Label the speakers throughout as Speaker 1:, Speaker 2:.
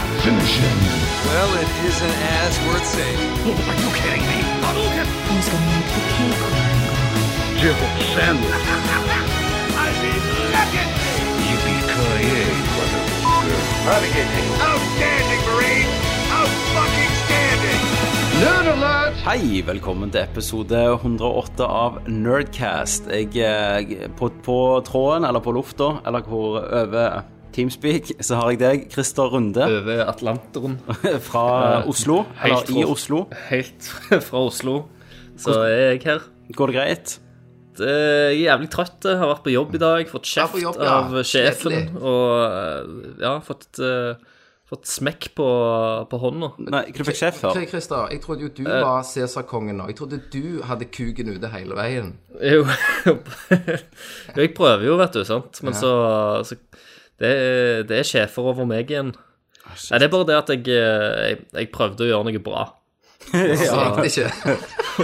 Speaker 1: Nation.
Speaker 2: Well, it isn't as worth saving.
Speaker 3: Are you kidding me?
Speaker 4: Who's gonna make the cake line?
Speaker 1: Civil sandwich.
Speaker 3: I mean, look at me!
Speaker 1: Yippee-ki-yay, motherfucker.
Speaker 3: Navigating. Outstanding, Marine! Out fucking standing!
Speaker 1: Nerd alert!
Speaker 5: Hei, velkommen til episode 108 av Nerdcast. Jeg er på, på tråden, eller på lufta, eller hvor over Teamspeak, så har jeg deg, Christer Runde,
Speaker 6: over Atlanteren,
Speaker 5: fra
Speaker 6: Eh,
Speaker 5: Oslo.
Speaker 6: helt
Speaker 5: Eller i
Speaker 6: fra-
Speaker 5: Oslo.
Speaker 6: helt fra Oslo, så er jeg her.
Speaker 5: Går det greit?
Speaker 6: Det er jævlig trøtt, jeg har vært på jobb i dag, fått kjeft
Speaker 7: på jobb, ja.
Speaker 6: av sjefen,
Speaker 7: Kjedelig.
Speaker 6: og eh, ja, fått, eh, fått smekk på, på hånda.
Speaker 5: Nei, hva du fikk sjef
Speaker 7: Ok,
Speaker 5: for?
Speaker 7: Christer, jeg trodde jo du
Speaker 5: Eh.
Speaker 7: var Cæsar-kongen nå. Jeg trodde du hadde kuken ute hele veien.
Speaker 6: Jo, jo, jeg prøver jo, vet du, sant, men så, så det, er- det er sjefer over meg igjen.
Speaker 7: Ah,
Speaker 6: Nei, det er bare det at jeg, eh, jeg, jeg prøvde å gjøre noe bra.
Speaker 7: Så gikk det Altså, ikke.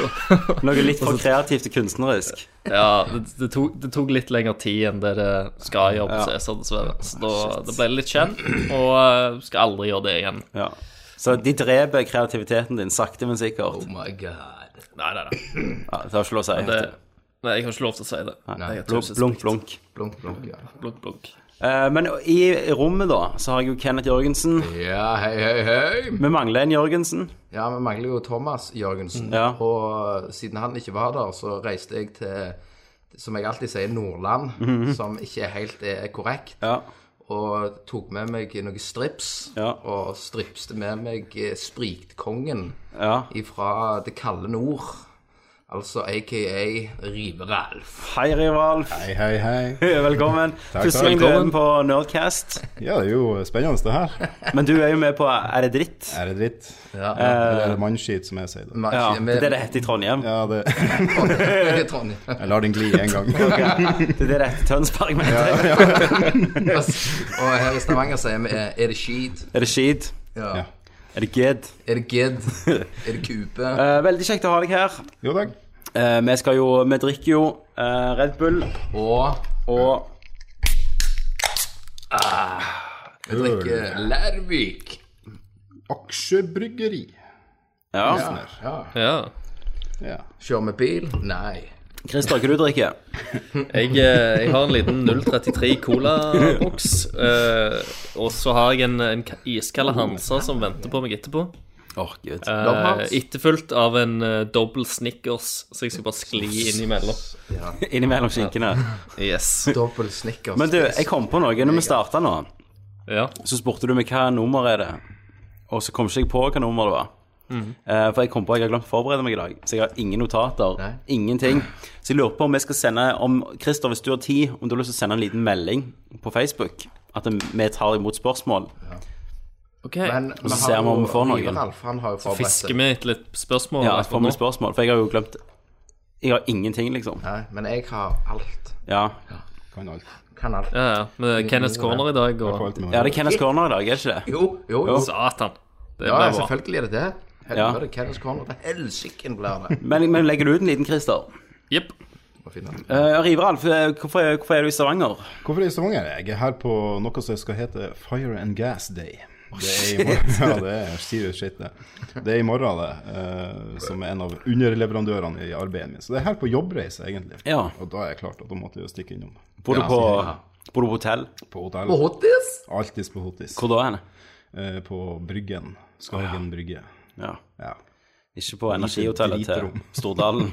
Speaker 5: Noe litt
Speaker 6: Altså-
Speaker 5: for kreativt og kunstnerisk.
Speaker 6: Ja, det, det, tok, det tok litt lengre tid enn det det skal gjøre på Cæsar, dessverre. Så da, det ble litt kjent, og eh, skal aldri gjøre det igjen.
Speaker 5: Ja. Så de dreper kreativiteten din sakte, men sikkert.
Speaker 7: Oh my god.
Speaker 6: Nei, nei, nei.
Speaker 5: Ja, det har ikke lov å si.
Speaker 6: Det, nei, jeg har ikke lov til å si det. Jeg
Speaker 5: Blunk,
Speaker 6: har tusen
Speaker 5: blunk. blunk.
Speaker 7: Blunk, blunk, ja.
Speaker 6: blunk, blunk.
Speaker 5: Eh, men i rommet, da, så har jeg jo Kenneth Jørgensen.
Speaker 7: Ja, hei, hei, hei.
Speaker 5: Vi mangler en Jørgensen.
Speaker 7: Ja, vi mangler jo Thomas Jørgensen.
Speaker 5: Ja.
Speaker 7: Og eh, siden han ikke var der, så reiste jeg til, som jeg alltid sier, Nordland,
Speaker 5: Mhm.
Speaker 7: som ikke helt er korrekt.
Speaker 5: Ja.
Speaker 7: Og tok med meg noen strips,
Speaker 5: Ja.
Speaker 7: og stripste med meg eh, Sprikkongen
Speaker 5: ja.
Speaker 7: ifra det kalde nord. Altså aka Rive-Ralf.
Speaker 5: Hei, rival.
Speaker 8: Hei, hei, hei.
Speaker 5: Velkommen. Første gang du er med på Nerdcast.
Speaker 8: Ja, det er jo spennende, det her.
Speaker 5: Men du er jo med på Er det dritt?
Speaker 8: Er det dritt? Eh,
Speaker 7: Ja.
Speaker 8: Eller er det mannskit, som jeg sier det?
Speaker 7: Man-
Speaker 5: Eh, Ja, det
Speaker 7: med-
Speaker 5: er det det heter i Trondheim.
Speaker 8: Ja, det
Speaker 7: Jeg tror den-
Speaker 8: Jeg lar den gli en gang.
Speaker 5: Ja, det er det det heter i Tønsberg. Men heter.
Speaker 7: Og her i Stavanger sier vi eh, er er det skit,
Speaker 5: Er det skit?
Speaker 7: ja.
Speaker 8: Ja.
Speaker 5: Er det ged?
Speaker 7: er det gidd, er det kupe?
Speaker 5: Eh, veldig kjekt å ha deg her.
Speaker 8: Jo takk.
Speaker 5: Eh, vi skal jo Vi drikker jo eh, Red Bull
Speaker 7: Og
Speaker 5: og
Speaker 7: vi drikker Lærvik.
Speaker 8: Aksjebryggeri.
Speaker 5: Ja.
Speaker 6: Ja.
Speaker 8: Ja.
Speaker 7: Kjører vi bil? Nei.
Speaker 5: Christer, hva du drikker du?
Speaker 6: Jeg, eh, jeg har en liten 033 Cola-boks, eh, og så har jeg en, en ka- iskald Hansa som venter på meg etterpå.
Speaker 5: Åh, gud.
Speaker 6: Uh, Etterfulgt av en uh, dobbel Snickers, så jeg skal bare skli innimellom.
Speaker 5: Innimellom skinkene.
Speaker 6: Yes.
Speaker 7: Dobbel snickers.
Speaker 5: Men du, jeg kom på noe når vi starta nå.
Speaker 6: Ja.
Speaker 5: Så spurte du meg hva nummer er det Og så kom ikke jeg på hva nummer det var Eh, For jeg kom på at jeg har glemt å forberede meg i dag Så jeg har ingen notater,
Speaker 7: Nei.
Speaker 5: ingenting Så jeg lurer på om jeg skal sende om, Christer, hvis du har tid Om du har lyst til å sende en liten melding på Facebook At vi tar imot spørsmål
Speaker 6: OK.
Speaker 7: Men vi
Speaker 5: så
Speaker 7: har
Speaker 5: ser vi om
Speaker 7: jo
Speaker 5: vi får noen.
Speaker 7: Rive-Ralf, han har jo forberedt
Speaker 6: Fisker
Speaker 7: det.
Speaker 6: vi etter litt spørsmål?
Speaker 5: Ja,
Speaker 6: akkurat
Speaker 5: for mye
Speaker 6: nå?
Speaker 5: spørsmål For jeg har jo glemt Jeg har ingenting liksom
Speaker 7: Nei, Men jeg har alt.
Speaker 5: Ja,
Speaker 8: Kan alt.
Speaker 7: Kan alt.
Speaker 6: Ja, ja. Med Kenneth Corner i dag
Speaker 8: Får
Speaker 6: og
Speaker 8: alt med
Speaker 5: ja det er Kenneth Corner i dag, er det ikke det?
Speaker 7: Jo, jo, jo.
Speaker 6: Satan. Det
Speaker 7: Ja,
Speaker 6: ble bra.
Speaker 7: selvfølgelig er det det. Helvete, Kenneth Corner. Det er helsiken blir det.
Speaker 5: Men, men legger du ut en liten, Christer?
Speaker 6: Jepp.
Speaker 7: Må finne den.
Speaker 5: Uh, Riveralf, eh, hvorfor, er- hvorfor er du i Stavanger?
Speaker 8: Hvorfor er jeg i Stavanger? Jeg er her på noe som skal hete Fire and Gas Day. Det er i morgen, ja, det er serious shit, det. Det er i morgen, det. eh, som er en av underleverandørene i arbeidet mitt. Så det er her på jobbreise, egentlig.
Speaker 5: Ja.
Speaker 8: Og da er jeg klart at da måtte jeg jo stikke innom.
Speaker 5: Bor du
Speaker 8: Ja,
Speaker 5: på,
Speaker 8: ja.
Speaker 5: bor du på hotell?
Speaker 8: På
Speaker 7: På
Speaker 8: hotell.
Speaker 7: Hottis?
Speaker 8: Alltids på hotis.
Speaker 5: Hvor da henne?
Speaker 8: Eh, På Bryggen. Skagen brygge.
Speaker 5: Ja,
Speaker 8: Ja.
Speaker 5: ikke på energihotellet til
Speaker 8: dritrom.
Speaker 5: Stordalen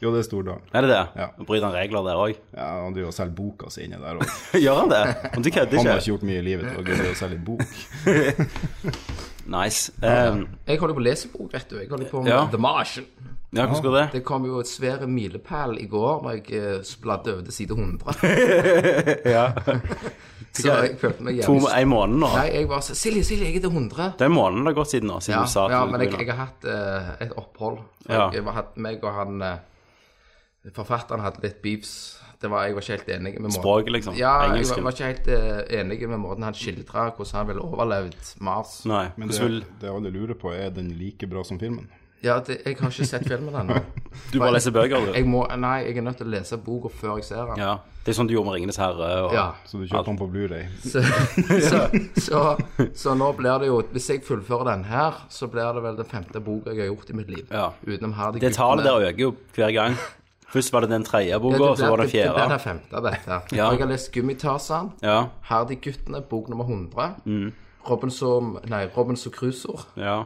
Speaker 8: Jo, det er Stordalen.
Speaker 5: Er det det?
Speaker 8: Ja.
Speaker 5: Og Bryter han regler der òg?
Speaker 8: Ja, han driver og selger boka si inni der òg.
Speaker 5: Gjør han det? Men du kødder
Speaker 8: Han har ikke
Speaker 5: ikke?
Speaker 8: gjort mye i livet til å gidde å selge bok.
Speaker 5: Nice. Um,
Speaker 7: Jeg holder på å lese bok, vet du. Jeg holder på med
Speaker 5: Ja.
Speaker 7: The Martian.
Speaker 5: ja, hvordan går det?
Speaker 7: Det kom jo et svære milepæl i går når jeg eh, spladde over til side 100. Så jeg følte meg
Speaker 5: To,
Speaker 7: jævlig
Speaker 5: en måned nå?
Speaker 7: Nei, jeg var så Silje, Silje, jeg er til 100.
Speaker 5: Det er en måned det har gått siden nå, siden
Speaker 7: Ja,
Speaker 5: du sa at
Speaker 7: ja
Speaker 5: du
Speaker 7: men jeg,
Speaker 5: skulle
Speaker 7: jeg har hatt eh, et opphold. For
Speaker 5: Ja.
Speaker 7: Jeg var, hatt, meg og han eh, Forfatteren hadde litt beefs. Det var, jeg var ikke helt enig med måten
Speaker 5: Språket, liksom?
Speaker 7: Ja, jeg var,
Speaker 5: Engelsken?
Speaker 7: var ikke helt eh, enig med måten han skildra hvordan han ville overlevd Mars.
Speaker 5: Nei.
Speaker 8: Men
Speaker 5: hvordan
Speaker 8: det,
Speaker 5: vil
Speaker 8: det alle lurer på, er den like bra som filmen?
Speaker 7: Ja, det, jeg har ikke sett filmen ennå.
Speaker 5: Du bare leser bøker, du.
Speaker 7: Jeg må, nei, jeg er nødt til å lese boka før jeg ser den.
Speaker 5: Ja, det er sånn du gjorde med 'Ringenes herre'. Og...
Speaker 7: Ja.
Speaker 8: Så du kjøpte den på Blu-ray
Speaker 7: Så, så, så, så nå blir det jo Hvis jeg fullfører den her, så blir det vel den femte boka jeg har gjort i mitt liv.
Speaker 5: Ja.
Speaker 7: Utenom her de
Speaker 5: Det tallet der øker jo hver gang. Først var det den tredje
Speaker 7: Ja,
Speaker 5: boka, så var det
Speaker 7: Det blir den
Speaker 5: fjerde.
Speaker 7: femte, dette.
Speaker 5: Ja.
Speaker 7: Og Jeg har lest Gummitarzan,
Speaker 5: Ja,
Speaker 7: Hardy-guttene, bok nummer 100.
Speaker 5: Mm.
Speaker 7: Robinson Nei, Robinson Crusoer.
Speaker 5: ja.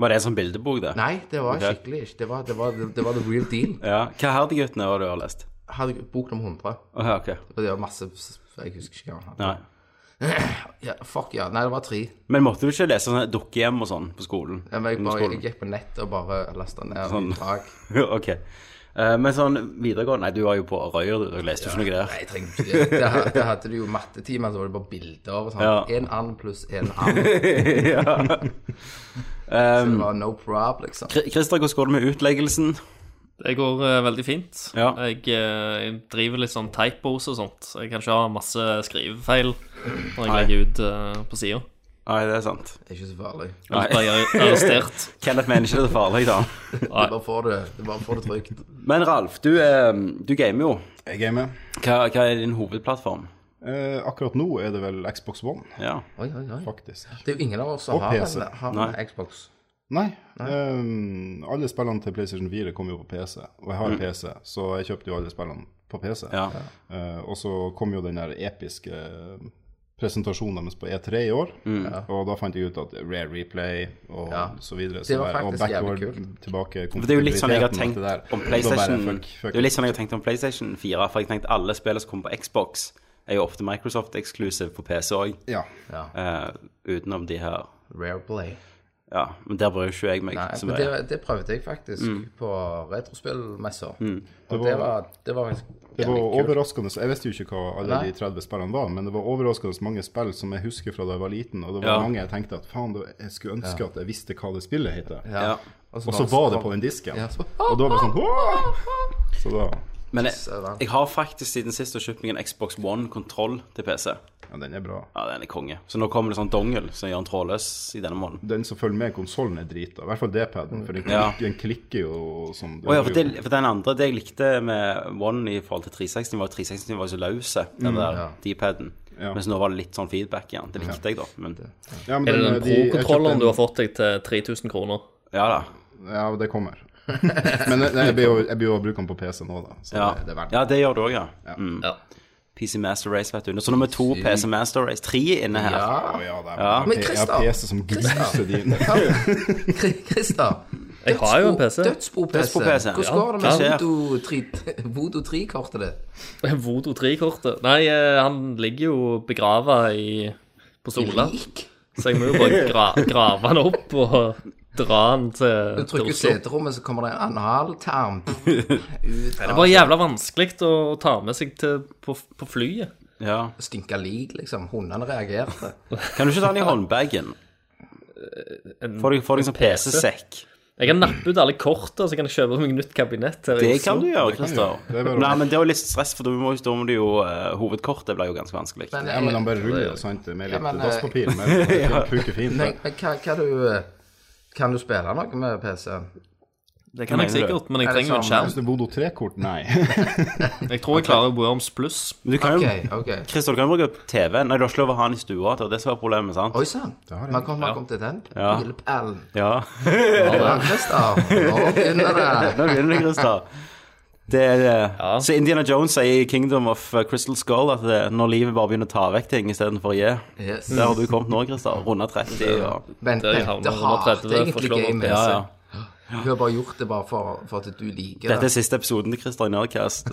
Speaker 5: Var det en sånn bildebok, det?
Speaker 7: Nei, det var
Speaker 5: Ok.
Speaker 7: skikkelig ikke. Det var, det, var, det var the real deal.
Speaker 5: Ja. Hva er det, guttene, var det du har lest?
Speaker 7: Hardy, bok nummer 100.
Speaker 5: Åh, ja, ok.
Speaker 7: Og det var masse Jeg husker ikke hva han hadde.
Speaker 5: Nei.
Speaker 7: Ja, fuck ja. Nei, det var tre.
Speaker 5: Men måtte du ikke lese sånn dukkehjem og sånn på skolen?
Speaker 7: Ja, men Jeg,
Speaker 5: På
Speaker 7: bare,
Speaker 5: skolen?
Speaker 7: jeg gikk på nett og bare lasta ned
Speaker 5: Sånn.
Speaker 7: utdrag.
Speaker 5: ok. Eh, men sånn videregående Nei, du var jo på Røyer, du. Du leste jo ikke noe der.
Speaker 7: Nei, jeg trenger ikke det. Der, ha- der hadde du jo mattetimer, så var det bare bilder og sånn.
Speaker 5: Ja.
Speaker 7: En and pluss en and. så
Speaker 5: Um,
Speaker 7: det var no prob, liksom.
Speaker 5: Kri- Christer, hvordan går det med utleggelsen?
Speaker 6: Det går eh, veldig fint.
Speaker 5: Ja.
Speaker 6: Jeg, eh, jeg driver litt sånn typos og sånt. Jeg kan ikke ha masse skrivefeil når jeg
Speaker 5: Nei.
Speaker 6: legger ut eh, på sida.
Speaker 5: Nei, det er sant.
Speaker 7: Det er ikke så farlig. Du
Speaker 6: Ellers blir jeg arrestert.
Speaker 5: Kenneth mener ikke det er farlig, da.
Speaker 7: bare får det, du bare får det trygt.
Speaker 5: Men Ralf, du, eh, du gamer jo.
Speaker 8: Jeg gamer.
Speaker 5: Hva, hva er din hovedplattform?
Speaker 8: Eh, akkurat nå er det vel Xbox One,
Speaker 5: Ja.
Speaker 7: Oi, oi, oi.
Speaker 8: faktisk.
Speaker 7: Det er jo ingen av oss som
Speaker 8: Og
Speaker 7: har
Speaker 8: PC.
Speaker 7: en, har en Xbox.
Speaker 8: Nei. eh, alle spillene til PlayStation 4 kom jo på PC, og jeg har PC, så jeg kjøpte jo alle spillene på PC.
Speaker 5: Mm. Ja.
Speaker 8: Eh, og så kom jo den der episke eh, presentasjonen deres på E3 i år,
Speaker 5: Mm.
Speaker 8: og da fant jeg ut at Rare Replay og
Speaker 7: Ja.
Speaker 8: så videre
Speaker 7: Det var
Speaker 8: så der, og
Speaker 7: faktisk jævlig
Speaker 8: backward tilbake
Speaker 5: For det er jo litt sånn jeg har
Speaker 8: kompatibiliteten
Speaker 5: tenkt
Speaker 8: og alt det der.
Speaker 5: om
Speaker 8: Da
Speaker 5: PlayStation
Speaker 8: bare, fuck, fuck.
Speaker 5: Det er jo litt sånn jeg har tenkt om PlayStation 4, for jeg tenkte alle spillene som kommer på Xbox, er jo ofte Microsoft Exclusive på PC òg,
Speaker 8: Ja.
Speaker 5: eh, utenom de her.
Speaker 7: Rare Play.
Speaker 5: Ja, men der bryr jo ikke jeg meg
Speaker 7: Nei,
Speaker 5: så
Speaker 7: men
Speaker 5: mye.
Speaker 7: det, det prøvde jeg faktisk
Speaker 5: Mm.
Speaker 7: på retrospillmesser. Og
Speaker 8: var-
Speaker 7: det var, det var faktisk
Speaker 8: Det var
Speaker 7: jævlig kult.
Speaker 8: overraskende Jeg visste jo ikke hva alle
Speaker 7: Nei.
Speaker 8: de 30 spillene var, men det var overraskende mange spill som jeg husker fra da jeg var liten, og det
Speaker 5: Ja.
Speaker 8: var mange jeg tenkte at faen, det- jeg skulle ønske at jeg visste hva det spillet heter.
Speaker 5: Ja.
Speaker 8: Og så var det på den disken.
Speaker 7: Ja, så-
Speaker 8: Og da var det sånn «Åh!» Så da
Speaker 5: Men jeg, jeg har faktisk siden sist kjøpt meg en Xbox One-kontroll til PC.
Speaker 8: Ja, den er bra.
Speaker 5: Ja, den er konge. Så nå kommer det sånn dongel som gjør den trådløs i denne måneden.
Speaker 8: Den som følger med konsollen, er drita. I hvert fall D-paden, for den, klik,
Speaker 5: Ja.
Speaker 8: den klikker jo som
Speaker 5: Å ja, for, det, for den andre, det jeg likte med One i forhold til 360, var at 360 var jo så løse, den der D-paden.
Speaker 8: Mm. Ja.
Speaker 5: Mens nå var det litt sånn feedback igjen. Det likte jeg, da. Men
Speaker 8: Ja, men
Speaker 6: Er det
Speaker 8: den,
Speaker 6: den
Speaker 8: de- jeg kjøpte en-
Speaker 6: pro-kontrolleren du har fått deg til 3000 kroner?
Speaker 5: ja da.
Speaker 8: Ja, det kommer. Men jeg, jeg blir jo jeg blir jo å bruke den på PC nå, da. Så
Speaker 5: Ja,
Speaker 8: det, det er verdt
Speaker 5: ja det gjør du òg, ja. Mm.
Speaker 6: Ja.
Speaker 5: PC Master Race, vet du. Så nummer to PC Master Race. Tre inne her.
Speaker 7: Ja.
Speaker 8: Å, ja, det
Speaker 5: Ja.
Speaker 8: er, jeg har-
Speaker 7: Men
Speaker 8: jeg har
Speaker 7: Christer-
Speaker 8: PC som gruser din.
Speaker 7: Kri- Christer.
Speaker 6: Jeg har jo en PC.
Speaker 7: Dødsbo-PC.
Speaker 5: Dødsbo-PC,
Speaker 7: Hvordan
Speaker 5: ja.
Speaker 7: går det med
Speaker 5: Ja.
Speaker 7: Voodoo 3 Voodoo 3-kortet ditt?
Speaker 6: Vodo 3-kortet? Nei, eh, han ligger jo begrava i på Sola,
Speaker 7: Lik?
Speaker 6: så jeg må jo bare gra grave han opp og dra han til,
Speaker 7: Du
Speaker 6: til
Speaker 7: trykker
Speaker 6: Oslo.
Speaker 7: seterommet, så kommer det en analtarm ut
Speaker 6: Det
Speaker 7: av
Speaker 5: altså.
Speaker 6: var jævla vanskelig å å ta med seg til, på, på flyet.
Speaker 5: Ja.
Speaker 7: stinka lik, liksom. Hundene reagerte.
Speaker 5: Kan du ikke ta den i håndbagen? Får deg, får deg en sånn
Speaker 6: PC?
Speaker 5: PC-sekk.
Speaker 6: Jeg kan nappe ut alle kortene, så kan jeg kjøpe meg nytt kabinett her i
Speaker 5: Det kan du
Speaker 6: Oslo.
Speaker 5: gjøre,
Speaker 8: kan du
Speaker 5: Christer.
Speaker 8: gjøre. Det er bare-
Speaker 5: Nei, men det er jo litt stress, for da må da må du jo eh, Hovedkortet blir jo ganske vanskelig.
Speaker 7: Men, eh,
Speaker 8: Ja, men han bare ruller jo, sant, med litt
Speaker 7: men, eh,
Speaker 8: dasspapir. Men det funker fint.
Speaker 7: men,
Speaker 8: det.
Speaker 7: men hva, hva du eh, Kan du spille noe med PC-en?
Speaker 6: Det kan jeg
Speaker 5: Mener du?
Speaker 6: sikkert, men jeg
Speaker 7: Er det
Speaker 6: trenger jo en
Speaker 7: sånn-
Speaker 8: Hvis
Speaker 6: skjerm.
Speaker 8: det er Vodo 3-kort, nei.
Speaker 6: Jeg tror jeg klarer Worms pluss.
Speaker 5: Men du kan
Speaker 7: OK.
Speaker 5: jo
Speaker 7: ok
Speaker 5: Christer, du kan jo bruke TV. Nei, du har ikke lov å ha den i stua. Det er det som er problemet, sant?
Speaker 7: Oi sann. Man kom, man kom til den
Speaker 5: Ja.
Speaker 7: pillepallen.
Speaker 5: Ja.
Speaker 7: Ja, Christer. Nå begynner det.
Speaker 5: Nå begynner det, Christer. Det er det.
Speaker 6: Ja.
Speaker 5: Så Indiana Jones sier i Kingdom of eh, Crystal Skull at det, er når livet bare begynner å ta vekk ting istedenfor å gi.
Speaker 7: Yes.
Speaker 5: Der har du kommet nå, Christer. Runde 30 og
Speaker 7: Vent,
Speaker 6: Der
Speaker 7: vent,
Speaker 6: havner
Speaker 7: det hater
Speaker 6: 130
Speaker 7: egentlig
Speaker 6: forslår
Speaker 7: gamet.
Speaker 5: Ja, ja.
Speaker 7: Hun har bare gjort det bare for, for at du liker
Speaker 5: Dette
Speaker 7: det.
Speaker 5: er siste episoden til Christer i Nerdcast.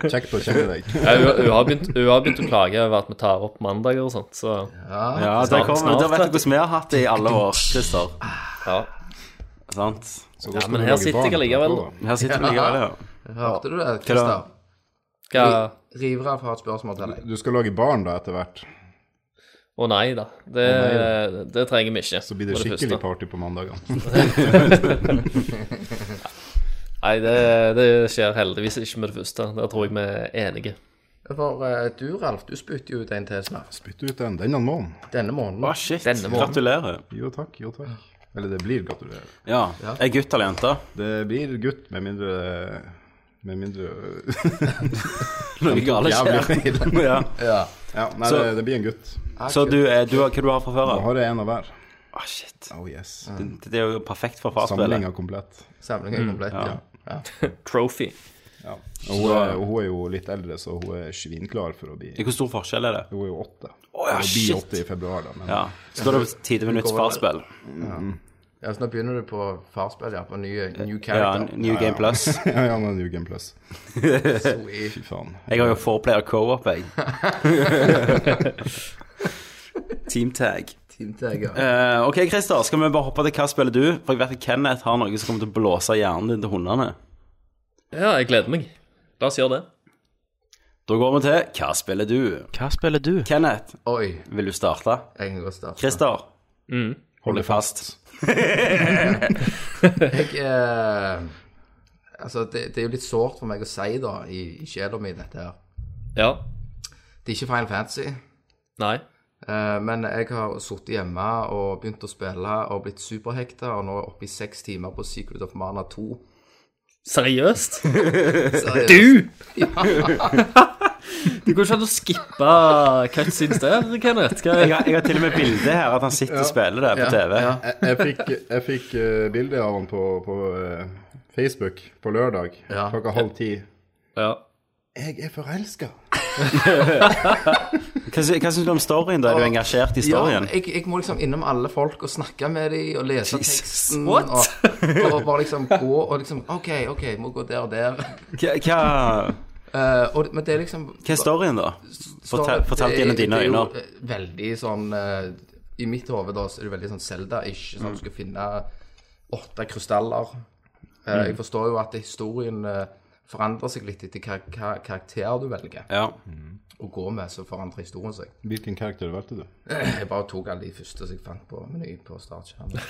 Speaker 8: Kjekt å kjenne deg.
Speaker 6: Ja, Hun hun har begynt hun har begynt å klage over at vi tar opp mandager og sånt, så
Speaker 5: Ja, der
Speaker 6: Snart-
Speaker 5: kommer Der vet
Speaker 6: snart
Speaker 5: du hvordan vi har hatt det i alle år, Christer.
Speaker 6: ja.
Speaker 5: Sant?
Speaker 8: Så da skal
Speaker 6: men
Speaker 8: du
Speaker 6: her
Speaker 8: lage
Speaker 6: sitter jeg
Speaker 8: barn
Speaker 6: allikevel,
Speaker 8: etterpå.
Speaker 5: Her sitter vi likevel, ja.
Speaker 7: Hørte du det, Christer?
Speaker 6: Hva-
Speaker 7: Rivraff har et spørsmål til deg.
Speaker 8: Du skal lage barn da etter hvert,
Speaker 6: Å nei da, det, det trenger vi ikke.
Speaker 8: så blir det
Speaker 6: for
Speaker 8: skikkelig
Speaker 6: første.
Speaker 8: party på mandagene.
Speaker 6: Nei, det, det skjer heldigvis ikke med det første. Der tror jeg vi er enige.
Speaker 7: For eh, du, Ralf, du spytter jo ut en til snart.
Speaker 8: Spytt ut den denne måneden.
Speaker 7: Denne måneden.
Speaker 5: Å, Ah, shit.
Speaker 6: Denne måneden.
Speaker 5: Gratulerer.
Speaker 8: Jo takk, jo takk. Eller det blir, gratulerer.
Speaker 5: Ja. Er gutt eller jente?
Speaker 8: Det blir gutt, med mindre Med mindre
Speaker 5: Noe gale skjer.
Speaker 8: Jævlig.
Speaker 5: ja.
Speaker 7: Ja.
Speaker 8: Ja, nei,
Speaker 5: Så-
Speaker 8: det, det blir en gutt.
Speaker 5: Så du, er, du har hva du har fra før
Speaker 8: Da
Speaker 5: av?
Speaker 8: har jeg en av hver.
Speaker 5: Å, Ah, shit.
Speaker 8: Oh yes.
Speaker 5: Det, det er jo perfekt for fartsspillet.
Speaker 8: Samlinga komplett.
Speaker 7: Samlingen er komplett, Mm, ja.
Speaker 6: Trophy.
Speaker 8: Ja. Og hun, er, og hun er jo litt eldre, så hun er svinklar for å bli
Speaker 5: Hvor stor forskjell er det?
Speaker 8: Hun er jo åtte.
Speaker 5: Å, ja,
Speaker 8: hun blir
Speaker 5: shit.
Speaker 8: åtte i februar, da. Men
Speaker 5: Ja. Så da er det tide med nytt fartsspill.
Speaker 7: ja. Så nå begynner du på farspill, ja. På ny new
Speaker 5: Ja,
Speaker 7: character.
Speaker 5: New Game Plus.
Speaker 8: ja, ja, nå er New Game Plus.
Speaker 7: Sweet.
Speaker 8: Fy faen.
Speaker 5: Jeg har jo four-player co-op, jeg. Team tag.
Speaker 7: Teamtag, ja.
Speaker 5: Eh, ok, Christer, skal vi bare hoppe til hva spiller du? For jeg vet at Kenneth har noe som kommer til å blåse hjernen din til hundene.
Speaker 6: Ja, jeg gleder meg. La oss gjøre det.
Speaker 5: Da går vi til hva spiller du?
Speaker 9: Hva spiller du?
Speaker 5: Kenneth,
Speaker 7: Oi,
Speaker 5: vil du starte?
Speaker 7: jeg kan godt starte.
Speaker 5: Christer, hold deg fast.
Speaker 7: Jeg, eh, altså, det, det er jo litt sårt for meg å si, da, i, i sjela mi, dette her.
Speaker 6: Ja.
Speaker 7: Det er ikke Final Fantasy.
Speaker 6: Nei.
Speaker 7: Eh, Men jeg har sittet hjemme og begynt å spille og blitt superhekta, og nå er jeg oppe i seks timer på Secret of Mana 2.
Speaker 6: Seriøst?
Speaker 7: Seriøst.
Speaker 6: Du! det går ikke an å skippe cutscenes der, Kenneth. Hva
Speaker 5: Jeg har, jeg har til og med bilde her at han sitter og spiller det på TV.
Speaker 7: ja.
Speaker 8: Jeg, jeg fikk, jeg fikk eh, bilde av han på, på eh, Facebook på lørdag
Speaker 7: Ja.
Speaker 8: klokka halv ti.
Speaker 6: Ja.
Speaker 8: Jeg er forelska!
Speaker 5: Hva, sy- hva syns du om storyen? da? Er du engasjert i
Speaker 7: Ja,
Speaker 5: storyen?
Speaker 7: jeg, jeg må liksom innom alle folk og snakke med dem og lese
Speaker 5: Jesus,
Speaker 7: teksten.
Speaker 6: what?
Speaker 7: Og, og bare liksom gå og liksom OK, OK, må gå der og der.
Speaker 5: Hva, hva,
Speaker 7: Eh, og, men det er liksom
Speaker 5: hva er storyen, da? Fortell, fortell
Speaker 7: Det er-
Speaker 5: gjennom dine
Speaker 7: det er jo,
Speaker 5: øyne.
Speaker 7: eh, Veldig sånn eh, I mitt hode da så er det veldig sånn Zelda-ish. Sånn du skal finne åtte krystaller. Eh,
Speaker 5: Mm.
Speaker 7: Jeg forstår jo at historien eh, forandrer seg litt etter hva hva karakter du velger
Speaker 5: Ja.
Speaker 7: å gå med, så forandrer historien seg.
Speaker 8: Hvilken karakter valgte du?
Speaker 7: Jeg bare tok alle de første som jeg fant på meny på startskjermen.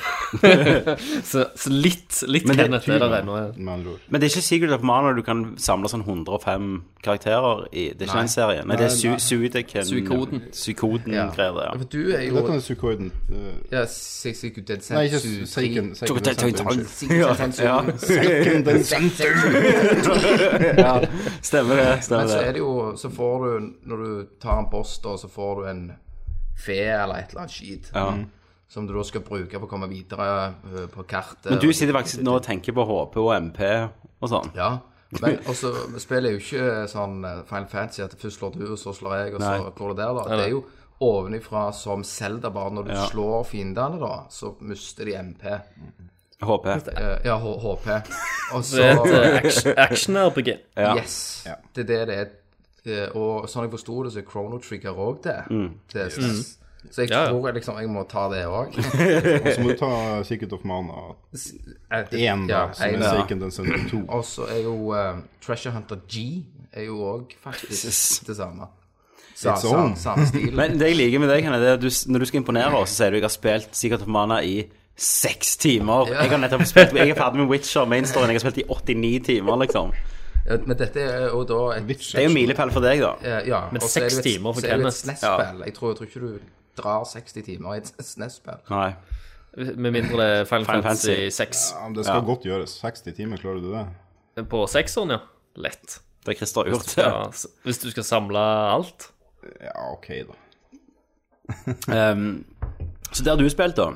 Speaker 6: Så, så litt, litt
Speaker 5: Men det er
Speaker 6: Kenneth er der ennå.
Speaker 8: Med andre ord.
Speaker 5: Men det er ikke Secret of Mana du kan samle sånn 105 karakterer i. Det er ikke den serien. Nei, det er su Suideken
Speaker 6: Suikoden.
Speaker 5: Suikoden-greier, det, ja.
Speaker 7: For du er
Speaker 8: Dette
Speaker 7: jo
Speaker 8: er Suikoiden eh,
Speaker 7: ja, si- si- si- den
Speaker 8: Nei, ikke
Speaker 7: sensu- tri-
Speaker 8: Seiken.
Speaker 5: Tjokk,
Speaker 8: Seiken
Speaker 5: tjokk, tjokk.
Speaker 8: Unnskyld.
Speaker 5: Ja,
Speaker 7: sensu-
Speaker 5: ja.
Speaker 8: Seiken den sensu.
Speaker 5: Stemmer det. stemmer
Speaker 7: Men så er
Speaker 5: det.
Speaker 7: det jo Så får du, når du tar en post, da, så får du en fe eller et eller annet skit. Mm.
Speaker 5: Ja.
Speaker 7: Som du da skal bruke for å komme videre eh, på kartet.
Speaker 5: Men du sitter faktisk nå og tenker på HP og MP og sånn.
Speaker 7: Ja. Men også spiller jeg jo ikke sånn eh, Final Fantasy at først slår du, og så slår jeg, og så
Speaker 5: Nei.
Speaker 7: går det der, da. Det er jo ovenifra som Zelda, bare når du
Speaker 5: Ja.
Speaker 7: slår fiendene, da, så mister de MP.
Speaker 5: HP.
Speaker 7: Eh, ja, H- HP. Og
Speaker 6: Det
Speaker 7: så
Speaker 6: er
Speaker 5: eh,
Speaker 6: et eh, action, action-RPG.
Speaker 5: Ja.
Speaker 7: Yes. Det er det det er. Eh, Og sånn jeg forsto det, så er Chrono Trigger òg det.
Speaker 5: Mm.
Speaker 7: det er stress. Så jeg
Speaker 6: Mm. Ja, ja.
Speaker 7: tror jeg liksom jeg må ta det òg.
Speaker 8: Og så må du ta Secret of Mana én, da, som er Seiken den sensu 2.
Speaker 7: Og så er jo eh, Treasure Hunter G er jo òg faktisk det samme. Sa,
Speaker 8: It's
Speaker 7: sa,
Speaker 8: on.
Speaker 7: samme stil.
Speaker 5: Men det jeg liker med deg, Kenneth, det er at du, når du skal imponere oss, så sier du jeg har spilt Secret of Mana i seks timer. Jeg har nettopp spilt, jeg er ferdig med Witcher mainstoryen. Jeg har spilt i 89 timer, liksom.
Speaker 7: Ja, Men dette er jo da et
Speaker 5: Det er jo milepæl for deg, da.
Speaker 7: eh, ja,
Speaker 6: Men
Speaker 7: og så er det jo
Speaker 6: seks
Speaker 7: et-
Speaker 6: timer for
Speaker 7: så er det jo et
Speaker 6: Kenneth.
Speaker 7: SNES-spill. Jeg, tror, jeg tror ikke du drar 60 timer i et SNES-spill.
Speaker 5: Nei.
Speaker 6: Med mindre det er Final,
Speaker 5: Final
Speaker 6: Fantasy 6.
Speaker 8: Ja, men det skal godt gjøres. 60 timer, klarer du det?
Speaker 6: På sekseren, ja. Lett.
Speaker 5: Det er Christer har gjort.
Speaker 6: Ja, s- hvis du skal samle alt.
Speaker 8: Ja, OK, da.
Speaker 5: Um, så der har du spilt, da.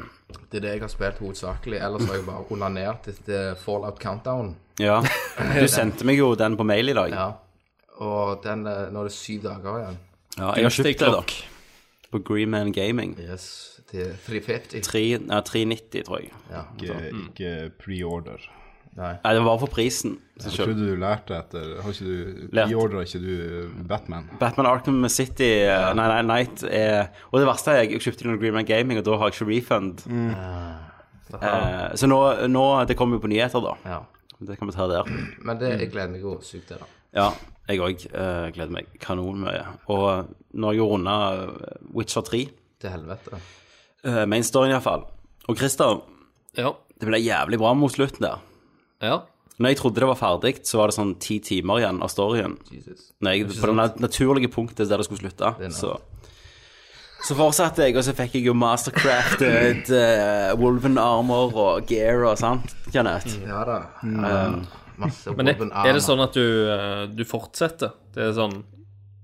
Speaker 7: Det er det jeg har spilt hovedsakelig. Ellers har jeg bare onanert etter Fallout Countdown.
Speaker 5: Ja. Du sendte meg jo den på mail i dag.
Speaker 7: Ja. Og den, eh, nå er det syv dager igjen.
Speaker 5: Ja, jeg har kjøpt det, da. På Green Man Gaming.
Speaker 7: Yes, til 350.
Speaker 5: 3, ja, 390, tror jeg.
Speaker 7: Ja.
Speaker 8: Ikke, ikke pre-order.
Speaker 5: Nei, det var for prisen. Så
Speaker 8: Jeg
Speaker 5: kjøpte
Speaker 8: trodde du lærte etter Har ikke du
Speaker 5: Lært.
Speaker 8: Preordra ikke du Batman?
Speaker 5: Batman Arkham City eh, Nei, nei, Night er Og det verste er jeg, jeg kjøpte inn Green Man Gaming, og da har jeg ikke refund. Eh, så nå, nå Det kommer jo på nyheter, da.
Speaker 7: ja.
Speaker 5: Det kan vi ta der.
Speaker 7: Men det, jeg gleder meg jo sykt til det.
Speaker 5: Ja, jeg òg eh, gleder meg kanonmye. Og eh, nå har jeg jo runda Witcher 3,
Speaker 7: Til helvete.
Speaker 5: eh, mainstoryen iallfall. Og Christer,
Speaker 6: Ja.
Speaker 5: det ble jævlig bra mot slutten der.
Speaker 6: ja.
Speaker 5: Når jeg trodde det var ferdig, så var det sånn ti timer igjen av storyen.
Speaker 7: Jesus.
Speaker 5: Når jeg, på det nat- naturlige punktet der det skulle slutte.
Speaker 7: er natt.
Speaker 5: Så, så fortsatte jeg, og så fikk jeg jo mastercrafted eh, Wolven armor og gear og sant,
Speaker 6: Mm.
Speaker 5: Kenneth. Um,
Speaker 7: Ja da. Eh, masse
Speaker 6: Men er,
Speaker 7: våpen,
Speaker 6: er det
Speaker 7: armer.
Speaker 6: sånn at du, eh, du fortsetter? Det er sånn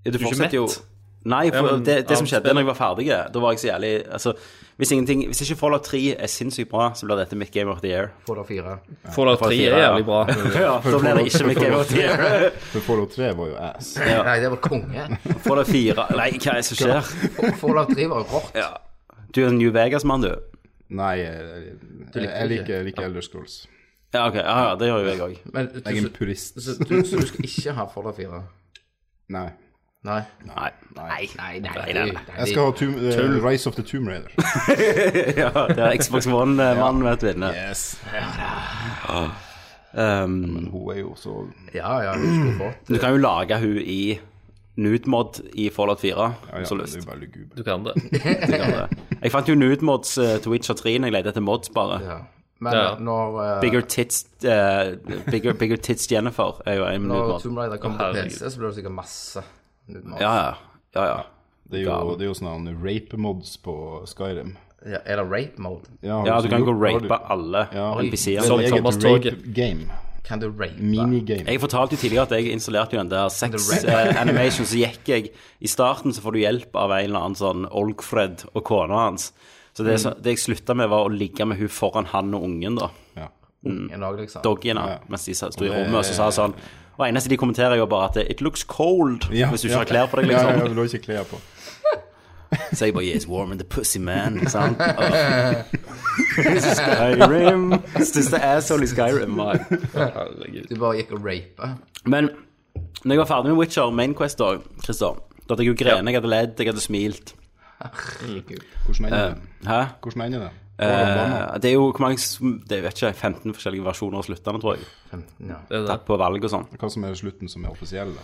Speaker 5: Du
Speaker 6: ikke
Speaker 5: fortsetter jo
Speaker 6: mett?
Speaker 5: Nei, for
Speaker 6: Ja, men
Speaker 5: det, det som
Speaker 6: annet
Speaker 5: skjedde
Speaker 6: spill.
Speaker 5: når jeg var ferdig, eh, da var jeg så jævlig Altså, hvis, ingenting, hvis ikke Fallout 3 er sinnssykt bra, så blir dette mitt Game of the Year.
Speaker 7: Får dere fire.
Speaker 6: Fallout 3 er
Speaker 5: ja.
Speaker 6: jævlig bra.
Speaker 5: Ja, da blir det ikke mitt Game of the Year.
Speaker 8: For Fallout 3 var jo ass.
Speaker 7: Nei, det var konge.
Speaker 5: Fallout 4 Nei, hva er det som skjer?
Speaker 7: Fallout 3 var jo rått.
Speaker 5: Ja. Du er en New Vegas-mann, du.
Speaker 8: Nei, jeg, jeg, jeg liker, jeg liker Elder Scrolls.
Speaker 5: Ja, ok. Ja, ja, det gjør jo jeg òg.
Speaker 7: Men du,
Speaker 8: Jeg er en
Speaker 7: så,
Speaker 8: purist.
Speaker 7: så, du, så du skal ikke ha Fallout 4?
Speaker 8: Nei.
Speaker 7: Nei.
Speaker 5: Nei.
Speaker 8: Nei.
Speaker 7: Nei, nei,
Speaker 5: nei, nei.
Speaker 8: Jeg skal ha Tomb- eh, Rise of the Tomb Raider.
Speaker 5: Ja, det er Xbox One-mannen vet du inne.
Speaker 8: Yes.
Speaker 5: Um,
Speaker 8: Men hun er jo så
Speaker 7: Ja, ja, du skulle fått
Speaker 5: du kan jo lage hun i nudemod i Fallout 4,
Speaker 8: Ja, ja,
Speaker 5: så
Speaker 8: men
Speaker 5: lyst.
Speaker 8: det er jo bare lugubre.
Speaker 6: Du kan det.
Speaker 5: Jeg har det. Jeg fant jo nudemods uh, til Witcher 3 når jeg lette etter mods, bare.
Speaker 7: ja. Men
Speaker 6: Ja.
Speaker 7: når, eh,
Speaker 5: Bigger tits eh, bigger, bigger tits Jennifer er jo en
Speaker 7: når
Speaker 5: nudemod.
Speaker 7: Tomb Raider kommer til
Speaker 6: herregud.
Speaker 7: PC, så blir det sikkert masse nudemod.
Speaker 5: Ja, ja. ja, ja.
Speaker 8: Det er jo, det er jo sånne rape-mods på Skyrim.
Speaker 7: Ja, eller rape mode.
Speaker 5: Ja,
Speaker 8: har
Speaker 5: du kan gå og
Speaker 8: gjort- har
Speaker 5: rape alle
Speaker 8: Ja.
Speaker 5: NPC-er.
Speaker 8: du-
Speaker 6: Som
Speaker 8: Det er
Speaker 6: Thomas
Speaker 8: eget
Speaker 6: Torge.
Speaker 8: rape-game.
Speaker 7: Kan du rape?
Speaker 8: Minigame.
Speaker 5: Jeg fortalte jo tidligere at jeg installerte jo den der sex
Speaker 7: The
Speaker 5: eh, animation, så gikk jeg I starten så får du hjelp av en eller annen sånn Olgfred og kona hans. Så det, så, det jeg slutta med, var å ligge med hun foran han og ungen, da.
Speaker 8: Ja.
Speaker 7: En dag, liksom.
Speaker 5: Doggiene, mens de sa- sto i rommet, og så sa sånn Og eneste de kommenterer, er jo bare at 'it looks cold',
Speaker 8: Ja,
Speaker 5: hvis du ikke
Speaker 8: ja.
Speaker 5: har klær på deg,
Speaker 8: Ja,
Speaker 5: liksom.
Speaker 8: ja, du har ikke klær på.
Speaker 5: Så jeg bare 'Yes, warm in the pussy, man'. ikke Sant? Åh. Skyrim. Største asshole i Skyrim. var jeg.
Speaker 7: Du bare gikk og rape.
Speaker 5: Men når jeg var ferdig med Witcher Main Quest, da, Christer, da hadde jeg jo grene, jeg hadde ledd, jeg hadde smilt.
Speaker 7: Herregud.
Speaker 8: Hvordan ender det?
Speaker 5: Hæ?
Speaker 8: Hvordan ender det?
Speaker 5: Eh, det er jo hvor mange som- Det vet ikke, 15 forskjellige versjoner av sluttene, tror jeg.
Speaker 7: 15, ja.
Speaker 6: det, er det.
Speaker 5: Tatt på valg og sånn.
Speaker 8: Hva som er slutten som er offisiell? Da?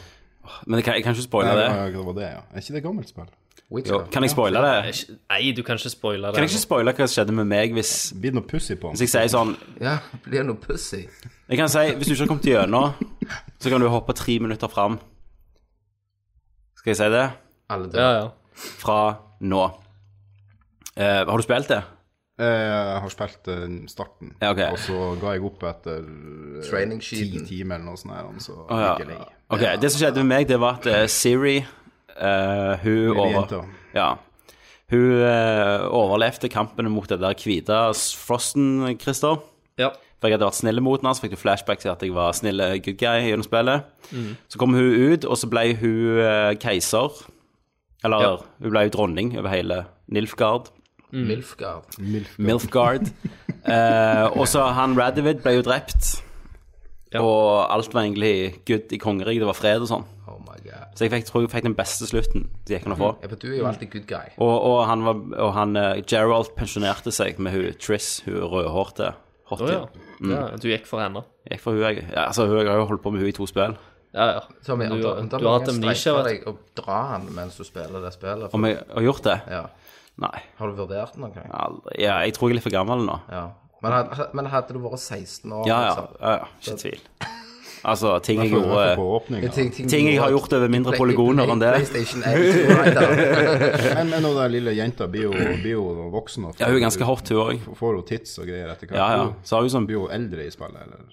Speaker 5: Men jeg kan, jeg kan ikke spoile
Speaker 8: Nei,
Speaker 5: det.
Speaker 8: ja, det var det, ja. Er ikke det gammelt spill?
Speaker 5: Jo,
Speaker 7: Witcher.
Speaker 5: kan jeg spoile det?
Speaker 6: Nei, du kan ikke spoile det.
Speaker 5: Kan jeg ikke spoile hva som skjedde med meg hvis,
Speaker 8: Blir det noe pussy på
Speaker 5: hvis jeg
Speaker 8: den?
Speaker 5: sier sånn
Speaker 7: Ja, blir det noe pussy?
Speaker 5: Jeg kan si, hvis du ikke har kommet gjennom, så kan du hoppe tre minutter fram. Skal jeg si det?
Speaker 7: Alle
Speaker 6: Ja,
Speaker 7: dør.
Speaker 6: ja.
Speaker 5: Fra nå. Eh, har du spilt det?
Speaker 8: Eh, Jeg har spilt eh, starten,
Speaker 5: Ja, ok.
Speaker 8: og så ga jeg opp etter eh,
Speaker 7: Training
Speaker 8: ti
Speaker 7: sheeten.
Speaker 8: timer eller noe sånt. Her, og så
Speaker 5: Å,
Speaker 8: gikk jeg lei.
Speaker 5: Ok, Det som skjedde med meg, det var at eh, Siri eh, Hun
Speaker 8: Lille
Speaker 5: over,
Speaker 8: jenta.
Speaker 5: ja, Hun eh, overlevde kampen mot det der hvite Frosten, Christer.
Speaker 6: ja.
Speaker 5: For jeg hadde vært snill mot henne, så fikk du flashback til at jeg var snill eh, good guy gjennom spillet.
Speaker 6: Mm.
Speaker 5: Så kom hun ut, og så ble hun eh, keiser. Eller
Speaker 6: Ja.
Speaker 5: hun ble jo dronning over hele Nilfgaard.
Speaker 7: Milfgard.
Speaker 5: Milfgard. Eh, og så han Radovid ble jo drept. Og alt var egentlig good i kongeriket. Det var fred og sånn.
Speaker 7: Oh my god.
Speaker 5: Så jeg fikk, tror jeg fikk den beste slutten det gikk an å
Speaker 6: Mm.
Speaker 5: få.
Speaker 7: Ja, for du er jo alltid good guy.
Speaker 5: Og, og han, var, og han eh, Gerald pensjonerte seg med hun Triss, hun rødhårte.
Speaker 6: Å,
Speaker 5: Hottie.
Speaker 6: ja. Mm. ja. Du gikk for henne.
Speaker 5: Jeg for hun, jeg, ja, altså, hun, jeg har jo holdt på med hun i to spill.
Speaker 6: Ja, ja.
Speaker 7: Tommy,
Speaker 6: Du-
Speaker 7: om da- om da
Speaker 6: du
Speaker 7: noen
Speaker 6: har hatt amnesia,
Speaker 7: streifer
Speaker 6: vet
Speaker 7: deg og drar han mens du spiller det spillet. For,
Speaker 5: Om jeg har gjort det?
Speaker 7: ja.
Speaker 5: Nei.
Speaker 7: Har du vurdert den noen gang?
Speaker 5: Aldri. Ja, jeg tror jeg er litt for gammel nå.
Speaker 7: Ja. Men, had- men hadde du vært 16 år
Speaker 5: Ja, ja.
Speaker 7: liksom,
Speaker 5: ja, ja. Ikke tvil. Altså, ting jeg
Speaker 8: Jeg får- jeg får
Speaker 5: gjorde
Speaker 8: på åpninga.
Speaker 7: ting, ting,
Speaker 5: Ting jeg har gjort over mindre polygoner enn det.
Speaker 7: PlayStation 8, right there.
Speaker 8: Men men hun der lille jenta blir jo, blir jo voksen. Og
Speaker 5: Ja, hun er ganske hot, hun òg.
Speaker 8: Får hun tits og greier etter hvert?
Speaker 5: Ja, ja. Så har hun sånn
Speaker 8: Hun blir jo eldre i spillet, eller?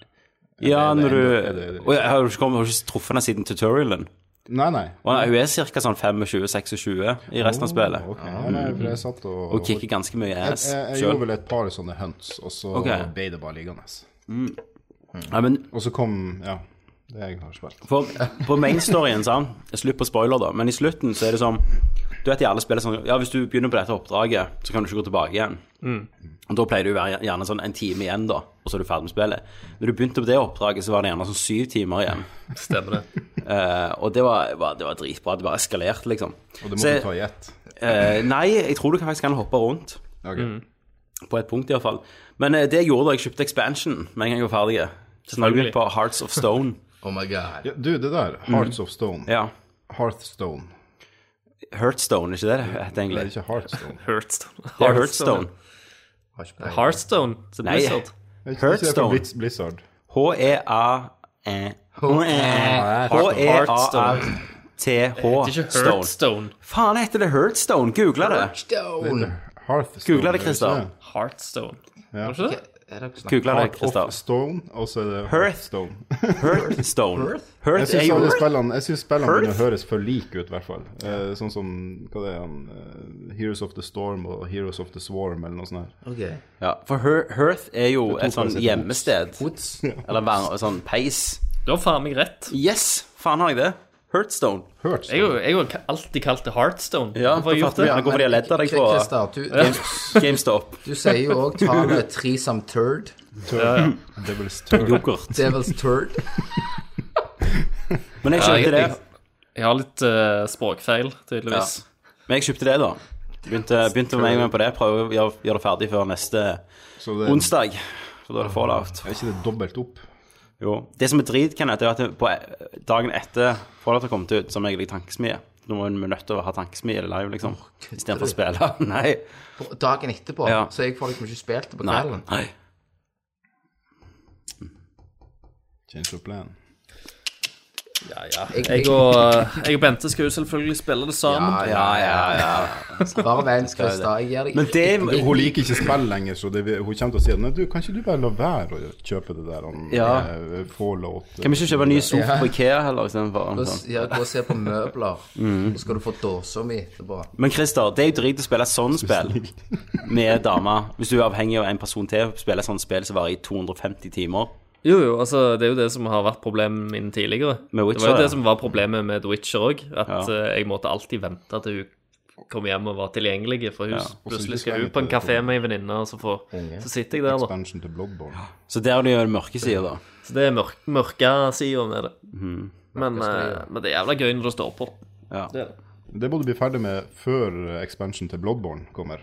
Speaker 5: Ja,
Speaker 8: Eller-
Speaker 5: når du
Speaker 8: eller- eller-
Speaker 5: Å, jeg har jo ikke, kommet- har ikke truffet henne siden tutorialen.
Speaker 8: Nei, nei.
Speaker 5: Og hun er ca. sånn 25-26 i resten av spillet.
Speaker 8: Ok, ja, nei, for jeg satt og
Speaker 5: Og kicker ganske mye
Speaker 8: Jeg,
Speaker 5: ass
Speaker 8: jeg, jeg gjorde
Speaker 5: sjøl.
Speaker 8: vel et par sånne hunts, og så
Speaker 5: Ok.
Speaker 8: ble det bare liggende.
Speaker 5: Ja, men
Speaker 8: Og så kom Ja, det jeg har spilt.
Speaker 5: på, eh, på mainstoryen, sant Slutt på spoiler, da. Men i slutten så er det sånn Du vet i alle spill er sånn Ja, hvis du begynner på dette oppdraget, så kan du ikke gå tilbake igjen.
Speaker 8: Mm.
Speaker 5: Og da pleier det å være gjerne sånn en time igjen, da, og så er du ferdig med spillet. Når du begynte på det oppdraget, så var det gjerne sånn syv timer igjen.
Speaker 6: Stemmer det.
Speaker 5: Eh, og det var, var, det var dritbra. Det bare eskalerte, liksom.
Speaker 8: Og
Speaker 5: Så
Speaker 8: det måtte
Speaker 5: jeg-
Speaker 8: du ta i ett.
Speaker 5: Eh, nei, jeg tror du kan faktisk kan hoppe rundt.
Speaker 8: Ok.
Speaker 5: På et punkt, iallfall. Men eh, det jeg gjorde da jeg kjøpte expansion med en gang jeg var ferdig Så nå har jeg begynt på Hearts of Stone.
Speaker 7: Oh my god.
Speaker 8: Ja, du, det der, Hearts of Stone.
Speaker 5: Mm. Ja.
Speaker 8: Hearthstone.
Speaker 5: Heartstone, ikke det det heter
Speaker 8: Det er
Speaker 5: egentlig?
Speaker 8: ikke Heartstone.
Speaker 6: Heartstone.
Speaker 5: Det er Heartstone.
Speaker 7: Har ikke peiling.
Speaker 6: Heartstone. Til
Speaker 5: Nei.
Speaker 6: Blizzard.
Speaker 8: Er ikke- ikke det fra
Speaker 5: Hearthstone.
Speaker 8: Blitz, Blizzard.
Speaker 5: H-E-A-E. H-E-A-R-T-H.
Speaker 6: Ikke Heartstone.
Speaker 5: Faen heter det Heartstone? Google det.
Speaker 8: Hearthstone.
Speaker 5: Googla det, Christer.
Speaker 6: Heartstone.
Speaker 8: Ja.
Speaker 6: Var det ikke det?
Speaker 5: Googla det, Christer.
Speaker 8: Hearthstone, og så er det Hearthstone.
Speaker 5: Hearthstone.
Speaker 8: Jeg
Speaker 5: Hearth er
Speaker 8: syns
Speaker 5: jo
Speaker 8: alle spillene, jeg synes spillene
Speaker 5: Hearth?
Speaker 8: mine høres for like ut, i hvert fall. Eh, sånn som hva det er, han, eh, Heroes of the Storm og Heroes of the Swarm eller noe sånt. her.
Speaker 7: Ok.
Speaker 5: Ja, for Her- Hearth er jo et sånn
Speaker 8: faktisk et
Speaker 5: hjemmested.
Speaker 7: Woods.
Speaker 5: Eller vær- sånn peis.
Speaker 6: Du har faen meg rett.
Speaker 5: Yes! Faen har jeg det. Hearthstone.
Speaker 6: Jeg har
Speaker 8: Hearthstone.
Speaker 6: jo- jeg har jo alltid kalt det Heartstone.
Speaker 5: Ja,
Speaker 6: Hvorfor har jeg
Speaker 5: da
Speaker 6: gjort
Speaker 5: fatter
Speaker 6: det?
Speaker 5: vi hvorfor de har ledd av deg på
Speaker 7: Christer, du, du,
Speaker 5: GameStop.
Speaker 7: du sier jo òg tallet tre som turd.
Speaker 8: Devil's Turn.
Speaker 5: Yoghurt.
Speaker 7: Devil's turd.
Speaker 5: Men jeg kjøpte
Speaker 6: jeg-
Speaker 5: det.
Speaker 6: jeg- Jeg har litt eh, språkfeil, tydeligvis.
Speaker 5: Men jeg kjøpte det, da. Begynte, begynte med en gang på det. Prøver å gjøre, gjøre det ferdig før neste
Speaker 8: Så det er,
Speaker 5: onsdag. Eh, Så da er det fallout.
Speaker 8: er ikke det dobbelt opp?
Speaker 5: Jo. Det som er drit, kan hete, er at det- på eh, dagen etter fallout har kommet ut, som jeg ligger i tankesmie Nå må vi nødt til å ha tankesmie i det live, liksom. Istedenfor å spille. Nei.
Speaker 7: Og Dagen etterpå.
Speaker 5: Ja.
Speaker 7: Så jeg får liksom ikke spilt det på
Speaker 5: Nei.
Speaker 7: kvelden.
Speaker 5: Nei.
Speaker 8: Change of plan.
Speaker 6: Jeg, og, eh, jeg og Bente skal jo selvfølgelig spille det sammen.
Speaker 7: Ja,
Speaker 5: Ja, ja, ja.
Speaker 7: Bare vent, Christer. Jeg gir deg
Speaker 5: Men det
Speaker 8: Hun liker ikke spill lenger, så det, hun kommer til å si Nei, du, kan ikke du bare la være å kjøpe det der om
Speaker 5: Ja.
Speaker 8: eh, Fallout?
Speaker 5: Kan vi ikke kjøpe en ny sofa på Ikea heller? istedenfor?
Speaker 7: Gå og s- ja, gå og se på møbler, så skal du få dåsa mi etterpå.
Speaker 5: Men Christer, det er jo drit å spille sånn spill
Speaker 8: eh,
Speaker 5: med dame. Hvis du er avhengig av en person til å spille sånn spill som varer i 250 timer.
Speaker 6: Jo, jo, altså, det er jo det som har vært problemet min tidligere.
Speaker 5: Med Witcher,
Speaker 6: det var jo
Speaker 5: ja.
Speaker 6: det som var problemet med The Witcher òg, at
Speaker 5: Ja.
Speaker 6: eh, jeg måtte alltid vente til hun kom hjem og var tilgjengelig, for hun
Speaker 5: Ja,
Speaker 6: s-
Speaker 8: og så
Speaker 6: plutselig
Speaker 8: ikke
Speaker 6: skal
Speaker 8: så
Speaker 6: hun på en
Speaker 8: lenge til-
Speaker 6: kafé med ei venninne, og så, får, så sitter jeg der, da.
Speaker 8: Expansion til Bloodborne.
Speaker 5: Så der er det jo den mørke sida, da.
Speaker 6: Så det er mørk, mørke sider med det.
Speaker 5: Mhm.
Speaker 6: Men, eh, men det er jævla gøy når det står på.
Speaker 8: Det må du bli ferdig med før eh, expansion til Bloodborne kommer.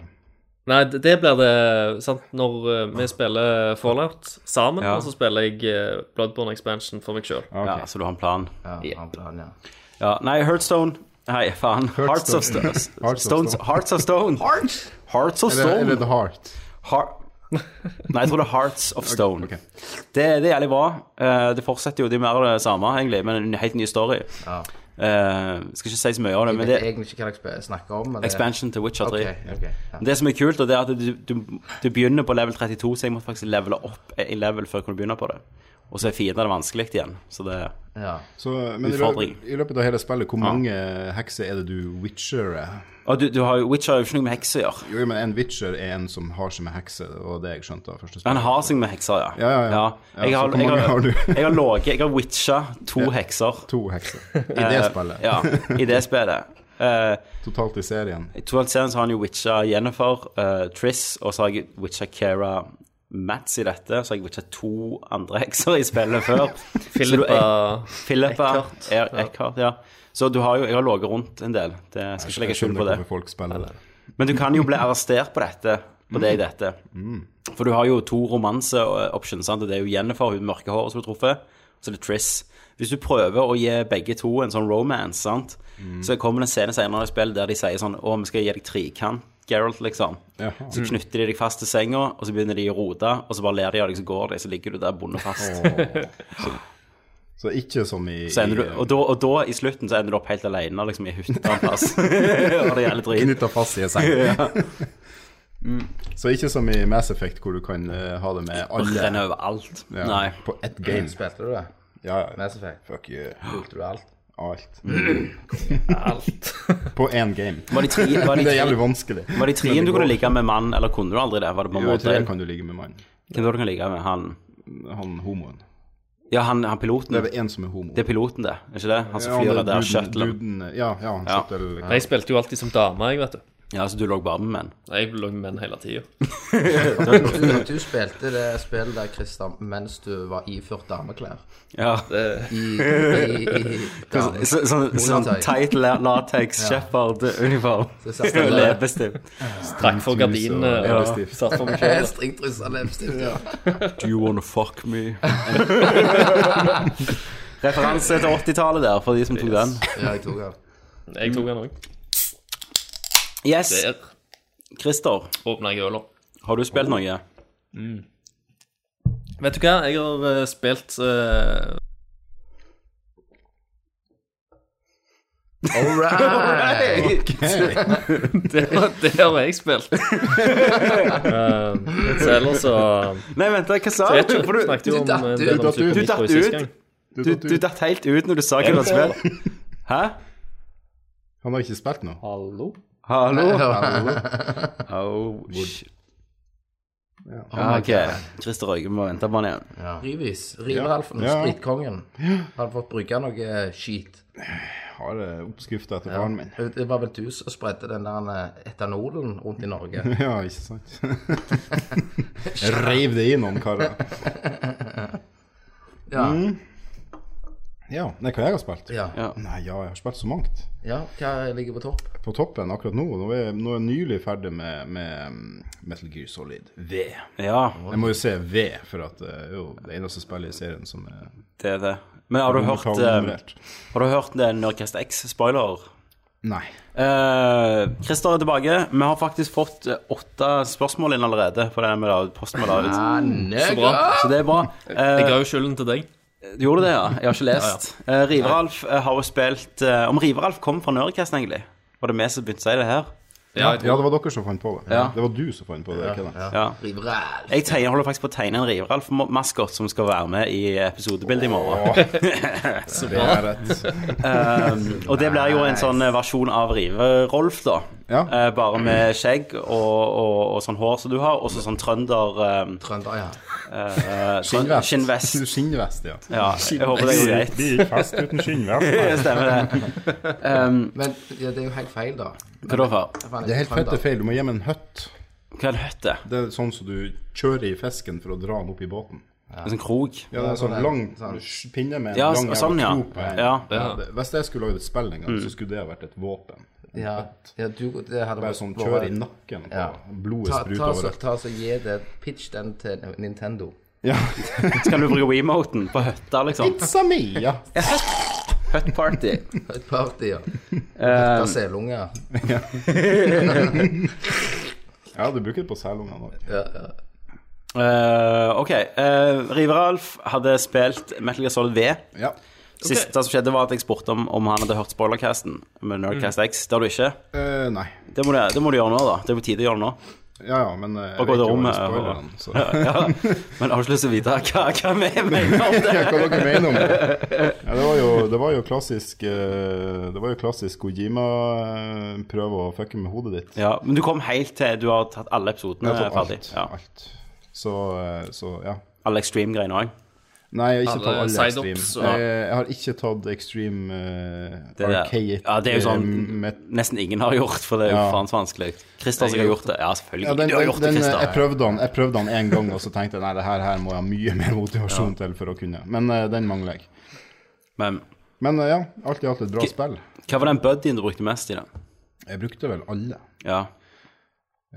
Speaker 6: Nei, det, det blir det sant? Når eh, vi spiller Fallout sammen,
Speaker 5: Ja.
Speaker 6: og så spiller jeg eh, Bloodborne Expansion for meg sjøl.
Speaker 8: Ok.
Speaker 5: Ja, så du har en plan.
Speaker 7: Ja, han planen, ja.
Speaker 5: Ja, nei, Heartstone Nei, faen. Hearts of, sto
Speaker 8: of
Speaker 5: stones.
Speaker 8: Stone.
Speaker 5: Hearts of Stone. Hearts of
Speaker 8: Eller, eller
Speaker 5: Stone.
Speaker 8: The Heart.
Speaker 5: Har Nei, jeg tror det er Hearts of Stone.
Speaker 8: ok.
Speaker 5: Det, det er jævlig bra. Eh, det fortsetter jo, det er mer av det samme, egentlig, men en helt ny story.
Speaker 7: Ja.
Speaker 5: Eh, skal ikke si så mye om det,
Speaker 7: Jeg
Speaker 5: men
Speaker 7: vet
Speaker 5: det er
Speaker 7: egentlig ikke hva jeg sp- snakker om. Men det-
Speaker 5: expansion til Witcher 3.
Speaker 7: Ok, ok, ja.
Speaker 5: Det som er kult, det er at du, du, du begynner på level 32, så jeg måtte faktisk levele opp i level før jeg kunne begynne på det. Og så er fiendene vanskelig igjen. Så det
Speaker 7: ja.
Speaker 8: Så, men i
Speaker 5: Utfordring.
Speaker 8: løpet, i løpet av hele spillet, hvor mange hekser er det du witcherer?
Speaker 5: Og du, du har jo Witcher har jo ikke noe med hekser å gjøre.
Speaker 8: Jo, men en witcher er en som har seg med hekse, det var det jeg skjønte av første
Speaker 5: Han
Speaker 8: spillet.
Speaker 5: har seg med hekser, ja.
Speaker 8: Ja, ja, ja. Ja,
Speaker 5: Jeg
Speaker 8: så
Speaker 5: har,
Speaker 8: hvor mange
Speaker 5: jeg
Speaker 8: har
Speaker 5: har,
Speaker 8: du?
Speaker 5: jeg har ligget Jeg har witcha to hekser.
Speaker 8: To hekser i det spillet.
Speaker 5: Eh, Ja, i det spillet. Eh,
Speaker 8: Totalt i serien.
Speaker 5: I totalt serien så har han jo witcha Jennifer, eh, Triss, og så har jeg witcha Kera Mats i dette. Så har jeg witcha to andre hekser i spillet før. Så du-
Speaker 6: Philip uh,
Speaker 5: Philippa Eckhart.
Speaker 6: Eckhart.
Speaker 5: Er, Eckhart ja. Så du har jo, jeg har ligget rundt en del. Det, jeg skal ikke legge skjul på det.
Speaker 8: Hvorfor Folk spiller det.
Speaker 5: Men du kan jo bli arrestert på dette, på det i dette. For du har jo to romanse-options. sant? Det er jo Jennifer, hun mørkehåret som du truffet, og så er det Triss. Hvis du prøver å gi begge to en sånn romance, sant? så kommer det en scene senere i spillet der de sier sånn Å, vi skal gi deg trekant, Geralt, liksom.
Speaker 8: Jaha.
Speaker 5: Så knytter de deg fast til senga, og så begynner de å rote, og så bare ler de av deg, så går de, så ligger du der bundet fast.
Speaker 8: Så ikke som i,
Speaker 5: Så ender du,
Speaker 8: i- eh,
Speaker 5: og, da, og da, i slutten, så ender du opp helt alene, liksom, i hytta en plass. og det gjelder drit.
Speaker 8: Knyttet fast i en seng. Mm. Så ikke som i Mass Effect, hvor du kan eh, ha det med
Speaker 5: Og
Speaker 8: alle
Speaker 5: renner over alt.
Speaker 8: ja,
Speaker 5: Nei. Mm.
Speaker 8: på ett game.
Speaker 7: Spilte du det?
Speaker 8: Ja, ja.
Speaker 7: Mass Effect.
Speaker 8: Fuck you.
Speaker 7: Spilte du alt?
Speaker 8: Alt. På én game.
Speaker 5: Mm. Var de tre, var de
Speaker 8: Det er
Speaker 5: tre
Speaker 8: jævlig vanskelig.
Speaker 5: Var det i trien du kunne ligge med mann, eller kunne du aldri det? Var det på en
Speaker 8: Jo, i
Speaker 5: måte
Speaker 8: treen
Speaker 5: Hvem
Speaker 8: kan du ligge med mannen.
Speaker 5: da du kan ligge med? Han
Speaker 8: Han homoen.
Speaker 5: Ja, han, han piloten.
Speaker 8: Det er vel en som er homo.
Speaker 5: Det er piloten, det. Er ikke det? Han som
Speaker 8: Ja,
Speaker 5: flyr
Speaker 8: han
Speaker 5: det der
Speaker 8: duden-
Speaker 5: shuttlen.
Speaker 8: duden- eh, Ja, ja, han eh,
Speaker 5: Ja.
Speaker 8: shuttle.
Speaker 6: Jeg spilte jo alltid som dame, jeg, vet du.
Speaker 5: Ja, så du lå bare med menn?
Speaker 6: Jeg lå med menn hele tida.
Speaker 7: Du, du spilte det spillet der, Christer, mens du var iført dameklær.
Speaker 5: Ja.
Speaker 7: I, i, i,
Speaker 5: Sånn så, så, sånn
Speaker 7: Undertøy.
Speaker 5: tight la- latex shepherd-uniform.
Speaker 7: dameklær.
Speaker 5: Leppestift.
Speaker 6: Trakk for gardinene.
Speaker 8: og
Speaker 6: og
Speaker 8: leppestift.
Speaker 6: Satt for meg
Speaker 7: Eh,
Speaker 6: selv.
Speaker 7: Stringtrusse og leppestift. Ja.
Speaker 5: Do you wanna fuck me? Referanse til 80-tallet der, for de som tok den.
Speaker 7: ja, jeg tok den.
Speaker 6: Jeg tok den òg.
Speaker 5: Yes,
Speaker 6: Der
Speaker 5: Christer,
Speaker 6: åpna jeg øla.
Speaker 5: har du spilt noe?
Speaker 6: Vet du hva, jeg har eh, spilt eh,
Speaker 7: All right!
Speaker 6: det, har- det har jeg spilt. Eh, mens ellers så
Speaker 5: Nei, vent, hva sa
Speaker 6: Jeg vet
Speaker 5: du?
Speaker 6: ikke,
Speaker 5: For du,
Speaker 6: snakket jo
Speaker 7: du
Speaker 6: om
Speaker 7: datt
Speaker 6: en
Speaker 7: ut,
Speaker 6: del
Speaker 7: du
Speaker 6: om
Speaker 7: datt
Speaker 6: Super
Speaker 7: ut.
Speaker 5: Du
Speaker 6: Meat Boy
Speaker 5: datt
Speaker 6: sist
Speaker 5: ut.
Speaker 6: gang.
Speaker 5: du, du datt helt ut når du sa hva du hadde spilt. Hæ?
Speaker 8: Han har ikke spilt noe.
Speaker 6: Hallo?
Speaker 5: Hallo?
Speaker 8: Hallo?
Speaker 5: Oh, shit.
Speaker 7: Oh my
Speaker 5: Ah, ok. Christer Røyge må vente på han igjen.
Speaker 7: Rivis. Riveralfen.
Speaker 8: Ja.
Speaker 7: Spritkongen. Hadde fått bruke noe eh, skit.
Speaker 8: Har eh, oppskrifta til faren min.
Speaker 7: Det var vel du som spredde den der eh, etanolen rundt i Norge.
Speaker 8: Ja, ikke sant? Jeg Reiv det i noen karer.
Speaker 7: Ja.
Speaker 8: Mhm. Ja. Nei, hva jeg har spilt?
Speaker 7: Ja.
Speaker 5: Ja.
Speaker 8: Nei, ja, jeg har spilt så mangt.
Speaker 7: ja. Hva ligger på topp?
Speaker 8: På toppen akkurat nå. Nå er, nå er jeg nylig ferdig med, med mm, Metal Gear Solid V.
Speaker 5: Ja,
Speaker 8: Jeg må jo se V, for at eh, det er jo det eneste spillet i serien som er
Speaker 5: det er det. Men har du hørt, eh,
Speaker 8: nummerert.
Speaker 5: har du hørt den Nerdcast X-spoiler?
Speaker 8: Nei.
Speaker 5: Eh, Christer er tilbake. Vi har faktisk fått eh, åtte spørsmål inn allerede på det med da- posten vi la ut.
Speaker 6: Så bra.
Speaker 5: Så det er bra. Eh,
Speaker 6: Jeg ga jo skylden til deg.
Speaker 5: Du gjorde det, ja? Jeg har ikke lest. Eh, Riveralf eh, har jo spilt eh, Om Riveralf kom fra Nerdcast, egentlig? Var det vi som begynte å si det her?
Speaker 6: Ja, jeg
Speaker 8: Ja,
Speaker 6: tror
Speaker 8: det var dere som fant på det.
Speaker 5: Ja.
Speaker 8: Det var du som fant på det. ikke det?
Speaker 5: Ja.
Speaker 7: Riveral.
Speaker 5: Jeg tegner, holder faktisk på å tegne en Riveralf-maskot som skal være med i episodebildet i morgen.
Speaker 8: Det er rett.
Speaker 5: Og det blir jo en sånn eh, versjon av Rive-Rolf, da.
Speaker 8: Ja.
Speaker 5: Eh, bare med skjegg og, og, og sånn hår som du har, og så sånn trønder eh,
Speaker 7: Trønder, ja.
Speaker 5: eh, trøn-
Speaker 8: Skinnvest.
Speaker 5: Skinnvest.
Speaker 8: Skinnvest, ja.
Speaker 5: Ja, jeg håper det går greit.
Speaker 8: gikk fast uten skinnvest.
Speaker 5: Det stemmer, det.
Speaker 7: Men ja, det er jo helt feil, da.
Speaker 5: Hva da, far?
Speaker 8: Det er helt fett det er feil. Du må gjemme en høtt.
Speaker 5: Hva er det høtt er?
Speaker 8: Det er sånn som du kjører i fisken for å dra den opp i båten.
Speaker 5: En sånn krok?
Speaker 8: Ja, det er sånn
Speaker 7: sånn
Speaker 8: lang
Speaker 7: sånn.
Speaker 8: sj- pinne med en
Speaker 5: Ja,
Speaker 8: lang
Speaker 5: s- sånn, ja.
Speaker 8: krok på enden.
Speaker 5: Ja. Mm.
Speaker 8: Ja, det- Hvis jeg skulle lagd et spill en gang, så skulle det ha vært et våpen.
Speaker 7: Ja, ja du, det hadde
Speaker 8: Bare
Speaker 7: vært
Speaker 8: sånn kjør i nakken, og
Speaker 7: Ja.
Speaker 8: blodet
Speaker 7: Ta,
Speaker 8: spruter
Speaker 7: ta, så,
Speaker 8: overalt.
Speaker 7: ta så gi det Pitch den til Nintendo.
Speaker 8: Ja.
Speaker 5: Skal du bruke Wemoten på høtta, liksom?
Speaker 8: Pizza mi, ja.
Speaker 5: Høtt party.
Speaker 7: Et party, ja. Ta selunger.
Speaker 8: Ja, du bruker det på selungene òg.
Speaker 7: Ja, ja.
Speaker 5: Eh, ok. Uh, River-Alf hadde spilt Metal Gear Solid V.
Speaker 8: Ja.
Speaker 5: Siste som skjedde, var at jeg spurte om, om han hadde hørt spoilercasten med Nerdcast X. Det har du ikke.
Speaker 8: Eh, nei.
Speaker 5: Det må, du, det må du gjøre nå, da. Det er på tide å gjøre det nå.
Speaker 8: Ja ja, men eh, jeg
Speaker 5: Og gå til
Speaker 8: vet jo alle
Speaker 5: rommet.
Speaker 8: spoilerne,
Speaker 5: Og,
Speaker 8: så
Speaker 5: ja, ja. Men jeg har ikke lyst til å vite hva, hva vi mener om det.
Speaker 8: Hva dere mener om det? Ja, det, var jo, det var jo klassisk eh, Det var jo klassisk Kojima eh, prøve å fucke med hodet ditt.
Speaker 5: Ja, men du kom helt til du har tatt alle episodene
Speaker 8: Jeg tok
Speaker 5: ferdig.
Speaker 8: alt.
Speaker 5: Eh, Ja.
Speaker 8: alt. Så, eh, så ja.
Speaker 5: Alle extreme-greiene òg.
Speaker 8: Nei, jeg har ikke
Speaker 6: Alle
Speaker 8: tatt alle
Speaker 6: side-ups
Speaker 8: extreme.
Speaker 6: og-
Speaker 8: Jeg, jeg har ikke tatt extreme uh,
Speaker 5: Det er-
Speaker 8: archaic
Speaker 5: ja, det er jo
Speaker 8: eh,
Speaker 5: sånn-
Speaker 8: met-
Speaker 5: Nesten ingen har gjort, for det er jo
Speaker 8: Ja.
Speaker 5: faen så vanskelig. Christer som har gjort det. Ja, selvfølgelig.
Speaker 8: ja, den,
Speaker 5: du har
Speaker 8: den,
Speaker 5: gjort det,
Speaker 8: den, eh, jeg
Speaker 5: Christer.
Speaker 8: prøvde den Jeg prøvde den en gang, og så tenkte jeg nei, det her, her må jeg ha mye mer motivasjon til for å kunne. Men eh, den mangler jeg.
Speaker 5: Men
Speaker 8: Men eh, ja, alt i alt et bra spill.
Speaker 5: hva var den buddyen du brukte mest i den?
Speaker 8: Jeg brukte vel alle.
Speaker 5: Ja.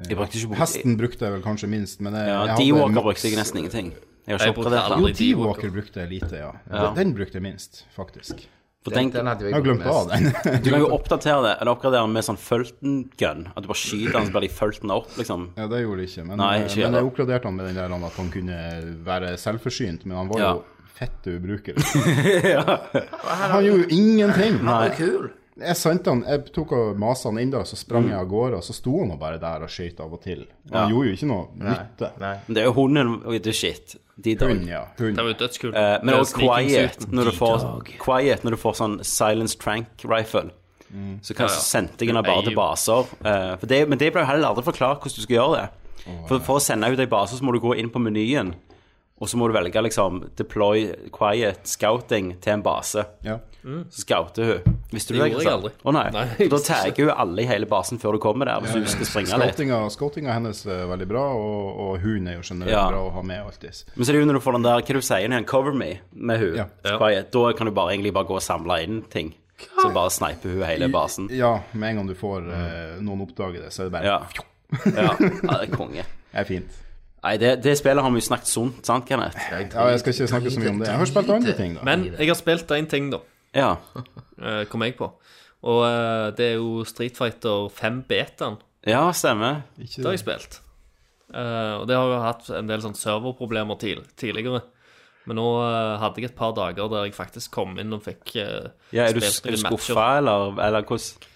Speaker 5: Jeg brukte ikke
Speaker 8: Hesten brukte jeg vel kanskje minst, men jeg,
Speaker 5: Ja,
Speaker 8: jeg hadde
Speaker 5: D-Walker
Speaker 8: maks-
Speaker 5: brukte jeg nesten ingenting. Jeg har
Speaker 6: Jeg
Speaker 5: ikke
Speaker 6: brukte
Speaker 5: oppgradert
Speaker 6: aldri.
Speaker 5: den.
Speaker 8: Jo, D-Walker brukte jeg lite, ja. Den- Den brukte jeg minst, faktisk.
Speaker 5: For
Speaker 7: Den,
Speaker 5: tenk,
Speaker 7: den hadde jo
Speaker 8: Jeg har
Speaker 7: jeg
Speaker 8: glemt av den.
Speaker 5: du kan jo oppdatere det, eller oppgradere den med sånn Fulton gun. At du bare skyter den, så blir de Fultona opp, liksom.
Speaker 8: Ja, det gjorde jeg ikke, men, eh,
Speaker 5: Nei, ikke
Speaker 8: men
Speaker 5: jeg.
Speaker 8: jeg oppgraderte han med den der at han kunne være selvforsynt, men han var
Speaker 5: Ja.
Speaker 8: jo fett ubruker. Han gjorde jo ingenting.
Speaker 7: Det er kul.
Speaker 8: Jeg sendte han, jeg tok og maset han inn der, så sprang jeg av gårde, og så sto han og bare der og skøyt av og til. Og han
Speaker 5: Mm. Ja.
Speaker 8: gjorde jo ikke noe nytte.
Speaker 7: Nei.
Speaker 5: Men det er jo hunden og det er shit. De dog.
Speaker 8: Hund, ja. Hund.
Speaker 6: det var jo dødskult.
Speaker 5: Eh, men
Speaker 6: Det
Speaker 5: også
Speaker 6: sneaking
Speaker 5: quiet
Speaker 6: suiten.
Speaker 5: når, du får, quiet når du får sånn Silence Trank Rifle. Så kan,
Speaker 6: Ja, ja.
Speaker 5: sendte jeg den
Speaker 6: Nei,
Speaker 5: bare til
Speaker 6: jo.
Speaker 5: baser. eh, for det, men det ble jo heller aldri forklart hvordan du skal gjøre det. For, for å sende ut ei base, så må du gå inn på menyen, og så må du velge liksom deploy quiet scouting til en base.
Speaker 8: Ja.
Speaker 5: Så scouter hun. Visste du
Speaker 6: Det
Speaker 5: det?
Speaker 6: gjorde jeg
Speaker 5: Kristian?
Speaker 6: aldri.
Speaker 5: Å nei.
Speaker 6: Nei,
Speaker 5: Og da tagger hun alle i hele basen før du kommer der, hvis du skal springe litt.
Speaker 8: Eh, Scoutinga, scoutinga hennes er veldig bra, og, og hun er jo generelt
Speaker 5: Ja.
Speaker 8: bra å ha med alltid.
Speaker 5: Men så er det jo når du får den der hva du sier igjen, cover me med hun.
Speaker 8: Ja.
Speaker 6: Ja.
Speaker 5: Quiet. Da kan du bare egentlig bare gå og samle inn ting. Så bare sniper hun hele basen. Mm.
Speaker 8: Ja, med en gang du får eh, noen oppdage det, så er det bare
Speaker 5: Ja. ja. ja det er konge.
Speaker 8: Det er fint.
Speaker 5: Nei, det, det spillet har vi jo snakket sunt, sant, Kenneth?
Speaker 8: Ja, jeg skal ikke snakke så mye om det. Jeg har spilt andre ting, da.
Speaker 6: Men jeg har spilt én ting, da.
Speaker 5: Ja.
Speaker 6: eh, kom jeg på. Og eh, det er jo Street Fighter 5 betaen.
Speaker 5: Ja, stemmer.
Speaker 6: Det har jeg spilt. Eh, og det har jo hatt en del sånn serverproblemer til, tidligere. Men nå eh, hadde jeg et par dager der jeg faktisk kom inn og fikk eh,
Speaker 5: Ja, er du,
Speaker 6: spilt
Speaker 5: er du
Speaker 6: noen matcher.
Speaker 5: skuffa, eller, eller hvordan?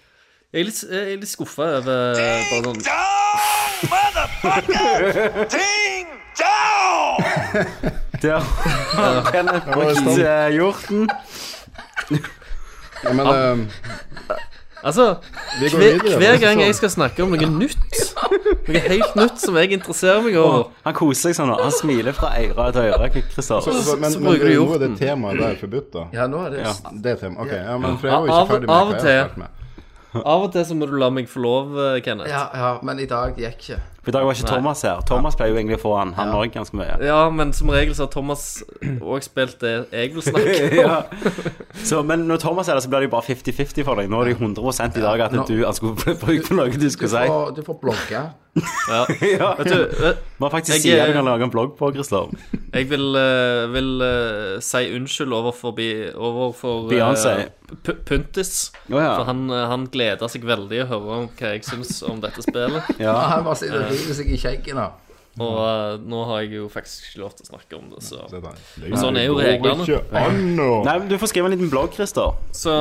Speaker 6: Jeg er litt, jeg er litt skuffa over bare sånn
Speaker 3: Dong, motherfucker! Ding dong!
Speaker 5: Der har Kenneth brukt eh, hjorten.
Speaker 8: Ja, men eh,
Speaker 6: Altså,
Speaker 8: vi går
Speaker 6: hver,
Speaker 8: videre.
Speaker 6: hver gang jeg skal snakke om noe nytt, noe helt nytt som jeg interesserer meg over
Speaker 5: Han koser seg sånn. nå. Han smiler fra øre til øre.
Speaker 8: så,
Speaker 5: Kristoffer.
Speaker 8: så, men,
Speaker 6: så
Speaker 8: men
Speaker 6: bruker du
Speaker 8: nå er det
Speaker 6: hjorten.
Speaker 8: temaet der forbudt, da.
Speaker 7: Ja, nå er det
Speaker 8: Det er tema. Ok, ja, men for jeg
Speaker 6: Ja,
Speaker 8: var jo
Speaker 6: av-
Speaker 8: ikke ferdig
Speaker 6: av og
Speaker 8: med hva jeg har
Speaker 6: til.
Speaker 8: vært med.
Speaker 6: Av og til så må du la meg få lov, eh, Kenneth.
Speaker 7: Ja, ja, men i dag gikk ikke.
Speaker 5: For I dag var ikke Thomas her. Thomas pleier jo egentlig å få han. Han òg ganske mye.
Speaker 6: Ja, men som regel så har Thomas òg spilt det jeg vil snakke om.
Speaker 5: Ja. Så, men når Thomas er der, så blir det jo bare 50-50 for deg. Nå er det jo 100 i dag at
Speaker 7: Ja, nå-
Speaker 5: du han skulle bli brukt for noe du
Speaker 7: Du
Speaker 5: skulle si.
Speaker 7: får, du får blogge.
Speaker 5: Ja.
Speaker 6: Vet du, eh, vet-
Speaker 5: Bare faktisk
Speaker 6: Jeg-
Speaker 5: si at du kan lage en blogg på, Kristoff.
Speaker 6: jeg vil, eh, vil eh, si unnskyld overfor, bi- overfor eh,
Speaker 5: Beyoncé.
Speaker 6: P- Puntis.
Speaker 5: Å, ja.
Speaker 6: For han, eh, han gleder seg veldig å høre om hva jeg syns om dette spillet.
Speaker 7: Ja, han bare sitter og river seg i skjegget nå.
Speaker 6: Og eh, nå har jeg jo faktisk ikke lov til å snakke om det, så
Speaker 8: Det der.
Speaker 6: Men sånn er jo
Speaker 8: Går
Speaker 6: reglene.
Speaker 8: ikke an å-
Speaker 5: Nei, men du får skrive en liten blogg, Christer.
Speaker 6: Så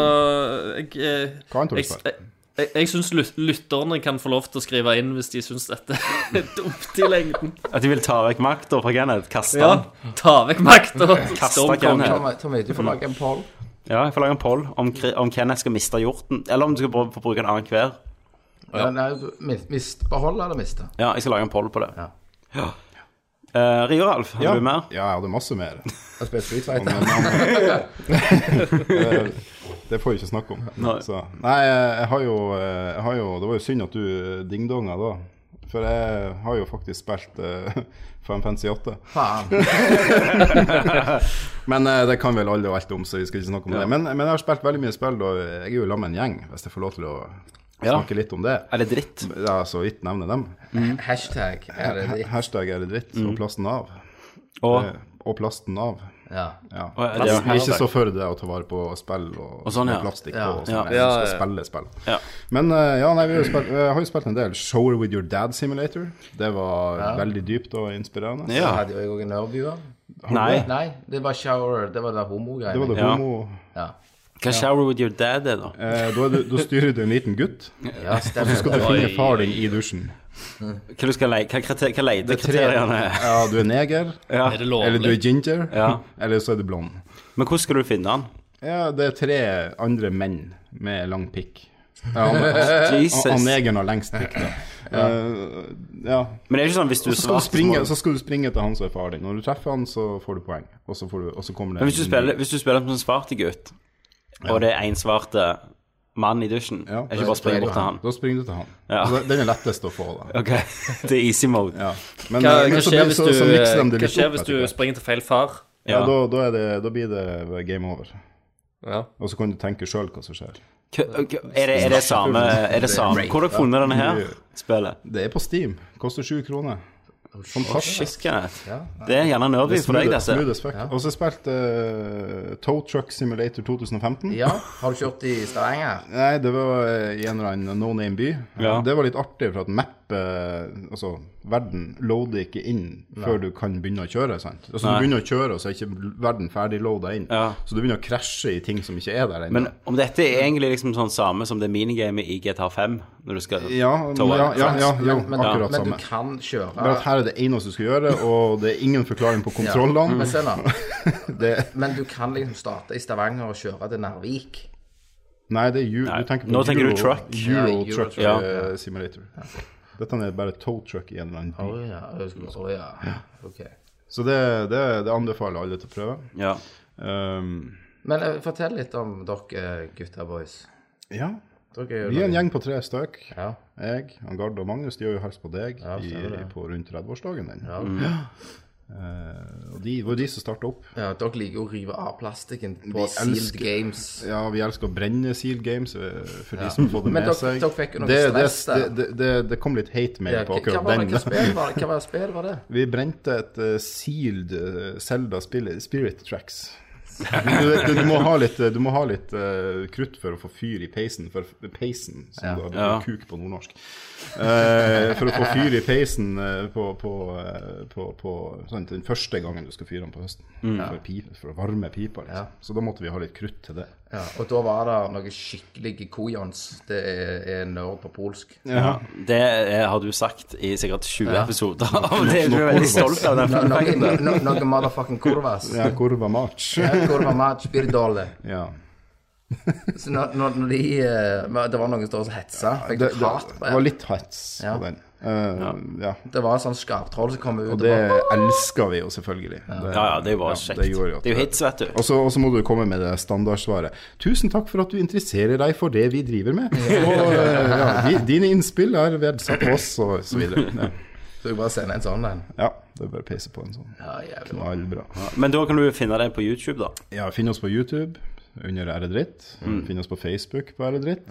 Speaker 6: jeg eh,
Speaker 8: Hva annet har du
Speaker 6: Jeg,
Speaker 8: spilt?
Speaker 6: jeg, jeg, jeg syns lyt- lytterne kan få lov til å skrive inn hvis de syns dette er dumt i lengden.
Speaker 5: At de vil ta vekk makta fra Kenneth. Kaste
Speaker 6: Ja,
Speaker 5: han.
Speaker 6: ta vekk makta.
Speaker 5: Kasta
Speaker 6: Stormkongen.
Speaker 5: Kenneth.
Speaker 7: Tommy, Tommy, du får lage en poll.
Speaker 5: Ja, jeg får lage en poll om, Kri- om Kenneth skal miste hjorten. Eller om du skal prøve å bruke en annen hver.
Speaker 7: Ja. Nei, mist, mist, beholde eller miste?
Speaker 5: Ja, jeg skal lage en poll på det.
Speaker 7: Ja.
Speaker 5: Ja. Eh, Rio Alf, har
Speaker 8: Ja.
Speaker 5: du mer?
Speaker 8: Ja, jeg hadde masse mer.
Speaker 7: Jeg spiller Street
Speaker 8: Men,
Speaker 7: Fighter.
Speaker 8: men- det får vi ikke snakke om.
Speaker 5: Nei.
Speaker 8: Så, nei, jeg har, jo, eh, jeg har jo Det var jo synd at du eh, dingdonga da. For jeg har jo faktisk spilt uh, 558.
Speaker 7: Faen.
Speaker 8: Men eh, det kan vel alle og alt om, så vi skal ikke snakke om det. Men, men jeg har spilt veldig mye spill, og jeg er jo sammen med en gjeng, hvis jeg får lov til å
Speaker 5: Ja.
Speaker 8: snakke litt om det.
Speaker 5: Er det dritt?
Speaker 8: Ja, så vidt nevne dem.
Speaker 7: Mm. Hashtag er det ditt.
Speaker 8: Hashtag er det dritt, og plasten av.
Speaker 5: Og,
Speaker 8: Eh, Og plasten av.
Speaker 7: Ja.
Speaker 8: Ja.
Speaker 5: og er
Speaker 8: Vi
Speaker 5: det,
Speaker 8: er ikke så for det å ta vare på spill og,
Speaker 5: Og sånn, ja.
Speaker 8: og plastikk
Speaker 7: Ja.
Speaker 8: og sånn.
Speaker 6: Ja.
Speaker 8: Vi
Speaker 6: Ja,
Speaker 8: skal spille spill.
Speaker 5: Ja.
Speaker 8: Men eh, ja, nei, vi har jo spilt, jeg har jo spilt en del Shower with your dad simulator. Det var veldig dypt og inspirerende.
Speaker 7: Da
Speaker 5: ja.
Speaker 7: hadde jo jeg òg en nerveviewer.
Speaker 5: Nei.
Speaker 7: Nei, det var shower. Det var det homogreiene.
Speaker 8: Det var det
Speaker 5: Ja.
Speaker 8: homo...
Speaker 7: Ja.
Speaker 5: Hva shower with your dad er, da?
Speaker 8: Eh, da, er du, da styrer du en liten gutt.
Speaker 7: ja, stemmer.
Speaker 8: Skal du finne far din i dusjen?
Speaker 5: Hva, du skal leie, hva, kriter, hva leiekriteriene er?
Speaker 8: Ja, du er neger,
Speaker 5: Ja.
Speaker 6: Er det
Speaker 8: eller du er
Speaker 6: lovlig?
Speaker 8: ginger,
Speaker 5: Ja.
Speaker 8: eller så er du blond.
Speaker 5: Men hvordan skal du finne han?
Speaker 8: Ja, det er tre andre menn med lang pikk. Ja, han,
Speaker 5: Jesus.
Speaker 8: han
Speaker 5: Men
Speaker 8: negeren har lengst pikk, da. Eh, ja.
Speaker 5: det er ikke sånn hvis du
Speaker 8: Og
Speaker 5: er svart så må
Speaker 8: så skal, du springe,
Speaker 5: du-
Speaker 8: så skal du springe til han som er far din. Når du treffer han, så får du poeng. Og så, får du, og så kommer det
Speaker 5: Men hvis du
Speaker 8: en-
Speaker 5: spiller, hvis du spiller som en svart gutt, og det er én svart eh, mann i dusjen,
Speaker 8: Ja.
Speaker 5: er ikke bare å springe bort til han?
Speaker 8: Da springer du til han.
Speaker 5: Ja.
Speaker 8: Så den er lettest å få, da.
Speaker 5: Ok, det er easy mode.
Speaker 8: Ja. Men, eh,
Speaker 6: Hva,
Speaker 8: men
Speaker 6: hva
Speaker 8: så,
Speaker 6: skjer
Speaker 8: blir-
Speaker 6: hvis
Speaker 8: så,
Speaker 6: du,
Speaker 8: så mikser
Speaker 5: eh,
Speaker 8: de det
Speaker 6: hva
Speaker 8: litt
Speaker 6: skjer
Speaker 8: opp.
Speaker 6: hvis du
Speaker 8: etter hvert.
Speaker 6: springer til feil far?
Speaker 8: Ja, da, da, er det, da blir det eh, game over.
Speaker 6: Ja.
Speaker 8: Og så kan du tenke sjøl hva som skjer.
Speaker 5: K- k- Er det, er det samme er det samme? Hvor har dere funnet denne her spillet?
Speaker 8: Det er på Steam. Koster sju kroner. Fantastisk.
Speaker 5: Shit, Kenneth. Det er gjerne nerdy for deg,
Speaker 8: Smooth-
Speaker 5: dette.
Speaker 8: smooth as fuck. Og så spilte jeg Tow Truck Simulator 2015.
Speaker 7: Ja, har du kjørt i Stavanger?
Speaker 8: Nei, det var eh, i en eller annen no name by.
Speaker 5: Ja.
Speaker 8: Det var litt artig, for at mappet, altså verden, loader ikke inn før du kan begynne å kjøre. sant? Altså
Speaker 5: Nei.
Speaker 8: Du begynner å kjøre, og så er ikke verden ferdig loada inn.
Speaker 5: Ja.
Speaker 8: Så du begynner å krasje i ting som ikke er der ennå.
Speaker 5: Men om dette er egentlig liksom sånn samme som det minigamet i GTA 5, når du skal
Speaker 8: Ja, ja,
Speaker 5: toa.
Speaker 8: ja, ja, jo,
Speaker 7: men,
Speaker 8: akkurat
Speaker 7: men
Speaker 8: samme.
Speaker 7: du kan kjøre.
Speaker 8: Bare at her er det eneste du skal gjøre, og det er ingen forklaring på kontrollene.
Speaker 7: Men se nå.
Speaker 8: Det,
Speaker 7: Men du kan liksom starte i Stavanger og kjøre til Narvik.
Speaker 8: nei, det er ju, du tenker på
Speaker 5: Nå tenker du
Speaker 8: Euro,
Speaker 5: truck.
Speaker 8: Euro
Speaker 7: Ja, Euro
Speaker 8: Truck
Speaker 5: Truck.
Speaker 8: eh, Simulator. Dette er bare tow truck i en eller annen by.
Speaker 7: Å ja. jeg skulle- Å ja. Ok.
Speaker 8: Så det, det, det anbefaler alle til å prøve.
Speaker 5: Ja.
Speaker 8: Um,
Speaker 7: Men eh, fortell litt om dere gutta boys.
Speaker 8: ja,
Speaker 7: Dere er jo
Speaker 8: vi er en
Speaker 7: noen-
Speaker 8: gjeng på tre støk.
Speaker 7: Ja.
Speaker 8: Jeg, han Gard og Magnus de har jo hilst på deg
Speaker 7: Ja,
Speaker 8: i,
Speaker 7: stemmer det.
Speaker 8: på rundt 30-årsdagen din.
Speaker 7: Ja.
Speaker 8: Eh, og de var jo de som starta opp.
Speaker 7: ja, dere liker å rive av plastikken
Speaker 8: Vi
Speaker 7: på Sealed
Speaker 8: elsker-
Speaker 7: Games.
Speaker 8: Ja, vi elsker å brenne Seal Games eh, for de som får det
Speaker 7: Men
Speaker 8: med
Speaker 7: dere-
Speaker 8: seg.
Speaker 7: dere fikk jo noe
Speaker 8: det, det,
Speaker 7: stress der.
Speaker 8: det, det, det kom litt hate mail
Speaker 7: Ja,
Speaker 8: på
Speaker 7: hva- hva
Speaker 8: akkurat
Speaker 7: var det-
Speaker 8: den.
Speaker 7: hva spill var det? Hva var det spill var det?
Speaker 8: Vi brente et eh, sealed Selda eh, Spirit Tracks. Du, du, du må ha litt, du må ha litt eh, krutt for å få fyr i peisen, for peisen, som du har
Speaker 5: Ja.
Speaker 8: kuk på nordnorsk. Eh, for å få fyr i peisen eh, på, på, eh, på, på sånn, den første gangen du skal fyre den på høsten. For, pi, for å varme pipa. Liksom. Så da måtte vi ha litt krutt til det.
Speaker 7: Ja, og da var det noe skikkelig kojans. Det er, er nørd på polsk.
Speaker 5: Det er, har du sagt i sikkert 20 episoder, og det er du veldig stolt av. den
Speaker 7: No,
Speaker 5: fun
Speaker 7: noe,
Speaker 5: facten der.
Speaker 7: no, noe motherfucking kurvas.
Speaker 8: Ja, kurva match.
Speaker 7: Kurva match, birdole.
Speaker 8: Ja.
Speaker 7: Så når, når når de eh, men Det var noen som hetsa. Fikk
Speaker 8: Det,
Speaker 7: litt
Speaker 8: det,
Speaker 7: hat.
Speaker 8: det var litt hets
Speaker 7: Ja.
Speaker 8: på den. Eh, ja.
Speaker 7: Det var et sånt skaptroll som kom ut.
Speaker 8: Og
Speaker 7: og
Speaker 8: det
Speaker 7: bare-
Speaker 8: elsker vi jo, selvfølgelig. Det,
Speaker 5: Ja, ja, det er jo bare kjekt.
Speaker 8: det gjorde jo at-
Speaker 5: Det er jo hits, vet du.
Speaker 8: Og så og så må du komme med det standardsvaret. 'Tusen takk for at du interesserer deg for det vi driver med'. Og eh, ja, di- dine innspill er verdsatt av oss, og så videre. Ja,
Speaker 7: Så jeg bare sender en sånn en.
Speaker 8: ja det er bare å peise på en sånn.
Speaker 7: Ja, jævlig.
Speaker 8: Knallbra.
Speaker 5: Men da kan du finne det på YouTube, da.
Speaker 8: Ja, finn oss på YouTube under Æredritt. Finn oss på Facebook på Æredritt.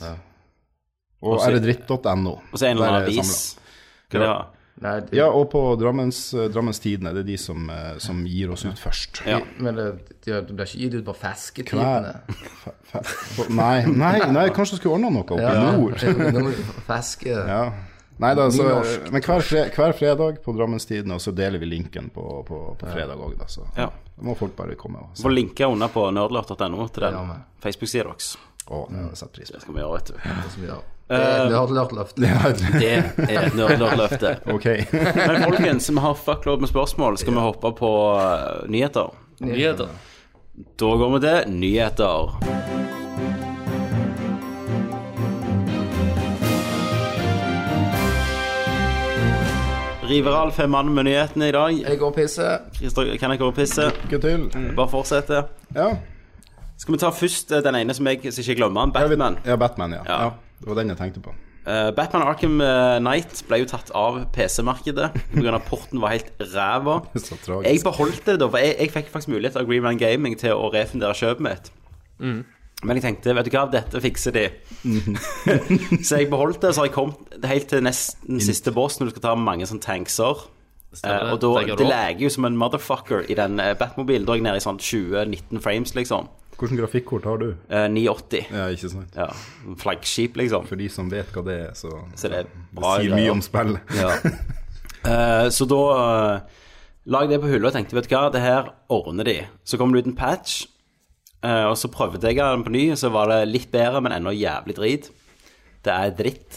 Speaker 5: Mm.
Speaker 8: Og
Speaker 5: så-
Speaker 8: æredritt.no.
Speaker 5: Og så en eller annen
Speaker 8: Der er
Speaker 5: avis.
Speaker 8: samlet.
Speaker 5: Hva er det, da?
Speaker 7: Nei, de,
Speaker 8: Ja, og på Drammens, Drammens Tidende. Det er de som, eh, som gir oss ut først.
Speaker 5: Ja.
Speaker 7: men det, de, de blir ikke gitt ut på Fesketidene.
Speaker 8: Hver- fe- fe- fe- Nei, nei, nei, kanskje du skulle ordna noe oppe i nord.
Speaker 7: Feske.
Speaker 8: Ja. Nei, da, så,
Speaker 7: Nynorsk.
Speaker 8: men hver, fre, hver fredag på Drammenstiden, og så deler vi linken på, på, på fredag òg, da. Så
Speaker 5: Ja.
Speaker 8: da må folk bare komme og se.
Speaker 5: Få linke under på nerdlert.no til den
Speaker 7: Ja, men.
Speaker 5: Facebook-sida deres.
Speaker 8: Å, det har jeg satt pris på.
Speaker 5: Det skal vi gjøre, vet du.
Speaker 7: Det som vi gjør. Det er et nerdlørt-løft.
Speaker 5: Det er et nerdlert-løfte.
Speaker 8: Ok.
Speaker 5: Men folkens, vi har fuck load med spørsmål. Skal vi hoppe på eh, nyheter?
Speaker 6: Nyheter.
Speaker 5: Da går vi til nyheter. River Alf er mannen med nyhetene i dag.
Speaker 7: Jeg går og pisser.
Speaker 5: Christer, kan jeg gå og pisse?
Speaker 8: Lykke til.
Speaker 5: Bare fortsette.
Speaker 8: Ja.
Speaker 5: Skal vi ta først eh, den ene som jeg så ikke glemmer,
Speaker 8: jeg vet-
Speaker 5: Batman.
Speaker 8: Ja, Batman, ja.
Speaker 5: Ja.
Speaker 8: ja. Det var den jeg tenkte på.
Speaker 5: Eh, Batman Arkham eh, Knight ble jo tatt av PC-markedet pga. porten var helt ræva.
Speaker 8: Så tragisk.
Speaker 5: Jeg beholdt det da, for jeg, jeg fikk faktisk mulighet av Greenland Gaming til å refundere kjøpet mitt.
Speaker 6: Mm.
Speaker 5: Men jeg tenkte, vet du hva, dette fikser de. så jeg beholdt det, så har jeg kommet helt til nesten siste boss når du skal ta mange sånne tankser. Eh, og da,
Speaker 6: Tenker du
Speaker 5: det
Speaker 6: opp?
Speaker 5: lager jo som en motherfucker i den eh, Batmobilen. Da er jeg nede i sånn 20-19 frames, liksom.
Speaker 8: Hvilket grafikkort har du?
Speaker 5: Eh, 980.
Speaker 8: Ja, ikke sant.
Speaker 5: Ja. Flaggskip, liksom.
Speaker 8: For de som vet hva det er, så,
Speaker 5: Så det er bra
Speaker 8: sier
Speaker 5: greier.
Speaker 8: mye om spillet.
Speaker 5: Ja. Eh, så da uh, lagde jeg på hylla og tenkte, vet du hva, det her ordner de. Så kom det ut en patch, eh, og så prøvde jeg den på ny, og så var det litt bedre, men ennå jævlig drit. Det er dritt.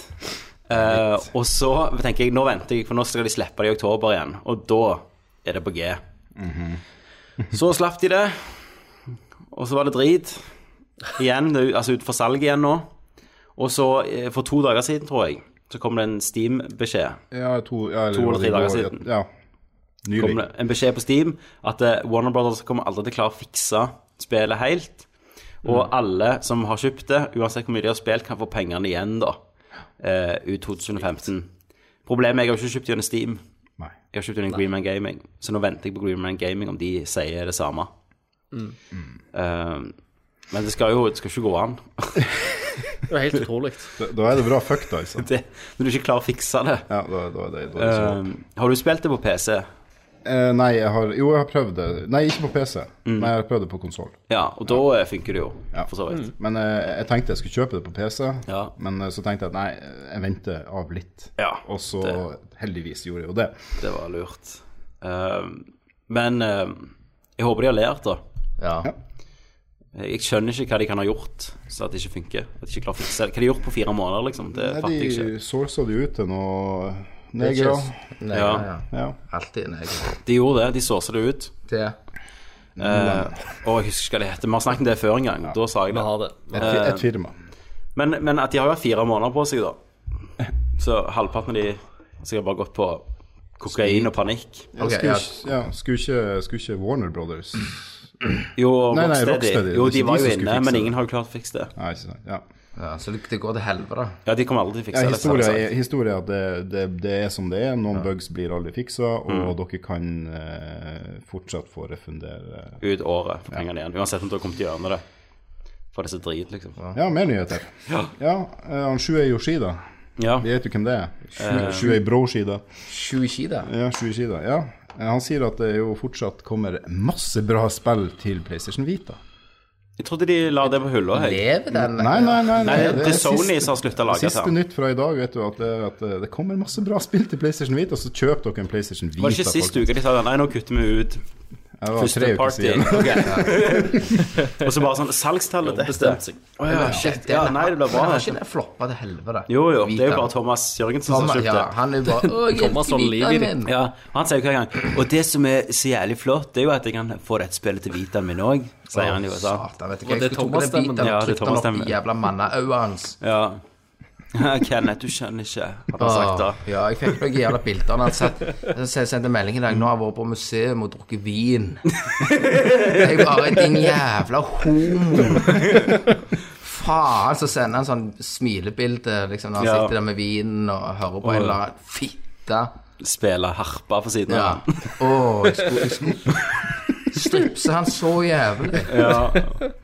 Speaker 5: Eh, og så tenker jeg, nå venter jeg, for nå skal de slippe det i oktober igjen, og da er det på G. så slapp de det, og så var det drit. Igjen, det er, jo- altså ut for salg igjen nå. Og så, eh, for to dager siden, tror jeg, så kom det en Steam-beskjed
Speaker 8: Ja, to, ja,
Speaker 5: To eller
Speaker 8: var det
Speaker 5: tre dager
Speaker 8: i går?
Speaker 5: siden.
Speaker 8: Ja. Nylig.
Speaker 5: kom det en beskjed på Steam at eh, Warner Brothers kommer aldri til å klare å fikse spillet helt. Og
Speaker 8: Mm.
Speaker 5: alle som har kjøpt det, uansett hvor mye de har spilt, kan få pengene igjen da, eh, ut 2015. Problemet er at jeg har ikke kjøpt gjennom Steam.
Speaker 8: Nei.
Speaker 5: Jeg har kjøpt gjennom Greenman Gaming. Så nå venter jeg på Greenman Gaming om de sier det samme.
Speaker 8: Mm.
Speaker 5: Eh, men det skal jo det skal ikke gå an.
Speaker 6: Det er helt utrolig.
Speaker 8: Da, da er det bra fucked, altså.
Speaker 5: Det, når du ikke klarer å fikse det.
Speaker 8: Ja, da, da, er det- da er det så.
Speaker 5: Eh, har du spilt det på PC?
Speaker 8: Eh, nei, jeg har Jo, jeg har prøvd det. Nei, ikke på PC. Nei, jeg har prøvd det på konsoll.
Speaker 5: Ja, og da eh, funker det jo, for så vidt.
Speaker 8: Men eh, jeg tenkte jeg skulle kjøpe det på PC,
Speaker 5: Ja.
Speaker 8: men eh, så tenkte jeg at nei, jeg venter av litt.
Speaker 5: Ja,
Speaker 8: og så heldigvis gjorde jeg jo det.
Speaker 5: Det var lurt. Ehm, men ehm, jeg håper de har lært, da.
Speaker 7: Ja.
Speaker 5: Jeg skjønner ikke hva de kan ha gjort så at det ikke funker. At de ikke klarer å fikse det. Hva de har gjort på fire måneder, liksom. Det
Speaker 8: Nei,
Speaker 5: fatter jeg ikke.
Speaker 8: de sourca det jo ut til noe negere.
Speaker 7: Nei,
Speaker 5: Ja.
Speaker 7: ja. ja.
Speaker 8: Ja.
Speaker 7: Alltid negre.
Speaker 5: De gjorde det. De sourcer det ut.
Speaker 7: Det
Speaker 5: Eh, og jeg husker ikke hva det heter. Vi har snakket om det før en gang. Da sa jeg
Speaker 6: Vi
Speaker 5: det.
Speaker 6: har det.
Speaker 8: Et, fi- et firma.
Speaker 5: Men, men at de har jo hatt fire måneder på seg, da. Så halvparten av de har sikkert bare gått på kokain og panikk.
Speaker 8: Jeg
Speaker 7: Ok,
Speaker 8: skulle,
Speaker 7: ja.
Speaker 8: ikke- ja, skulle, ikke, skulle ikke Warner Brothers
Speaker 5: Jo,
Speaker 8: Nei, nei,
Speaker 5: Rocksteady.
Speaker 8: Rocksteady.
Speaker 5: Jo,
Speaker 8: Det er
Speaker 5: de
Speaker 8: ikke
Speaker 5: var jo
Speaker 8: de som skulle
Speaker 5: inne,
Speaker 8: fikse
Speaker 5: men
Speaker 8: det.
Speaker 5: ingen har jo klart å fikse det.
Speaker 8: Nei, ikke sant. Ja.
Speaker 7: ja, så det det går til helvete.
Speaker 5: Ja, de kommer aldri til å fikse
Speaker 8: Ja,
Speaker 5: det. så har de sagt.
Speaker 8: historia er, historia er at det, det, det er som det er. Noen bugs blir aldri fiksa, og dere kan eh, fortsatt få refundere
Speaker 5: ut året for pengene igjen. Uansett om du har kommet gjennom det. For det er så drit, liksom.
Speaker 8: Ja, mer nyheter. Ja, eh, han Shuei Yoshida.
Speaker 5: Ja. Eh.
Speaker 8: Vi vet jo hvem det er. Shu- Shuei Bro-Shida.
Speaker 7: Sju ski der.
Speaker 8: Ja, Shuei Shida. Ja. Eh, Han sier at det jo fortsatt kommer masse bra spill til PlayStation Vita.
Speaker 5: Jeg trodde de la det på hylla. jeg.
Speaker 7: Lever den?
Speaker 8: Nei, nei, nei.
Speaker 5: Nei, det er Sony
Speaker 8: siste-
Speaker 5: som har slutta å lage
Speaker 8: Siste
Speaker 5: det.
Speaker 8: nytt fra i dag vet du, at det, er at eh, det kommer masse bra spill til PlayStation Vita, så kjøp dere en PlayStation Vita.
Speaker 5: Var det ikke sist uke de sa nei, nå kutter vi ut
Speaker 8: Det var
Speaker 5: første
Speaker 8: tre uker
Speaker 5: party?
Speaker 8: siden.
Speaker 5: Ok. Og så bare sånn Salgstallet dette.
Speaker 6: Bestemt seg.
Speaker 5: Å ja, shit. Ja, nei, det blir
Speaker 7: Men
Speaker 5: bra.
Speaker 7: har ikke det floppa til helvete?
Speaker 5: Jo, jo. Det er
Speaker 7: Vita.
Speaker 5: jo bare Thomas Jørgensen som
Speaker 7: Thomas,
Speaker 5: har kjøpt
Speaker 7: ja,
Speaker 5: det.
Speaker 7: han er jo bare Å, jeg
Speaker 6: Thomas har
Speaker 7: elsker
Speaker 6: liv i det.
Speaker 7: Vitaen min.
Speaker 5: Ja, han sier jo hver gang Og det som er så jævlig flott, det er jo at jeg kan få dette spillet til Vitaen min òg, sier han i USA.
Speaker 7: Satan, vet du
Speaker 6: Og
Speaker 7: hva.
Speaker 6: det er
Speaker 7: Jeg skulle
Speaker 6: Thomas
Speaker 7: tok den
Speaker 6: stemmen.
Speaker 7: biten
Speaker 5: Ja,
Speaker 7: og
Speaker 5: det er
Speaker 7: trykte den
Speaker 5: Thomas
Speaker 7: opp
Speaker 5: stemmen.
Speaker 7: i jævla mannaøynene hans.
Speaker 5: Ja. Kenneth, du skjønner ikke, hadde han sagt da.
Speaker 7: Åh, Ah, Ja, jeg fikk noen jævla bilder når han satt Jeg sendte en melding i dag. 'Nå har jeg vært på museum og drukket vin'. Jeg bare Din jævla homo. Faen, så sender han sånn smilebilde liksom, når han
Speaker 5: Ja.
Speaker 7: sitter der med vinen og hører på en eller annen fitte.
Speaker 5: Spiller harpa på siden
Speaker 7: Ja.
Speaker 5: av han.
Speaker 7: Å, jeg skulle, jeg skulle stripse han så jævlig.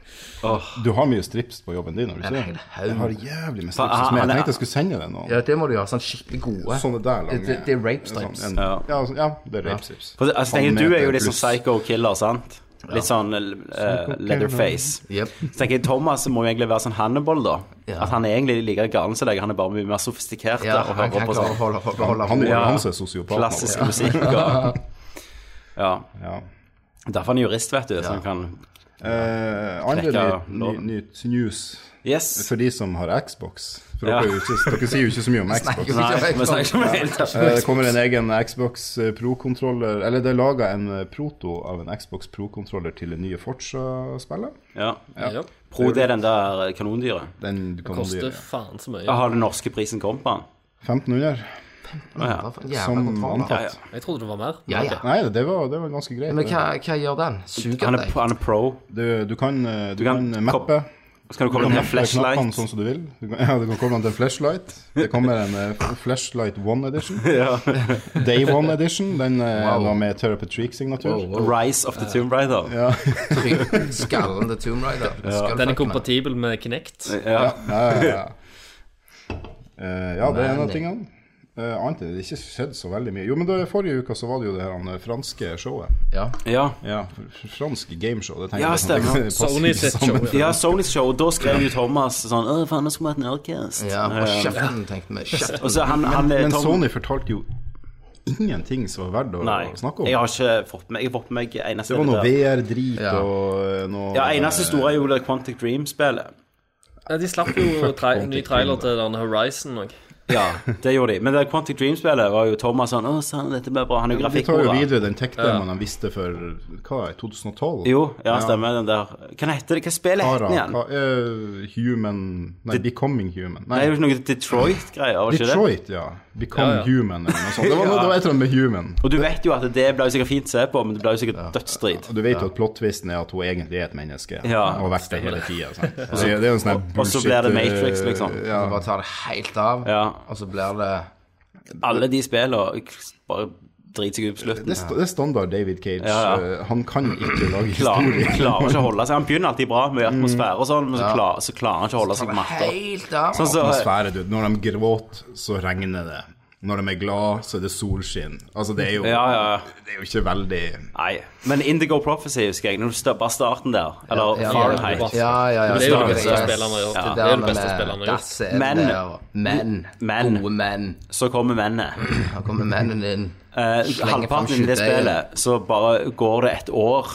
Speaker 8: Du har mye strips på jobben din, har du
Speaker 7: En
Speaker 8: ikke
Speaker 7: hel
Speaker 8: det?
Speaker 7: haug.
Speaker 8: Jeg har jævlig med
Speaker 5: Faen,
Speaker 8: strips som jeg
Speaker 5: han er-
Speaker 8: tenkte jeg skulle sende deg nå.
Speaker 7: Ja, det må du gjøre. Sånn skikkelig gode.
Speaker 8: Sånne der lange.
Speaker 7: Det, det er rape strips.
Speaker 8: Sånn, en-
Speaker 5: Ja.
Speaker 8: ja, altså, ja, det er rape strips.
Speaker 5: For, altså, tenker,
Speaker 8: Halvmeter
Speaker 5: du er jo litt sånn
Speaker 8: pluss.
Speaker 5: psycho killer, sant? Litt sånn uh, leatherface.
Speaker 7: Jep.
Speaker 5: Så tenker jeg Thomas må jo egentlig være sånn Hannibal, da.
Speaker 7: Ja.
Speaker 5: At han er egentlig like galen som deg, han er bare mye mer sofistikert
Speaker 7: Ja,
Speaker 5: og
Speaker 7: han
Speaker 5: hører
Speaker 7: kan klare
Speaker 5: på
Speaker 7: å
Speaker 5: sånn
Speaker 7: holde, holde, holde
Speaker 8: Han er jo
Speaker 5: Ja.
Speaker 8: han som er sosiopat. nå,
Speaker 5: klassisk
Speaker 8: da.
Speaker 5: musikk og Ja.
Speaker 8: Ja.
Speaker 5: Derfor er han jurist, vet du, så han kan
Speaker 8: Eh, andre
Speaker 5: Trekker
Speaker 8: nytt ny,
Speaker 5: loven.
Speaker 8: nytt news
Speaker 5: Yes.
Speaker 8: for de som har Xbox. For
Speaker 5: Ja.
Speaker 8: dere, er jo ikke, dere sier jo ikke så mye om Xbox.
Speaker 7: Snakker vi
Speaker 5: Nei,
Speaker 7: ikke
Speaker 5: vi snakker ikke om det i det hele tatt.
Speaker 8: Eh, Det kommer en egen Xbox eh, Pro-kontroller Eller det er laga en eh, proto av en Xbox Pro-kontroller til det nye Forza-spillet.
Speaker 5: Ja.
Speaker 6: Ja.
Speaker 5: Pro, det er den der eh, kanondyret.
Speaker 8: Den du kan
Speaker 6: Koster
Speaker 8: dyre.
Speaker 6: faen så
Speaker 5: Ja,
Speaker 6: mye.
Speaker 5: Har den norske prisen kommet på den?
Speaker 8: 1500,
Speaker 5: Å, ja.
Speaker 7: Jævla
Speaker 8: som
Speaker 7: kontroll, da.
Speaker 5: Ja,
Speaker 8: antatt.
Speaker 6: Jeg trodde det var mer.
Speaker 7: Ja, ja.
Speaker 8: Nei, det var, det var ganske greit.
Speaker 7: Men hva, hva gjør den? Suger den
Speaker 5: Han er,
Speaker 7: deg?
Speaker 5: han er pro.
Speaker 8: Du, du kan, eh,
Speaker 5: Du
Speaker 8: du
Speaker 5: kan
Speaker 8: kan,
Speaker 5: kop-
Speaker 8: mappe.
Speaker 5: Så kan du
Speaker 8: Du
Speaker 5: komme
Speaker 8: kan
Speaker 5: med en
Speaker 8: mappe knappene
Speaker 5: flashlight.
Speaker 8: sånn som du vil. Du kan, ja, du kan komme til en flashlight. Det kommer en eh, flashlight one edition.
Speaker 5: Ja.
Speaker 8: Day one edition. Den eh,
Speaker 7: Wow.
Speaker 8: var med Therapatreak-signatur.
Speaker 5: Rise of the Tomb Raider. Ja.
Speaker 7: Trygg. Skallen til Tomb Raider. Skal fuck
Speaker 6: Den er
Speaker 7: meg.
Speaker 6: kompatibel med Kinect.
Speaker 8: ja, ja, ja. Eh, ja, det er en av tingene. Uh, annet er det ikke skjedd så veldig mye. Jo, men da, forrige uka så var det jo det her han, eh, franske showet.
Speaker 7: Ja.
Speaker 5: Ja.
Speaker 8: Ja, fr- fr- Fransk gameshow. Det tenker
Speaker 5: Ja,
Speaker 8: jeg sånn at det
Speaker 5: stemmer.
Speaker 8: passer
Speaker 6: Sony
Speaker 8: ikke
Speaker 6: sitt
Speaker 8: sammen.
Speaker 6: show,
Speaker 5: Ja, Sonys show, og da skrev jo Thomas sånn Å, faen, nå skulle vi hatt en Nerdcast.
Speaker 7: ja. Og kjeften, tenkte vi.
Speaker 5: Og
Speaker 7: Kjeften.
Speaker 5: så han, han eh,
Speaker 8: Men
Speaker 5: Tom-
Speaker 8: Sony fortalte jo ingenting som var verdt å
Speaker 5: Nei,
Speaker 8: snakke om.
Speaker 5: jeg har ikke fått med Jeg har fått med meg eneste
Speaker 8: det var noe
Speaker 5: der.
Speaker 8: VR-drit
Speaker 7: Ja.
Speaker 8: og eh, noe
Speaker 5: Ja, eneste store er jo det Quantic Dream-spillet.
Speaker 6: Nei, de slapp jo tra
Speaker 8: Quantic
Speaker 6: ny trailer til denne Horizon òg.
Speaker 5: Ja, det gjorde de. Men det Quantic Dream-spillet var jo Thomas sånn Å, sann, dette blir bra. Han er jo
Speaker 8: De tar jo
Speaker 5: grafikkmora.
Speaker 8: videre den tech-demoen han visste for hva er det, 2012?
Speaker 5: Jo, ja, stemmer den der. Hva heter det? Hva spillet heter
Speaker 8: Ara,
Speaker 5: den igjen?
Speaker 8: hva, eh, human Nei, Becoming Human.
Speaker 5: Det er jo noe Detroit-greier, var det ikke det?
Speaker 8: Detroit, ja. Become
Speaker 6: Ja, ja.
Speaker 8: human, eller noe sånt. Det var, noe, det var et eller annet med human.
Speaker 5: Og du vet jo at det ble jo sikkert fint å se på, men det ble jo sikkert dødsstrid.
Speaker 8: Og du vet jo at plottvisten er at hun egentlig er et menneske.
Speaker 5: Ja.
Speaker 8: og har vært det hele tida. Det er jo en sånn her
Speaker 5: Og så blir det
Speaker 8: bullshit,
Speaker 5: Matrix,
Speaker 8: eh,
Speaker 5: liksom.
Speaker 8: Ja.
Speaker 7: Så bare tar det helt av,
Speaker 5: Ja.
Speaker 7: og så blir det
Speaker 5: Alle de spillene bare driter seg ut på slutten.
Speaker 8: Det, er st- det er standard David Cage.
Speaker 5: Ja,
Speaker 8: Eh, Han kan ikke lage
Speaker 5: Klarer,
Speaker 8: historie.
Speaker 5: klarer ikke å holde seg. Han begynner alltid bra med atmosfære og sånn, men så klarer, så klarer han ikke å holde
Speaker 7: tar
Speaker 5: seg
Speaker 7: det
Speaker 5: på matta.
Speaker 7: helt av.
Speaker 5: Sånn så,
Speaker 8: Atmosfære, du. Når de gråter, så regner det. Når de er glad, så er det solskinn. Altså, det er jo,
Speaker 5: ja, ja, ja.
Speaker 8: Det er jo ikke veldig
Speaker 5: Nei. Men Indigo Prophecy husker jeg. Når du stopper starten der. Eller
Speaker 7: ja,
Speaker 5: Fahrenheit.
Speaker 6: ja,
Speaker 7: Ja, ja, ja.
Speaker 6: Det er jo det
Speaker 5: det
Speaker 6: beste spillet han har gjort. Det er det beste spillet han har gjort.
Speaker 5: Men-
Speaker 7: Menn.
Speaker 5: Men.
Speaker 7: Gode menn.
Speaker 5: Så kommer mennet.
Speaker 7: Her kommer mennene inn.
Speaker 5: Eh,
Speaker 7: Slenger fram
Speaker 5: halvparten i det
Speaker 7: skytøyet.
Speaker 5: spillet, så bare går det et år,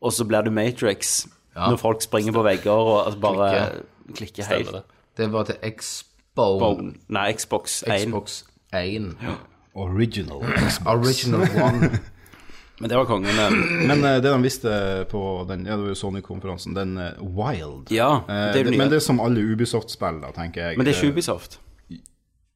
Speaker 5: og så blir du Matrix. Når folk springer på vegger og altså, bare klikker, helt.
Speaker 6: Stemmer det.
Speaker 7: Det var til Expo.
Speaker 5: Bone. Nei, Xbox 1.
Speaker 7: Xbox 1.
Speaker 8: original.
Speaker 7: Original One.
Speaker 5: Men det var kongen. eh.
Speaker 8: Men eh, det de visste på den ja, det var jo Sony-konferansen, den eh, Wild
Speaker 5: Ja,
Speaker 8: Eh,
Speaker 5: det er jo nye.
Speaker 8: Men det er som alle Ubisoft-spill, da, tenker jeg.
Speaker 5: Men det er
Speaker 8: Eh,
Speaker 5: ikke Ubisoft.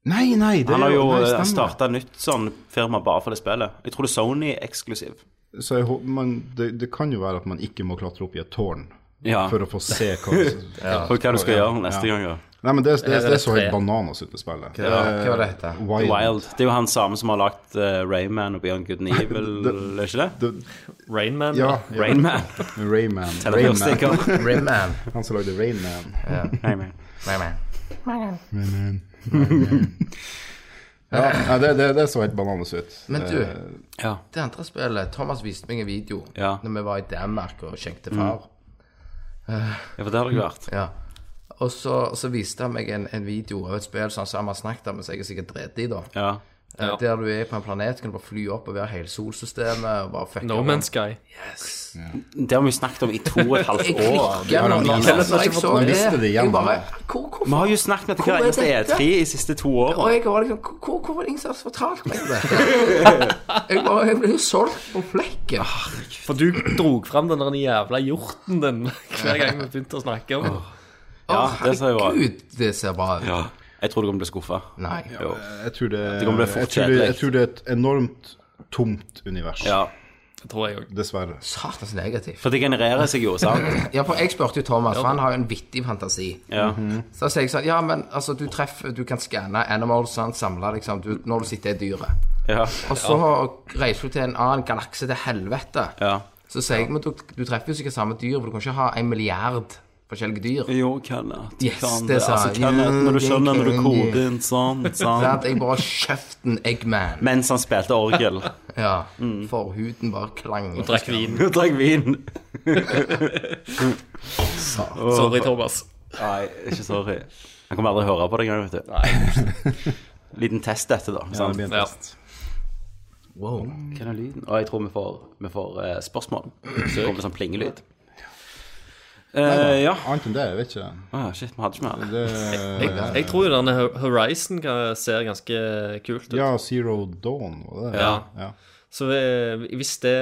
Speaker 8: Nei, nei, det
Speaker 5: Han har
Speaker 8: er
Speaker 5: jo eh,
Speaker 8: nei, stemmer.
Speaker 5: starta nytt sånn firma bare for det spillet. Jeg tror det er Sony eksklusiv.
Speaker 8: Så jeg håper man, det, det kan jo være at man ikke må klatre opp i et tårn
Speaker 5: Ja.
Speaker 8: for å få se hva ja.
Speaker 5: For hva du skal
Speaker 8: Ja.
Speaker 5: gjøre neste
Speaker 8: Ja.
Speaker 5: gang. Ja.
Speaker 8: Nei, men det, det, det,
Speaker 6: det
Speaker 8: er så helt
Speaker 6: tre?
Speaker 8: bananas ut i spillet. Eh,
Speaker 7: Hva hva var det hette?
Speaker 8: Wild.
Speaker 5: Wild. Det er jo han samme som har lagt eh, Rayman og Beyond Good and Evil,
Speaker 8: det-
Speaker 5: er ikke det?
Speaker 8: Det-
Speaker 6: Rainman.
Speaker 8: ja, ja.
Speaker 5: Rainman.
Speaker 8: Rayman. Rayman.
Speaker 5: Telefonstikker.
Speaker 7: Rimman.
Speaker 8: Han som lagde Rainman.
Speaker 5: Rayman.
Speaker 7: Rimman.
Speaker 8: Ja, nei, det, det, det så helt bananas ut.
Speaker 7: Men du,
Speaker 8: Eh,
Speaker 5: Ja.
Speaker 7: det andre spillet Thomas viste meg en video
Speaker 5: Ja. Mm.
Speaker 7: Når vi var i Danmark og skjenkte far.
Speaker 5: ja, for det har jeg vært.
Speaker 7: Ja. Og så, så viste han meg en, en video av et spill som han sa han hadde snakket om, men som jeg er sikkert drept i, da.
Speaker 5: Ja.
Speaker 7: Eh, Der du er på en planet, kan du bare fly opp og være hele solsystemet og bare fucke
Speaker 6: No Man's Sky.
Speaker 5: Det har vi snakket om i to og et halvt
Speaker 7: Jeg
Speaker 5: år.
Speaker 7: klikker når
Speaker 8: Ja,
Speaker 7: jeg
Speaker 8: ja, ja.
Speaker 7: når jeg så
Speaker 8: Man
Speaker 7: det.
Speaker 8: visste det igjen,
Speaker 7: Jeg bare
Speaker 8: da.
Speaker 7: hvor,
Speaker 5: Vi har
Speaker 7: Hvorfor?
Speaker 5: jo snakket med
Speaker 7: Hvor er
Speaker 5: hver eneste
Speaker 7: dette?
Speaker 5: E3 i siste to
Speaker 7: Og
Speaker 5: årene.
Speaker 7: jeg var liksom hvor- hvor- Hvorfor var det ingen som har fortalt meg det? Jeg bare, jeg ble jo solgt på flekken.
Speaker 6: For du drog fram den der jævla hjorten din hver gang vi begynte å snakke om den.
Speaker 5: Ah, Ja,
Speaker 7: Å,
Speaker 5: det ser jo bra ut.
Speaker 7: Herregud, det ser bra ut.
Speaker 5: Ja. Jeg tror du kommer til å bli skuffa.
Speaker 7: Nei.
Speaker 5: Jo.
Speaker 8: Jeg tror det,
Speaker 5: Det kommer til å bli
Speaker 8: jeg
Speaker 5: fort
Speaker 8: tror det, jeg
Speaker 5: kjedelig.
Speaker 8: tror det er et enormt tomt univers.
Speaker 5: Ja.
Speaker 6: Det tror jeg òg.
Speaker 8: Dessverre.
Speaker 7: Satans negativt.
Speaker 5: For det genererer seg jo, sant?
Speaker 7: Ja, for jeg spurte jo Thomas, for han har jo en vittig fantasi.
Speaker 5: Ja.
Speaker 7: Så sier jeg sånn Ja, men altså, du treffer Du kan skanne animals, sant, samle liksom du, når du sitter i dyret.
Speaker 5: Ja.
Speaker 7: Og så reiser du til en annen galakse til helvete.
Speaker 5: ja.
Speaker 7: Så sier jeg, men du, du treffer jo sikkert samme dyr, for du kan ikke ha en milliard forskjellige dyr.
Speaker 5: Jo, Kenneth. du
Speaker 7: Yes,
Speaker 5: kan
Speaker 7: det sa
Speaker 5: altså,
Speaker 7: jeg.
Speaker 5: Kenneth, når du
Speaker 7: Jo,
Speaker 5: skjønner når du
Speaker 7: det kan jeg.
Speaker 5: koder inn sånn,
Speaker 7: Så
Speaker 5: sånn
Speaker 7: at jeg bare kjeften Eggman.
Speaker 5: Mens han spilte orgel.
Speaker 7: Ja, Forhuden bare klang.
Speaker 6: Drakk vin.
Speaker 5: Drakk vin.
Speaker 6: Sorry, Thomas.
Speaker 5: Nei, ikke sorry. Han kommer aldri å høre på det engang, vet du. Nei. Liten test dette, da.
Speaker 8: Ja,
Speaker 5: sant?
Speaker 8: det blir en
Speaker 6: Ja.
Speaker 8: test.
Speaker 7: Wow.
Speaker 5: Hva er den lyden? Og jeg tror vi får, vi får eh, spørsmål. Så kommer det sånn plingelyd. Eh, ja.
Speaker 8: Annet enn det, jeg vet ikke.
Speaker 5: Ah, shit, vi hadde ikke mer.
Speaker 8: Det,
Speaker 6: Jeg, jeg tror jo denne Ho- Horizon kan- ser ganske kult ut.
Speaker 8: ja, Zero Dawn var det.
Speaker 6: Ja.
Speaker 8: ja.
Speaker 6: Så eh, hvis det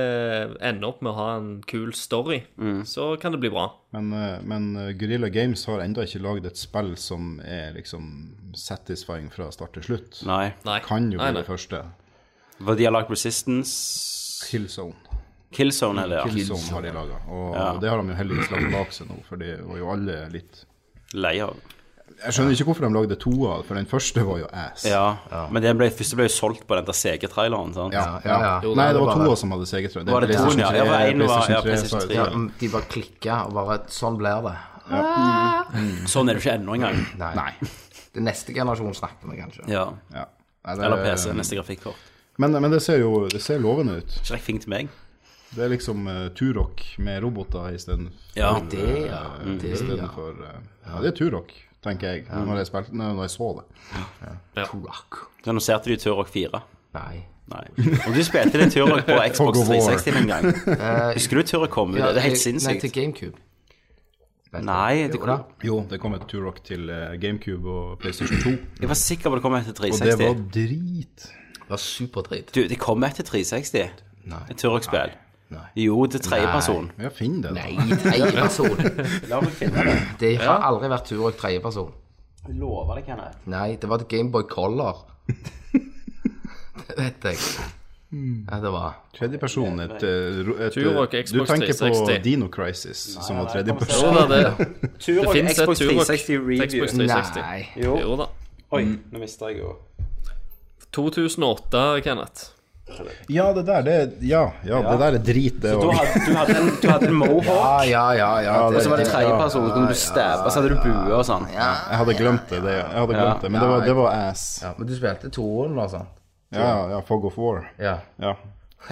Speaker 6: ender opp med å ha en kul story,
Speaker 8: Mm.
Speaker 6: så kan det bli bra.
Speaker 8: Men, eh, men eh, Guerrilla Games har ennå ikke lagd et spill som er liksom satisfying fra start til slutt.
Speaker 5: Nei.
Speaker 6: Nei.
Speaker 8: Kan jo
Speaker 6: nei, nei.
Speaker 8: bli det første.
Speaker 5: For de har lagt Resistance
Speaker 8: Killzone.
Speaker 5: Killzone, eller? Ja.
Speaker 8: Killzone har de laga. Og det har de jo heldigvis lagt bak seg nå, for de var jo alle litt
Speaker 5: Lei av.
Speaker 8: Jeg skjønner ikke hvorfor de lagde toa, for den første var jo ass.
Speaker 5: Ja. Men den ble, første ble jo solgt på den der CG-traileren, sant?
Speaker 8: Ja, ja.
Speaker 7: ja.
Speaker 8: Nei, det
Speaker 7: Jo,
Speaker 8: var
Speaker 7: det var
Speaker 8: toa
Speaker 7: det.
Speaker 8: som hadde segertrøye.
Speaker 5: Var det toen, ja? Ja, for en var- ja, PlayStation 3.
Speaker 7: Ja,
Speaker 8: Mm.
Speaker 7: men de bare klikka og bare Sånn blir det.
Speaker 5: Sånn er det ikke ennå engang.
Speaker 7: Nei. Det neste generasjon snakker vi kanskje.
Speaker 5: Ja.
Speaker 8: Ja. Nei, det-
Speaker 5: Eller PC, neste grafikkort.
Speaker 8: Men, men det ser jo det ser lovende ut.
Speaker 5: Ikke rekk fing til meg.
Speaker 8: Det er liksom uh, Turok med roboter istedenfor
Speaker 5: Ja.
Speaker 7: Det, ja. Det, ja.
Speaker 8: for eh, Ja, det er Turok, tenker jeg, når, jeg spilte, nei, når jeg så det.
Speaker 7: Rock.
Speaker 5: Så annonserte de Turok 4.
Speaker 7: Nei.
Speaker 5: Nei. Om du spilte det Turok på Xbox
Speaker 8: Tug of War.
Speaker 5: 360 en gang Husker du Turok kom ut? det er helt
Speaker 7: til- Nei, til
Speaker 5: sinnssykt.
Speaker 7: GameCube.
Speaker 5: Nei, det
Speaker 7: Jo da.
Speaker 5: kom,
Speaker 8: Jo, det kom et Turok til eh, GameCube og PlayStation 2,
Speaker 5: jeg var sikker på det kom etter
Speaker 8: og det
Speaker 5: 360.
Speaker 8: var drit.
Speaker 7: Det var superdrit.
Speaker 5: Du, det kom etter 360.
Speaker 7: Nei.
Speaker 5: Et Turok-spill.
Speaker 7: Nei.
Speaker 5: Jo, til tredjeperson.
Speaker 8: Ja, finn det, da.
Speaker 7: Nei, tredjeperson.
Speaker 5: La meg finne det.
Speaker 7: Det har aldri vært Turok tredjeperson.
Speaker 5: Jeg Lover det, Kenneth.
Speaker 7: Nei, det var et Gameboy Color. det vet jeg. Ja, det var
Speaker 8: Tredjeperson et, eh, ro- et eh,
Speaker 6: Turok, Xbox
Speaker 8: Du tenker på
Speaker 6: 360.
Speaker 8: Dino Crisis, som var
Speaker 6: Så
Speaker 8: tredjeperson.
Speaker 6: da det, det
Speaker 5: Turok
Speaker 6: fins et
Speaker 5: Xbox
Speaker 6: Turok
Speaker 5: 360
Speaker 6: til Xbox
Speaker 5: Review.
Speaker 6: 360.
Speaker 7: Nei.
Speaker 6: Jo da.
Speaker 5: Oi, nå mista jeg jo
Speaker 6: 2008, Kenneth.
Speaker 8: Ja, det der, det er Ja, ja, det der er drit, det
Speaker 5: Du
Speaker 8: òg.
Speaker 5: hadde, du hadde en, du hadde en mohawk,
Speaker 7: Ja, ja, ja. ja,
Speaker 5: og så var det
Speaker 8: det-
Speaker 5: tredjeperson, så kunne du stabbe, så hadde du bue og sånn.
Speaker 8: Jeg hadde glemt det, det, jeg hadde glemt det men det var, det var ass.
Speaker 7: ja, men du spilte toeren og sånn.
Speaker 8: Ja, ja, Fog of War.
Speaker 7: Ja.
Speaker 8: Ja.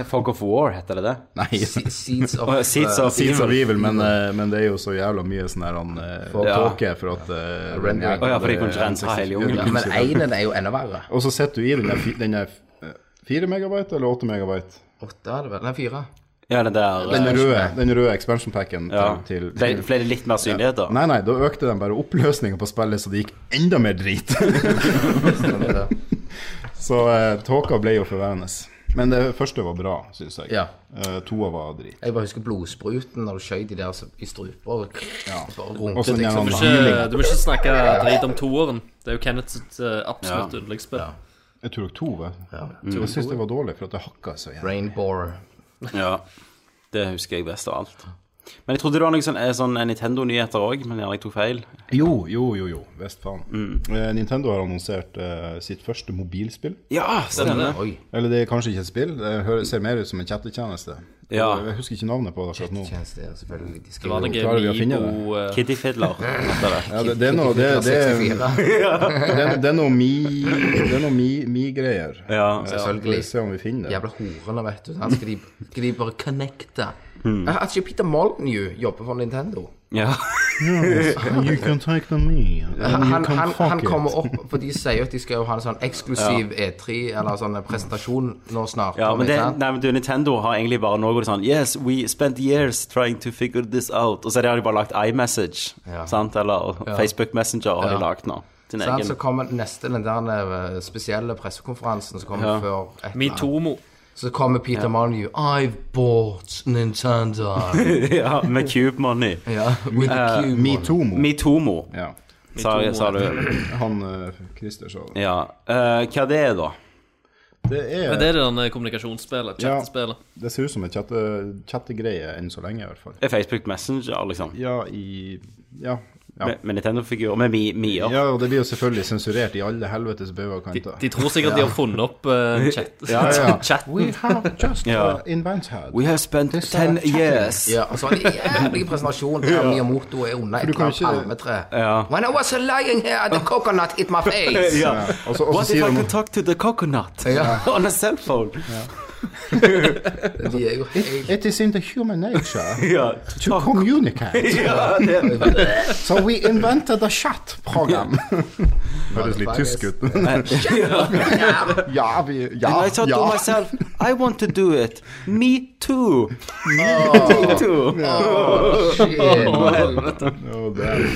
Speaker 5: Fog of War, heter det det?
Speaker 8: Nei.
Speaker 7: Se- Seeds of
Speaker 5: Å, Seeds of
Speaker 8: Seeds of
Speaker 5: Evil.
Speaker 8: Evil, men, eh, men det er jo så jævla mye sånn her han eh,
Speaker 5: Ja.
Speaker 8: tåke for at eh,
Speaker 7: Rendering.
Speaker 8: den
Speaker 5: Å
Speaker 8: jævla-
Speaker 5: ja, for de kunne ikke rense hele jungelen.
Speaker 7: Ja, Men einen er jo enda verre.
Speaker 8: Og så setter du i den der, fi- den der eh, 4 megabyte eller 8 megabyte?
Speaker 7: Åtte er det vel? Nei, fire.
Speaker 5: Ja, den der
Speaker 8: Den
Speaker 5: eh,
Speaker 8: røde, den røde expansion packen
Speaker 5: ja.
Speaker 8: til,
Speaker 5: Ble,
Speaker 8: til
Speaker 5: ble det litt mer synlighet, da?
Speaker 8: Nei, nei, da økte den bare oppløsningen på spillet, så det gikk enda mer drit. så eh, tåka ble jo forværende. Men det første var bra, syns jeg.
Speaker 7: Ja.
Speaker 8: Eh, toa var drit.
Speaker 7: Jeg bare husker blodspruten når du skjøt de der så- i strupa. og- Bare runket
Speaker 8: Og så den
Speaker 7: deg
Speaker 8: der
Speaker 7: som-
Speaker 8: andre.
Speaker 6: Ikke, du må ikke snakke drit om toeren. Det er jo Kenneths eh, absolutt
Speaker 5: Ja.
Speaker 6: yndlingsspill.
Speaker 8: Jeg tror to, vet du. Jeg syns det var dårlig, for at det hakka så jævlig.
Speaker 7: Rainbower.
Speaker 5: Ja. Det husker jeg best av alt. Men jeg trodde det var noen sånne, sånn Nintendo-nyheter òg, men gjerne jeg tok feil.
Speaker 8: Jo, jo, jo, jo. Visst faen. Eh, Nintendo har annonsert eh, sitt første mobilspill.
Speaker 5: Ja, stemmer.
Speaker 7: Oi.
Speaker 8: Eller det er kanskje ikke et spill, det høres, ser mer ut som en chattetjeneste.
Speaker 5: Ja.
Speaker 8: Jeg husker ikke navnet på det akkurat nå.
Speaker 7: Tjeneste er selvfølgelig de
Speaker 6: Det var
Speaker 7: skriver
Speaker 6: noe
Speaker 7: jo
Speaker 8: klarer vi å finne det?
Speaker 6: Vibo eh,
Speaker 5: Kitty Fiddler. heter det.
Speaker 8: Ja, det, det er noe det, det, det,
Speaker 7: 64.
Speaker 8: er- det er noe mi Det er noe mi, mi greier.
Speaker 5: Ja,
Speaker 8: Skal vi
Speaker 7: Selvfølgelig.
Speaker 8: se om vi finner det.
Speaker 7: Jævla horene, vet du. Her skal de, skal de bare connecte.
Speaker 5: Hmm.
Speaker 7: Eh, At ikke Peter Molyneux jobber for Nintendo.
Speaker 5: ja.
Speaker 8: You can take the me, and
Speaker 7: altså, Han, han, han kommer opp, for de sier jo at de skal jo ha en sånn eksklusiv E3, eller sånn presentasjon nå snart.
Speaker 5: ja
Speaker 7: om
Speaker 5: men det,
Speaker 7: Nintendo.
Speaker 5: nei, men du, Nintendo har egentlig bare nå går det sånn Yes, we spent years trying to figure this out. Og så har de bare lagt iMessage,
Speaker 7: Ja.
Speaker 5: sant? Eller Facebook Messenger har
Speaker 7: Ja.
Speaker 5: de lagt nå. Sin
Speaker 7: Sant, så
Speaker 5: egen.
Speaker 7: kommer neste den der eh, spesielle pressekonferansen som kommer
Speaker 5: Ja.
Speaker 7: før et eller annet.
Speaker 6: Mitomo.
Speaker 7: Så kommer Peter Molyneux. I've bought Nintendo.
Speaker 5: ja, med Cube Money.
Speaker 7: ja, with
Speaker 5: Eh,
Speaker 7: the cube.
Speaker 8: Mitomo.
Speaker 5: Mitomo,
Speaker 8: Ja.
Speaker 5: sa, sa du.
Speaker 8: Han eh, Christer sa det.
Speaker 5: Ja. Eh, hva det er da?
Speaker 8: Det
Speaker 6: Men det
Speaker 8: er
Speaker 6: er det denne kommunikasjonsspillet,
Speaker 8: Ja.
Speaker 6: chattespillet.
Speaker 8: Det ser ut som en chatte- chattegreie enn så lenge, i hvert fall.
Speaker 5: Det er Facebook Messenger, liksom.
Speaker 8: Ja, i Ja. ja.
Speaker 5: Med, med Nintendo-figurer. Med mi, Mia.
Speaker 8: Ja, og det blir jo selvfølgelig sensurert i alle helvetes bauger og kanter.
Speaker 6: De tror sikkert de har funnet opp eh, chat. chatten.
Speaker 8: We have just
Speaker 5: Ja.
Speaker 8: uh, invented.
Speaker 5: We have spent ten years.
Speaker 7: Ja, og så var det en jævlig presentasjon der Miyamoto er under et eller
Speaker 8: du kan
Speaker 7: annet
Speaker 8: ikke-
Speaker 7: palmetre.
Speaker 5: Ja.
Speaker 7: When I was lying here, the coconut hit my face.
Speaker 5: Ja.
Speaker 8: Ja, og så- og så
Speaker 5: What if I
Speaker 8: sier de-
Speaker 5: could talk to the coconut
Speaker 7: Ja.
Speaker 5: on a cell phone?
Speaker 7: De er jo helt
Speaker 8: It is in the human nature
Speaker 5: Ja.
Speaker 8: to communicate.
Speaker 5: Ja, det-
Speaker 8: So we invented a chat program. Høres litt tysk ut. ja, vi Ja,
Speaker 5: I thought to
Speaker 8: ja.
Speaker 5: myself, I want to do it. Me too. Me too.
Speaker 7: shit.
Speaker 8: Og det-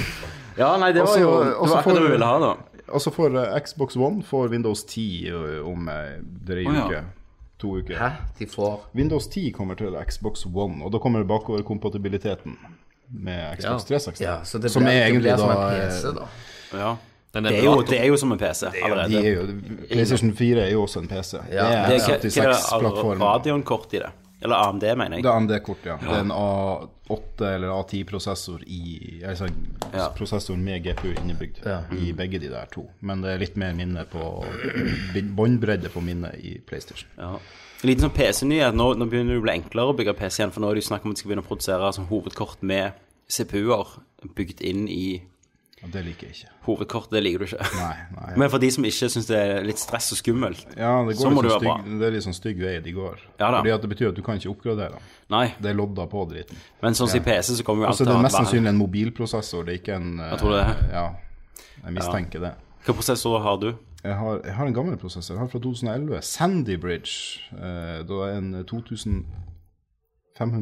Speaker 5: Ja, nei, det var
Speaker 8: Også-
Speaker 5: jo det
Speaker 8: også
Speaker 5: var akkurat det
Speaker 8: for-
Speaker 5: vi ville ha, da.
Speaker 8: Og så får eh, Xbox One får Windows 10 ø, om ei drøy
Speaker 5: Å, ja.
Speaker 8: uke. To uker.
Speaker 7: Hæ? De får
Speaker 8: Windows 10 kommer til Xbox One, og da kommer bakoverkompatibiliteten med Xbox 360.
Speaker 7: Ja, så det
Speaker 8: som
Speaker 7: blir,
Speaker 8: er
Speaker 7: det
Speaker 8: egentlig
Speaker 7: blir som en
Speaker 8: da,
Speaker 7: PC, da.
Speaker 5: Ja.
Speaker 6: Den
Speaker 5: Det
Speaker 6: er
Speaker 5: er, jo,
Speaker 6: bra.
Speaker 5: det er jo som en PC
Speaker 8: De
Speaker 5: allerede.
Speaker 8: er jo, PlayStation 4 er jo også en PC.
Speaker 5: Det er,
Speaker 8: det
Speaker 5: hva- hva
Speaker 8: er
Speaker 5: er det,
Speaker 8: X76-plattformen.
Speaker 5: Radeon-kort i det. Eller AMD, mener jeg.
Speaker 8: Det er AMD-kort, ja. Det er en A8 eller A10-prosessor i Altså
Speaker 5: Ja. Mm.
Speaker 8: prosessoren med GPU innebygd i begge de der to. Men det er litt mer minne på båndbredde på minnet i PlayStation.
Speaker 5: Ja. En liten sånn PC-nyhet. Nå, nå begynner det å bli enklere å bygge PC igjen, for nå er det jo snakk om at de skal begynne å produsere sånn hovedkort med CPU-er bygd inn i
Speaker 8: Og det liker jeg ikke.
Speaker 5: hovedkortet. Det liker du ikke.
Speaker 8: Nei, nei.
Speaker 5: Men for de som ikke syns det er litt stress og skummelt
Speaker 8: ja, det,
Speaker 5: så
Speaker 8: går
Speaker 5: må
Speaker 8: litt
Speaker 5: det
Speaker 8: sånn
Speaker 5: være
Speaker 8: stygg, det er litt sånn stygg vei de går.
Speaker 5: Ja da.
Speaker 8: Fordi at det betyr at du kan ikke oppgradere.
Speaker 5: Nei,
Speaker 8: Det er lodda på driten.
Speaker 5: men sånn som i PC, så kommer jo
Speaker 8: Og
Speaker 5: alt
Speaker 8: så
Speaker 5: til
Speaker 8: er
Speaker 5: å
Speaker 8: det
Speaker 5: ha
Speaker 8: mest
Speaker 5: hva,
Speaker 8: sannsynlig en mobilprosessor, det er ikke en Jeg
Speaker 5: tror det er.
Speaker 8: Ja, jeg mistenker det.
Speaker 5: hva prosessor har du?
Speaker 8: Jeg har, jeg har en gammel prosessor. Jeg har fra 2011. Sandy Bridge. Eh, da er en 2500K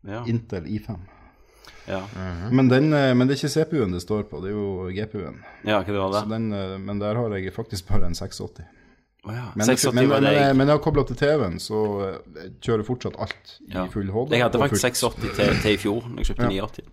Speaker 5: Ja.
Speaker 8: Intel i5.
Speaker 5: Ja,
Speaker 8: Men, den, eh, men det er ikke CPU-en det står på, det er jo GPU-en.
Speaker 5: ja hva det var
Speaker 8: Så
Speaker 5: det?
Speaker 8: den, eh, men der har jeg faktisk bare en 680.
Speaker 5: Å ja.
Speaker 8: Men,
Speaker 5: 86
Speaker 8: men,
Speaker 5: var
Speaker 8: men,
Speaker 5: det
Speaker 8: jeg,
Speaker 5: jeg.
Speaker 8: men jeg har kobla til TV-en, så eh, jeg kjører fortsatt alt i
Speaker 5: Ja.
Speaker 8: full HD.
Speaker 5: Jeg hadde
Speaker 8: og
Speaker 5: faktisk
Speaker 8: fullt-
Speaker 5: 680 til, til i fjor, når jeg kjøpte 980.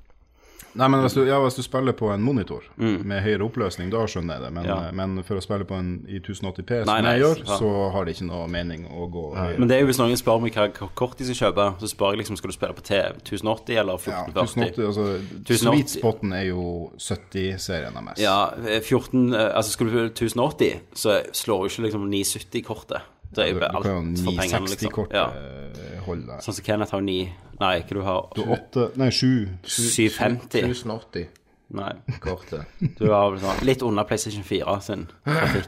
Speaker 8: Nei, men hvis du, ja, hvis du spiller på en monitor med høyere oppløsning, da skjønner jeg det. Men,
Speaker 5: Mm.
Speaker 8: eh,
Speaker 5: Ja.
Speaker 8: men for å spille på en i 1080P, som
Speaker 5: Nei, nei,
Speaker 8: jeg gjør,
Speaker 5: ja.
Speaker 8: så har det ikke noe mening å gå høyere.
Speaker 5: Men det er jo hvis noen spør meg hva kort de skal kjøpe, så spør jeg liksom skal du spille på TV 1080 eller
Speaker 8: Ja,
Speaker 5: 1440.
Speaker 8: 1080, altså,
Speaker 5: 1080.
Speaker 8: Sweet spoten er jo 70-serien MS.
Speaker 5: Ja, 14, eh, altså skulle du 1080, så slår jo ikke liksom 970-kortet. Det er
Speaker 8: du,
Speaker 5: jo
Speaker 8: du
Speaker 5: alt
Speaker 8: kan jo
Speaker 5: for pengene, liksom.
Speaker 8: 960-kortet
Speaker 5: Ja.
Speaker 8: holde der.
Speaker 5: Sånn som Kenneth har 9 Nei, hva du har
Speaker 8: Du har eh, åtte- Nei, sju.
Speaker 5: 750.
Speaker 7: 1080
Speaker 5: Nei,
Speaker 7: kortet.
Speaker 5: du har vel sånn litt under PlayStation 4 sin.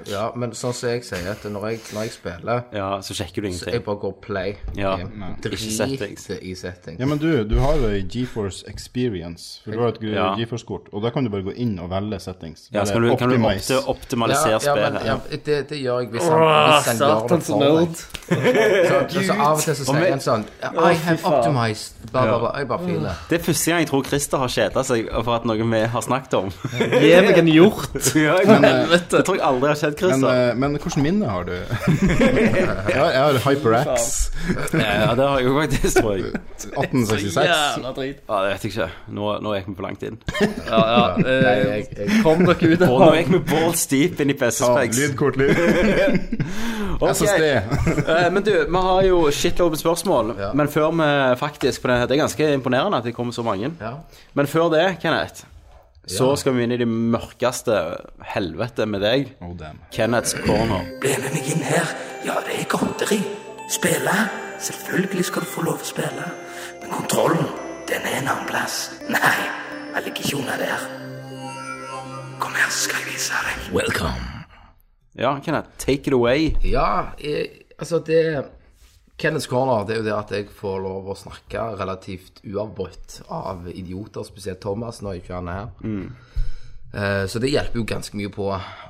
Speaker 7: Ja, men sånn som jeg sier, at når jeg, når jeg spiller
Speaker 5: Ja, så sjekker du
Speaker 7: Jeg
Speaker 5: ingenting.
Speaker 7: bare går play.
Speaker 5: Ja,
Speaker 7: Jeg
Speaker 5: nei.
Speaker 7: driter
Speaker 5: Ikke settings.
Speaker 7: i settings.
Speaker 8: Ja, men du, du har jo GeForce Experience, for du har et
Speaker 5: Ja.
Speaker 8: GeForce-kort, og der kan du bare gå inn og velge settings.
Speaker 5: Ja, så kan du, kan du
Speaker 8: Optimize.
Speaker 5: opti- optimalisere
Speaker 7: ja, men
Speaker 5: spillet.
Speaker 7: ja, det, det gjør jeg hvis han,
Speaker 6: Åh,
Speaker 7: hvis han gjør det
Speaker 6: Satans
Speaker 7: for meg.
Speaker 6: nerd.
Speaker 7: Så, så av og til så sier han sånn I have optimized bla, bla, bla. Jeg bare filer.
Speaker 5: Det er første gang jeg tror Christer har kjeda seg for at noe vi har snakket om.
Speaker 6: Gi meg en hjort!
Speaker 5: ja, jeg,
Speaker 6: Helvete.
Speaker 5: det tror jeg aldri har skjedd,
Speaker 8: eh, Men,
Speaker 5: Christer.
Speaker 8: eh, men hvilket minne har du? jeg har, jeg har HyperX
Speaker 5: ja, det har jeg jo faktisk, tror jeg.
Speaker 8: 1866.
Speaker 6: Jævla drit.
Speaker 5: Ja, det vet jeg ikke. Nå, nå gikk vi for langt inn.
Speaker 6: Ja, ja. eh, Kom dere ut
Speaker 5: Og
Speaker 6: av
Speaker 5: nå gikk vi balls deep inn i PC-specs.
Speaker 8: Lydkort, lyd. SSD.
Speaker 5: Eh, men du, vi har jo shitload med spørsmål. Men før vi faktisk på det, det er ganske imponerende at det kommer så mange.
Speaker 7: Ja.
Speaker 5: Men før det, Kenneth, så skal vi inn i det mørkeste helvete med deg.
Speaker 8: Oh, damn.
Speaker 5: Kenneths corner.
Speaker 9: Bli med meg inn her. Ja, det er godteri. Spille? Selvfølgelig skal du få lov å spille. Men kontrollen, den er en annen plass. Nei, jeg ligger ikke unna der. Kom her, skal jeg vise deg. Welcome.
Speaker 5: Ja, Kenneth, take it away.
Speaker 7: Ja, jeg, altså det Kenneths Corner det er jo det at jeg får lov å snakke relativt uavbrutt av idioter, spesielt Thomas, når ikke han er her. Eh, Så det hjelper jo ganske mye på.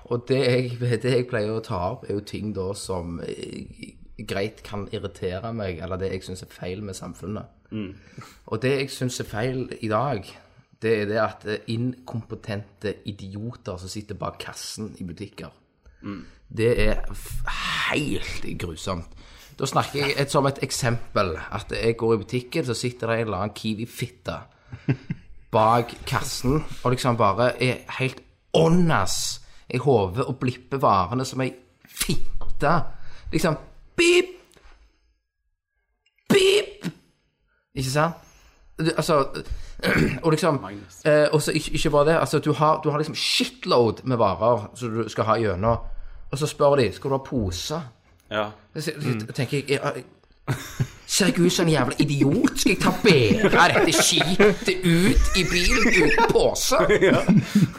Speaker 7: Og det jeg, det jeg pleier å ta opp, er jo ting da som eh, greit kan irritere meg, eller det jeg syns er feil med samfunnet. Og det jeg syns er feil i dag, det er det at eh, inkompetente idioter som sitter bak kassen i butikker det er f- helt grusomt. Da snakker jeg et, som et eksempel. At jeg går i butikken, så sitter det en eller annen Kiwi-fitte bak kassen og liksom bare er helt åndas i hodet og blipper varene som ei fitte. Liksom Pip! Pip! Ikke sant? Du, altså og liksom eh, Og så ikke, ikke bare det. Altså, du har, du har liksom shitload med varer som du skal ha gjennom. Og så spør de skal du ha pose.
Speaker 5: Ja.
Speaker 7: Så så tenker jeg, jeg, jeg Ser jeg ut som en jævla idiot? Skal jeg ta bære dette skitet ut i bilen uten pose? Hæ?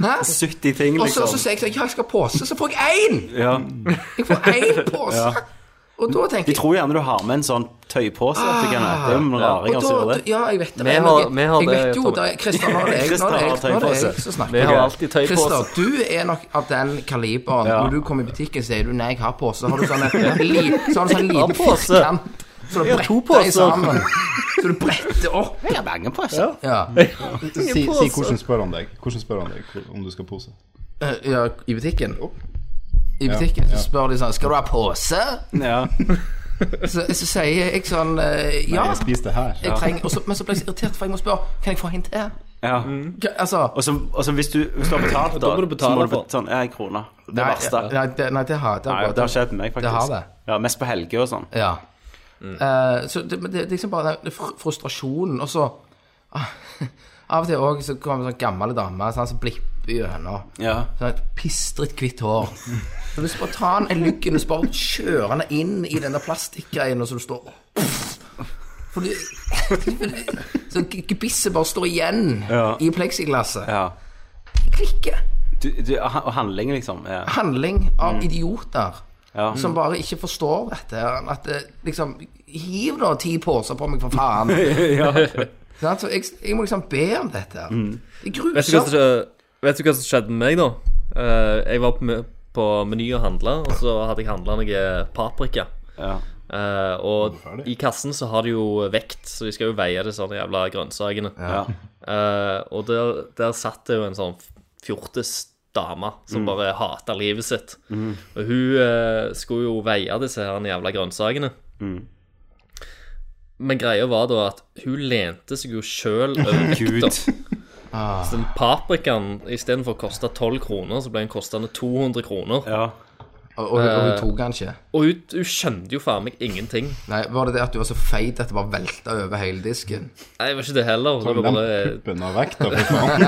Speaker 5: 70
Speaker 7: Og
Speaker 5: ting,
Speaker 7: så,
Speaker 5: liksom.
Speaker 7: så sier jeg sånn Ja, jeg skal ha pose. Så får jeg én!
Speaker 5: ja.
Speaker 7: Jeg får én pose. Og da tenker
Speaker 5: De
Speaker 7: jeg
Speaker 5: tror gjerne du har med en sånn tøypose til Kenneth. Det er jo noen raringer som
Speaker 7: Ah. og
Speaker 5: gjør
Speaker 7: da,
Speaker 5: det.
Speaker 7: Ja, jeg vet det.
Speaker 6: Vi
Speaker 7: men
Speaker 6: har-
Speaker 7: jeg-
Speaker 6: vi har
Speaker 7: jeg
Speaker 6: det,
Speaker 7: vet jo
Speaker 6: Tommy.
Speaker 7: det. Christer, nå er det jeg, nå er det jeg, nå er det jeg som snakker.
Speaker 6: Vi har alltid tøy på oss.
Speaker 7: Christer, du er nok av den kaliberen.
Speaker 5: Ja.
Speaker 7: Når du kommer i butikken, sier du 'nei, jeg har pose'. Så har du sånn en li- så har du sånn
Speaker 6: Jeg har
Speaker 7: liten
Speaker 6: pose.
Speaker 7: firkant. Så du
Speaker 6: har to
Speaker 7: bretter deg
Speaker 6: poser.
Speaker 7: sammen. Så du bretter opp. Jeg har mange poser.
Speaker 5: altså.
Speaker 7: Ja.
Speaker 8: Si, si hvordan spør han deg Hvordan spør han deg hvor- om du skal pose.
Speaker 7: Eh, ja, I butikken. I butikken så spør de sånn 'Skal du ha pose?'
Speaker 5: Ja.
Speaker 7: Så, så sier jeg sånn eh,
Speaker 8: Nei,
Speaker 7: Ja.
Speaker 8: jeg spiste det her.
Speaker 7: Jeg trenger, og så, men så ble jeg så irritert, for jeg må spørre 'Kan jeg få en til?'
Speaker 5: ja.
Speaker 7: Hva- Altså
Speaker 5: Og så, og så hvis, du, hvis du har betalt, da,
Speaker 6: må du betale
Speaker 5: så må du
Speaker 6: for
Speaker 5: betale sånn, ja, en krone. Det
Speaker 7: Nei,
Speaker 5: verste.
Speaker 7: Nei, det, nei, det har det
Speaker 5: Nei,
Speaker 7: har,
Speaker 5: det har skjedd med meg, faktisk.
Speaker 7: Det har det.
Speaker 5: Ja, Mest på helger og sånn.
Speaker 7: Ja.
Speaker 5: Mm.
Speaker 7: Eh, så det, men det, det er liksom bare den fr- frustrasjonen, og så Av og til òg så kommer sånn gamle damer sånn, som blipper gjennom.
Speaker 5: Ja.
Speaker 7: Sånn et pistret, hvitt hår. Så hvis du bare tar en lyggen og så bare kjører den inn i den der plastikkgreien, og så du står For du Så gebisset bare står igjen
Speaker 5: Ja.
Speaker 7: i pleksiglasset.
Speaker 5: ja.
Speaker 7: Klikker!
Speaker 5: Du, du, og handling, liksom. Ja.
Speaker 7: Handling av
Speaker 6: Mm.
Speaker 7: idioter.
Speaker 5: Ja.
Speaker 7: som bare ikke forstår dette. her, At det, liksom Hiv da ti poser på meg, for faen. Sant? Så jeg, jeg må liksom be om dette. her. Det er
Speaker 6: Mm. Vet du, hva
Speaker 7: grusomt.
Speaker 6: som, vet du hva som skjedde med meg, da? Eh, jeg var på, me- på Meny og handla, og så hadde jeg handla noe paprika.
Speaker 5: Ja.
Speaker 6: Eh, og i kassen så har de jo vekt, så de skal jo veie det sånne jævla grønnsakene.
Speaker 5: Ja.
Speaker 6: Eh, og der, der satt det jo en sånn fjortis dame som bare hata livet sitt. Og hun eh, skulle jo veie disse her jævla grønnsakene. Men greia var da at hun lente seg jo sjøl over vekta. Så den paprikaen istedenfor å koste 12 kroner, så ble den kostende 200 kroner.
Speaker 5: Ja.
Speaker 7: Og, og, og
Speaker 6: Eh.
Speaker 7: hun tok han ikke.
Speaker 6: Og hun, hun skjønte jo faen meg ingenting.
Speaker 7: Nei, Var det det at du var så feit at det bare velta over hele disken?
Speaker 6: Nei, det var ikke det heller. Det var
Speaker 8: Den
Speaker 6: bare,
Speaker 8: puppen av vekta, for faen.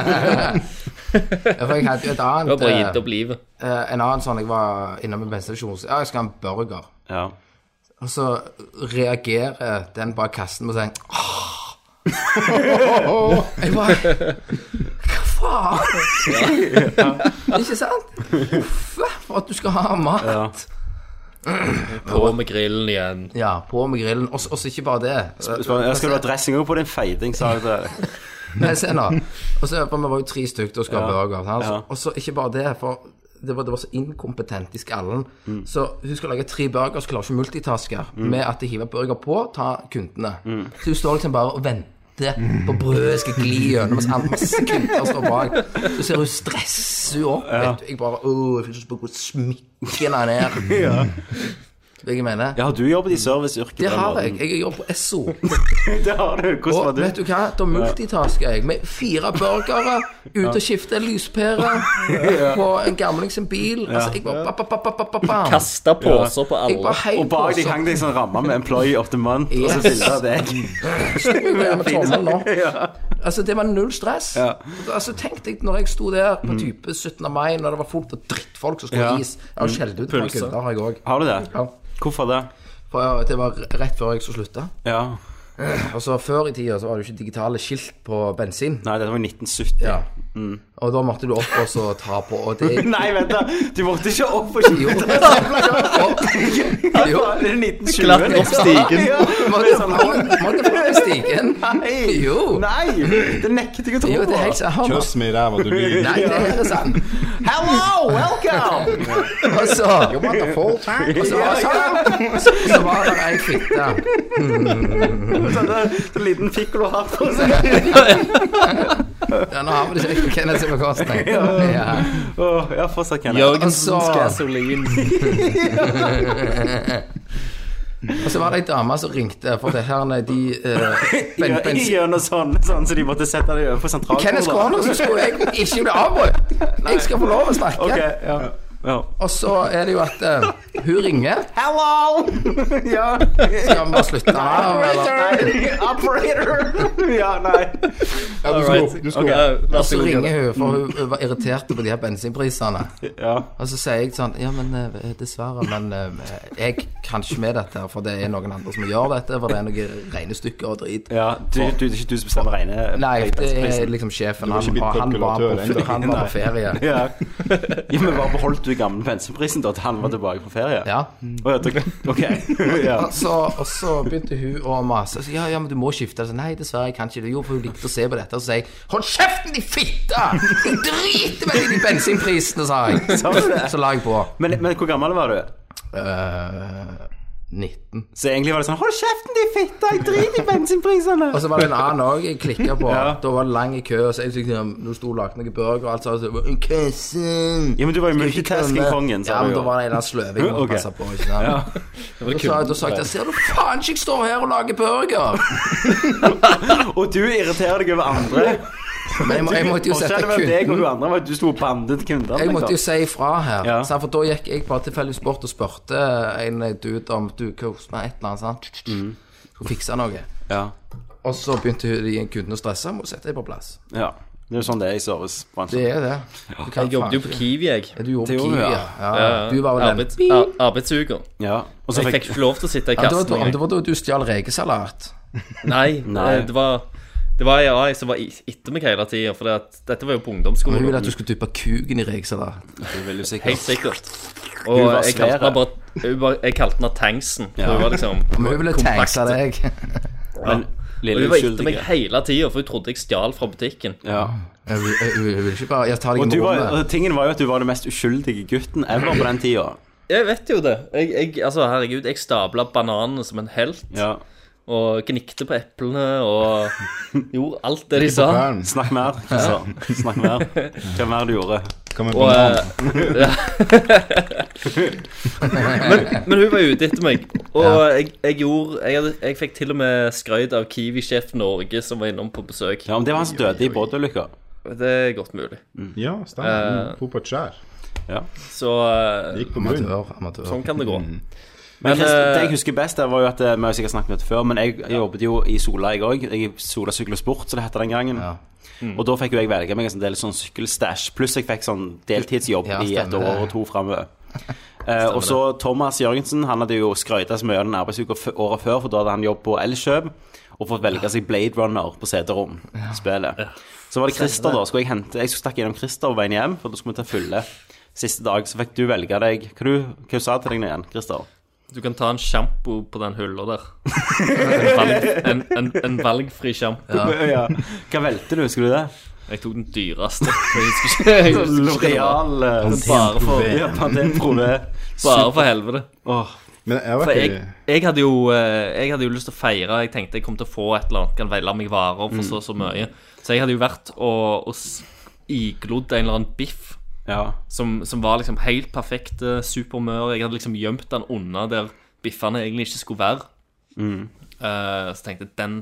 Speaker 7: Ja, For jeg hadde jo et
Speaker 6: det var
Speaker 7: annet
Speaker 6: bare
Speaker 7: eh,
Speaker 6: gitt opp livet.
Speaker 7: eh, En annen sånn jeg var innom en bensinstasjon så, Ja, jeg skal ha en burger.
Speaker 5: ja.
Speaker 7: Og så reagerer den bak kassen med å si Åh! Jeg bare Hva faen? Ikke sant? Uff, for at du skal ha mat. Ja,
Speaker 6: På med grillen igjen.
Speaker 7: på med grillen. Og så ikke bare det.
Speaker 5: Spør, ja, skal du ha dressing også på din feiting, sa jeg til
Speaker 7: Nei, se nå. Og så, for vi var jo tre stykker og skulle ha burger. sant? Og så ikke bare det, for det var, det var så inkompetent i skallen. Så hun skal lage tre burger, så klarer hun ikke multitaske med at de hiver burger på, ta kundene. Så hun står liksom bare og venter fette på brødet skal gli gjennom, mens alt masse kvinter står bak. Så ser hun stresser hun opp. Vet du. Jeg bare Åh, jeg føler ikke på hvor smykken er ned. Vet du hva jeg mener?
Speaker 5: Ja, har du jobbet i serviceyrket? på
Speaker 7: Det
Speaker 5: den
Speaker 7: har jeg.
Speaker 5: måten?
Speaker 7: Jeg jobber på SO.
Speaker 5: Det har du. Hvordan var
Speaker 7: Og
Speaker 5: du?
Speaker 7: vet du hva? Da multitasker jeg med fire burgere, ut og skifte en lyspære på en gamling sin bil. Altså, jeg bare ba, ba, ba, ba, ba, bam.
Speaker 6: Kasta poser på
Speaker 7: Jeg bare
Speaker 6: alle.
Speaker 7: heiv
Speaker 5: Og bak
Speaker 7: på,
Speaker 5: deg
Speaker 7: så-
Speaker 5: hang det en sånn ramme med 'Employee of the Month', og så
Speaker 7: Yes.
Speaker 5: bilde av deg.
Speaker 7: Jeg går med tommelen nå. Altså, det var null stress.
Speaker 5: Ja. Mm.
Speaker 7: Altså, Tenk deg når jeg sto der på type 17. mai, når det var fullt av drittfolk som skulle
Speaker 5: Ja. Mm.
Speaker 7: ha is. Jeg har skjelt ut noen
Speaker 6: Pølse.
Speaker 7: kunder, jeg òg.
Speaker 5: Har du det?
Speaker 7: Ja.
Speaker 5: Hvorfor det?
Speaker 7: For det var rett før jeg skulle slutte.
Speaker 5: Ja.
Speaker 7: Og så Før i tida så var det jo ikke digitale skilt på bensin.
Speaker 5: Nei, dette var i 1970.
Speaker 7: Ja.
Speaker 5: Mm.
Speaker 7: Og da måtte du opp og så ta på, og det
Speaker 5: Nei, vent, da! Du måtte ikke opp og
Speaker 7: Jo. Jo.
Speaker 5: skyte. Det er 1920.
Speaker 6: Glatt opp stigen.
Speaker 5: Ja.
Speaker 7: Måtte måtte opp stigen.
Speaker 5: sånn, Nei!
Speaker 7: Jo.
Speaker 5: Nei! Det nekter jeg å tro
Speaker 7: Jo, det er helt
Speaker 5: på.
Speaker 7: sant. Han-
Speaker 8: Kjøss meg i ræva, du lyver.
Speaker 7: Nei, det er helt sant.
Speaker 5: Hello! Welcome!
Speaker 7: Og så
Speaker 8: You want a full tank?
Speaker 7: Og så var, så, så var det ei fitte.
Speaker 5: Sånn liten pikkolo har på seg.
Speaker 7: Ja, nå har vi det ikke på Kenneth sin bekostning. Ja.
Speaker 5: Åh, ja, fortsatt kan jeg.
Speaker 6: Jørgensens
Speaker 7: Altså.
Speaker 6: gasolin.
Speaker 7: Og så var det ei dame som ringte, for det her nede de uh, ben, ben,
Speaker 5: Gjennom sånn, sånn, så de måtte sette deg over på
Speaker 7: Kenneth
Speaker 5: sentralbordet.
Speaker 7: Corner, så skulle jeg ikke bli avbrutt. Jeg skal få lov å snakke.
Speaker 5: Ok, ja. ja.
Speaker 7: Og så er det jo at eh, hun ringer.
Speaker 5: Hello! ja.
Speaker 7: Skal vi bare slutte her? Eller?
Speaker 5: Operator! ja, nei.
Speaker 8: Ja, du skal opp, du skal opp.
Speaker 6: Vær
Speaker 7: Så
Speaker 6: så god.
Speaker 7: ringer hun, for hun, hun var irritert på de her bensinprisene.
Speaker 5: Ja.
Speaker 7: Og så sier jeg sånn Ja, men eh, dessverre, men eh, jeg kan ikke med dette, her, for det er noen andre som gjør dette, for det er noen regnestykker og drit.
Speaker 5: ja du, du, det er ikke du som bestemmer regne...
Speaker 7: Nei, det er
Speaker 5: prisen.
Speaker 7: liksom sjefen.
Speaker 8: har
Speaker 7: Han,
Speaker 8: ikke blitt
Speaker 7: han, var,
Speaker 8: kalkulatør
Speaker 7: på,
Speaker 8: ennå.
Speaker 7: han var på ferie.
Speaker 5: Ja. ja, men hva beholdt du i gamle pensumprisen da til han var tilbake på ferie?
Speaker 7: Ja.
Speaker 5: Åja, dere- ok. ja.
Speaker 7: Så, og så begynte hun å mase. Så, ja, ja, men du må skifte. Så, nei, dessverre, jeg kan ikke det. Jo, for hun likte å se på dette og si Hold kjeften, de fitte! Jeg driter meg i de bensinprisene, sa jeg.
Speaker 5: Sa du det?
Speaker 7: Så la jeg på.
Speaker 5: Men, men hvor gammel var du?
Speaker 7: eh, 19.
Speaker 5: Så egentlig var det sånn Hold kjeften, de fitta! Jeg driter i bensinprisene!
Speaker 7: Og så var det en annen òg jeg klikka på.
Speaker 5: Ja.
Speaker 7: Da var det lang i kø. Og så jeg tenkte, ja, nå sto og lagde noen burger og alt sånt. Køssen!
Speaker 5: Ja, men du var jo
Speaker 7: Skal ikke komme.
Speaker 5: multitasking-kongen, sa
Speaker 7: Ja,
Speaker 5: du
Speaker 7: men
Speaker 5: jo.
Speaker 7: da var det en eller annen sløving som
Speaker 5: Ok.
Speaker 7: passa på. Ikke sant? Da sa jeg, da sa jeg til ser du faen ikke jeg står her og lager burger?
Speaker 5: Og du irriterer deg over andre.
Speaker 7: Men Altså- jeg, må, jeg måtte jo sette
Speaker 5: Forskjellen mellom deg og
Speaker 7: kunden
Speaker 5: hun andre var at du sto og bandet kundene.
Speaker 7: jeg måtte jo
Speaker 5: liksom.
Speaker 7: si ifra her,
Speaker 5: Ja.
Speaker 7: sant? for da gikk jeg bare tilfeldigvis bort og spurte en dude om du, hva hos meg, et eller annet, sant?
Speaker 5: Mm.
Speaker 7: Skulle fikse noe.
Speaker 5: ja.
Speaker 7: Og så begynte hun- de kunden å stresse, må sette deg på plass.
Speaker 5: ja. Det er jo sånn det er i
Speaker 7: Det
Speaker 5: servicebransjen.
Speaker 7: er det. Du kan
Speaker 6: Jeg jobbet jo
Speaker 7: faen
Speaker 6: på
Speaker 7: ikke-
Speaker 6: Kiwi, jeg.
Speaker 7: Ja, Du gjorde
Speaker 5: Det gjorde
Speaker 7: Kiwi,
Speaker 5: du,
Speaker 7: ja. ja. Du var vel den.
Speaker 6: Arbeids, ar arbeidsuker.
Speaker 5: Ja. Og så
Speaker 6: Jeg
Speaker 5: fikk
Speaker 6: fikk ikke lov til å sitte i
Speaker 7: Ja, det var da-
Speaker 6: kassen.
Speaker 7: det var da du stjal rekesalat.
Speaker 6: Nei,
Speaker 5: Nei.
Speaker 6: eh, det var det var ei AI som var i- etter meg hele tida, for det at, dette var jo på ungdomsskolen.
Speaker 7: Hun ville at du skulle dyppe kuken i rekesalat.
Speaker 6: Helt sikkert. Og
Speaker 5: Hun var
Speaker 6: jeg kalte
Speaker 5: svære.
Speaker 6: henne bare hun var- Jeg kalte henne Tangsen. for Hun var liksom
Speaker 7: Men hun ville
Speaker 6: kompakt.
Speaker 7: tanksa deg.
Speaker 5: Men
Speaker 6: Og
Speaker 5: lille
Speaker 6: Hun var etter meg
Speaker 5: uskyldige.
Speaker 6: hele tida, for hun trodde jeg stjal fra butikken.
Speaker 5: Ja.
Speaker 7: Hun hun- hun ville ikke bare Jeg tar deg
Speaker 5: Og,
Speaker 7: i
Speaker 5: du var,
Speaker 7: morgen.
Speaker 5: og tingen var jo at du var den mest uskyldige gutten ever på den tida.
Speaker 6: Jeg vet jo det. Jeg, jeg, altså, herregud, jeg stabla bananene som en helt.
Speaker 5: Ja.
Speaker 6: Og gnikte på eplene og gjorde alt det de sa.
Speaker 8: Vern,
Speaker 5: Snakk mer, Kristian. Snakk mer. Hva mer du gjorde?
Speaker 8: Hva med
Speaker 6: Og, eh,
Speaker 8: banan?
Speaker 6: Men hun var ute etter meg, og jeg, jeg gjorde jeg, hadde, jeg fikk til og med skrøyt av Kiwi-sjef Norge, som var innom på besøk.
Speaker 5: Ja, om det var han som døde i båtulykka.
Speaker 6: Det er godt mulig.
Speaker 8: Ja,
Speaker 6: eh,
Speaker 8: stemmer. Hun på et skjær.
Speaker 6: Så eh,
Speaker 8: Gikk på grunn.
Speaker 7: Amatør, amatør.
Speaker 6: sånn kan det gå.
Speaker 5: Men
Speaker 6: Men,
Speaker 5: Kristian,
Speaker 6: eh,
Speaker 5: det jeg husker best, der var jo at eh, Vi har jo sikkert snakket om dette før, men jeg, jeg jobbet jo i Sola, jeg òg. Jeg er Sola sykkel og sport, som det heter den gangen. Og da fikk jo jeg velge meg en sånn del sånn sykkelstæsj, pluss jeg fikk sånn deltidsjobb
Speaker 7: Ja,
Speaker 5: i et
Speaker 7: stemmer
Speaker 5: år
Speaker 7: det.
Speaker 5: og to framover. Eh, og så Thomas Jørgensen, han hadde jo skrøyta så mye av den arbeidsuka f- året før, for da hadde han jobb på Elkjøp og fått velge seg Blade Runner på CD-rom-spillet. Så var det Christer, da. Skulle jeg hente Jeg skulle snakke gjennom Christer på veien hjem, for da skulle vi ta fylle. Siste dag så fikk du velge deg Hva, du, hva sa du til deg nå igjen, Christer?
Speaker 6: Du kan ta en sjampo på den hylla der. En, valg, en, en, en valgfri sjampo.
Speaker 5: ja. Hva velte du, husker du det?
Speaker 6: Jeg tok den dyreste. Jeg husker ikke, jeg husker ikke det var.
Speaker 5: Loreal eh,
Speaker 6: Bare for,
Speaker 5: Ja, Pantene Prove.
Speaker 6: bare for helvete.
Speaker 5: Åh,
Speaker 8: Men jeg har
Speaker 6: For
Speaker 8: vært i
Speaker 6: jeg, jeg, hadde jo, eh, jeg hadde jo lyst til å feire. Jeg tenkte jeg kom til å få et eller annet, kan velge meg varer for så og så mye. Så jeg hadde jo vært og, og s- iglodd en eller annen biff
Speaker 5: Ja.
Speaker 6: som, som var liksom helt perfekt eh, supermør. Jeg hadde liksom gjemt den unna der biffene egentlig ikke skulle være.
Speaker 5: Mm.
Speaker 6: Eh, så tenkte jeg den,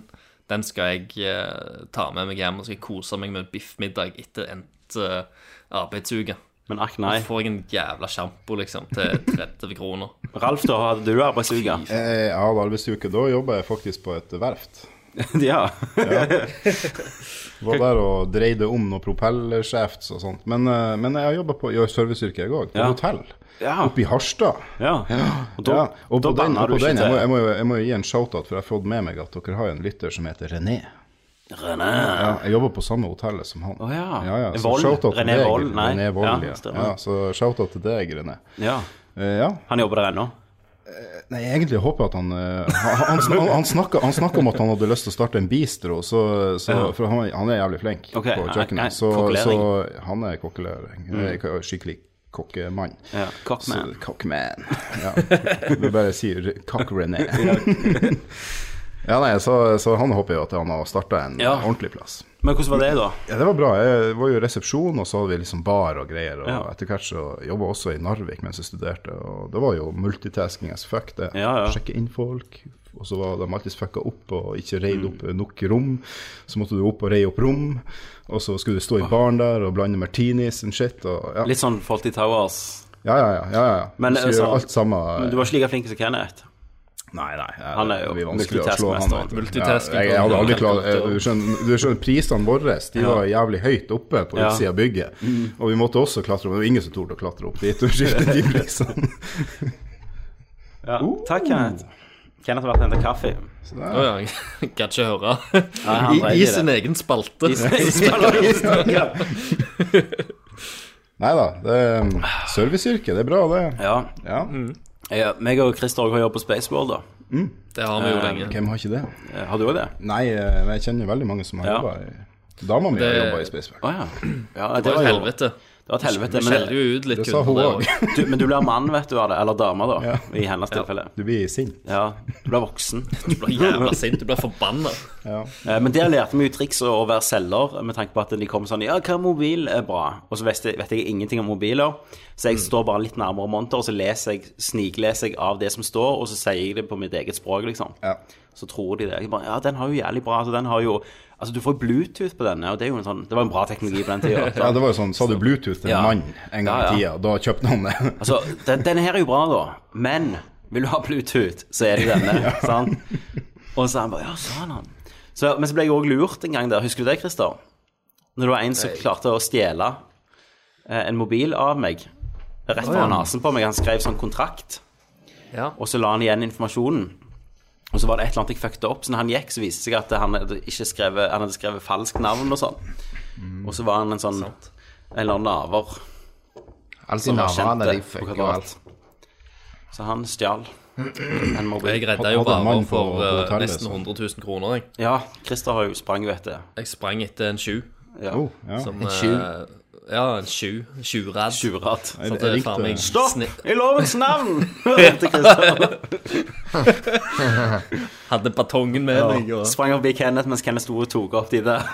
Speaker 6: den skal jeg eh, ta med meg hjem og skal jeg kose meg med en biffmiddag etter endt eh, arbeidsuke.
Speaker 5: Men akk nei.
Speaker 6: Så får jeg en jævla sjampo liksom til 30 kroner.
Speaker 5: Ralf, da hadde du arbeidsuke?
Speaker 8: Eh, Jeg hadde arbeidsuke. Da jobba jeg faktisk på et verft.
Speaker 5: ja.
Speaker 8: Var der og dreide om noen propellerskjeft og sånt. Men, eh, men jeg har jobba på gjør serviceyrke, jeg òg. På
Speaker 5: Ja.
Speaker 8: hotell.
Speaker 5: Ja.
Speaker 8: Oppe i Harstad.
Speaker 5: ja. Og da,
Speaker 8: ja. og
Speaker 5: da
Speaker 8: på den,
Speaker 5: banna
Speaker 8: og
Speaker 5: du
Speaker 8: på
Speaker 5: ikke
Speaker 8: den jeg, må, jeg,
Speaker 5: til
Speaker 8: må jo, jeg må jo gi en shout-out, for jeg har fått med meg at dere har en lytter som heter René.
Speaker 5: René.
Speaker 8: Ja, jeg jobber på samme hotellet som han.
Speaker 5: Å ja.
Speaker 8: Ja, ja. Så
Speaker 5: Vold.
Speaker 8: shout-out til
Speaker 5: René
Speaker 8: deg,
Speaker 5: Vold, nei.
Speaker 8: René Vold,
Speaker 5: Ja,
Speaker 8: ja.
Speaker 5: stemmer.
Speaker 8: ja. Så shout-out til deg, René.
Speaker 5: Ja.
Speaker 8: Eh, ja.
Speaker 5: Han jobber der ennå?
Speaker 8: Nei, jeg egentlig håper jeg at han eh, Han, han, sn- han, snakka, han snakka om at han hadde lyst til å starte en bistro, så, så, for han, han er jævlig flink
Speaker 5: Ok,
Speaker 8: på
Speaker 5: nei, nei,
Speaker 8: kjøkkenet. Så, så
Speaker 5: kokkelering. Mm.
Speaker 8: han er kokkelering. Eh, k- Skikkelig kokkemann.
Speaker 5: Ja. Cockman.
Speaker 8: Så- Cockman. Ja. Du bare sier Cock-René. ja, nei, så, så han håper jo at han har starta en
Speaker 5: Ja.
Speaker 8: ordentlig plass.
Speaker 5: Men hvordan var det, da?
Speaker 8: Ja, det var bra. Jeg var jo i resepsjon, og så hadde vi liksom bar og greier. Og
Speaker 5: Ja.
Speaker 8: etter hvert så jobba jeg også i Narvik mens jeg studerte, og det var jo multitasking as fuck, det.
Speaker 5: Ja, ja.
Speaker 8: Sjekke inn folk. Og så var de alltid fucka opp og ikke
Speaker 5: Mm.
Speaker 8: reid opp nok rom. Så måtte du opp og reie opp rom, og så skulle du stå i baren der og blande martinis and shit. Og ja.
Speaker 5: Litt sånn Faulty Towers.
Speaker 8: Ja, ja, ja. ja, ja.
Speaker 5: Men,
Speaker 8: Men, du skulle
Speaker 5: altså,
Speaker 8: gjøre alt samme.
Speaker 5: Men du var ikke like flink som Kenneth.
Speaker 8: Nei, nei. ja,
Speaker 5: Han er jo
Speaker 8: det blir vanskelig å slå
Speaker 5: multitaskmester.
Speaker 8: han, altså. vet du.
Speaker 6: Multitasking.
Speaker 8: Ja, jeg, jeg hadde aldri klart jeg- Du skjønner, du skjønner prisene våre de var jævlig høyt oppe på
Speaker 5: Ja.
Speaker 8: utsida av bygget. Og vi måtte også klatre opp. Det var ingen som torde å klatre opp dit og skifte de prisene.
Speaker 5: Ja. Uh. Takk, Kenneth. Kenneth har vært og hentet kaffe.
Speaker 6: Å ja, jeg kan ikke høre.
Speaker 5: han
Speaker 6: I,
Speaker 5: dreier det.
Speaker 6: I sin egen spalte.
Speaker 8: Nei da. Serviceyrke, um, det er bra, det.
Speaker 5: Ja.
Speaker 8: Ja.
Speaker 5: Jeg, meg og Christer også har jobb på Spaceball, da.
Speaker 6: Det har vi jo lenge.
Speaker 8: Hvem har ikke det?
Speaker 5: Eh, Har du òg det?
Speaker 8: Nei, eh, jeg kjenner veldig mange som har
Speaker 5: Ja.
Speaker 8: jobba i Dama mi har
Speaker 6: Det-
Speaker 8: jobba i Spaceback.
Speaker 5: Å ja. ja.
Speaker 6: Det var et
Speaker 5: jo-
Speaker 6: helvete.
Speaker 5: Det var et helvete.
Speaker 6: Vi
Speaker 5: Men,
Speaker 6: skjeller jo ut litt
Speaker 8: Det sa hun
Speaker 6: kunder,
Speaker 8: òg.
Speaker 6: det også.
Speaker 5: du, men du blir mann, vet du, av det. Eller dame, da. I hennes tilfelle.
Speaker 8: Du blir sint.
Speaker 5: Ja. Du blir voksen.
Speaker 6: Du blir jævla sint, du blir forbanna.
Speaker 5: Eh, Men der lærte vi jo triks å å være selger, med tanke på at de kom sånn Ja, hva mobil er bra? Og så vet jeg, vet jeg ingenting om mobiler, så jeg står bare litt nærmere monter, og så leser jeg, snikleser jeg av det som står, og så sier jeg det på mitt eget språk, liksom.
Speaker 8: Ja.
Speaker 5: Så tror de det. Jeg bare, ja, den har jo jævlig bra. Altså, den har jo Altså, du får Bluetooth på denne, og det er jo en sånn Det var en bra teknologi på den tida.
Speaker 8: Ja, det var jo sånn, Sa du Bluetooth til en
Speaker 5: Ja.
Speaker 8: mann en gang i
Speaker 5: Ja,
Speaker 8: tida, da kjøpte han det.
Speaker 5: Altså, den, denne her er jo bra, da. Men vil du ha Bluetooth, så er det denne. sant? Og så han bare Ja, sa han. Så, men så ble jeg òg lurt en gang der. Husker du det, Christer? Når det var en som klarte å stjele eh, en mobil av meg. Rett foran nesen på meg. Han skrev sånn kontrakt,
Speaker 6: Ja.
Speaker 5: og så la han igjen informasjonen. Og så var det et eller annet jeg fucket opp. Så når han gikk, så viste det seg at han hadde, ikke skrevet, han hadde skrevet falskt navn og sånn. Og så var han en sånn En eller annen naver
Speaker 7: Alt i
Speaker 5: som var kjent
Speaker 7: navnene,
Speaker 5: det
Speaker 7: Altså, de
Speaker 5: på
Speaker 7: fucker jo alt.
Speaker 5: kvadrat. Så han stjal en
Speaker 6: Jeg
Speaker 5: mobil.
Speaker 6: redda jo
Speaker 8: Hadde en mann
Speaker 6: varer
Speaker 8: på-
Speaker 6: for
Speaker 8: på
Speaker 6: eh,
Speaker 8: hotellet,
Speaker 6: nesten
Speaker 8: så-
Speaker 6: 100 000 kroner. Jeg,
Speaker 5: Ja, Christer har jo sprang, vet du.
Speaker 6: jeg sprang etter en sju.
Speaker 5: Ja.
Speaker 8: Oh, ja.
Speaker 6: Som, eh, ja, en sju. Tjuvradd.
Speaker 5: Tjuvratt.
Speaker 6: Sånn at
Speaker 8: Jeg
Speaker 6: det
Speaker 8: likte
Speaker 6: faen meg
Speaker 8: det.
Speaker 5: Stopp!
Speaker 6: sni-
Speaker 5: I lovens navn! Hørte Christer.
Speaker 6: Hadde batongen med meg og
Speaker 5: Sprang forbi Kenneth mens Kenneth sto og tok opp de der.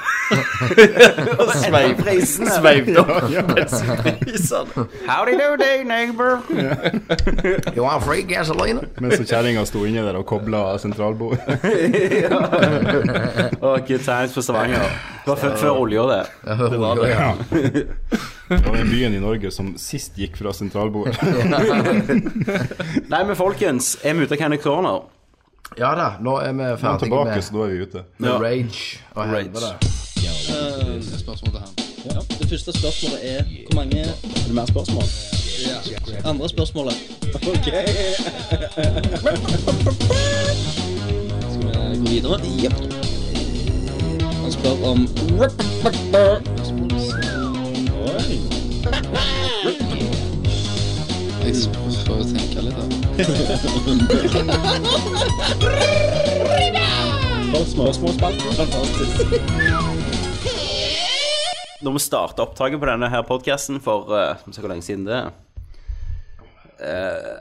Speaker 5: Og sveiv prisene.
Speaker 6: sveivde opp bensinprisene.
Speaker 5: Howdy do day, neighbor.
Speaker 7: You want free gasoline?
Speaker 8: Mens kjerringa sto inni der og kobla sentralbord.
Speaker 5: Og good times på Stavanger. Det var før, før olja, det.
Speaker 7: Det var det.
Speaker 8: Ja. Det var den byen i Norge som sist gikk fra sentralbord.
Speaker 5: Nei, men folkens, er vi ute av Kenneth Corner?
Speaker 7: Ja da, nå er vi
Speaker 8: Men
Speaker 7: ferdige
Speaker 8: tilbake,
Speaker 7: med,
Speaker 8: så da er vi ute.
Speaker 7: med Rage og helvete.
Speaker 10: Det første spørsmålet er hvor mange Er det mer spørsmål? Ja. Andre spørsmålet. Ok. Skal vi gå videre? Jepp. Han spør om Oi. Jeg prøver å tenke litt, da. Spørsmålsspalten. Fantastisk.
Speaker 5: Når vi starta opptaket på denne her podkasten for eh, Skal vi se hvor lenge siden det er eh,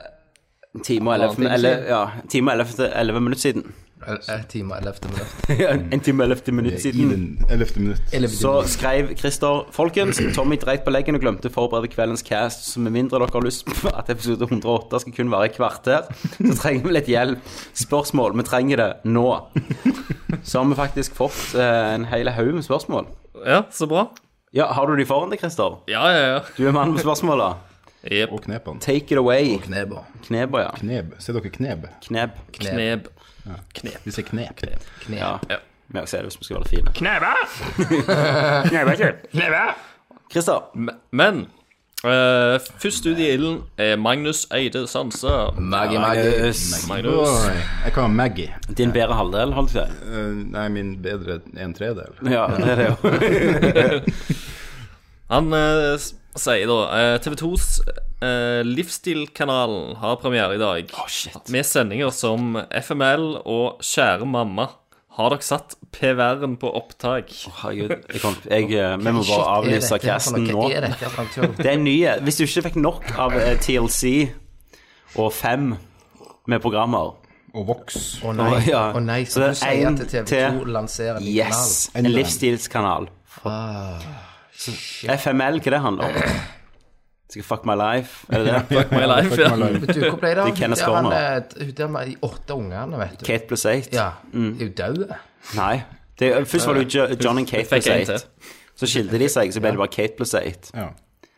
Speaker 5: En time og
Speaker 6: Halvannen
Speaker 5: 11,
Speaker 6: time
Speaker 5: eller, ja, en time og 11, 11 minutter siden.
Speaker 7: Ett time og ellevte minutt.
Speaker 5: en time og 11 minutter
Speaker 8: I
Speaker 5: siden.
Speaker 8: den ellevte minutt.
Speaker 5: Så skrev Christer Folkens, Tommy dreit på leggen og glemte å forberede kveldens cast, så med mindre dere har lyst på at episode 108 skal kun være i kvarter, så trenger vi litt hjelp. Spørsmål. Vi trenger det nå. Så har vi faktisk fått eh, en hel haug med spørsmål.
Speaker 6: Ja, så bra.
Speaker 5: Ja, Har du de foran deg, Christer?
Speaker 6: Ja, ja, ja.
Speaker 5: Du er mannen med spørsmåla.
Speaker 6: Jepp.
Speaker 8: Og knepene.
Speaker 5: Take it away.
Speaker 7: Kneba.
Speaker 5: Kneber, ja.
Speaker 8: Kneb. Ser dere kneb?
Speaker 5: Kneb.
Speaker 6: Kneb.
Speaker 8: Vi ser knep.
Speaker 5: Ja. Vi også er det hvis vi skal være fine. Christer,
Speaker 6: Me- Men eh, først ut i ilden er Magnus Eide Sansa.
Speaker 7: Maggi, Maggi.
Speaker 6: Magnus.
Speaker 8: Oi, jeg kan ha Maggie.
Speaker 5: din bedre halvdel, holdt jeg på å si.
Speaker 8: Eh, nei, min bedre en tredel.
Speaker 5: Ja, det er det jo.
Speaker 6: Han eh, s- sier da eh, TV2s eh, Livsstilkanalen har premiere i dag. Med sendinger som FML og Kjære mamma. Har dere satt PVR-en på opptak?
Speaker 5: Herregud, jeg kom, jeg, eh, vi må bare avlyse casten nå.
Speaker 7: Hva er dette for noe tull?
Speaker 5: Det er nye. Hvis du ikke fikk nok av eh, TLC og fem med programmer
Speaker 8: Og Vox.
Speaker 7: Å nei,
Speaker 5: Å, ja.
Speaker 7: å nei,
Speaker 5: Så
Speaker 7: så
Speaker 5: det er
Speaker 7: du sier
Speaker 5: en
Speaker 7: at TV2
Speaker 5: til-
Speaker 7: lanserer en ny
Speaker 5: Yes!
Speaker 8: Endelig.
Speaker 5: En livsstilskanal. Ah, FML, hva det handler om? Skal fuck my life, er det det?
Speaker 6: My life, ja.
Speaker 7: kanal. Du, hvor ble det av
Speaker 5: Det er Kenneth
Speaker 7: der han,
Speaker 5: Corner.
Speaker 7: eh, hun der med de åtte ungene, vet du?
Speaker 5: Kate pluss eight?
Speaker 7: Ja. De er jo døde.
Speaker 5: Nei. Det, først var det jo Jo- John og Kate
Speaker 6: Fikk
Speaker 5: pluss
Speaker 6: en til.
Speaker 5: eight. Så skilte de seg, så ble det bare Kate pluss eight.
Speaker 8: Ja.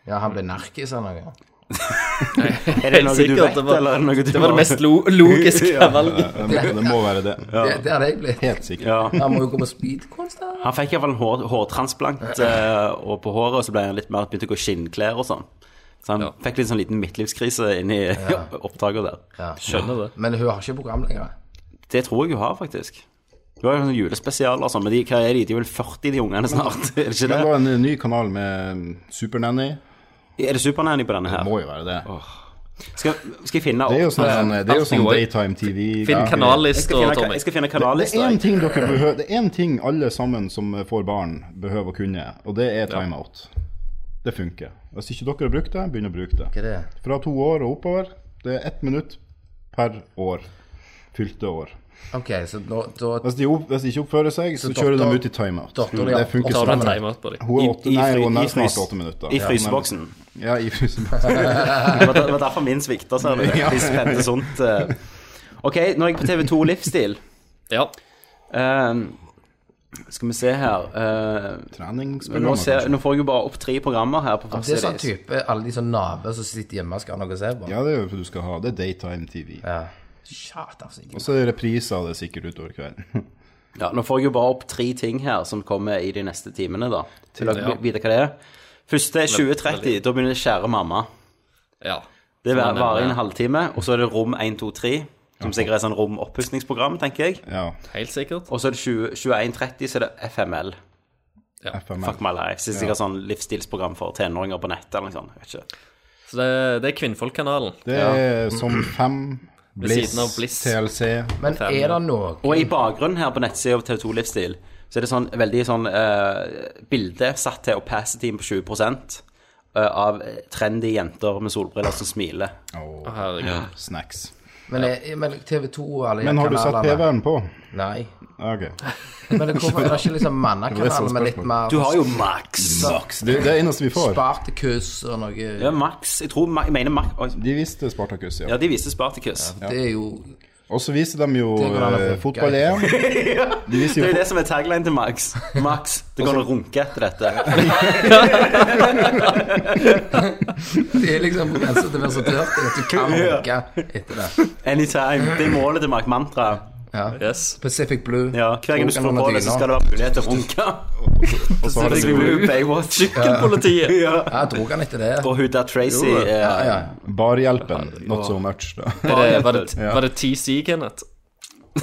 Speaker 7: Ja, han ble narkis eller noe.
Speaker 5: Er det noe du
Speaker 6: sikkert,
Speaker 5: vet,
Speaker 6: det var-
Speaker 5: eller er det noe du
Speaker 6: Det var det mest lo logiske valget.
Speaker 8: Det, må- det må være det.
Speaker 7: Det, det hadde jeg blitt.
Speaker 8: Helt sikkert.
Speaker 5: Ja.
Speaker 7: Han må jo gå på speedkunst, da.
Speaker 5: Han fikk iallfall en hår, hårtransplant eh, og på håret, og så ble han litt mer begynte å gå i skinnklær og sånn. Så han
Speaker 6: Ja.
Speaker 5: fikk litt sånn liten midtlivskrise inni ja. opptaket der.
Speaker 6: Skjønner det.
Speaker 7: Men hun har ikke program lenger.
Speaker 5: Det tror jeg hun har, faktisk. Hun har jo sånne julespesialer og sånn, men de, hva er de? De er vel 40, de ungene snart? er det ikke
Speaker 8: Det
Speaker 5: det?
Speaker 8: var en ny kanal med mm, Supernanny.
Speaker 5: Er det Supernanny på denne
Speaker 8: Det
Speaker 5: her?
Speaker 8: må jo være det.
Speaker 5: skal, skal jeg finne
Speaker 8: Det er jo sånn, det er jo sånn
Speaker 6: Alltid.
Speaker 8: daytime TV.
Speaker 6: Finn
Speaker 8: greier.
Speaker 5: Jeg
Speaker 6: kanallista,
Speaker 5: skal finne,
Speaker 6: Tommy.
Speaker 5: jeg skal finne
Speaker 8: Det er
Speaker 5: kanallister.
Speaker 8: én
Speaker 5: jeg.
Speaker 8: ting dere behøver Det er én ting alle sammen som får barn, behøver å kunne, og det er timeout. Det funker. Hvis ikke dere har brukt det, begynn å bruke
Speaker 7: Hva er
Speaker 8: det.
Speaker 7: det?
Speaker 8: Fra to år og oppover. Det er ett minutt per år. Fylte år.
Speaker 7: Ok, så nå, da
Speaker 8: Hvis de, opp, hvis de ikke oppfører seg, så,
Speaker 7: Så
Speaker 8: kjører
Speaker 7: dotter-
Speaker 8: de ut i timeout.
Speaker 7: dotter,
Speaker 8: Mm,
Speaker 7: ja.
Speaker 8: Det funker
Speaker 6: Tar du en
Speaker 8: sånn.
Speaker 6: timeout på dem?
Speaker 8: Hun
Speaker 5: I- i
Speaker 8: er åtte, nei,
Speaker 5: fry-
Speaker 8: hun
Speaker 5: i
Speaker 8: er snart
Speaker 5: frys-
Speaker 8: åtte minutter.
Speaker 5: I fryseboksen.
Speaker 8: Ja, i fryseboksen.
Speaker 5: Det var, det var derfor min svikta, sa du. De spente sånt. eh. Ok, nå er jeg på TV2 Livsstil.
Speaker 6: Ja.
Speaker 5: Ehm, skal vi se her Ehm, nå,
Speaker 8: Treningsprogrammer,
Speaker 5: ser,
Speaker 8: kanskje.
Speaker 5: nå får jeg jo bare opp tre programmer her. på
Speaker 7: Det er sånn
Speaker 5: Facilis.
Speaker 7: type alle de sånn naver som sitter hjemme og skal ha noe å se på.
Speaker 8: Ja, det er jo for du skal ha. Det er daytime TV.
Speaker 7: Ja. Shut up, sikkert.
Speaker 8: Og så er det repriser av det sikkert utover kvelden.
Speaker 5: Ja, nå får jeg jo bare opp tre ting her som kommer i de neste timene, da. Vil dere vite hva det er? Første er 2030. Da begynner det Kjære mamma.
Speaker 6: ja.
Speaker 5: Det
Speaker 6: Som han nevner.
Speaker 5: varer i en halvtime. Og så er det Rom 123, som sikkert er sånn romoppussingsprogram, tenker jeg.
Speaker 8: Ja,
Speaker 6: Helt sikkert.
Speaker 5: Og så er det 20 2130, så er det FML.
Speaker 8: FML.
Speaker 5: Fuck my life. Så det er sikkert sånn livsstilsprogram for tenåringer på nettet eller noe sånt. Jeg Vet ikke.
Speaker 6: Så det, det er Kvinnfolkkanalen.
Speaker 8: Det er som fem
Speaker 6: siden av Bliss.
Speaker 8: Bliss, TLC
Speaker 7: Men er det noe
Speaker 5: Og i bakgrunnen her på nettsida av TV2 Livsstil, så er det sånn veldig sånn eh, bilde satt til opacityen på 20 eh, av trendy jenter med solbriller som smiler.
Speaker 8: og
Speaker 6: Herregud.
Speaker 8: snacks.
Speaker 7: Men, er- men TV2 og alle de
Speaker 8: Men har du satt
Speaker 7: kanalene-
Speaker 8: PV-en på?
Speaker 7: Nei.
Speaker 8: Ok.
Speaker 7: Men det hvorfor er det ikke liksom mannakanalen med litt mer
Speaker 5: Du har jo Max.
Speaker 8: Saks. Det, det er det eneste vi får.
Speaker 7: Spartacus og noe
Speaker 5: Ja, Max. Jeg tror Ma- Jeg mener Max Oi,
Speaker 8: De viste Spartacus, ja.
Speaker 5: Ja, de viste Spartacus.
Speaker 7: Det er jo
Speaker 8: Og så viste de jo
Speaker 7: Det går an å
Speaker 8: eh,
Speaker 7: funke.
Speaker 8: fotball-EM. De
Speaker 5: Det
Speaker 8: viser
Speaker 5: er
Speaker 8: jo
Speaker 5: jo det som er tagline til Max. Max, det går an å runke etter dette.
Speaker 7: Det er liksom på grensa til å være så tørt at du kan runke etter det.
Speaker 5: Anytime. Det er målet til Max Mantra.
Speaker 6: Yes.
Speaker 7: Pacific Blue.
Speaker 5: Ja, Hver gang du slår på det, så skal det være mulighet til å runke.
Speaker 8: Og så har de
Speaker 5: Blue Baywatch.
Speaker 6: Politiet.
Speaker 5: Ja.
Speaker 7: Ja, jeg drog han etter det.
Speaker 5: Og Huda Tracy.
Speaker 7: Jo,
Speaker 5: eh,
Speaker 7: Ja, ja.
Speaker 8: Barhjelpen. Not so much, da.
Speaker 6: Var det, var, det, var det TC, Kenneth?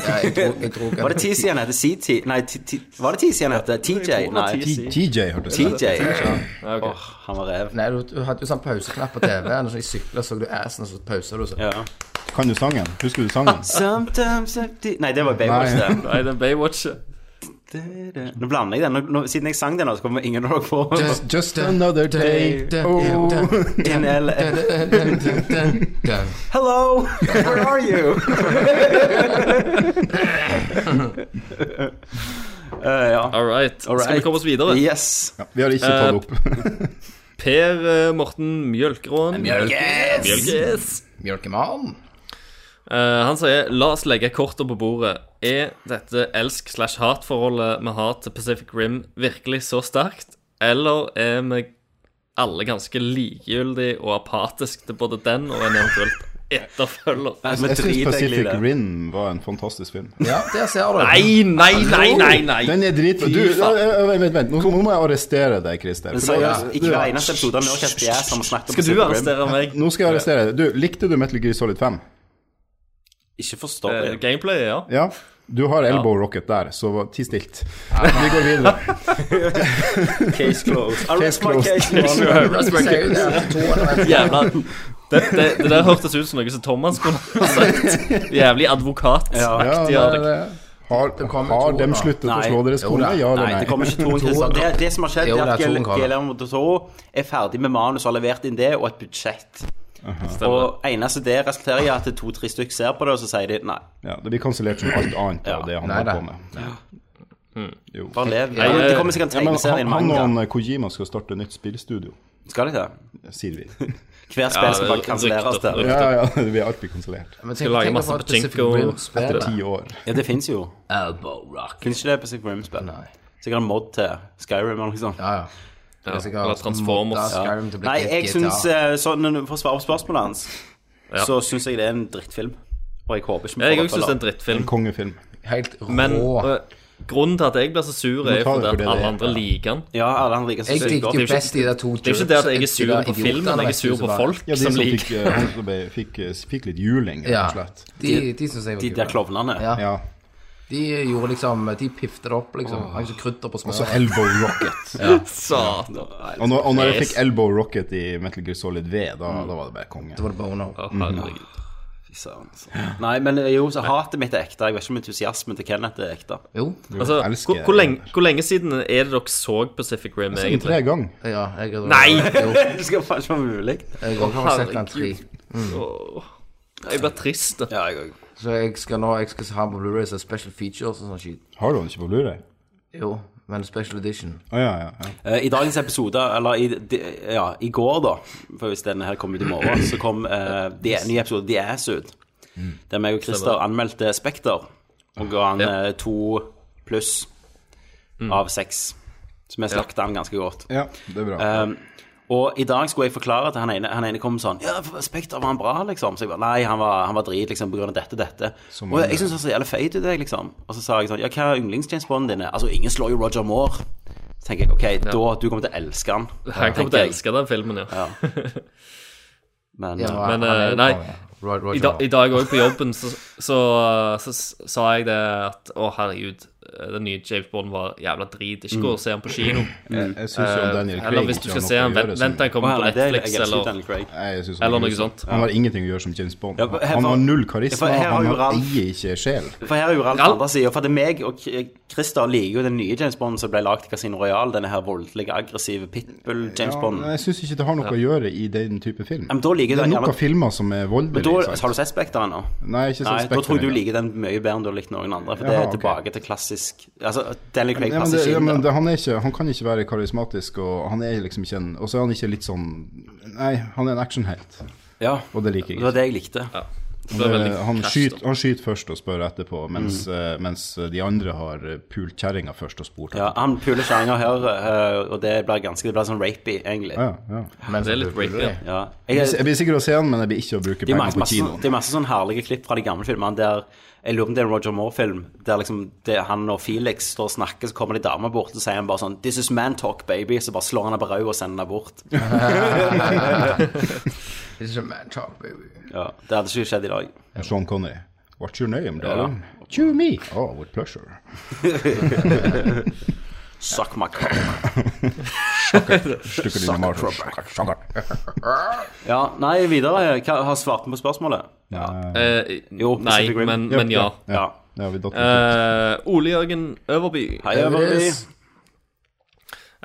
Speaker 7: ja jeg drog, jeg drog han
Speaker 5: Var det TC han heter? CT? Nei, T- T- var det TC han heter? TJ? Nei,
Speaker 8: T- TJ, hørtes det ut.
Speaker 5: TJ. Åh, han var rev.
Speaker 7: Nei, du, du hadde jo sånn pauseknapp på TV-en, og så i sykler så du assen, og så pauser du, og så
Speaker 5: Ja.
Speaker 8: Kan du
Speaker 7: Ah,
Speaker 8: sangen? Husker du sangen?
Speaker 5: Sometimes I do- Nei, det var Baywatch,
Speaker 8: Nei.
Speaker 5: det.
Speaker 6: Nei, det er Baywatch.
Speaker 5: Nå blander jeg den. Nå, nå, siden jeg sang den, nå, så kommer ingen av dere på.
Speaker 7: Just, just
Speaker 8: another day. Oh.
Speaker 5: In LA.
Speaker 7: LA.
Speaker 5: Hello, where are you? Eh, ja.
Speaker 6: All right.
Speaker 5: All
Speaker 6: Skal vi
Speaker 5: right.
Speaker 6: komme oss videre?
Speaker 5: Yes.
Speaker 8: Ja, vi har ikke tatt det opp.
Speaker 6: Per eh, Morten Mjølkeråen. Mjølkes.
Speaker 7: Mjølkemann.
Speaker 6: Eh, han sier La oss legge korta på bordet. Er dette elsk-slash-hat-forholdet vi har til Pacific Rim, virkelig så sterkt? Eller er vi alle ganske likegyldige og apatiske til både den og en eventuelt etterfølger?
Speaker 5: Altså,
Speaker 8: Jeg syns
Speaker 5: drit, egentlig,
Speaker 8: Pacific
Speaker 5: det.
Speaker 8: Rim var en fantastisk film.
Speaker 7: Ja, der ser du.
Speaker 6: Nei, nei, nei, nei! nei
Speaker 8: Den er dritfin. Du, ja, ja, ja, vent, vent, nå, nå må jeg arrestere deg, Christer.
Speaker 5: Men
Speaker 8: For
Speaker 5: seriøst,
Speaker 8: nå-
Speaker 5: ikke
Speaker 8: du-
Speaker 5: hver eneste episode har vi orket jeg som snakker om
Speaker 6: Skal du
Speaker 5: Pacific Rim.
Speaker 6: arrestere meg?
Speaker 8: Nå skal jeg arrestere deg. Du, likte du Metal Gear Solid 5?
Speaker 5: Ikke forstår
Speaker 6: Eh,
Speaker 5: jeg.
Speaker 6: Gameplay, ja.
Speaker 8: Ja. Du har elbow rocket der, så ti stilt. Vi går videre.
Speaker 5: Case closed. Arrest my
Speaker 8: closed.
Speaker 5: case, Your Honor.
Speaker 7: Sier jo det at to av dem er-
Speaker 6: Jævla det, det, det der hørtes ut som noe som Thomas kunne ha sagt. Jævlig
Speaker 8: Ja,
Speaker 6: advokataktig.
Speaker 8: det
Speaker 6: av
Speaker 8: er
Speaker 6: deg.
Speaker 8: det. Har,
Speaker 7: kommer
Speaker 8: har
Speaker 7: to,
Speaker 8: dem
Speaker 7: da.
Speaker 8: sluttet å
Speaker 5: Nei.
Speaker 8: slå deres
Speaker 7: Jo,
Speaker 8: kone?
Speaker 7: da.
Speaker 8: Ja eller
Speaker 5: Nei, det kommer
Speaker 8: nei?
Speaker 5: ikke to
Speaker 7: Toren
Speaker 5: Christian. Det, det som har skjedd,
Speaker 7: Jo,
Speaker 5: er at
Speaker 7: det er toren,
Speaker 5: Guil-
Speaker 7: Karl.
Speaker 5: Guillermo del Toro er ferdig med manus og har levert inn det, og et budsjett. Og eneste det resulterer i at to-tre stykker ser på det, og så sier de nei,
Speaker 8: Ja, det blir kansellert som alt annet av
Speaker 5: Ja.
Speaker 8: det han
Speaker 7: Nei,
Speaker 8: har
Speaker 7: da.
Speaker 8: på med.
Speaker 7: Hm.
Speaker 8: Jo.
Speaker 5: bare lev.
Speaker 6: Nei,
Speaker 5: det kommer sikkert
Speaker 8: Ja,
Speaker 5: en
Speaker 8: men
Speaker 5: tegneserie,
Speaker 8: han,
Speaker 5: en
Speaker 8: han og
Speaker 5: manga.
Speaker 8: han, eh, Kojima skal starte nytt spillstudio,
Speaker 5: Skal de det?
Speaker 8: sier vi.
Speaker 5: Hvert spill skal bare
Speaker 6: rykter,
Speaker 5: kanselleres
Speaker 6: rykter.
Speaker 5: der.
Speaker 8: Ja, ja, det blir alltid kansellert.
Speaker 7: Men tenk-
Speaker 6: Skal lage
Speaker 7: tenk
Speaker 6: masse
Speaker 7: på at
Speaker 6: pachinko
Speaker 7: Pacific Rim
Speaker 6: etter
Speaker 7: spiller.
Speaker 8: Ti år.
Speaker 5: Ja, det fins jo.
Speaker 7: Elbow rocket.
Speaker 5: Fins ikke det på Sick Rim-spill?
Speaker 7: Nei.
Speaker 5: Sikkert en mod til Skyrim eller noe sånt.
Speaker 7: Ja, Altså, ja. Det er sikkert
Speaker 6: eller Transformers.
Speaker 7: modda Skyrim til å bli
Speaker 5: Nei, jeg
Speaker 7: GTA.
Speaker 5: syns sånn, For å svare på spørsmålet hans, så syns jeg det er en drittfilm. Og jeg håper ikke vi
Speaker 6: Jeg
Speaker 5: får
Speaker 6: òg syns det er en
Speaker 5: oppfølger.
Speaker 6: drittfilm.
Speaker 8: En kongefilm.
Speaker 7: Helt rå.
Speaker 6: Men øh, grunnen til at jeg blir så sur, er
Speaker 8: ta
Speaker 6: fordi
Speaker 8: det for
Speaker 6: at
Speaker 8: det
Speaker 6: alle
Speaker 8: det er,
Speaker 6: andre
Speaker 8: ja.
Speaker 6: liker den.
Speaker 5: Ja, alle han liker så
Speaker 7: jeg
Speaker 5: sykt
Speaker 7: liker
Speaker 5: godt.
Speaker 7: jo
Speaker 5: Det er jo
Speaker 7: best de der to
Speaker 6: Det er ikke det at jeg er sur på filmen, jeg er sur på folk
Speaker 8: Ja, de
Speaker 6: som
Speaker 8: som fikk,
Speaker 6: liker
Speaker 8: eh, han som ble- fikk, eh, fikk litt juling, rett
Speaker 7: Ja,
Speaker 8: og slett.
Speaker 7: de, de syns jeg var
Speaker 5: De der
Speaker 7: kule.
Speaker 5: klovnene.
Speaker 7: Ja.
Speaker 8: Ja.
Speaker 7: De gjorde liksom De piftet det opp, liksom. Oh. Ikke så krydder på
Speaker 8: Og så
Speaker 7: smøret.
Speaker 8: Elbow Rocket.
Speaker 6: Satan.
Speaker 8: Og når, og når jeg
Speaker 6: Yes.
Speaker 8: fikk Elbow Rocket i Metal Gear Solid V, da,
Speaker 6: Mm.
Speaker 8: da var det bare konge.
Speaker 7: Det var det boner.
Speaker 6: Å, herregud.
Speaker 5: Fy søren, altså. Nei, men jo, så hatet mitt er ekte. Jeg vet ikke om entusiasmen til Kenneth er ekte.
Speaker 7: Jo.
Speaker 6: Altså,
Speaker 8: Jeg elsker
Speaker 6: hvor, hvor, lenge, hvor lenge siden er det dere så Pacific Rim,
Speaker 8: Sånn tre
Speaker 6: egentlig?
Speaker 8: ganger.
Speaker 7: Ja, jeg
Speaker 6: Nei!
Speaker 7: Jo,
Speaker 5: Det skal faen ikke være mulig.
Speaker 7: jeg også har sett den tre.
Speaker 6: Åh, Jeg blir trist. da.
Speaker 5: Ja, jeg òg.
Speaker 7: Så jeg skal nå Jeg skal ha den på Blu-ray så special features og sånn shit.
Speaker 8: Har du den ikke på Blu-ray?
Speaker 7: Jo, men special edition.
Speaker 8: Å ja, ja, ja.
Speaker 5: Eh, I dagens episode, eller i, de, ja, i går, da, for hvis denne her kommer ut i morgen, så kom eh, de, en ny episode The Ass ut.
Speaker 7: Mm.
Speaker 5: Der meg og Christer anmeldte Spekter og ga han eh, to pluss
Speaker 7: Mm.
Speaker 5: av seks. Så vi slakta han ganske godt.
Speaker 8: Ja, det er bra.
Speaker 5: Um, og i dag skulle jeg forklare til han ene Han ene kom sånn Ja, Spekter, var han bra, liksom? Så jeg bare Nei, han var, han var drit, liksom, på grunn av dette, dette.
Speaker 8: Som
Speaker 5: og
Speaker 8: han
Speaker 5: jeg
Speaker 8: gjør.
Speaker 5: syns han ser jævlig feit ut, jeg, liksom. Og så sa jeg sånn Ja, hva er yndlings-James-båndene dine? Altså, ingen slår jo Roger Moore. Så tenker jeg OK, da du kommer til å elske han.
Speaker 6: Han kommer
Speaker 5: tenker
Speaker 6: til å
Speaker 5: jeg.
Speaker 6: elske den filmen, ja.
Speaker 5: Men
Speaker 7: Ja,
Speaker 5: uh,
Speaker 7: han
Speaker 6: Men,
Speaker 7: er
Speaker 6: eh,
Speaker 7: jo
Speaker 6: nei.
Speaker 7: konge. Rod Roger
Speaker 6: I, da, I dag òg på jobben så, så, så, s- sa jeg det at å, herregud, den nye James Bond var jævla drit. Ikke gå og se han på kino. Eh,
Speaker 8: Jeg, jeg syns jo Mm. Daniel Craig
Speaker 6: Eller hvis du
Speaker 8: ikke
Speaker 6: skal
Speaker 8: har
Speaker 6: se
Speaker 8: noe å
Speaker 6: han,
Speaker 8: gjøre
Speaker 6: vent
Speaker 8: som-
Speaker 6: vent til han
Speaker 5: å,
Speaker 6: kommer på
Speaker 5: nei, det, jeg
Speaker 6: Netflix
Speaker 5: elsker
Speaker 6: eller
Speaker 5: Daniel Craig.
Speaker 8: Nei, jeg synes han
Speaker 6: Eller
Speaker 8: gjør
Speaker 6: noe
Speaker 8: det.
Speaker 6: sånt.
Speaker 8: Han har ingenting å gjøre som James Bond.
Speaker 5: Ja, for-
Speaker 8: Han har null
Speaker 5: Ja,
Speaker 8: karisma,
Speaker 5: for her har
Speaker 8: han
Speaker 5: jo
Speaker 8: har-
Speaker 5: Ralf-
Speaker 8: eier ikke sjel.
Speaker 5: For her er jo Ralf
Speaker 6: Ralf-
Speaker 5: andre sida. For det er meg og K- eh, Christer liker jo den nye James Bond som ble lagd i Casino Royal. Denne her voldelige, aggressive
Speaker 8: Ja,
Speaker 5: pitbull-James Bond.
Speaker 8: men jeg syns ikke det har noe å gjøre i den type film.
Speaker 5: men da liker
Speaker 8: det er
Speaker 5: du-
Speaker 8: nok av filmer som er
Speaker 5: Men da,
Speaker 8: voldelige.
Speaker 5: har du sett Spekter ennå?
Speaker 8: Nei, ikke sett
Speaker 5: Nei, Da
Speaker 8: Spectre
Speaker 5: tror jeg du
Speaker 8: engang.
Speaker 5: liker den mye bedre enn du har likt noen andre. For det
Speaker 8: Jaha,
Speaker 5: er
Speaker 8: ok.
Speaker 5: tilbake til klassisk Altså, Daniel Craig
Speaker 8: Ja, men
Speaker 5: passer
Speaker 8: det,
Speaker 5: ikke
Speaker 8: ja, men
Speaker 5: inn
Speaker 8: det,
Speaker 5: der.
Speaker 8: han, er ikke, han kan ikke være karismatisk, og han er liksom ikke en Og så er han ikke litt sånn Nei, han er en actionhelt,
Speaker 5: Ja,
Speaker 8: og det liker jeg
Speaker 5: det
Speaker 8: ikke.
Speaker 5: var det jeg likte. Ja,
Speaker 6: Det ble veldig
Speaker 8: Eh, han,
Speaker 6: crash,
Speaker 8: skyter,
Speaker 6: da.
Speaker 8: han skyter først og spør etterpå, mens, eh, mens de andre har eh, pult kjerringa først og spurt. etterpå.
Speaker 5: Han puler kjerringa her, eh, og det blir ganske Det blir sånn rapey, egentlig.
Speaker 8: Ja, ja.
Speaker 6: Det er litt rapey. ja.
Speaker 5: Ja.
Speaker 8: Jeg
Speaker 5: Jeg,
Speaker 8: blir sikkert å se han, men jeg blir ikke å bruke
Speaker 5: det er
Speaker 8: penger
Speaker 5: masse,
Speaker 8: på
Speaker 5: masse,
Speaker 8: kinoen.
Speaker 5: det er masse sånn herlige klipp fra de gamle filmene der Jeg lurer på om det er en Roger Moore-film der liksom det, han og Felix står og snakker, så kommer det ei dame bort, og så sier han bare sånn 'This is man talk, baby', så bare slår han henne på rauda og sender henne bort.
Speaker 7: This is a man talk, baby.
Speaker 5: Ja, Det hadde ikke skjedd i dag.
Speaker 8: Sean Connery. What's your name, darling? To me. Oh, with pleasure.
Speaker 5: Suck my cock.
Speaker 8: Stykker dine marker. Sucker.
Speaker 5: Ja, nei, videre. Hva, har svart på spørsmålet?
Speaker 6: Eh,
Speaker 5: Jo,
Speaker 6: nei,
Speaker 5: Pacific Rim.
Speaker 6: men, men ja.
Speaker 5: Ja.
Speaker 8: Ja, vi datt litt ut.
Speaker 6: Eh, Ole Jørgen Øverby
Speaker 5: Hei, Øverby.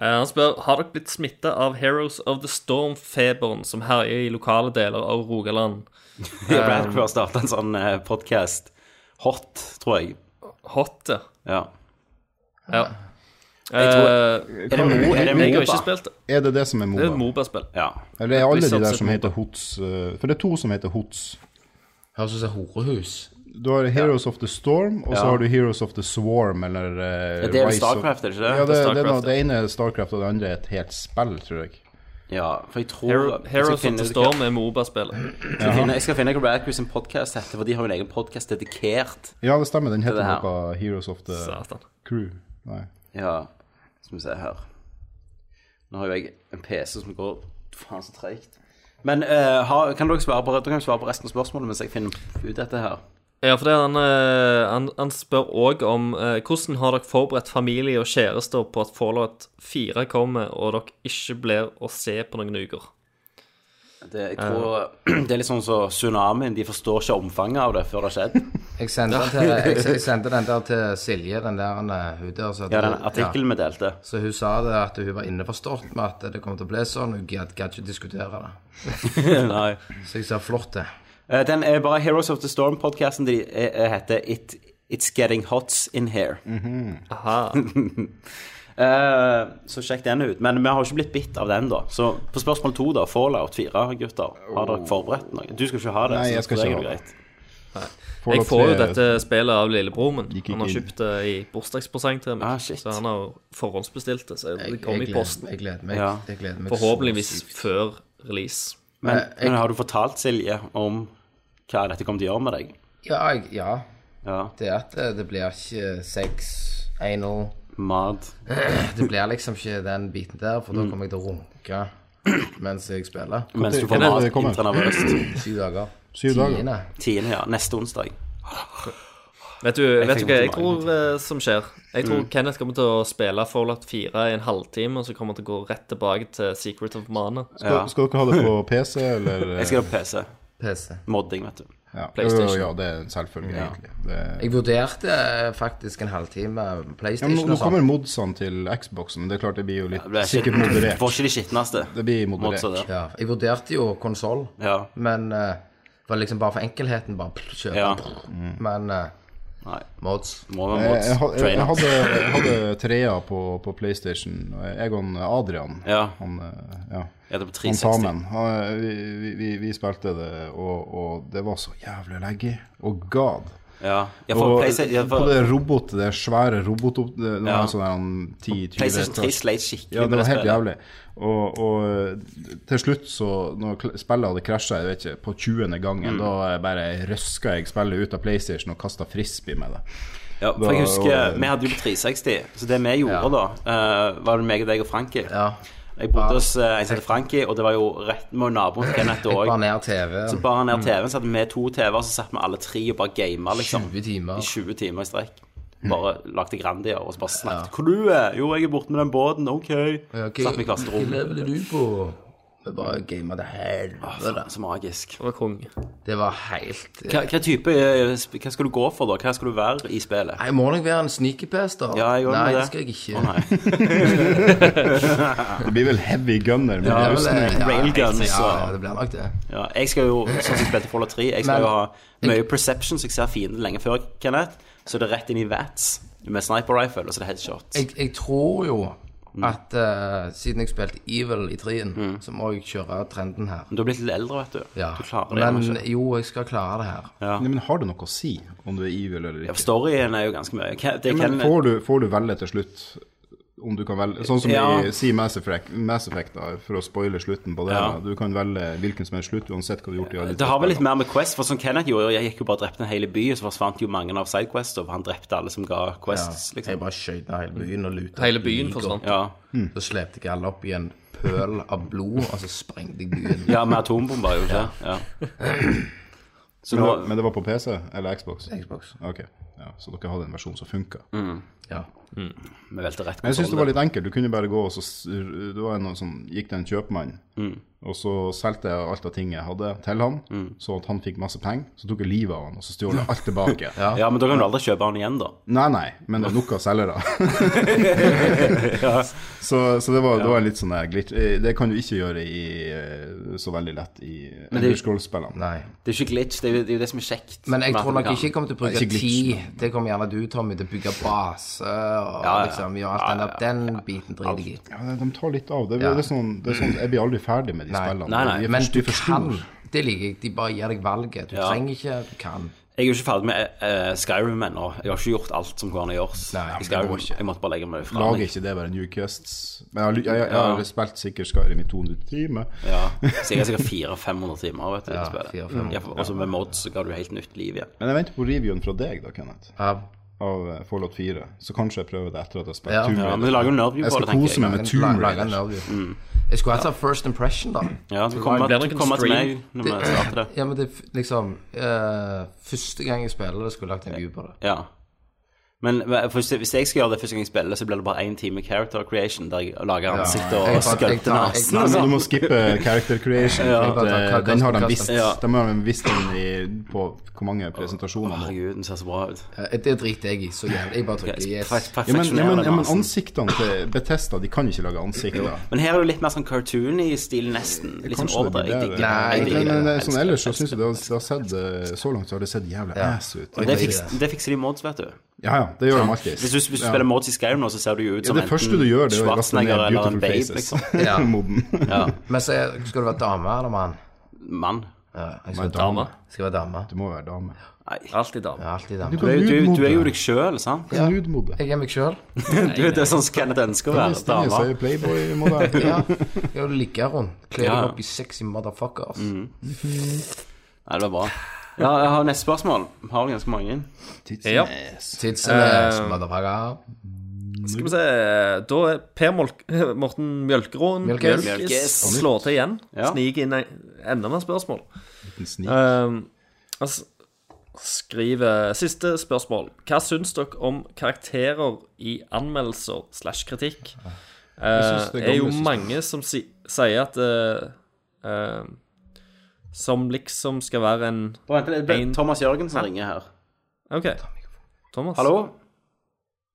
Speaker 6: Eh, Han spør har dere blitt smitta av Heroes of the Storm-feberen som herjer i lokale deler av Rogaland.
Speaker 5: Jeg ble helt før starta en sånn podkast. Hot, tror jeg.
Speaker 6: Hot, ja.
Speaker 5: Ja.
Speaker 6: ja.
Speaker 5: tror-
Speaker 6: Eh,
Speaker 5: Er det Mo? Er det
Speaker 6: jeg har
Speaker 5: Moba?
Speaker 6: ikke spilt det.
Speaker 8: Er det det som er
Speaker 6: Det er et
Speaker 8: Moba?
Speaker 6: Moba-spill.
Speaker 5: Ja.
Speaker 8: Eller er alle de
Speaker 6: Blizzard
Speaker 8: der
Speaker 6: sitt
Speaker 8: som
Speaker 6: MOBA.
Speaker 8: heter Hots eh, For det er to som heter Hots.
Speaker 7: Høres ut som horehus.
Speaker 8: Du har Heroes of the Storm, og så
Speaker 5: Ja.
Speaker 8: har du Heroes of the Swarm, eller eh,
Speaker 5: Ja, det er vel
Speaker 8: Rise of-
Speaker 5: Starcraft, er det ikke det?
Speaker 8: Ja, det, det, er noe-
Speaker 6: Starcraft,
Speaker 8: det ene er Starcraft, og det andre er et helt spill, tror jeg.
Speaker 5: ja. For jeg tror
Speaker 6: Hero,
Speaker 5: jeg skal
Speaker 6: Heroes of
Speaker 5: finne-
Speaker 6: the Storm er Moba-spillet.
Speaker 5: Jeg skal finne- jeg skal finne hva Radcruise sin podkast heter, for de har jo en egen podkast dedikert.
Speaker 8: Ja, det stemmer. Den
Speaker 5: Det
Speaker 8: heter
Speaker 5: er det her.
Speaker 8: noe Heroes of the
Speaker 6: Satan.
Speaker 8: Crew. Nei.
Speaker 5: Ja, skal vi se her. Nå har jo jeg en PC som går faen så treigt. Men eh, ha, kan dere svare på, dere kan jo svare på resten av spørsmålet mens jeg finner ut dette her.
Speaker 6: Ja, for det er han, eh, han, han spør òg om eh, hvordan har dere forberedt familie og kjærester på at Fallout 4 kommer, og dere ikke blir å se på noen uker?
Speaker 5: Det, jeg tror, det er litt sånn som tsunamien. De forstår ikke omfanget av det før det har skjedd.
Speaker 7: Jeg sendte, den til, jeg, jeg sendte den der til Silje, den der han eh, hun der. Så at-
Speaker 5: Ja, den artikkelen vi delte.
Speaker 7: Ja. Så hun sa det at hun var innforstått med at det kom til å bli sånn. Hun gadd gadd ikke diskutere det.
Speaker 5: Nei.
Speaker 7: Så jeg sa flott, det.
Speaker 5: Eh, Den er bare Heroes of the Storm-podkasten. De eh, eh, heter It, It's Getting Hots In Here.
Speaker 8: Mm.
Speaker 6: Aha.
Speaker 5: Eh, så sjekk den ut. Men vi har jo ikke blitt bitt av den, da. Så på spørsmål to, da. Fallout 4, gutter. Har dere forberedt noe? Du skal ikke ha det.
Speaker 8: Oh. Nei,
Speaker 5: så
Speaker 8: jeg skal
Speaker 5: for deg
Speaker 8: ikke
Speaker 5: er det
Speaker 8: ha det.
Speaker 5: greit.
Speaker 6: Jeg
Speaker 8: Fallout
Speaker 6: får jo
Speaker 8: 3
Speaker 6: dette spillet av lillebror min.
Speaker 8: Gikk ikke
Speaker 6: Han har
Speaker 8: inn.
Speaker 6: kjøpt det i bursdagspresang til meg.
Speaker 5: Ah, shit.
Speaker 6: så han har forhåndsbestilt det. Så det
Speaker 7: Jeg,
Speaker 6: kom
Speaker 7: jeg,
Speaker 6: i
Speaker 7: gleder,
Speaker 6: posten.
Speaker 7: jeg gleder meg.
Speaker 5: Ja.
Speaker 7: Jeg gleder meg så
Speaker 6: Forhåpentligvis
Speaker 7: sykt.
Speaker 6: før release.
Speaker 5: Men,
Speaker 7: Eh, jeg-
Speaker 5: men har du fortalt Silje om hva dette kommer til å gjøre med deg?
Speaker 7: Ja, jeg, ja,
Speaker 5: Ja.
Speaker 7: det er at eh, det, det blir ikke sex, anal
Speaker 5: Mat.
Speaker 7: Det blir liksom ikke den biten der,
Speaker 6: Mm.
Speaker 7: for da kommer jeg til å runke mens jeg spiller.
Speaker 5: Mens du får
Speaker 8: Kan det-
Speaker 5: mat
Speaker 8: det kommer?
Speaker 5: intranervøst.
Speaker 7: Syv dager.
Speaker 8: Syv dager.
Speaker 7: Tiende.
Speaker 5: Tiende, ja. Neste onsdag.
Speaker 6: Vet du, vet du
Speaker 5: fikk
Speaker 6: Mm. hva
Speaker 5: vondt
Speaker 6: jeg
Speaker 5: i magen.
Speaker 6: tror eh, som skjer? Jeg tror Kenneth kommer til å spille Fallout 4 i en halvtime, og så kommer han til å gå rett tilbake til Secret of Mana.
Speaker 8: skal, skal dere ha det på PC, eller eh,
Speaker 5: Jeg skal på PC.
Speaker 7: PC.
Speaker 5: Modding, vet du.
Speaker 8: ja.
Speaker 6: PlayStation.
Speaker 8: Jo, jo, Ja, det er selvfølgelig,
Speaker 5: Ja.
Speaker 8: egentlig. Det,
Speaker 7: Jeg vurderte eh, faktisk en halvtime
Speaker 8: ja, men
Speaker 7: PlayStation
Speaker 8: nå, nå
Speaker 7: og
Speaker 8: kommer
Speaker 7: sånn.
Speaker 8: modsene til Xboxen, men det er klart det blir jo litt
Speaker 5: Det er ikke-
Speaker 8: sikkert moderert.
Speaker 5: Får ikke de skitneste.
Speaker 8: Det blir moderert.
Speaker 5: Modser det.
Speaker 7: Ja, jeg vurderte jo konsoll,
Speaker 5: Ja.
Speaker 7: men eh, det var liksom bare for enkelheten. Bare pff, kjøpe.
Speaker 5: Ja.
Speaker 7: Men eh,
Speaker 5: Nei.
Speaker 7: mods
Speaker 5: Må være
Speaker 8: Eh, Jeg,
Speaker 5: mods.
Speaker 8: jeg, had- jeg, jeg,
Speaker 5: Trainer.
Speaker 8: hadde, jeg hadde trea på, på PlayStation. og Jeg og Adrian,
Speaker 5: Ja.
Speaker 8: han, eh, ja.
Speaker 5: Jeg hadde på
Speaker 8: han
Speaker 5: 360.
Speaker 8: sammen, han, vi, vi- vi, vi spilte det, og, og det var så jævlig laggy. Og god.
Speaker 5: Ja. Jeg får
Speaker 8: Og
Speaker 5: PlayStation, jeg
Speaker 8: på
Speaker 5: får,
Speaker 8: det robot, det svære robot det, det
Speaker 5: Ja.
Speaker 8: var sånn der, 10-20
Speaker 5: PlayStation 3
Speaker 8: etasje.
Speaker 5: sleit skikkelig
Speaker 8: Ja, det var helt
Speaker 5: spillet.
Speaker 8: jævlig. Og, og eh, til slutt, så når kl- spillet hadde krasja på 20. gangen,
Speaker 5: Mm.
Speaker 8: da eh, bare røska jeg spillet ut av PlayStation og kasta frisbee med det.
Speaker 5: Ja, for jeg
Speaker 8: Da-
Speaker 5: husker,
Speaker 8: og-
Speaker 5: Vi hadde jo på 360, så det vi gjorde da, eh, var det meg og deg og Frankie.
Speaker 7: Ja.
Speaker 5: Jeg bodde hos eh, en som heter Frankie, og det var jo rett med naboen til Kenneth
Speaker 7: Jeg
Speaker 5: òg.
Speaker 7: bar ned TV.
Speaker 5: Så bar han ned TV-en, så hadde vi to TV-er, så satt vi alle tre og bare gama liksom,
Speaker 7: 20 timer.
Speaker 5: i 20 timer i strekk. Bare lagde Grandia og så bare snakket. 'Hvor du er?' 'Jo, jeg er borte med den båten.' 'OK.'
Speaker 7: ok.
Speaker 5: Satt vi i klasserommet. Ah,
Speaker 7: level er du på? Vi bare gamet det helvete.
Speaker 5: Så magisk.
Speaker 6: Det var konge.
Speaker 7: Det var helt
Speaker 5: Hva, hva type eh, sp- Hva skal du gå for, da? Hva skal du være i spillet?
Speaker 7: Nei, jeg må nok være en sneakerpester.
Speaker 5: Ja, jeg gjør
Speaker 7: Nei,
Speaker 5: med
Speaker 7: det
Speaker 5: det.
Speaker 7: skal jeg ikke.
Speaker 5: Å, nei.
Speaker 8: Det blir vel heavy gunner. Men
Speaker 7: Det er
Speaker 8: jeg
Speaker 7: vel,
Speaker 8: husker-
Speaker 7: eh, ja,
Speaker 5: Railgun,
Speaker 7: helt-
Speaker 5: så-
Speaker 7: Ja, det blir nok det.
Speaker 5: Ja, jeg skal jo, sånn som jeg spilte Fallout 3, jeg skal
Speaker 7: Men-
Speaker 5: jo ha mye perception, så jeg ser fienden lenge før, Kenneth. Så er det rett inn i VATS med sniper rifle, og så er det headshots.
Speaker 7: Jeg, jeg tror jo
Speaker 5: Mm.
Speaker 7: at eh, siden jeg spilte Evil i 3-en, så må jeg kjøre trenden her.
Speaker 5: Men du har blitt litt eldre, vet du.
Speaker 7: Ja.
Speaker 5: Mm. Du klarer det
Speaker 7: Men
Speaker 5: gjerne ikke.
Speaker 7: jo, jeg skal klare det her.
Speaker 8: Nei, men har det noe å si om du er evil eller
Speaker 5: Ja,
Speaker 8: ikke?
Speaker 5: for storyen er jo ganske mye. Ke- Det
Speaker 8: Ja,
Speaker 5: kan,
Speaker 8: men får du, får du velge til slutt om du kan velge Sånn som
Speaker 5: Ja.
Speaker 8: i si Mass Effect, Mass Effect da, for å spoile slutten på det.
Speaker 5: Ja.
Speaker 8: da. Du kan velge hvilken som helst slutt, uansett hva du har gjort. i alle
Speaker 5: det har vel
Speaker 8: spillene.
Speaker 5: litt mer med Quest, for som Kenneth gjorde, jeg gikk jo bare og drepte en hel by, og så forsvant jo mange av sidequestene, for han drepte alle som ga quests,
Speaker 7: Jeg
Speaker 5: liksom.
Speaker 7: bare skjøt ned hele byen og luta.
Speaker 6: Hele byen forsvant.
Speaker 5: Ja.
Speaker 7: Så slepte jeg alle opp i en pøl av blod, og så sprengte jeg byen.
Speaker 5: ja, med atombomber, jo ikke? Ja. Så nå,
Speaker 8: men, det, men det var på PC eller Xbox?
Speaker 7: Xbox.
Speaker 8: Ok, ja, Så dere hadde en versjon som funka.
Speaker 5: Mm.
Speaker 7: Ja.
Speaker 5: vi velte rett Mm.
Speaker 8: Men jeg syns det var litt enkelt. Du kunne bare gå og så s- Det var en sånn, gikk det en kjøpmann, Og så solgte jeg alt av ting jeg hadde, til han, så at han fikk masse penger. Så tok jeg livet av han, og så stjal jeg alt tilbake.
Speaker 5: Ja, men da kan du aldri kjøpe han igjen, da.
Speaker 8: Nei, nei, men det er nok av selgere. så, så det var, det var en litt sånn der glitch. Eh, Det kan du ikke gjøre i, eh, så veldig lett i
Speaker 5: det-
Speaker 8: Underscroll-spillene.
Speaker 7: Nei.
Speaker 5: Det er jo ikke glitch, det er jo det, er jo det som er kjekt.
Speaker 7: Men jeg
Speaker 5: med at
Speaker 7: tror
Speaker 5: vi
Speaker 7: nok
Speaker 5: kan-
Speaker 7: ikke jeg kommer til å bruke
Speaker 8: Ikke glitch,
Speaker 7: tid. Det kommer gjerne du, Tommy, til å bygge base og
Speaker 5: Ja, ja.
Speaker 7: liksom gjøre alt den der. Den biten driter jeg i.
Speaker 8: Ja, de tar litt av. Det,
Speaker 7: Ja.
Speaker 8: det, er sånn, det er sånn, Jeg blir aldri ferdig med de spillene.
Speaker 5: Nei, nei,
Speaker 8: De er
Speaker 7: Men
Speaker 8: for- de
Speaker 7: du
Speaker 8: er for
Speaker 7: kan.
Speaker 8: store.
Speaker 7: Det liker jeg. De bare gir deg valget. Du trenger ikke, du kan.
Speaker 5: Jeg er jo ikke ferdig med eh, Skyrim ennå. Jeg har ikke gjort alt som går an å gjøres.
Speaker 7: Nei, men
Speaker 5: i
Speaker 7: det
Speaker 5: Skyrim.
Speaker 7: går ikke.
Speaker 5: Jeg måtte bare legge meg fra
Speaker 8: Lager
Speaker 5: meg.
Speaker 8: ikke det bare New Quests? Men jeg, har ly- jeg, jeg, jeg har spilt sikkert Skyrim i 200 timer.
Speaker 5: Ja. Så jeg har sikkert 400-500 timer vet du,
Speaker 7: Ja,
Speaker 5: i spillet.
Speaker 7: 400-500,
Speaker 5: Ja, for- Og så med mods så ga du helt nytt liv igjen.
Speaker 8: Men jeg venter på reviewen fra deg, da, Kenneth,
Speaker 7: Ja.
Speaker 8: av eh, Fallout 4. Så kanskje jeg prøver det etter at jeg har spilt
Speaker 7: Ja.
Speaker 8: Tomb
Speaker 5: Ja,
Speaker 8: Raider.
Speaker 5: men du lager jo nerdview
Speaker 8: jeg
Speaker 5: på
Speaker 8: skal
Speaker 5: det, tenker
Speaker 8: kose
Speaker 5: jeg.
Speaker 8: meg med
Speaker 7: La-
Speaker 8: Tomb
Speaker 7: lage en
Speaker 8: Raider.
Speaker 7: nerve.
Speaker 5: Mm.
Speaker 7: Jeg skulle hatt sånn first impression, da.
Speaker 5: Ja, du kommer
Speaker 6: Det blir nok en
Speaker 5: komme til meg
Speaker 6: stream.
Speaker 5: når vi starter det.
Speaker 7: Ja, men det er f- liksom eh, Første gang jeg spiller det, skulle jeg lagt en view på det.
Speaker 5: Ja. Men hva- for hvis jeg- hvis jeg skal gjøre det første gang jeg spiller, så blir det bare én time character creation der jeg lager ansikter
Speaker 7: jeg- jeg-
Speaker 5: og skulpter
Speaker 7: jeg-
Speaker 5: nesen.
Speaker 8: Nei, men
Speaker 5: altså.
Speaker 8: du må skippe character creation. for at, eh, den har de visst
Speaker 5: Ja.
Speaker 8: De har de visst den i, på hvor mange presentasjoner nå.
Speaker 5: Herregud, den ser så bra ut.
Speaker 7: Eh, Det driter jeg i så jævlig. Jeg bare trykker yes.
Speaker 5: Perfek-
Speaker 8: Ja, men, ja, men,
Speaker 5: Perfeksjonerer
Speaker 8: ja,
Speaker 5: den
Speaker 8: men
Speaker 5: nesen.
Speaker 8: ansiktene til Betesta, de kan ikke lage ansikter.
Speaker 5: Men her er det jo litt mer sånn cartoon i stil, nesten. Litt sånn
Speaker 8: Kanskje det blir
Speaker 5: overdrevet. Jeg
Speaker 8: bedre.
Speaker 5: digger det.
Speaker 7: Nei,
Speaker 5: Jeg
Speaker 8: Men,
Speaker 5: digger det.
Speaker 8: men, men,
Speaker 5: Jeg
Speaker 8: sånn
Speaker 5: elsker
Speaker 8: ellers så
Speaker 5: det.
Speaker 8: syns jeg det har, det har sett eh, Så langt så har det sett jævlig ass ut.
Speaker 5: Det,
Speaker 8: Ja,
Speaker 5: fiks, det fikser de mods, vet du.
Speaker 8: ja, det gjør de alltid.
Speaker 5: Hvis du, hvis du
Speaker 8: Ja.
Speaker 5: spiller mods i Skyrim nå, så ser du jo ut
Speaker 8: ja,
Speaker 5: som
Speaker 8: det første du gjør, det er å laste ned
Speaker 5: Schwarzenegger eller en
Speaker 8: Beautiful
Speaker 5: babe,
Speaker 8: Faces.
Speaker 5: liksom.
Speaker 7: Ja.
Speaker 8: Moden.
Speaker 5: Ja,
Speaker 7: Men så er- skal du være dame eller mann?
Speaker 5: Mann.
Speaker 7: Ja, jeg
Speaker 8: Nei,
Speaker 7: skal,
Speaker 8: dame.
Speaker 7: skal være dame.
Speaker 8: Du må være dame.
Speaker 5: Nei.
Speaker 6: Alltid dame.
Speaker 7: Ja, alltid
Speaker 8: Du
Speaker 7: dame.
Speaker 5: Du,
Speaker 8: kan
Speaker 5: er- du, du er jo
Speaker 8: nude-modde.
Speaker 5: deg sjøl, sant?
Speaker 8: Du kan nude-modde.
Speaker 7: Jeg er meg sjøl.
Speaker 5: Du er det som Kenneth ønsker å
Speaker 8: Ja,
Speaker 5: være.
Speaker 8: Stine
Speaker 5: Dama.
Speaker 8: sier Playboy-modell.
Speaker 7: Ja. Jeg ligger rundt. Kler
Speaker 5: Ja, ja.
Speaker 7: deg opp i sexy motherfuckers.
Speaker 6: Mm.
Speaker 5: Nei, det var bra. Ja, jeg har neste spørsmål. Har ganske mange.
Speaker 6: Ja.
Speaker 7: Tits and
Speaker 6: Eh.
Speaker 7: ass, motherfucker.
Speaker 6: Skal vi se Da er Per Molk, Morten Mjølkeråen
Speaker 7: Mjølkes.
Speaker 5: Mjølkes.
Speaker 6: slår til igjen.
Speaker 5: Ja.
Speaker 6: Sniker inn en- enda mer spørsmål.
Speaker 8: snik.
Speaker 6: Um, han s- skriver Siste spørsmål. Hva syns dere om karakterer i anmeldelser slash kritikk?
Speaker 8: synes
Speaker 6: Det
Speaker 8: det
Speaker 6: er jo
Speaker 8: gamle systemet-
Speaker 6: mange som si, sier at eh, eh, Som liksom skal være en
Speaker 5: Bare vent litt, det er
Speaker 6: En-
Speaker 5: Thomas Jørgensen ringer her.
Speaker 6: OK. Thomas.
Speaker 5: Hallo?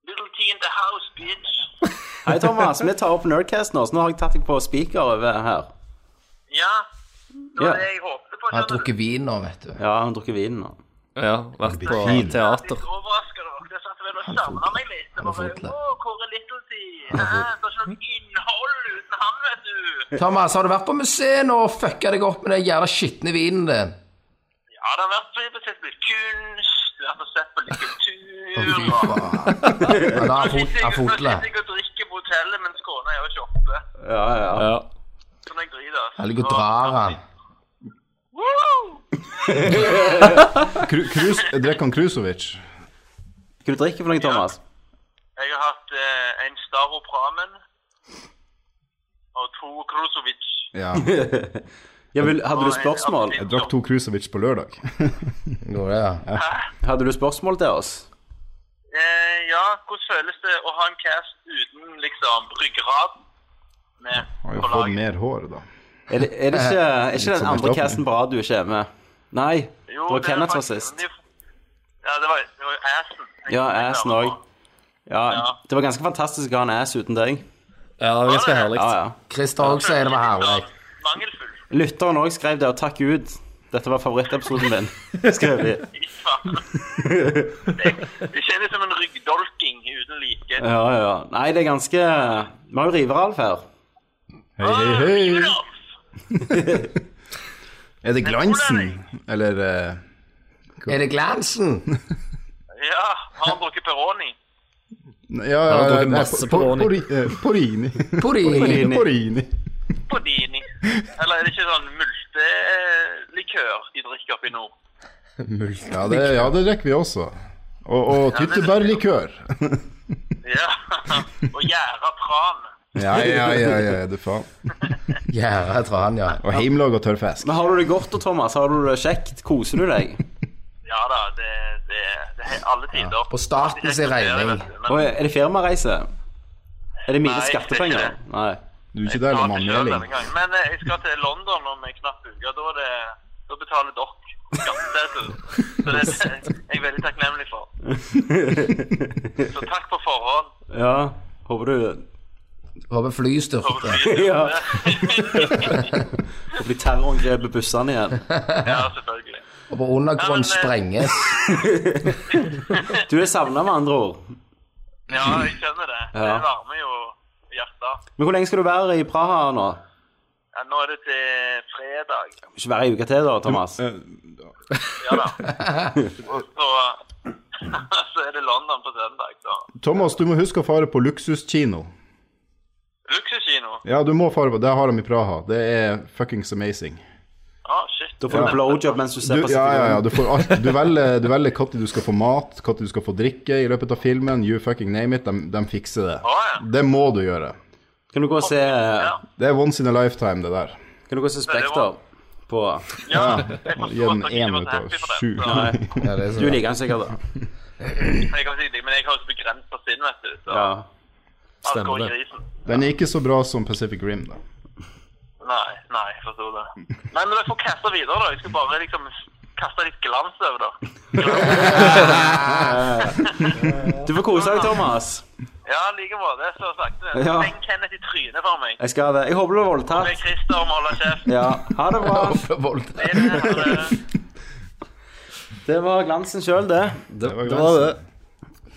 Speaker 9: Little T in the house, bitch.
Speaker 5: Hei, Thomas. Vi tar opp Nerdcast nå, så nå har jeg tatt deg på speaker over her.
Speaker 9: Ja, det
Speaker 5: Ja,
Speaker 9: var det jeg håpte på.
Speaker 7: Han har drukket vin nå, vet du.
Speaker 5: ja han drikker vin nå.
Speaker 6: Ja, vært på
Speaker 8: Fint.
Speaker 6: teater.
Speaker 9: Overrasker dere. Jeg satt vel og savna meg litt. Det
Speaker 7: han har
Speaker 9: var
Speaker 7: fått det.
Speaker 9: bare, Å, hvor er Little T? Hæ? Det er ikke noe innhold uten han, vet du.
Speaker 7: Thomas, har du vært på museet nå og fucka deg opp med den jævla skitne vinen din?
Speaker 9: Ja, det har vært så mye sett på litt kunst, det har vært sett på litt kultur.
Speaker 7: Fy
Speaker 9: og-
Speaker 7: faen. Ja, da har
Speaker 9: Nå sitter
Speaker 7: jeg
Speaker 9: jeg- nå sitter
Speaker 7: fotlet.
Speaker 9: jeg og drikker på hotellet mens kona er og shopper.
Speaker 5: Ja, ja.
Speaker 6: Ja.
Speaker 9: Sånn jeg driter. altså.
Speaker 7: Jeg ligger og drar han.
Speaker 9: Woo!
Speaker 8: Kru- Krus, Drikker han Krusovic?
Speaker 5: Hva du drikker for noe, Thomas?
Speaker 9: Jeg har hatt eh, en Staro Pramen og to Krusovic.
Speaker 8: Ja.
Speaker 5: Ja, vil, hadde du
Speaker 9: Og en
Speaker 5: spørsmål?
Speaker 9: appelsin.
Speaker 8: Jeg drakk to Krusovic på lørdag.
Speaker 7: Gjorde det, ja.
Speaker 5: Hadde du spørsmål til oss?
Speaker 9: Eh, ja, hvordan føles det å ha en cast uten liksom ryggrad med
Speaker 8: Har
Speaker 9: på
Speaker 8: jo fått
Speaker 9: laget?
Speaker 8: mer hår, da.
Speaker 5: Er det, er det ikke, er ikke den
Speaker 8: som
Speaker 5: andre
Speaker 8: erstatning.
Speaker 5: casten bra du ikke er med? Nei, det var
Speaker 9: er
Speaker 5: Kenneth som var
Speaker 9: faktisk-
Speaker 5: sist.
Speaker 9: men de- Ja, det var, det var jo assen. Jeg-
Speaker 5: Ja,
Speaker 9: jeg
Speaker 5: assen
Speaker 9: klarer
Speaker 5: òg.
Speaker 9: på.
Speaker 5: Ja,
Speaker 9: Ja.
Speaker 5: det var ganske fantastisk å ha en ass uten deg.
Speaker 6: ja, ganske herlig.
Speaker 5: Ja, ja.
Speaker 7: Christer òg sier det var herlig.
Speaker 9: sånn Mangelfull.
Speaker 5: Lytteren òg skrev det, og takk Gud. Dette var favorittepisoden min, skrev de.
Speaker 9: Fy faen. Det, det kjennes som en ryggdolking uten like.
Speaker 5: Ja, ja. Nei, det er ganske Vi har jo Riveralf her.
Speaker 8: Hei, hei,
Speaker 9: Ah,
Speaker 8: hei. Er det glansen? Eller eh,
Speaker 7: Er det glansen?
Speaker 9: Ja, har han drukket Peroni?
Speaker 8: Ja,
Speaker 6: har drukket
Speaker 8: eh,
Speaker 6: masse
Speaker 8: por-
Speaker 6: Peroni.
Speaker 8: pori- eh, Porini.
Speaker 7: Porini.
Speaker 5: Porini.
Speaker 8: Porini.
Speaker 9: Podini. Eller er det ikke sånn multelikør de drikker oppe i nord?
Speaker 8: Ja, det, ja, det drikker vi også. Og, og tyttebærlikør.
Speaker 9: Ja. Og gjæra tran.
Speaker 8: Ja, ja, ja, ja, du faen.
Speaker 7: Gjerda tran, ja.
Speaker 8: Og hjemmelaga tørrfisk.
Speaker 5: Men har du det godt da, Thomas? Har du det kjekt? Koser du deg?
Speaker 9: Ja da, det, det, det er alle tider.
Speaker 7: På staten sin regning.
Speaker 5: Og er det firmareise? Er det mine
Speaker 9: Nei, det er ikke
Speaker 5: skattepenger?
Speaker 9: det.
Speaker 5: Nei.
Speaker 8: Du er ikke
Speaker 11: Jeg
Speaker 8: der
Speaker 11: tar
Speaker 8: med
Speaker 11: ikke selv denne
Speaker 8: melding.
Speaker 11: gangen. Men eh, jeg skal til London om en knapp uke. Da, er det- da betaler dere skatteseddel. Så det er jeg veldig takknemlig for. Så takk på forhånd.
Speaker 5: Ja, håper du
Speaker 7: Håper flyet styrter.
Speaker 5: Ja. Håper de terrorangrepet bussene igjen.
Speaker 11: Ja, selvfølgelig.
Speaker 7: Håper undergrunnen
Speaker 6: eh,
Speaker 7: sprenges.
Speaker 5: Du er savna, med andre ord.
Speaker 11: Ja, jeg skjønner det. Det
Speaker 5: Ja.
Speaker 11: varmer jo hjertet.
Speaker 5: Men hvor lenge skal du være i Praha nå?
Speaker 11: Ja, nå er det til fredag.
Speaker 5: Ikke være ei uke til, da, Thomas?
Speaker 8: eh,
Speaker 11: Ja da. Så, så er det London på søndag, da.
Speaker 8: Thomas, du må huske å fare på luksuskino.
Speaker 11: Luksuskino?
Speaker 8: Ja, du må fare på Det har de i Praha. Det er fuckings amazing.
Speaker 11: Ah, shit.
Speaker 5: Da får du blowjob mens du
Speaker 8: Du,
Speaker 5: ser
Speaker 8: ja,
Speaker 5: på
Speaker 8: ja, ja, du, får alt. du velger du velger når du skal få mat, når du skal få drikke i løpet av filmen. You fucking name it. De, de fikser det. Det må du gjøre.
Speaker 5: Kan du gå og se
Speaker 8: Det er once in a lifetime, det der.
Speaker 5: Kan du gå og se Spekter på
Speaker 11: Ja,
Speaker 8: Gi den én ut av sju.
Speaker 5: Nei,
Speaker 7: Ja, det er så
Speaker 5: du
Speaker 7: bra.
Speaker 5: liker han sikkert, da.
Speaker 11: Jeg kan si det, men jeg har jo så begrenset sinn, vet du. Så
Speaker 5: Ja.
Speaker 11: alt går i
Speaker 6: stemmer det.
Speaker 11: grisen.
Speaker 8: Den er ikke så bra som Pacific Rim, da.
Speaker 11: Nei, nei, jeg forstod det. Nei, men jeg får kaste videre, da. Jeg skal bare liksom kaste litt glans over det.
Speaker 5: Du får kose deg, Thomas.
Speaker 11: Ja, like måte. Så sakte.
Speaker 5: Ja.
Speaker 11: Tenk Kenneth i trynet for meg.
Speaker 5: Jeg skal det. Jeg håper du er
Speaker 11: Med
Speaker 5: voldtatt.
Speaker 11: Christer må holde kjeft.
Speaker 5: Ja. Ha det bra.
Speaker 11: Det er det her, eh,
Speaker 5: Det var glansen sjøl, det.
Speaker 8: Det var
Speaker 10: Det var det.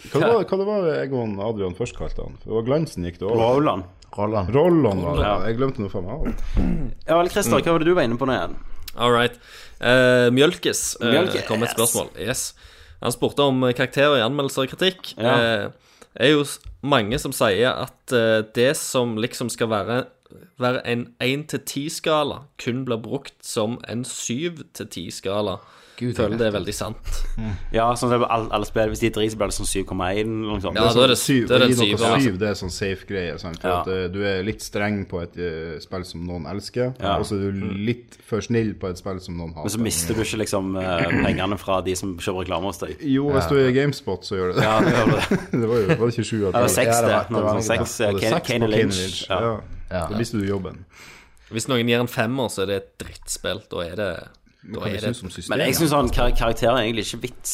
Speaker 8: Hva det var, hva det var jeg og Adrian først kalte han? For det var Glansen gikk det over.
Speaker 5: Roland.
Speaker 7: Roland.
Speaker 8: Rollon, var det.
Speaker 5: Ja.
Speaker 8: Jeg glemte noe faen meg av det.
Speaker 5: Ja vel, Christer, hva var det du var inne på nå igjen?
Speaker 6: All right. Eh, Mjølkes eh,
Speaker 5: Mjølkes.
Speaker 6: kom med et spørsmål. Yes. Han spurte om eh, karakterer i anmeldelser og kritikk.
Speaker 5: Ja.
Speaker 6: Eh, er jo s- mange som sier at eh, det som liksom skal være, være en 1-10-skala, kun blir brukt som en 7-10-skala.
Speaker 7: Gud,
Speaker 6: Føler det er veldig sant.
Speaker 5: Ja, sånn som alle, alle spill. Hvis de driter, så blir det sånn 7,1 eller noe sånt.
Speaker 6: Ja, da er det,
Speaker 8: sånn Syv,
Speaker 6: da er det
Speaker 8: gi
Speaker 6: en
Speaker 8: dere
Speaker 6: syver. altså.
Speaker 8: syv, det er sånn safe greie. Sant? For
Speaker 5: Ja.
Speaker 8: at, eh, du er litt streng på et eh, spill som noen elsker,
Speaker 5: Ja.
Speaker 8: og så er du litt for snill på et spill som noen
Speaker 5: Men så
Speaker 8: hater.
Speaker 5: mister du ikke liksom eh, pengene fra de som kjøper reklame hos deg.
Speaker 8: Jo, hvis du er i GameSpot, så gjør du det.
Speaker 5: Ja, det gjør du det.
Speaker 8: det var jo var det ikke sju av
Speaker 5: Eller
Speaker 8: ti.
Speaker 7: Ja,
Speaker 5: seks,
Speaker 7: det
Speaker 5: det.
Speaker 7: var- det
Speaker 5: Noe
Speaker 7: var
Speaker 5: sånt.
Speaker 7: noe
Speaker 5: Seks,
Speaker 8: Var det
Speaker 5: Kane,
Speaker 8: seks på
Speaker 5: Kane Lynch. Ja.
Speaker 8: Ja.
Speaker 7: Ja.
Speaker 8: Da mister du jobben.
Speaker 6: Hvis noen gir en femmer, så er det et drittspill. Da er det, da
Speaker 8: Hva
Speaker 6: er det
Speaker 8: synes du om systemet?
Speaker 5: Men jeg syns sånn kar karakterer er egentlig ikke vits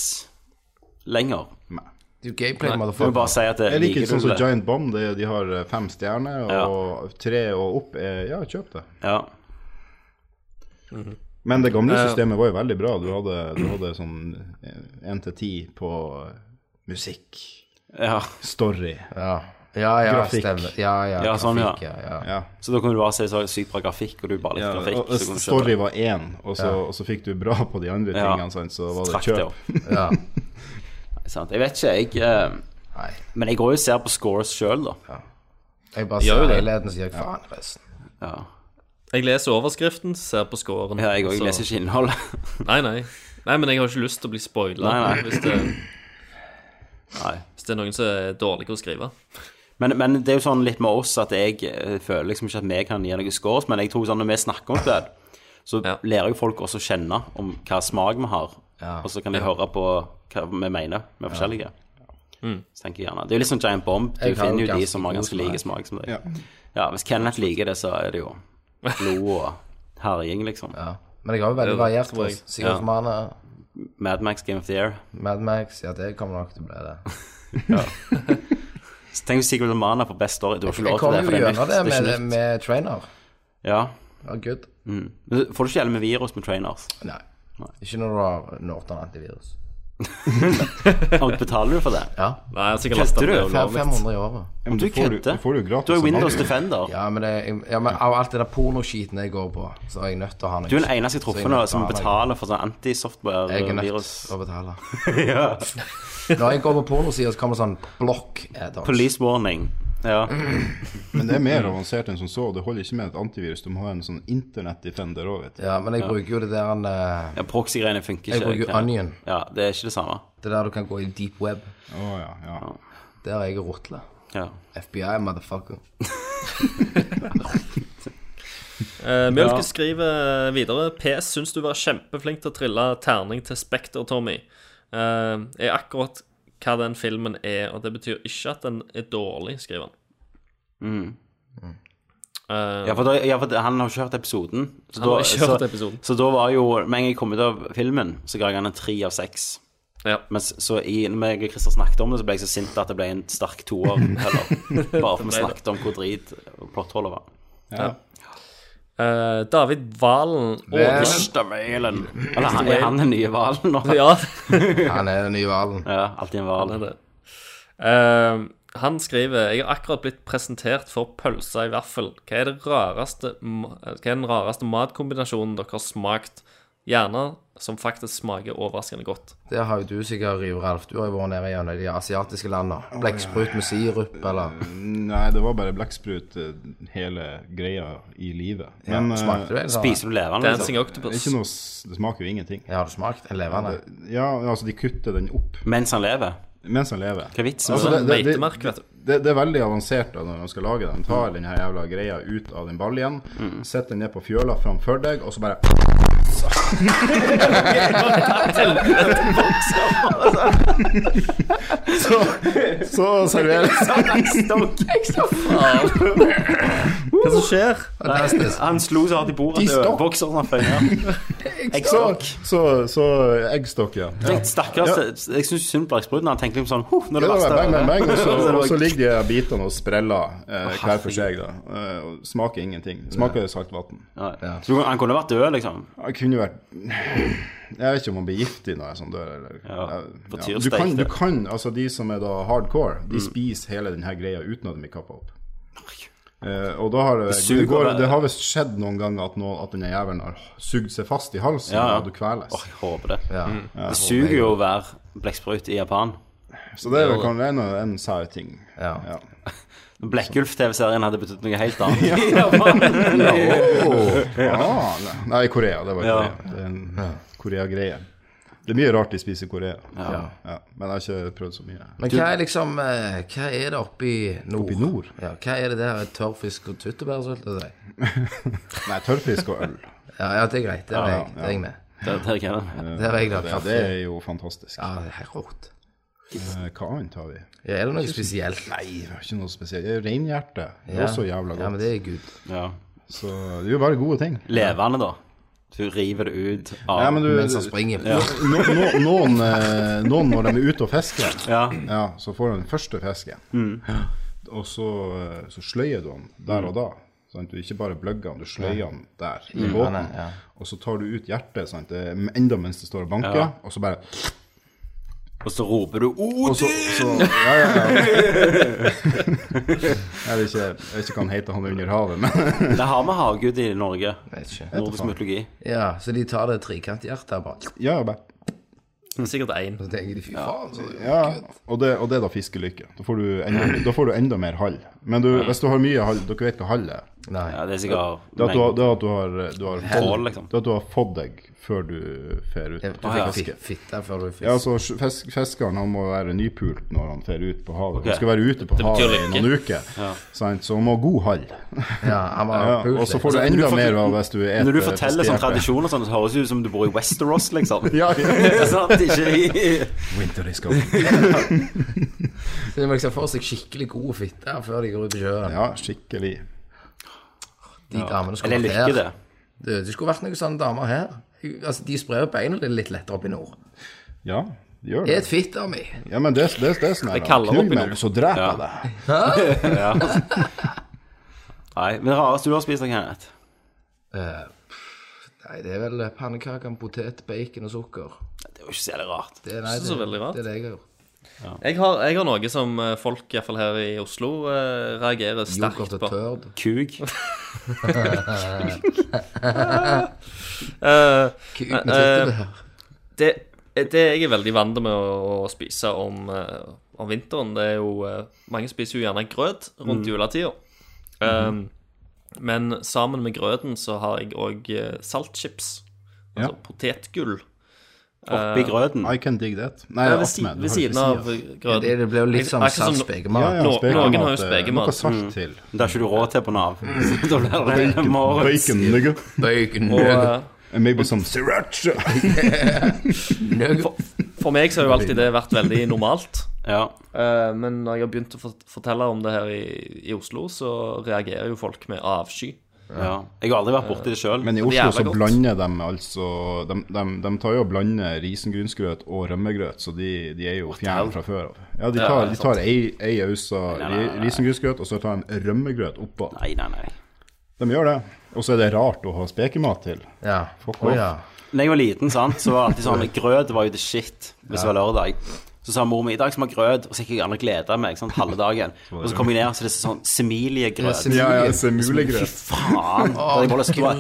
Speaker 5: lenger.
Speaker 7: Det er jo gameplay,
Speaker 5: Du må bare
Speaker 7: motherfucker.
Speaker 5: si at det
Speaker 8: Jeg liker
Speaker 5: liker
Speaker 8: sånn
Speaker 5: du
Speaker 8: som
Speaker 5: det.
Speaker 8: Giant Bomb. Det, de har eh, fem stjerner, og tre og opp er Ja, kjøp det.
Speaker 5: Ja.
Speaker 8: Men det gamle
Speaker 5: Eh.
Speaker 8: systemet var jo veldig bra. Du hadde, du hadde sånn én til ti på eh, musikk,
Speaker 5: ja.
Speaker 8: story
Speaker 7: Ja. Ja, ja,
Speaker 8: Grafikk.
Speaker 7: stemmer. Ja, ja,
Speaker 5: Ja, sånn, ja.
Speaker 7: grafikk, ja, ja.
Speaker 8: Ja.
Speaker 5: Så da kan du bare si så sykt bra grafikk, og du bare litt
Speaker 8: Ja,
Speaker 5: grafikk.
Speaker 8: og, og
Speaker 5: så kan du kjøpe
Speaker 8: story
Speaker 5: det.
Speaker 8: var én, og så, og så fikk du bra på de andre
Speaker 5: Ja.
Speaker 8: tingene, sant? så var det
Speaker 5: Trakk det
Speaker 8: kjøp.
Speaker 5: opp.
Speaker 7: Ja.
Speaker 5: Sant? Jeg vet ikke, jeg eh,
Speaker 7: Nei.
Speaker 5: Men jeg går jo og ser på scores sjøl, da.
Speaker 7: Jeg bare
Speaker 6: Gjør
Speaker 7: ser
Speaker 6: jo det.
Speaker 7: helheten, så sier jeg faen resten.
Speaker 5: Ja.
Speaker 6: Jeg leser overskriften, ser på scoren.
Speaker 5: Ja, jeg òg
Speaker 6: så-
Speaker 5: leser ikke innholdet.
Speaker 6: Nei, nei. Nei, men jeg har ikke lyst til å bli spoila
Speaker 5: Nei, nei.
Speaker 6: hvis, det-
Speaker 5: Nei.
Speaker 6: hvis det er noen som er dårlige å skrive.
Speaker 5: Men, men det er jo sånn litt med oss at jeg eh, føler liksom ikke at vi kan gi noen scores, men jeg tror sånn når vi snakker om det, så
Speaker 6: Ja.
Speaker 5: lærer jo folk også å kjenne om hva smak vi har, og så kan de høre på hva vi mener med forskjellige. Så tenker jeg gjerne. Det er jo litt sånn Giant Bomb. Du
Speaker 7: Jeg har
Speaker 5: finner
Speaker 7: jo
Speaker 5: jo de
Speaker 7: ganske
Speaker 5: som har
Speaker 7: god
Speaker 5: ganske
Speaker 7: smak.
Speaker 5: like smak som deg.
Speaker 8: Ja.
Speaker 5: Ja. hvis Kenneth liker det, så er det jo blod og herjing, liksom.
Speaker 7: Ja. Men jeg har jo veldig variert.
Speaker 6: tror jeg.
Speaker 7: altså. Sikkert for mannen.
Speaker 5: Mad Max Game of the Year.
Speaker 7: Mad Max, ja, det kommer nok til å bli det.
Speaker 5: Så tenk hvis Sigurd Mana får best story. Du har ikke
Speaker 7: Jeg
Speaker 5: lov til
Speaker 7: kommer
Speaker 5: det.
Speaker 7: jo
Speaker 5: for er
Speaker 7: gjennom det
Speaker 5: nytt.
Speaker 7: med,
Speaker 5: er ikke nytt.
Speaker 7: med trainer.
Speaker 5: Ja.
Speaker 7: Ja, good.
Speaker 5: Men Får du ikke hjelp med virus med trainers?
Speaker 7: Nei. Ikke når du har Norton antivirus.
Speaker 5: Og betaler du for det?
Speaker 7: Ja.
Speaker 6: Nei, jeg har sikkert
Speaker 5: Kødder
Speaker 6: lastet
Speaker 5: du?
Speaker 6: ned
Speaker 7: Fem-
Speaker 6: ulovlig.
Speaker 7: 500 i året.
Speaker 8: Ja, men
Speaker 5: Du
Speaker 8: får jo-
Speaker 5: kødder.
Speaker 8: Du får jo gratis
Speaker 5: Du er
Speaker 8: av
Speaker 5: Windows
Speaker 8: Mario.
Speaker 5: Defender.
Speaker 7: Ja, men, det, ja, men av alt det der pornoskiten jeg går på, så er jeg nødt til å ha noe.
Speaker 5: Du er den eneste jeg
Speaker 7: Så
Speaker 5: truffer
Speaker 7: jeg
Speaker 5: nå
Speaker 7: nødt til å
Speaker 5: som
Speaker 7: ha noe.
Speaker 5: betaler for
Speaker 7: Jeg
Speaker 5: sånn
Speaker 7: er nødt
Speaker 5: antisoftware-virus.
Speaker 7: til å betale.
Speaker 5: ja.
Speaker 7: Når jeg går på pornosider, så kommer sånn blokk add-ons.
Speaker 5: Police warning. Ja.
Speaker 8: Men det er
Speaker 5: Mm.
Speaker 8: mer avansert enn som så. Det holder ikke med et antivirus. Du må ha en sånn internett-defender òg, vet du.
Speaker 7: Ja, men jeg bruker jo det der en, eh,
Speaker 5: ja Proxy-greiene funker
Speaker 7: Jeg
Speaker 5: ikke.
Speaker 7: bruker Onion.
Speaker 5: Ja, Det er ikke det samme.
Speaker 7: Det der du kan gå i deep web.
Speaker 8: Å ja, ja.
Speaker 7: Der er jeg rotle.
Speaker 5: Ja.
Speaker 7: FBI, motherfucker.
Speaker 6: Eh, Mjølke
Speaker 5: Ja.
Speaker 6: skriver videre PS syns du var kjempeflink til å trille terning til Spekter, Tommy. Eh, er akkurat hva den
Speaker 5: Mm.
Speaker 6: filmen er, og det betyr ikke at den er dårlig, skriver han.
Speaker 5: Ja, for, da, ja, for det- han har ikke hørt episoden. Så
Speaker 6: Han har ikke hørt
Speaker 5: så,
Speaker 6: episoden.
Speaker 5: Så da var jo Med en gang jeg kom ut av filmen, så ga jeg han en tre av seks.
Speaker 6: Ja.
Speaker 5: Men s- så i, når jeg og Christer snakket om det, så ble jeg så sint at det ble en sterk toer. Heller. Bare for vi
Speaker 6: Det ble det.
Speaker 5: snakket om hvor drit plotthullet var.
Speaker 6: Eh, David Valen og
Speaker 5: Østermølen. Eller han, er han den nye hvalen nå?
Speaker 6: Ja,
Speaker 7: Han er den nye hvalen.
Speaker 5: Ja, alltid en
Speaker 6: han er
Speaker 5: hval.
Speaker 6: det. Eh, han skriver Jeg har akkurat blitt presentert for pølse i vaffel. Hva er, det rareste, ma- eh, hva er den rareste matkombinasjonen dere har smakt? Gjerne som faktisk smaker overraskende godt.
Speaker 7: Det har jo du sikkert, Rio Ralf. Du har jo vært nede gjennom de asiatiske landene. Blekksprut med sirup, eller
Speaker 8: Nei, det var bare blekksprut, eh, hele greia, i livet. Men eh,
Speaker 7: Smakte du det? eller?
Speaker 5: Spiser du levende? liksom?
Speaker 6: Dancing Octopus.
Speaker 8: ikke noe, s- det smaker jo ingenting.
Speaker 7: Ja, har du smakt? En levende?
Speaker 8: Ja, altså, de kutter den opp
Speaker 5: Mens han lever?
Speaker 8: mens han lever.
Speaker 5: Hva er vitsen?
Speaker 8: Altså,
Speaker 5: med sånn det?
Speaker 8: det- det- det-
Speaker 6: Meitemark, sånn vet du.
Speaker 8: det, det er veldig avansert da, når de skal lage den. Tar den her jævla greia ut av den baljen,
Speaker 5: Mm.
Speaker 8: setter den ned på fjøla framfor deg, og så bare Så, så serveres
Speaker 6: Hva som skjer?
Speaker 7: Fantastisk.
Speaker 5: Han slo så hardt i bordet at
Speaker 8: Eggstokk.
Speaker 5: bokseren han føyer.
Speaker 8: Så, så, så eggstokk, ja. ja.
Speaker 5: Stakkars. altså. Jeg syns synd på Dagsbruden. Han tenkte liksom sånn Huff, nå er
Speaker 8: Ja,
Speaker 5: det
Speaker 8: det var
Speaker 5: verste.
Speaker 8: bang, bang, bang, og så,
Speaker 5: Så det var-
Speaker 8: og så ligger de her bitene og spreller eh, hver for seg. da eh, og Smaker ingenting. Smaker saltvann.
Speaker 5: Ja. Så Han kunne vært død, liksom.
Speaker 8: Jeg kunne vært Jeg vet ikke om man blir giftig når jeg sånn dør, eller
Speaker 5: Ja, på
Speaker 8: Ja. Du,
Speaker 5: tirsdag,
Speaker 8: kan, du
Speaker 5: det. Mm.
Speaker 8: kan, altså De som er da hardcore, de spiser hele denne greia uten at de blir kappa opp. Eh, og da har det, det,
Speaker 5: suger
Speaker 8: går,
Speaker 5: bare-
Speaker 8: det har visst skjedd noen ganger at, noen, at denne jævelen har sugd seg fast i halsen,
Speaker 5: Ja, ja.
Speaker 8: og du kveles.
Speaker 5: Åh, jeg håper det.
Speaker 7: Ja.
Speaker 5: Det suger jo å være blekksprut i Japan.
Speaker 8: Så det er vel kanskje en, en sær ting.
Speaker 7: Ja.
Speaker 8: Ja.
Speaker 5: Blekkulf-TV-serien hadde betydd noe helt annet.
Speaker 7: Oh,
Speaker 8: Ah, nei. nei, i Korea. Det var i
Speaker 5: Ja.
Speaker 8: Korea. Det er en Korea-greie. Det er mye rart de spiser i Korea.
Speaker 5: Ja.
Speaker 8: Ja, men jeg har ikke prøvd så mye.
Speaker 7: Men hva er liksom eh, Hva er det oppi nord?
Speaker 8: Oppi nord?
Speaker 7: Ja, hva er det der? Tørrfisk og tyttebær, så vil jeg si?
Speaker 8: Nei, tørrfisk og øl.
Speaker 7: Ja, ja, det er greit. Der er jeg, der er jeg med.
Speaker 5: Det, det kan jeg.
Speaker 7: Der er jeg da.
Speaker 8: Ja,
Speaker 7: kaffe.
Speaker 8: det er jo fantastisk.
Speaker 7: Ja, det er helt rått.
Speaker 8: Eh, Hva annet har vi?
Speaker 7: Ja, er det noe spesielt?
Speaker 8: Nei, det er ikke noe spesielt. Det er Reinhjerte. Det er
Speaker 7: Ja.
Speaker 8: også jævla
Speaker 7: Ja, men
Speaker 8: godt.
Speaker 7: det er good.
Speaker 5: Ja.
Speaker 8: Så det er jo bare gode ting.
Speaker 5: Levende, da. Du river det ut av
Speaker 8: Nei, men du,
Speaker 7: Mens han springer.
Speaker 8: no, no, noen, eh, noen når de er ute og fisker,
Speaker 5: Ja.
Speaker 8: ja, så får de den første fisken. Ja. Og så, eh, så sløyer du den der og da. Sant? Du ikke bare bløgger den, du sløyer den der i båten. Og så tar du ut hjertet sant? Det er enda mens det står og banker, og så bare
Speaker 5: Og så roper du
Speaker 8: og så, så, ja, ja, ja. Jeg vet ikke, jeg vet ikke hva han heter, han under havet, men
Speaker 5: Det har vi havgud i Norge.
Speaker 7: Vet ikke.
Speaker 5: Nordisk mytologi.
Speaker 7: Ja, så de tar det trikanthjertet og bare
Speaker 8: ja, bare,
Speaker 6: Sikkert én.
Speaker 7: Så tenker de fy faen, så
Speaker 8: ja. Og, det, og det er da fiskelykke. Da får du enda, da får du enda mer hall. Men du, hvis du har mye hall, dere vet hva hall er?
Speaker 7: Nei.
Speaker 5: Ja, det er sikkert
Speaker 8: Det er at du har, det er at du har, du har
Speaker 5: Trål, liksom.
Speaker 8: Det er at du har fått deg før du fer ut.
Speaker 7: Du
Speaker 8: og
Speaker 7: fikk
Speaker 8: fisker.
Speaker 7: fi- fitte før du fikk
Speaker 8: Ja, altså fisk, Fiskeren han må være nypult når han fer ut på havet.
Speaker 5: Ok.
Speaker 8: Han skal være ute på
Speaker 6: Det betyr
Speaker 8: havet
Speaker 6: lykke.
Speaker 8: i noen uker, sant? så han må ha god hall.
Speaker 7: Ja, han var
Speaker 8: Ja,
Speaker 7: pult.
Speaker 8: og så får du
Speaker 5: Altså, når du
Speaker 8: enda
Speaker 5: fortel-
Speaker 8: mer av hvis du et
Speaker 5: Når du forteller sånn
Speaker 8: fiskehjerte.
Speaker 5: tradisjon og sånn, så høres det ut som du bor i Westeros, liksom.
Speaker 8: Ja, ja.
Speaker 5: Det er sant, ikke i-
Speaker 8: Winter is coming.
Speaker 7: Så de må liksom få seg skikkelig god fitte før de går ut i sjøen.
Speaker 8: Ja, skikkelig.
Speaker 7: De damene skulle
Speaker 5: Eller
Speaker 7: vært
Speaker 5: lykke,
Speaker 7: her.
Speaker 5: det.
Speaker 7: Du, det skulle vært noen sånne damer her. Altså, De sprer jo beina litt, litt lettere opp i nord.
Speaker 8: Ja, det gjør
Speaker 7: Det
Speaker 8: det.
Speaker 7: er et fitte av meg.
Speaker 8: Ja, men det, det, det er sånn her
Speaker 6: Jeg kaller
Speaker 8: Knull
Speaker 6: opp i
Speaker 8: meg,
Speaker 6: nord.
Speaker 8: så dreper jeg deg.
Speaker 5: Nei, men det rareste du har spist, Kenneth
Speaker 7: Eh, nei, det er vel eh, pannekaker med potet, bacon og sukker.
Speaker 5: Det er jo ikke så jævlig rart.
Speaker 7: Det, er- nei,
Speaker 6: Ikke så veldig rart.
Speaker 7: Det er det jeg har gjort.
Speaker 6: Jeg har, jeg har noe som eh, folk, iallfall her i Oslo, eh, reagerer sterkt
Speaker 7: Yoghurt og
Speaker 6: på.
Speaker 7: tørd.
Speaker 5: Kuk.
Speaker 6: Eh,
Speaker 7: Kuk
Speaker 6: Nei,
Speaker 7: med tyttebær.
Speaker 6: det, det jeg er veldig vant med å, å spise om, eh, om vinteren, det er jo eh, Mange spiser jo gjerne grøt
Speaker 8: Mm.
Speaker 6: rundt juletida.
Speaker 8: Mhm.
Speaker 6: Eh, Men sammen med grøten så har jeg òg saltchips. Altså potetgull.
Speaker 5: Oppi grøten.
Speaker 8: I can dig that. Eh, Nei,
Speaker 6: Ja,
Speaker 8: attmed,
Speaker 6: ved, si,
Speaker 8: du
Speaker 6: ved siden
Speaker 8: har
Speaker 6: av grøten.
Speaker 7: Det, det blir jo litt
Speaker 6: Jeg-
Speaker 7: som
Speaker 6: jeg er ikke
Speaker 7: salt
Speaker 6: sånn-
Speaker 8: Ja,
Speaker 7: spekemat.
Speaker 8: ja,
Speaker 6: Nå-
Speaker 8: spekemat,
Speaker 6: noen har jo
Speaker 8: eh,
Speaker 6: spekemat.
Speaker 8: Noe salt til.
Speaker 5: Det har ikke du råd til på Nav. Så da blir det en morgens.
Speaker 8: Mm. Bacon nugget.
Speaker 7: Bacon.
Speaker 6: Og, eh,
Speaker 8: And maybe some sriracha.
Speaker 6: For meg så har jo alltid det vært veldig normalt.
Speaker 5: Ja.
Speaker 6: Eh, men når jeg har begynt å fort- fortelle om det her i, i Oslo, så reagerer jo folk med avsky.
Speaker 5: Ja. Jeg har aldri vært borti det sjøl.
Speaker 8: Men i
Speaker 6: Det er
Speaker 8: Oslo
Speaker 6: jævla
Speaker 8: så
Speaker 6: godt.
Speaker 8: blander de altså De, de, de tar jo og blander risengrynsgrøt og rømmegrøt, så de, de er jo fjern fra før av. Ja, de
Speaker 6: Ja,
Speaker 8: tar,
Speaker 6: det er
Speaker 8: de
Speaker 6: sant.
Speaker 8: tar ei, ei aus
Speaker 5: Nei,
Speaker 8: av
Speaker 5: nei, nei,
Speaker 8: ri-
Speaker 5: nei.
Speaker 8: risengrynsgrøt, og så tar de rømmegrøt oppå.
Speaker 5: Nei, nei, nei.
Speaker 8: De gjør det. Og så er det rart å ha spekemat til.
Speaker 7: Ja.
Speaker 8: Fuck
Speaker 7: Å
Speaker 8: off.
Speaker 7: ja.
Speaker 5: Da jeg var liten, sant, så var det alltid sånn Grøt var jo the shit hvis det var lørdag. Så sa mor mi i dag skal vi ha grøt, og så gikk jeg gjerne og gleda meg sant, halve dagen. Og så kom jeg ned, og så er det sånn semiliegrøt.
Speaker 8: Ja, ja,
Speaker 5: Liksom, Fy
Speaker 8: semulegrøt.
Speaker 5: faen. Da jeg bare lyst til å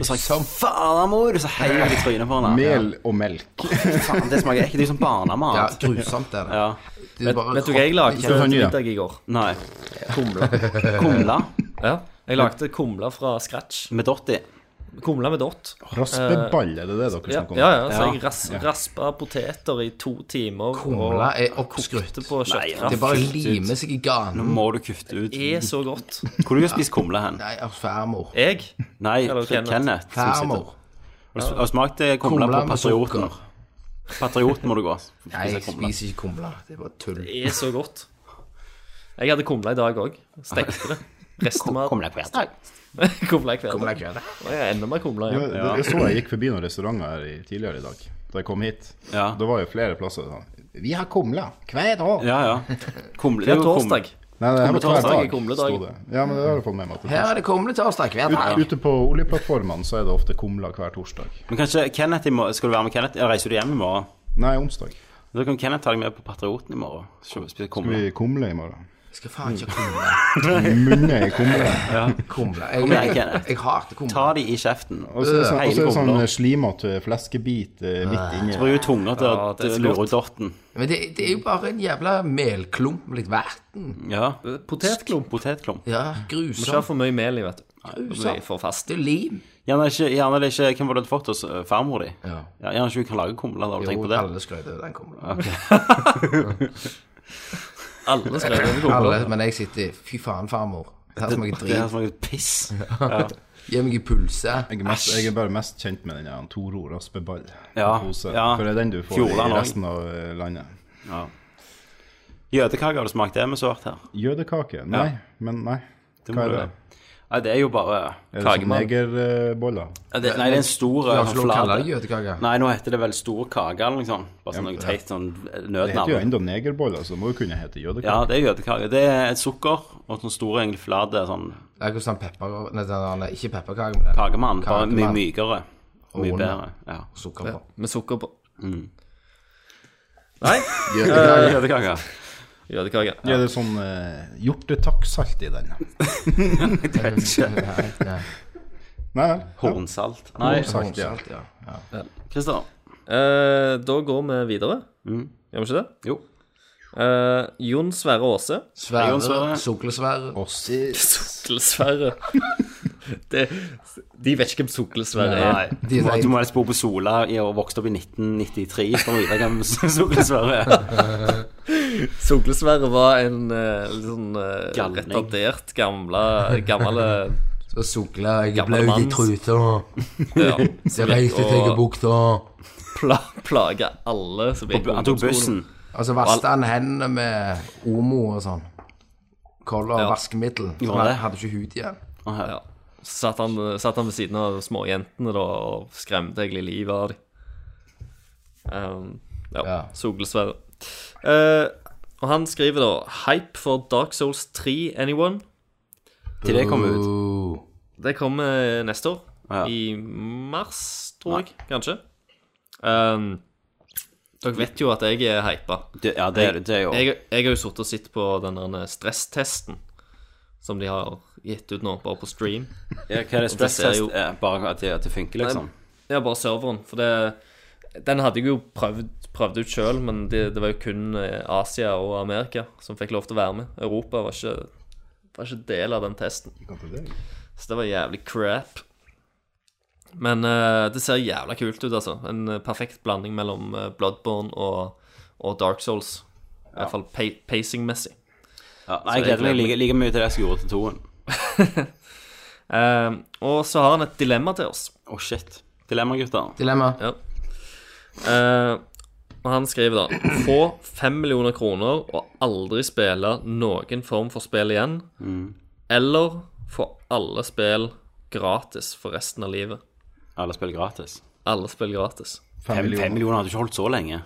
Speaker 5: Så sa jeg faen, mor, så heiv jeg i trynet på henne.
Speaker 8: Mel og melk.
Speaker 5: Faen, det smaker ekkelt. Det er jo sånn
Speaker 7: ja.
Speaker 5: barnemat.
Speaker 7: Grusomt er det.
Speaker 5: Ja.
Speaker 7: det er bare
Speaker 6: Vet du hva jeg lagde
Speaker 8: Skal vi
Speaker 6: til
Speaker 8: ta en ny, da?
Speaker 6: middag i går?
Speaker 5: Nei.
Speaker 6: Kumle.
Speaker 5: Kumle
Speaker 6: Ja, jeg lagde kumle fra scratch.
Speaker 5: med Dotti.
Speaker 6: Kumle med dott.
Speaker 8: Raspeball, er det det dere
Speaker 6: Ja,
Speaker 8: snakker om?
Speaker 6: ja, ja, så
Speaker 5: Ja.
Speaker 6: jeg ras, raspa poteter i to timer.
Speaker 7: Kumle
Speaker 6: og
Speaker 7: er oppskrytt.
Speaker 6: kokte på
Speaker 7: Det
Speaker 6: kjøttkraft.
Speaker 7: bare limer seg i
Speaker 5: Nå
Speaker 7: ganen.
Speaker 5: må du kutte ut.
Speaker 6: Det er så godt.
Speaker 5: Hvor har du spist kumle hen?
Speaker 7: Nei, av farmor.
Speaker 6: Jeg?
Speaker 5: Nei,
Speaker 6: Eller
Speaker 5: Kenneth.
Speaker 6: Kenneth.
Speaker 5: som sitter-
Speaker 7: Farmor.
Speaker 5: Har du smakt eh, kumle
Speaker 7: Kumle
Speaker 5: på
Speaker 7: med
Speaker 5: Patrioten?
Speaker 7: sukker.
Speaker 5: Patrioten må du gå.
Speaker 7: Nei, jeg
Speaker 5: Spise kumle.
Speaker 7: spiser ikke kumle. Det er bare tull.
Speaker 6: Det er så godt. Jeg hadde kumle i dag òg. Stekte det. Restemat.
Speaker 5: Kumle på hjertet.
Speaker 6: Kumle i kveld.
Speaker 7: Kumle er ikke det.
Speaker 6: Og jeg er enda mer kumle.
Speaker 8: Ja,
Speaker 6: Ja.
Speaker 8: det- Jeg så jeg gikk forbi noen restauranter her i, tidligere i dag, da jeg kom hit.
Speaker 5: Ja.
Speaker 8: Da var jo flere plasser sånn Vi har kumler hvert år.
Speaker 5: Ja, ja. Kumle,
Speaker 6: Det er
Speaker 5: jo kumle.
Speaker 6: torsdag.
Speaker 8: Nei, det her var hver
Speaker 5: Kumletorsdag
Speaker 6: er
Speaker 8: dag.
Speaker 6: kumledag.
Speaker 8: sto det. Ja, men det har jeg fått med meg. at det
Speaker 7: Her er det kumletorsdag hver
Speaker 8: Ut,
Speaker 7: dag.
Speaker 8: ute på oljeplattformene så er det ofte kumler hver torsdag.
Speaker 5: Men kanskje Kenneth i morgen Skal du være med Kenneth? Ja, reiser du hjem i morgen?
Speaker 8: Nei, onsdag.
Speaker 5: Da kan Kenneth ta deg med på Patrioten i morgen. Skal vi Spise kumle.
Speaker 8: Vi kumler i morgen.
Speaker 7: Jeg skal faen ikke ha kumle.
Speaker 8: Munner i kumler.
Speaker 7: Kumle.
Speaker 5: Kom igjen,
Speaker 7: Jeg, jeg,
Speaker 5: Kenneth.
Speaker 7: jeg hater kumle.
Speaker 5: Ta de i kjeften.
Speaker 8: Og så er det sånn, og så er det
Speaker 5: Hele
Speaker 8: sånn
Speaker 5: kumler.
Speaker 8: slimete fleskebit eh, midt inni.
Speaker 5: Bruker jo tunga til
Speaker 6: Ja,
Speaker 5: å
Speaker 6: det er så
Speaker 5: lure
Speaker 6: godt.
Speaker 5: ut dotten.
Speaker 7: Men det, det er jo bare en jævla melklump med litt verten.
Speaker 5: Ja.
Speaker 6: Potetklump.
Speaker 5: Potetklump.
Speaker 7: Ja,
Speaker 6: Må ikke ha
Speaker 7: grusomt.
Speaker 6: for mye mel i, vet du. Da blir jeg
Speaker 7: Grusomt.
Speaker 6: for fast.
Speaker 7: Det er jo lim.
Speaker 5: Gjerne ikke, gjerne det ikke Hvem var det du hadde fått hos eh, farmor di?
Speaker 7: Ja.
Speaker 5: Ja, gjerne ikke hun kan lage kumler, da. Har du tenkt
Speaker 7: Jo,
Speaker 5: på det?
Speaker 7: alle skrøter av den kumla.
Speaker 6: Alle skrev over kumle.
Speaker 7: Alle, men jeg sitter i Fy faen, farmor. Det her smaker
Speaker 5: Det her
Speaker 7: drit.
Speaker 5: smaker piss.
Speaker 7: Gi meg i pølse.
Speaker 8: Jeg er, mest, jeg er bare mest kjent med den her Toro raspeball.
Speaker 5: Ja,
Speaker 8: Pose.
Speaker 5: ja.
Speaker 8: For det er den du får
Speaker 5: Fjordland
Speaker 8: i
Speaker 5: også.
Speaker 8: resten av eh, landet.
Speaker 5: Jødekake, har du smakt det mens du har vært her?
Speaker 8: Jødekake? Nei,
Speaker 5: Ja.
Speaker 8: men nei.
Speaker 5: Det
Speaker 8: Hva
Speaker 5: må
Speaker 8: er
Speaker 5: du
Speaker 8: det?
Speaker 5: Nei, det er jo bare
Speaker 8: Er det sånn
Speaker 6: Kagemann.
Speaker 8: negerboller?
Speaker 5: Ja, det, Nei, det er en stor
Speaker 7: Du
Speaker 5: eh,
Speaker 7: har ikke lov å kalle det
Speaker 5: flate.
Speaker 7: jøtekake.
Speaker 5: Nei, nå heter det vel stor kake eller noe sånt. Bare sånn noe teit sånn
Speaker 8: Det heter jo
Speaker 5: nødnavn.
Speaker 8: enda negerboller, så det må jo kunne hete jødekake.
Speaker 5: Ja, det er jødekake. Det er et sukker og sånn store, egentlig flate sånn
Speaker 7: Det er ikke sånn pepper... Nei, den der- nei, ikke pepperkake, men den-
Speaker 5: kakemann. Bare mye
Speaker 7: Kakemann.
Speaker 5: mykere. Og mye
Speaker 7: Og
Speaker 5: bedre. Ja.
Speaker 7: Sukker på.
Speaker 6: Med sukker på.
Speaker 5: Jødekake.
Speaker 6: Jødekake.
Speaker 8: Ja, det er sånn uh, hjortetakksalt i den. Nei vel.
Speaker 5: Hornsalt. Nei,
Speaker 8: Hornsalt, ja.
Speaker 7: Salt, ja. ja.
Speaker 5: Christer.
Speaker 6: Eh, da går vi videre. Gjør vi ikke det?
Speaker 5: Jo.
Speaker 6: Eh, Jon Sverre Aase.
Speaker 7: Svære,
Speaker 5: Sverre.
Speaker 7: suklesvære
Speaker 6: Suklesverre. det, de vet ikke hvem Suklesverre
Speaker 5: Nei,
Speaker 6: er.
Speaker 5: du må, du må helst bo på Sola i og vokste opp i 1993 for å vite hvem Soklesverre er.
Speaker 6: Suklesverre var en eh, litt sånn eh,
Speaker 5: Galning.
Speaker 6: retardert gamle, eh, gamle
Speaker 7: Så sukla jeg er
Speaker 6: Gammel
Speaker 7: blaut i
Speaker 6: manns.
Speaker 7: truta.
Speaker 6: ja,
Speaker 7: Jeg reiste til
Speaker 6: og
Speaker 7: Egebukta.
Speaker 6: pla, plaga alle som gikk på
Speaker 5: Han tok bussen.
Speaker 7: Altså vaska han hendene med Omo og sånn. Color
Speaker 6: Ja.
Speaker 7: vaskemiddel.
Speaker 5: Gjorde
Speaker 7: For han
Speaker 5: det?
Speaker 7: hadde ikke hud igjen.
Speaker 6: Ja. Så satt han, satt han ved siden av småjentene da, og skremte egentlig livet av dem. Um, ja.
Speaker 7: Ja.
Speaker 6: Suklesverre. Eh, og han skriver da Hype for Dark Souls 3, anyone?
Speaker 5: Til det kom ut.
Speaker 7: Uh,
Speaker 6: Det kommer neste år.
Speaker 5: Ja.
Speaker 6: I mars, tror jeg. Kanskje. Ehm, dere vet jo at jeg er hypa.
Speaker 5: Det, ja, det, er det- det er jo
Speaker 6: Jeg, jeg har jo sittet og sett på den der stresstesten som de har gitt ut nå, bare på stream.
Speaker 5: Ja, Hva er det stress
Speaker 6: Det ser jo-
Speaker 5: test er? Bare at det, at det funker, liksom?
Speaker 6: Ja, bare serveren. For det Den hadde jeg jo prøvd, prøvd ut sjøl, men det, det var jo kun eh, Asia og Amerika som fikk lov til å være med. Europa var ikke, var ikke del av den testen. Så det var jævlig crap. Men eh, det ser jævla kult ut, altså. En eh, perfekt blanding mellom eh, Bloodborne og, og Dark Souls. I hvert fall pa pacing-messig.
Speaker 5: Ja, nei, jeg
Speaker 6: Så jeg
Speaker 5: gleder meg
Speaker 6: gleder
Speaker 5: like, like mye til det jeg skal gjøre til toen.
Speaker 6: Eh, og så har han et dilemma til oss.
Speaker 5: Å, shit. Dilemma, gutter.
Speaker 7: dilemma.
Speaker 6: Eh, Og han skriver da Få fem millioner kroner og aldri spille noen form for spill igjen. Eller få alle spill gratis for resten av livet.
Speaker 5: Alle spiller gratis.
Speaker 6: Alle spill gratis.
Speaker 8: Fem
Speaker 5: Fem
Speaker 8: millioner.
Speaker 5: fem millioner hadde ikke holdt så lenge.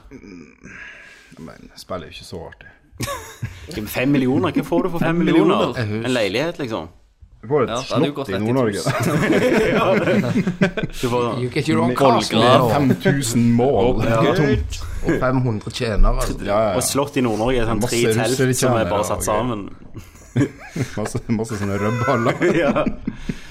Speaker 8: Men spillet er jo ikke så artig.
Speaker 5: Skal- Fem millioner? Hva får du for fem millioner? En leilighet, liksom?
Speaker 8: Du får et
Speaker 6: Ja, det hadde jo gått
Speaker 8: slott i
Speaker 6: rett i
Speaker 8: Nord-Norge.
Speaker 5: Du får
Speaker 7: You get your own
Speaker 8: Med-
Speaker 7: castle.
Speaker 8: med
Speaker 7: now.
Speaker 8: 5000 mål.
Speaker 5: Ja.
Speaker 7: Og 500 tjenere.
Speaker 8: Ja, ja,
Speaker 5: Og et slott i Nord-Norge er sånn tre
Speaker 8: Masse
Speaker 5: telt
Speaker 8: russere
Speaker 5: som er
Speaker 8: tjener,
Speaker 5: bare
Speaker 8: ja,
Speaker 5: satt
Speaker 8: ok.
Speaker 5: sammen.
Speaker 8: Masse, masse sånne rødballer.
Speaker 5: Ja.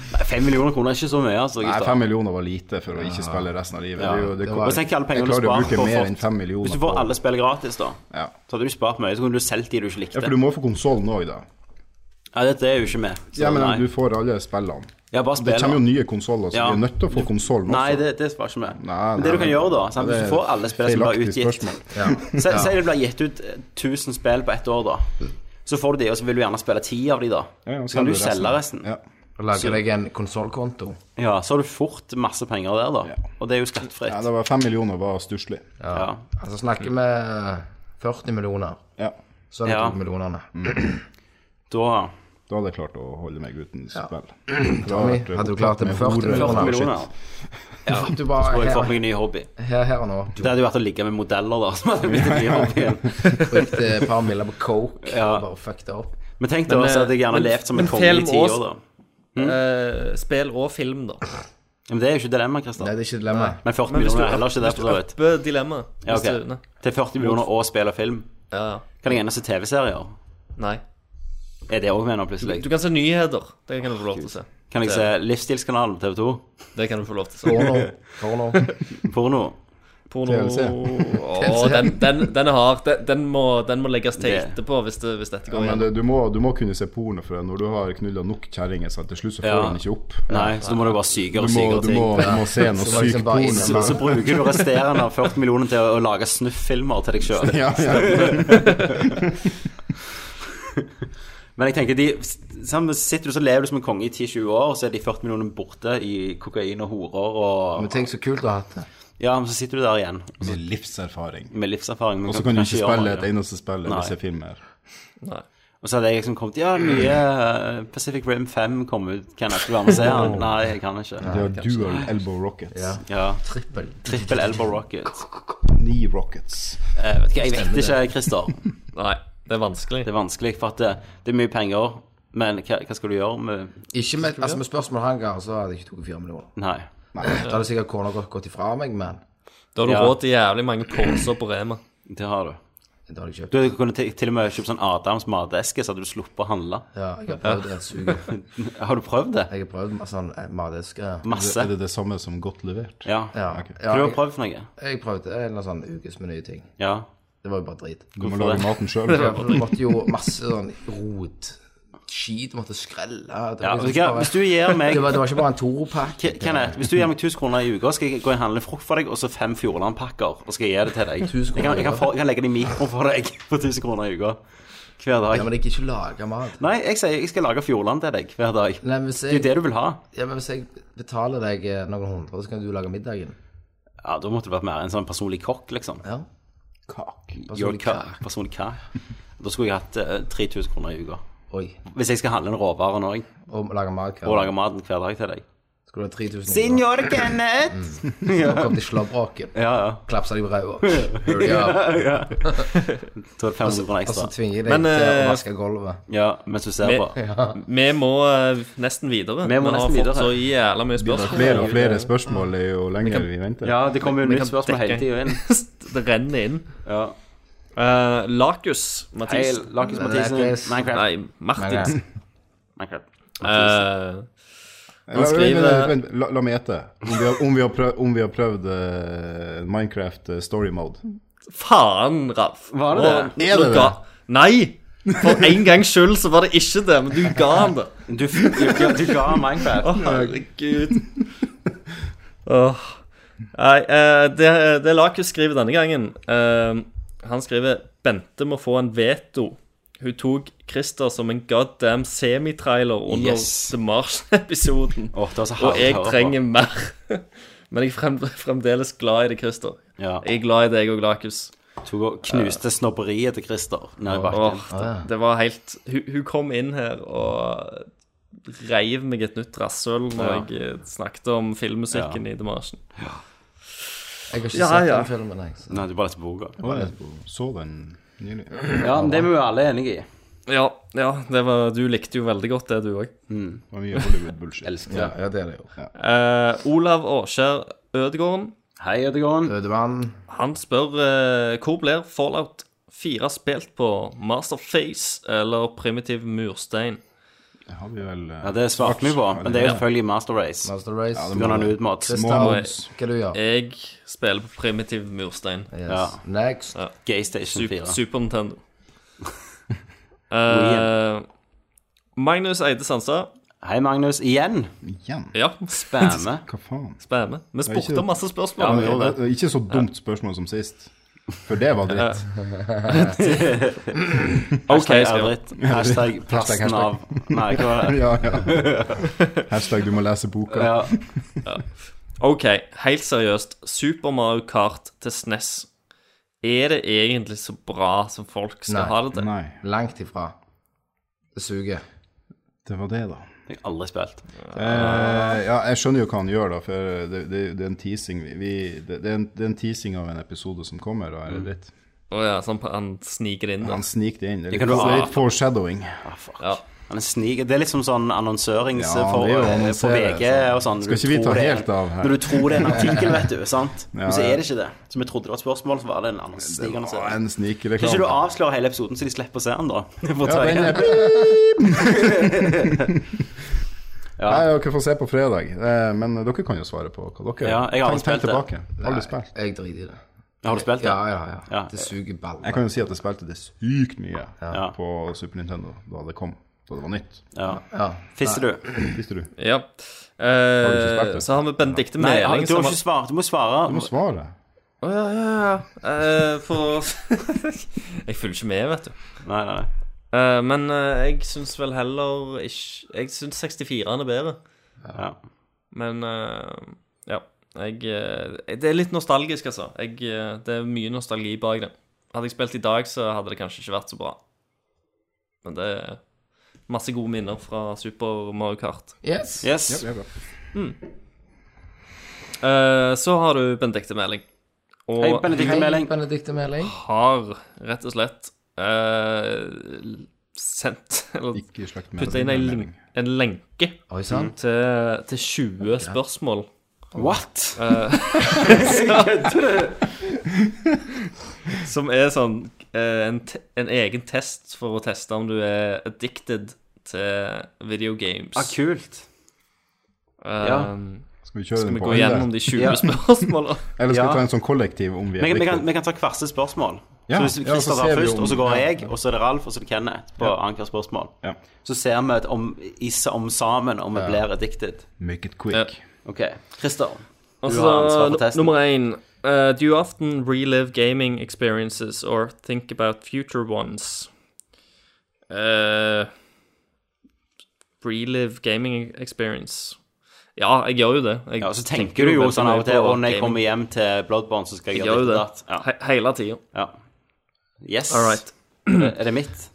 Speaker 5: Nei, fem millioner kroner er ikke så mye, altså.
Speaker 8: Nei,
Speaker 5: gutter.
Speaker 8: fem millioner var lite for å ikke spille resten av livet. Det er jo- det
Speaker 7: det
Speaker 8: kom-
Speaker 7: var-
Speaker 5: Og tenk alle pengene
Speaker 8: Jeg
Speaker 5: du
Speaker 8: klarer å
Speaker 5: sparer
Speaker 8: bruke
Speaker 5: på å
Speaker 8: mer
Speaker 5: fått-
Speaker 8: enn fem millioner
Speaker 5: Hvis du får
Speaker 8: på-
Speaker 5: alle spill gratis, da,
Speaker 8: Ja.
Speaker 5: så hadde du spart mye. Så kunne du solgt de du ikke
Speaker 8: ja,
Speaker 5: likte.
Speaker 8: for du må få konsollen òg, da.
Speaker 5: Ja, dette er jo ikke med. Så
Speaker 8: Ja, men
Speaker 5: nei.
Speaker 8: du får alle spillene.
Speaker 5: Ja, bare
Speaker 8: Det
Speaker 5: spill.
Speaker 8: kommer jo
Speaker 5: da.
Speaker 8: nye konsoller, så
Speaker 5: Ja.
Speaker 8: vi er nødt til å få konsollen også.
Speaker 5: Nei, det, det sparer ikke med.
Speaker 8: Nei,
Speaker 5: men
Speaker 8: nei,
Speaker 5: det du kan
Speaker 8: nei.
Speaker 5: gjøre, da sant?
Speaker 8: Det
Speaker 5: Hvis
Speaker 8: er
Speaker 5: du får alle spill som blir
Speaker 8: feilaktig
Speaker 5: utgitt
Speaker 8: spørsmål.
Speaker 7: Ja.
Speaker 5: Si si det blir gitt ut eh, 1000 spill på ett år, da. Så får du de, og så vil du gjerne spille ti av de, da.
Speaker 8: Ja, og
Speaker 5: Så kan du
Speaker 8: selger
Speaker 5: selge resten.
Speaker 8: Ja.
Speaker 7: Og lage deg en konsollkonto.
Speaker 5: Ja, så har du fort masse penger der, da. Og det er jo skattefritt.
Speaker 8: ja, det var fem millioner var stusslig.
Speaker 5: Ja.
Speaker 7: Altså snakker vi 40 millioner,
Speaker 8: Ja.
Speaker 7: så er det
Speaker 5: Ja. Mm.
Speaker 7: to millionene.
Speaker 5: Da
Speaker 8: Da hadde jeg klart å holde meg uten spill.
Speaker 7: Tommy, hadde du klart det med 40
Speaker 5: 40
Speaker 7: millioner?
Speaker 5: millioner.
Speaker 7: Ja, du bare,
Speaker 5: Og jeg får
Speaker 7: her,
Speaker 5: meg en ny hobby.
Speaker 7: her, her og nå. Du
Speaker 5: Det hadde jo vært å ligge med modeller, da. Som hadde blitt en ny hobby igjen.
Speaker 7: brukte et eh, par miller på coke
Speaker 5: Ja.
Speaker 7: og bare fucked det opp.
Speaker 5: Men tenk da
Speaker 6: Men,
Speaker 5: så hadde jeg gjerne
Speaker 6: men-
Speaker 5: levd som en
Speaker 6: men
Speaker 5: konge i
Speaker 6: film
Speaker 5: ti år,
Speaker 6: også-
Speaker 5: da.
Speaker 6: Eh, spill og film, da.
Speaker 5: Ja, Men det er jo ikke dilemma, Kristian.
Speaker 7: Nei, det er ikke et dilemma.
Speaker 5: Men 40
Speaker 6: Men hvis
Speaker 5: millioner
Speaker 6: du-
Speaker 5: er heller ikke det, for så vidt.
Speaker 6: Oppe dilemma.
Speaker 5: Ja,
Speaker 6: Hvis
Speaker 5: ok.
Speaker 6: du- nei.
Speaker 5: Til 40 millioner og spill og film.
Speaker 6: Ja, ja.
Speaker 5: Kan jeg ennå se TV-serier?
Speaker 6: Nei.
Speaker 5: Er det òg med nå, plutselig?
Speaker 6: Du kan se nyheter. Det kan du få lov til å se.
Speaker 5: Kan jeg se Livsstilskanalen på TV2?
Speaker 6: Det kan du få lov til å se.
Speaker 7: Porno. Porno.
Speaker 5: Porno?
Speaker 6: Porno
Speaker 8: TLC.
Speaker 6: Å, den, den, den er hard. Den, den, må, den må legges til
Speaker 5: Det-
Speaker 6: etterpå hvis, det, hvis dette
Speaker 8: Ja,
Speaker 6: går
Speaker 8: men
Speaker 6: igjen.
Speaker 8: det, du, må, du må kunne se porno, for når du har knulla nok kjerringer, så til slutt så får
Speaker 5: Ja.
Speaker 8: han ikke opp.
Speaker 5: Nei, så da må du bare syke
Speaker 8: Du
Speaker 5: og
Speaker 8: må,
Speaker 5: syke
Speaker 8: du må,
Speaker 5: ting.
Speaker 8: du må se noe
Speaker 7: Så var det liksom
Speaker 8: sykt
Speaker 7: bare
Speaker 8: porno.
Speaker 7: is-
Speaker 5: Så, så bruker du resterende av 40 millioner til å, å lage snufffilmer til deg sjøl.
Speaker 8: Ja, ja.
Speaker 5: Men jeg tenker de sammen Sitter du så lever du som en konge i 10-20 år, og så er de 40 millionene borte i kokain og horer og
Speaker 7: Men tenk så kult du har hatt det.
Speaker 5: Ja, men så sitter du der igjen
Speaker 8: Med livserfaring.
Speaker 5: med Altså, livserfaring. men
Speaker 8: Og så kan du ikke
Speaker 5: gjøre
Speaker 8: spille
Speaker 5: noe.
Speaker 8: et eneste spill eller
Speaker 5: Nei.
Speaker 8: se filmer.
Speaker 6: Nei.
Speaker 5: Og så hadde jeg liksom kommet Ja, nye eh, Pacific Rim 5 kom ut. Kan jeg ikke være med og se den? Nei, jeg kan ikke.
Speaker 8: Det er dual elbow rockets.
Speaker 7: Ja.
Speaker 5: Ja.
Speaker 7: Trippel.
Speaker 5: Trippel Elbow Rocket.
Speaker 8: Knee rockets.
Speaker 5: Eh, vet ikke, jeg vet ikke, Christer.
Speaker 6: Nei, det er vanskelig.
Speaker 5: Det er vanskelig, for at det, det er mye penger. Men hva, hva skal du gjøre med
Speaker 7: Ikke med, altså med spørsmål han ga, så hadde jeg ikke tatt 4 millioner.
Speaker 5: Nei.
Speaker 7: Da hadde sikkert kona gått, gått ifra meg, men
Speaker 6: Da har du
Speaker 5: Ja.
Speaker 6: råd til jævlig mange poser på Rema.
Speaker 5: Det har du.
Speaker 7: det hadde jeg kjøpt.
Speaker 5: Du kunne til, til og med kjøpt sånn Adams mateske, så hadde du sluppet å handle.
Speaker 7: Ja, jeg har prøvd det suget.
Speaker 5: Har du prøvd det?
Speaker 7: Jeg har prøvd med sånn eh, mateskre.
Speaker 5: Masse.
Speaker 8: Er det det samme som godt levert?
Speaker 5: Ja.
Speaker 7: Ja,
Speaker 8: Ok.
Speaker 7: ja
Speaker 5: Du har
Speaker 7: jeg,
Speaker 5: prøvd for noe?
Speaker 7: jeg prøvde en sånn ukes med nye ting.
Speaker 5: Ja.
Speaker 7: Det var jo bare drit.
Speaker 8: Du må
Speaker 5: Hvorfor
Speaker 8: lage
Speaker 5: det?
Speaker 8: maten sjøl.
Speaker 7: Ja, for Det måtte jo masse sånn rot, skit, måtte skrelle. Det var
Speaker 5: ja.
Speaker 7: liksom
Speaker 5: vet
Speaker 7: ikke bare-
Speaker 5: du hva, Hvis du gir meg
Speaker 7: det, var, det var ikke bare en Toro-pakke.
Speaker 5: Ke- Kenneth, hvis du gir meg 1000 kroner i uka, skal jeg gå og handle frukt for deg, og så fem Fjordland-pakker. Og skal jeg gi det til deg.
Speaker 7: 1000
Speaker 5: Jeg kan, jeg kan,
Speaker 7: kroner.
Speaker 5: få, jeg kan legge det i mikroen for deg for 1000 kroner i uka. Hver
Speaker 7: Ja,
Speaker 5: dag.
Speaker 7: men jeg kan ikke lage mat.
Speaker 5: Nei, jeg sier jeg skal lage Fjordland til deg hver dag.
Speaker 7: Nei, men hvis
Speaker 5: Det er jo
Speaker 7: jeg,
Speaker 5: det du vil ha.
Speaker 7: ja, men hvis jeg betaler deg eh, noen hundre, så kan du lage middagen.
Speaker 5: Ja, Da måtte det vært mer en sånn personlig kokk, liksom.
Speaker 7: Ja.
Speaker 5: Your
Speaker 7: Personlig
Speaker 5: cock. Personlig kakk. Da skulle jeg hatt eh, 3000 kroner i uka.
Speaker 7: Oi.
Speaker 5: Hvis jeg skal handle en råvare nå, jeg,
Speaker 7: Og lage mat hver
Speaker 5: og lage maten hver dag til deg.
Speaker 7: Skulle du ha 3000
Speaker 5: Signor Kenneth!
Speaker 7: kroner, kom til slåbroken.
Speaker 5: Ja, ja.
Speaker 7: Klapsa deg på ræva.
Speaker 5: Så er det 500 kroner
Speaker 7: Og så
Speaker 5: ekstra.
Speaker 7: tvinger jeg deg
Speaker 6: Men,
Speaker 7: til å
Speaker 6: eh,
Speaker 7: vaske gulvet.
Speaker 5: Ja, mens du ser
Speaker 6: Vi-
Speaker 5: på.
Speaker 6: Vi må eh, nesten videre.
Speaker 5: Vi må nesten
Speaker 6: har fått
Speaker 5: videre.
Speaker 6: så jævla mye spørsmål.
Speaker 8: Flere og flere spørsmål er jo lenger vi venter.
Speaker 5: Ja, det kommer jo nytt
Speaker 6: kan
Speaker 5: spørsmål hele
Speaker 6: dekke.
Speaker 5: tida inn.
Speaker 6: det renner inn.
Speaker 5: Ja.
Speaker 6: Eh, Lakus
Speaker 5: Hei,
Speaker 6: Mathis
Speaker 5: Lakis Mathisen.
Speaker 7: Lakis.
Speaker 5: Minecraft.
Speaker 6: Nei, Martins.
Speaker 5: Minecraft.
Speaker 6: Eh,
Speaker 8: Eller, vent,
Speaker 6: skriver-
Speaker 8: vent, vent, la, la meg gjette. Om vi har, om vi har prøvd, om vi har prøvd eh, Minecraft eh, story mode.
Speaker 6: faen, Ralf.
Speaker 5: Var det det?
Speaker 6: Nå- nå
Speaker 8: det
Speaker 6: ga... Nei! For en gangs skyld så var det ikke det, men du ga han det.
Speaker 5: Du, du, du ga han Minecraft.
Speaker 6: Å, herregud. Åh. Nei, eh, det, det Lakus skriver denne gangen eh, Han skriver Bente må få en veto. Hun tok Christer som en goddamn semitrailer under
Speaker 5: Yes.
Speaker 6: The Martian-episoden.
Speaker 5: Åh, det var så herlig
Speaker 6: Og
Speaker 5: å
Speaker 6: jeg
Speaker 5: høre på.
Speaker 6: trenger mer. Men jeg er frem, fremdeles glad i deg, Christer.
Speaker 5: Ja.
Speaker 6: Jeg er glad i deg og Glakus.
Speaker 5: Tok og knuste snobberiet til Christer nede i bakken.
Speaker 6: Åh, det, det var helt hun, hun kom inn her og reiv meg et nytt rasshøl når
Speaker 5: Ja.
Speaker 6: jeg eh, snakket om filmmusikken i Demasjen.
Speaker 7: Jeg har ikke
Speaker 6: Ja,
Speaker 7: sett
Speaker 6: ja.
Speaker 7: den filmen, jeg. Så.
Speaker 5: Nei, du bare leste boka.
Speaker 8: Og jeg så den nylig.
Speaker 5: Ja, men det er vi jo alle enige i.
Speaker 6: Ja, ja det var, du likte jo veldig godt det, du òg.
Speaker 8: Det var mye Hollywood-bullshit.
Speaker 5: Elsker
Speaker 7: Ja,
Speaker 5: det.
Speaker 7: ja, det er det jo.
Speaker 6: Eh, Olav Åskjær Ødegården
Speaker 5: Hei, Ødegården.
Speaker 7: Ødemann.
Speaker 6: han spør eh, hvor blir Fallout 4 spilt på Masterface eller Primitiv murstein?
Speaker 8: Det har vi vel eh,
Speaker 5: Ja, det svarte vi på, men det er jo selvfølgelig Master Race.
Speaker 7: Master Race.
Speaker 5: Du kan ha den utmått.
Speaker 7: det
Speaker 8: Små
Speaker 7: stemmer.
Speaker 8: mods.
Speaker 7: Hva du gjør?
Speaker 6: Jeg spiller på Primitiv murstein.
Speaker 7: Yes.
Speaker 5: Ja.
Speaker 7: Next.
Speaker 5: Gaystation
Speaker 6: Super,
Speaker 5: 4.
Speaker 6: Super Nintendo.
Speaker 5: Wien.
Speaker 6: Eh, Magnus Eide Sandstad.
Speaker 5: Hei, Magnus. Igjen.
Speaker 8: Igjen?
Speaker 6: Ja,
Speaker 5: Spamme.
Speaker 8: Hva faen?
Speaker 6: spennende. Vi spurte
Speaker 8: ikke-
Speaker 6: om masse
Speaker 5: Ja,
Speaker 6: spørsmål.
Speaker 5: vi gjorde det.
Speaker 8: Det er Ikke så dumt spørsmål som sist. For det var dritt.
Speaker 5: Ok,
Speaker 6: jeg
Speaker 5: er
Speaker 6: skal-
Speaker 5: dritt. Hashtag plasten av Nei, hva var det?
Speaker 8: Ja, ja. Hashtag du må lese boka.
Speaker 5: Ja.
Speaker 6: OK, helt seriøst. Super Mario Kart til SNES. Er det egentlig så bra som folk skal
Speaker 7: Nei,
Speaker 6: ha det til?
Speaker 8: Nei,
Speaker 7: Langt ifra. Det suger.
Speaker 8: det var det, da.
Speaker 5: Jeg har aldri spilt.
Speaker 8: Eh, ja, jeg skjønner jo hva han gjør, da, for det, det, det er en teasing vi, vi- det, det, er en, det er en teasing av en episode som kommer, da
Speaker 5: Mm.
Speaker 8: er det dritt.
Speaker 6: Å ja, sånn på- han sniker inn der.
Speaker 8: Han sniker det inn. Det er
Speaker 5: Det kan
Speaker 8: litt, det
Speaker 5: du-
Speaker 8: er litt foreshadowing.
Speaker 6: Ja.
Speaker 5: Han er snik. Det er litt som sånn annonsørings
Speaker 8: Ja,
Speaker 5: for,
Speaker 8: det er jo
Speaker 5: eh, for
Speaker 8: annonserer,
Speaker 5: VG og sånn.
Speaker 8: Skal
Speaker 5: Du
Speaker 8: ikke vi
Speaker 5: tror
Speaker 8: ta
Speaker 5: det er-
Speaker 8: helt av her?
Speaker 5: Når du tror det er en artikkel, vet du, sant? Men så
Speaker 8: ja.
Speaker 5: er det ikke det. Så vi trodde det var et spørsmål, så var det en annen
Speaker 8: Å,
Speaker 5: snikannonsering.
Speaker 8: En
Speaker 5: Kan ikke du
Speaker 8: snikreklame.
Speaker 5: avsløre hele episoden, så de slipper å se den, da? For å
Speaker 8: Ja,
Speaker 5: ta
Speaker 8: den
Speaker 5: igjen.
Speaker 8: er Nei, dere får se på fredag. Eh, Men dere kan jo svare på hva dere
Speaker 5: Ja, jeg har aldri
Speaker 8: Tenk- tenk
Speaker 5: spilt
Speaker 8: tilbake. Har du spilt?
Speaker 7: Jeg driter i det.
Speaker 5: Har du spilt det?
Speaker 7: Ja, ja, ja.
Speaker 5: Ja.
Speaker 7: Det suger
Speaker 8: Jeg
Speaker 7: baller.
Speaker 8: kan jo si at jeg spilte det sykt mye
Speaker 5: Ja.
Speaker 8: på Super Nintendo da det kom. Da det var nytt.
Speaker 5: Ja.
Speaker 7: Ja.
Speaker 5: Fisser du?
Speaker 8: Visste du?
Speaker 6: ja.
Speaker 8: ikke spilt
Speaker 6: Eh,
Speaker 8: det?
Speaker 6: så har vi Benedicte
Speaker 5: Nei, har-
Speaker 6: Meling
Speaker 5: du har
Speaker 6: som
Speaker 5: ikke svart. Du må svare.
Speaker 8: Du må svare.
Speaker 6: Å ja, ja, ja. Eh, for Jeg følger ikke med, vet du.
Speaker 5: Nei, nei, nei.
Speaker 6: Eh, men eh, jeg syns vel heller ikke Jeg syns 64-en er bedre.
Speaker 5: Ja.
Speaker 6: Men eh, ja. Jeg, eh, det er litt nostalgisk, altså. Jeg, eh, det er mye nostalgi bak det. Hadde jeg spilt i dag, så hadde det kanskje ikke vært så bra. Men det er masse gode minner fra Super Mario Kart.
Speaker 7: Yes.
Speaker 5: Yes.
Speaker 8: Ja, bra.
Speaker 6: Eh, så har du Benedicte Meling. Og
Speaker 5: Hei, Benedikte
Speaker 7: Hei,
Speaker 5: Meling.
Speaker 7: Benedikte Meling.
Speaker 6: har rett og slett eh, sendt Eller
Speaker 8: Ikke i slekt med
Speaker 6: putta inn ei len- en lenke
Speaker 7: Oi sann.
Speaker 6: til, til 20 spørsmål.
Speaker 5: What?
Speaker 8: Eh.
Speaker 6: Som er sånn eh, en, te en egen test for å teste om du er addicted til videogames.
Speaker 5: Ah, kult.
Speaker 6: Eh,
Speaker 5: ja.
Speaker 8: Skal vi kjøre
Speaker 6: Skal
Speaker 8: den
Speaker 6: vi
Speaker 8: på
Speaker 6: gå gjennom
Speaker 8: alle?
Speaker 6: de 20
Speaker 5: Ja.
Speaker 6: spørsmålene?
Speaker 8: Eller skal
Speaker 5: Ja.
Speaker 8: vi ta en sånn kollektiv om vi er
Speaker 5: Vi kan, vi, kan,
Speaker 8: pliktige?
Speaker 5: vi kan ta hvert sitt spørsmål.
Speaker 8: Ja,
Speaker 5: så hvis
Speaker 8: ja, så
Speaker 5: Christer
Speaker 8: ser
Speaker 5: tar
Speaker 8: vi
Speaker 5: først,
Speaker 8: om-
Speaker 5: og så går
Speaker 8: ja,
Speaker 5: jeg, og så er det Ralf, og så er det Kenneth på annethvert spørsmål.
Speaker 8: Ja.
Speaker 5: Så ser vi et om, i, om sammen om vi blir addicted.
Speaker 8: Make it quick.
Speaker 6: Ja.
Speaker 5: OK. Christer, du
Speaker 6: Altså,
Speaker 5: har ansvar for
Speaker 6: nu-
Speaker 5: testen.
Speaker 6: nummer én eh, Do you often relive gaming experiences or think about future ones? Eh, relive gaming experience Ja, jeg gjør jo det. Jeg
Speaker 5: Ja, så tenker du jo
Speaker 6: veldig
Speaker 5: sånn av og
Speaker 6: mye
Speaker 5: til
Speaker 6: på
Speaker 5: Å, når jeg
Speaker 6: gaming.
Speaker 5: kommer hjem til Bloodborne, så skal jeg
Speaker 6: Jeg
Speaker 5: gjøre
Speaker 6: gjør jo
Speaker 5: ditt og
Speaker 6: det.
Speaker 5: datt.
Speaker 6: He hele tida.
Speaker 5: Ja. ja. Yes.
Speaker 6: All right.
Speaker 5: Er det mitt?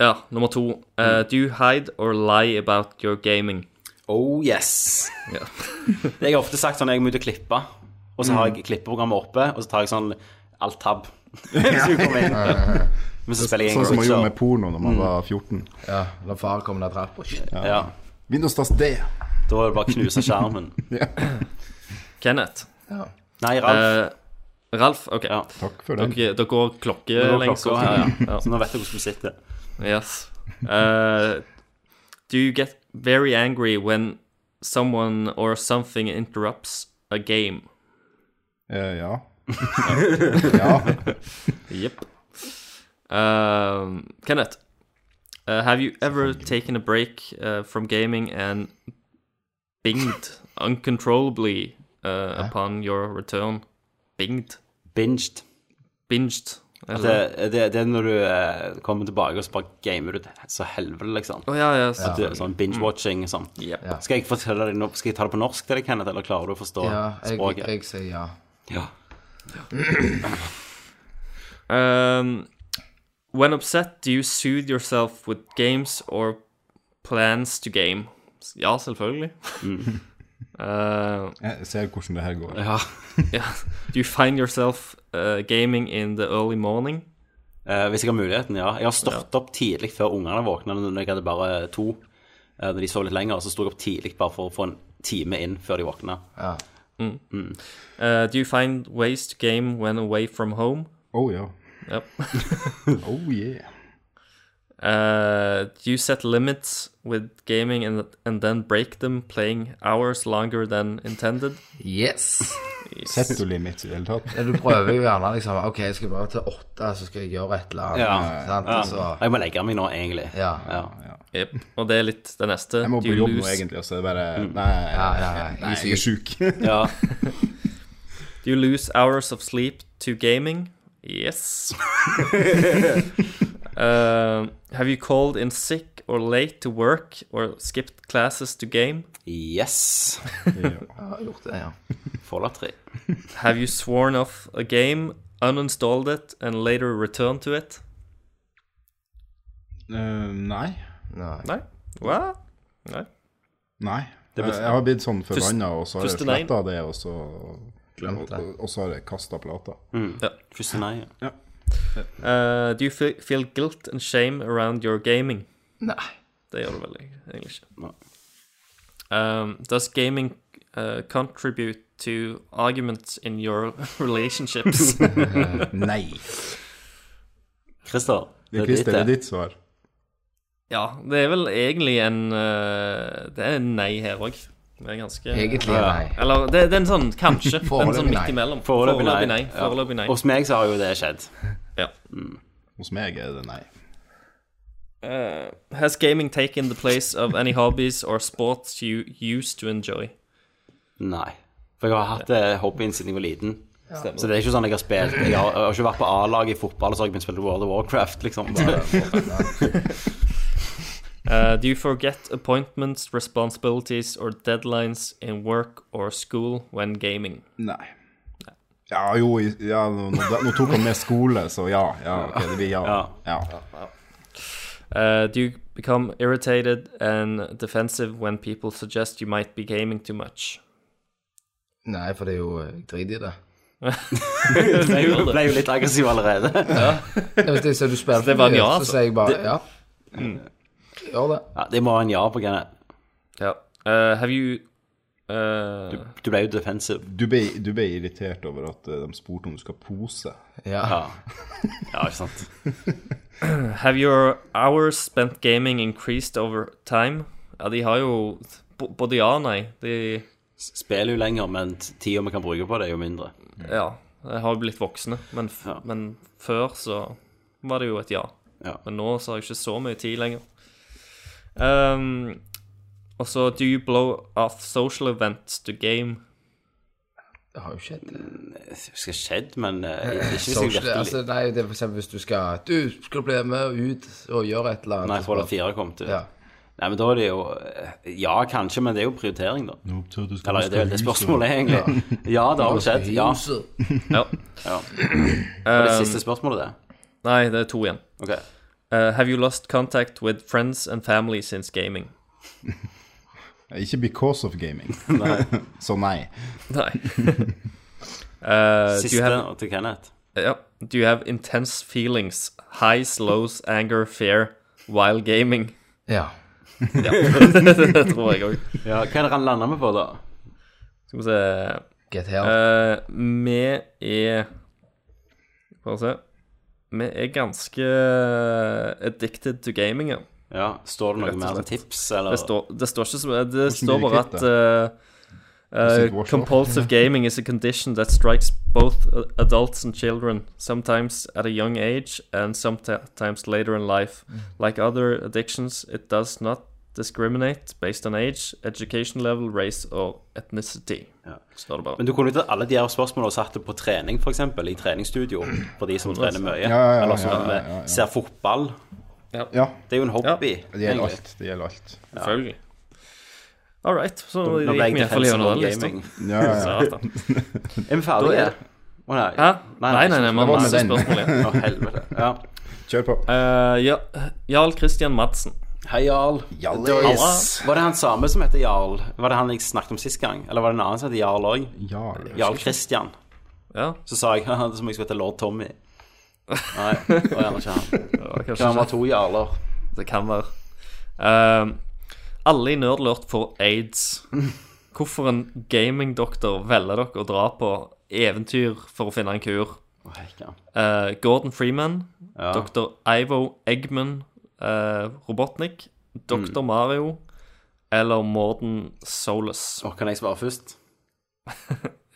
Speaker 6: Ja, nummer to. Eh, do you hide or lie about your gaming?
Speaker 5: Oh yes.
Speaker 6: Ja.
Speaker 5: Det jeg har ofte sagt sånn når jeg må ut og klippe, og så har
Speaker 8: Mm.
Speaker 5: jeg klippeprogrammet oppe, og så tar jeg sånn alt tab. så vi kommer inn. Men så spiller jeg
Speaker 8: Sånn som man gjorde
Speaker 5: Angry
Speaker 8: med porno da man
Speaker 5: Mm.
Speaker 8: var 14.
Speaker 7: Ja, Mm. la far komme ned trappa. Shit.
Speaker 5: Ja,
Speaker 8: Windows tas D.
Speaker 5: Da var det bare å knuse skjermen.
Speaker 6: Kenneth.
Speaker 5: Nei, Ralf.
Speaker 6: Eh, Ralf, OK.
Speaker 5: Ja.
Speaker 8: Takk for den.
Speaker 6: Dere, dere går klokkelengs.
Speaker 5: klokka,
Speaker 6: og-
Speaker 5: ja,
Speaker 6: ja.
Speaker 5: Så nå vet jeg hvordan vi sitter.
Speaker 6: Yes. Uh, do you get very angry when someone or something interrupts a game?
Speaker 8: Eh, ja. ja.
Speaker 6: Yep. Um, Kenneth, uh, have you ever taken a break uh, from gaming and binged uncontrollably uh, upon your return? Binged?
Speaker 5: Binged.
Speaker 6: Binged.
Speaker 5: At det, det, det er når du eh, kommer tilbake og så bare gamer du det så helvete, liksom.
Speaker 6: Å, ja, ja,
Speaker 5: At
Speaker 6: selvfølgelig.
Speaker 5: du- Sånn binge-watching og sånn.
Speaker 6: Yep.
Speaker 5: Skal jeg fortelle deg nå, skal jeg ta det på norsk til deg, Kenneth, eller klarer du å forstå
Speaker 7: Ja, jeg,
Speaker 5: språket?
Speaker 7: jeg sier ja.
Speaker 5: Ja.
Speaker 6: Um, when upset, do you soothe yourself with games or plans to game? Ja, selvfølgelig. Uh,
Speaker 8: Jeg ser hvordan det her går.
Speaker 5: ja.
Speaker 6: yeah. Do you find yourself uh, gaming in the early morning?
Speaker 5: Eh, hvis jeg har muligheten, ja. Jeg har stått opp tidlig før ungene våkna, når jeg hadde bare to. Eh, når de sov litt lenger, så sto jeg opp tidlig bare for å få en time inn før de våkna.
Speaker 6: Uh, do you find ways to game when away from home?
Speaker 8: Oh ja.
Speaker 6: Yep.
Speaker 8: Oh yeah.
Speaker 6: Uh, do you set limits with gaming and, and then break them, playing hours longer than intended?
Speaker 7: Yes!
Speaker 8: Setter du limits i det hele tatt?
Speaker 7: Du prøver jo gjerne liksom OK, jeg skal bare til åtte, så skal jeg gjøre et eller annet.
Speaker 5: Ja.
Speaker 7: Sant? Og Så,
Speaker 5: Jeg må legge meg nå, egentlig.
Speaker 7: ja.
Speaker 5: Ja.
Speaker 6: Yep. Og det er litt det neste.
Speaker 8: Jeg må
Speaker 6: Do
Speaker 8: på
Speaker 6: you
Speaker 8: jobb nå,
Speaker 6: lose-
Speaker 8: egentlig, og så er det bare Nei,
Speaker 7: ja, ja.
Speaker 8: nei jeg er sjuk.
Speaker 5: Ja.
Speaker 6: Do you lose hours of sleep to gaming? Yes. Um, have you called in sick or late to work or skipped classes to game?
Speaker 5: Yes.
Speaker 7: Jeg har gjort det, ja.
Speaker 5: Fallout 3.
Speaker 6: Have you sworn off a game, uninstalled it, and later returned to it?
Speaker 8: Eh, nei.
Speaker 7: Nei.
Speaker 6: Nei. Hva? Nei.
Speaker 8: Nei. Jeg, jeg har blitt sånn
Speaker 6: Først-
Speaker 8: forbanna, og så har jeg
Speaker 6: første nei.
Speaker 8: sletta det, og så
Speaker 7: Glemt det.
Speaker 8: og- Og så har jeg kasta plata.
Speaker 5: Første nei. ja.
Speaker 6: Uh, do you fe- feel guilt and shame around your gaming?
Speaker 7: Nei.
Speaker 6: Det gjør du vel egentlig ikke.
Speaker 5: Nei.
Speaker 6: Um, does gaming uh, contribute to arguments in your relationships?
Speaker 8: Nei.
Speaker 5: Christer,
Speaker 8: Det er Christer,
Speaker 5: eh,
Speaker 8: det er ditt svar.
Speaker 6: Ja, det er vel egentlig en eh, Det er en nei her òg. Det er ganske
Speaker 7: Egentlig er nei.
Speaker 6: Eller det, det er en sånn kanskje. Det er en sånn
Speaker 7: Foreløpig nei.
Speaker 6: midt imellom.
Speaker 5: Foreløpig nei. Ja.
Speaker 6: Foreløpig nei.
Speaker 5: Hos meg så har jo det skjedd.
Speaker 6: Ja.
Speaker 8: Hos meg er det nei.
Speaker 6: Eh, has gaming taken the place of any hobbies or sports you used to enjoy?
Speaker 5: Nei. For jeg har hatt eh, hobbyen siden jeg var liten. Så det er ikke sånn jeg har spilt. Jeg har, jeg har ikke vært på A-laget i fotball, så har jeg begynt å spille World of Warcraft, liksom.
Speaker 6: Eh, do you forget appointments, responsibilities or deadlines in work or school when gaming?
Speaker 8: Nei. Ja, jo, i- ja, nå, nå nå tok han med skole, så ja. ja ok, det blir ja. ja.
Speaker 6: Eh, do you become irritated and defensive when people suggest you might be gaming too much?
Speaker 7: Nei, for det er jo Jeg driter i det.
Speaker 5: Ble jo- ble jo litt aggressiv allerede.
Speaker 7: Hvis jeg ser du spiller
Speaker 6: det var en
Speaker 7: mye,
Speaker 6: ja,
Speaker 7: så
Speaker 6: altså.
Speaker 7: sier jeg bare ja. Gjør det.
Speaker 5: Ja, det må være en ja på Kenneth.
Speaker 6: Yeah. Uh, have you? Uh,
Speaker 5: Du ble jo defensiv.
Speaker 8: Du ble, du ble irritert over at eh, de spurte om du skal pose.
Speaker 7: Ja.
Speaker 5: Ja. ja, ikke sant.
Speaker 6: have your hours spent gaming increased over time? Ja, de har jo b- både ja og nei. De
Speaker 5: Spiller jo lenger, men tida vi kan bruke på det, er jo mindre.
Speaker 6: ja, de har jo blitt voksne, men, f
Speaker 5: Ja.
Speaker 6: men før så var det jo et ja.
Speaker 5: Ja.
Speaker 6: Men nå så har jeg ikke så mye tid lenger. Um, og så do you blow off social events to game?
Speaker 7: Det har jo skjedd.
Speaker 5: Det skal skjedd, men eh, ikke hvis jeg
Speaker 7: Social,
Speaker 5: virkelig
Speaker 7: altså, nei, det er for eksempel hvis du skal Du, skal du bli med ut og gjøre et eller annet?
Speaker 5: Nei,
Speaker 7: så
Speaker 5: Fallout
Speaker 7: bare-
Speaker 5: 4 kom til.
Speaker 7: Ja.
Speaker 5: Nei, men da er det jo eh, Ja, kanskje, men det er jo prioritering, da. Eller det er vel det spørsmålet, egentlig. Ja, det har jo skjedd. Ja.
Speaker 7: Huset.
Speaker 6: Ja.
Speaker 5: Det er det siste spørsmålet, det.
Speaker 6: Nei, det er to igjen.
Speaker 5: Ok.
Speaker 6: Uh, have you lost contact with friends and family since gaming?
Speaker 8: Ikke because of gaming, så nei.
Speaker 6: Nei. uh, do you
Speaker 5: Siste
Speaker 6: have
Speaker 5: og til Kenneth.
Speaker 6: yeah, Do you have intense feelings, highs, lows, anger, fear while gaming?
Speaker 7: Ja.
Speaker 6: det tror jeg òg.
Speaker 5: Ja, hva er det han lander med på, da?
Speaker 6: Skal vi se
Speaker 7: Get here.
Speaker 6: Eh, Vi er Bare se. Vi er ganske eh, addicted to gaming. Ja.
Speaker 5: Ja, Står det noe
Speaker 6: Rett og
Speaker 5: mer enn
Speaker 6: slett.
Speaker 5: tips, eller?
Speaker 6: Det, står, det står ikke så Det står
Speaker 8: mye
Speaker 6: bare
Speaker 8: kvitt,
Speaker 6: at eh, eh,
Speaker 8: Musikk, workshop.
Speaker 6: compulsive gaming is a condition that strikes both adults and children, sometimes at a young age and sometimes later in life. Like other addictions, it does not Discriminate based on age, education level, race or ethnicity. Står det bare.
Speaker 5: Men du kunne jo tatt alle de her spørsmålene og satt det på trening, f.eks. I treningsstudio, for de som trener mye.
Speaker 8: Ja, ja, ja,
Speaker 5: Eller som
Speaker 8: ja, ja, ja, ja.
Speaker 5: ser fotball.
Speaker 8: Ja,
Speaker 5: Det er jo en hobby.
Speaker 8: det gjelder
Speaker 5: egentlig.
Speaker 8: alt. Det gjelder alt.
Speaker 6: Selvfølgelig. All right. Så
Speaker 5: Nå
Speaker 6: det
Speaker 5: ble
Speaker 6: gikk
Speaker 5: jeg
Speaker 6: vi
Speaker 5: til helse
Speaker 6: iallfall gjennom
Speaker 5: og
Speaker 6: den lista.
Speaker 5: gaming.
Speaker 8: Ja, ja, ja.
Speaker 6: Satan.
Speaker 5: Er vi ferdige?
Speaker 6: Da er det-
Speaker 5: Å nei.
Speaker 6: Hæ? Nei, nei, nei, man
Speaker 8: var
Speaker 6: må
Speaker 8: med
Speaker 6: masse
Speaker 8: den.
Speaker 6: spørsmål igjen.
Speaker 5: Å, helvete. Ja.
Speaker 8: Kjør på.
Speaker 6: Eh, ja, Jarl Christian Madsen.
Speaker 5: Hei, Jarl.
Speaker 8: Jarl,
Speaker 5: Det var-
Speaker 8: yes.
Speaker 5: Var det han samme som heter Jarl? Var det han jeg snakket om sist gang? Eller var det en annen som heter Jarl òg?
Speaker 8: Jarl.
Speaker 5: Jarl Christian.
Speaker 6: Ja,
Speaker 5: Så sa jeg haha, det er som jeg skulle hete Lord Tommy. Nei, det var gjerne ikke han.
Speaker 6: det var
Speaker 5: Det
Speaker 6: kanskje
Speaker 5: var to jarler.
Speaker 6: ikke Det kan være. Eh, alle i Nerdlurt får aids. Hvorfor en gamingdoktor velger dere å dra på eventyr for å finne en kur?
Speaker 5: Å, hekka.
Speaker 6: Eh, Gordon Freeman,
Speaker 5: Ja.
Speaker 6: Dr. Ivo Eggman, eh, Robotnik, Dr. Mario eller Morden Solus.
Speaker 5: Å, kan jeg svare først?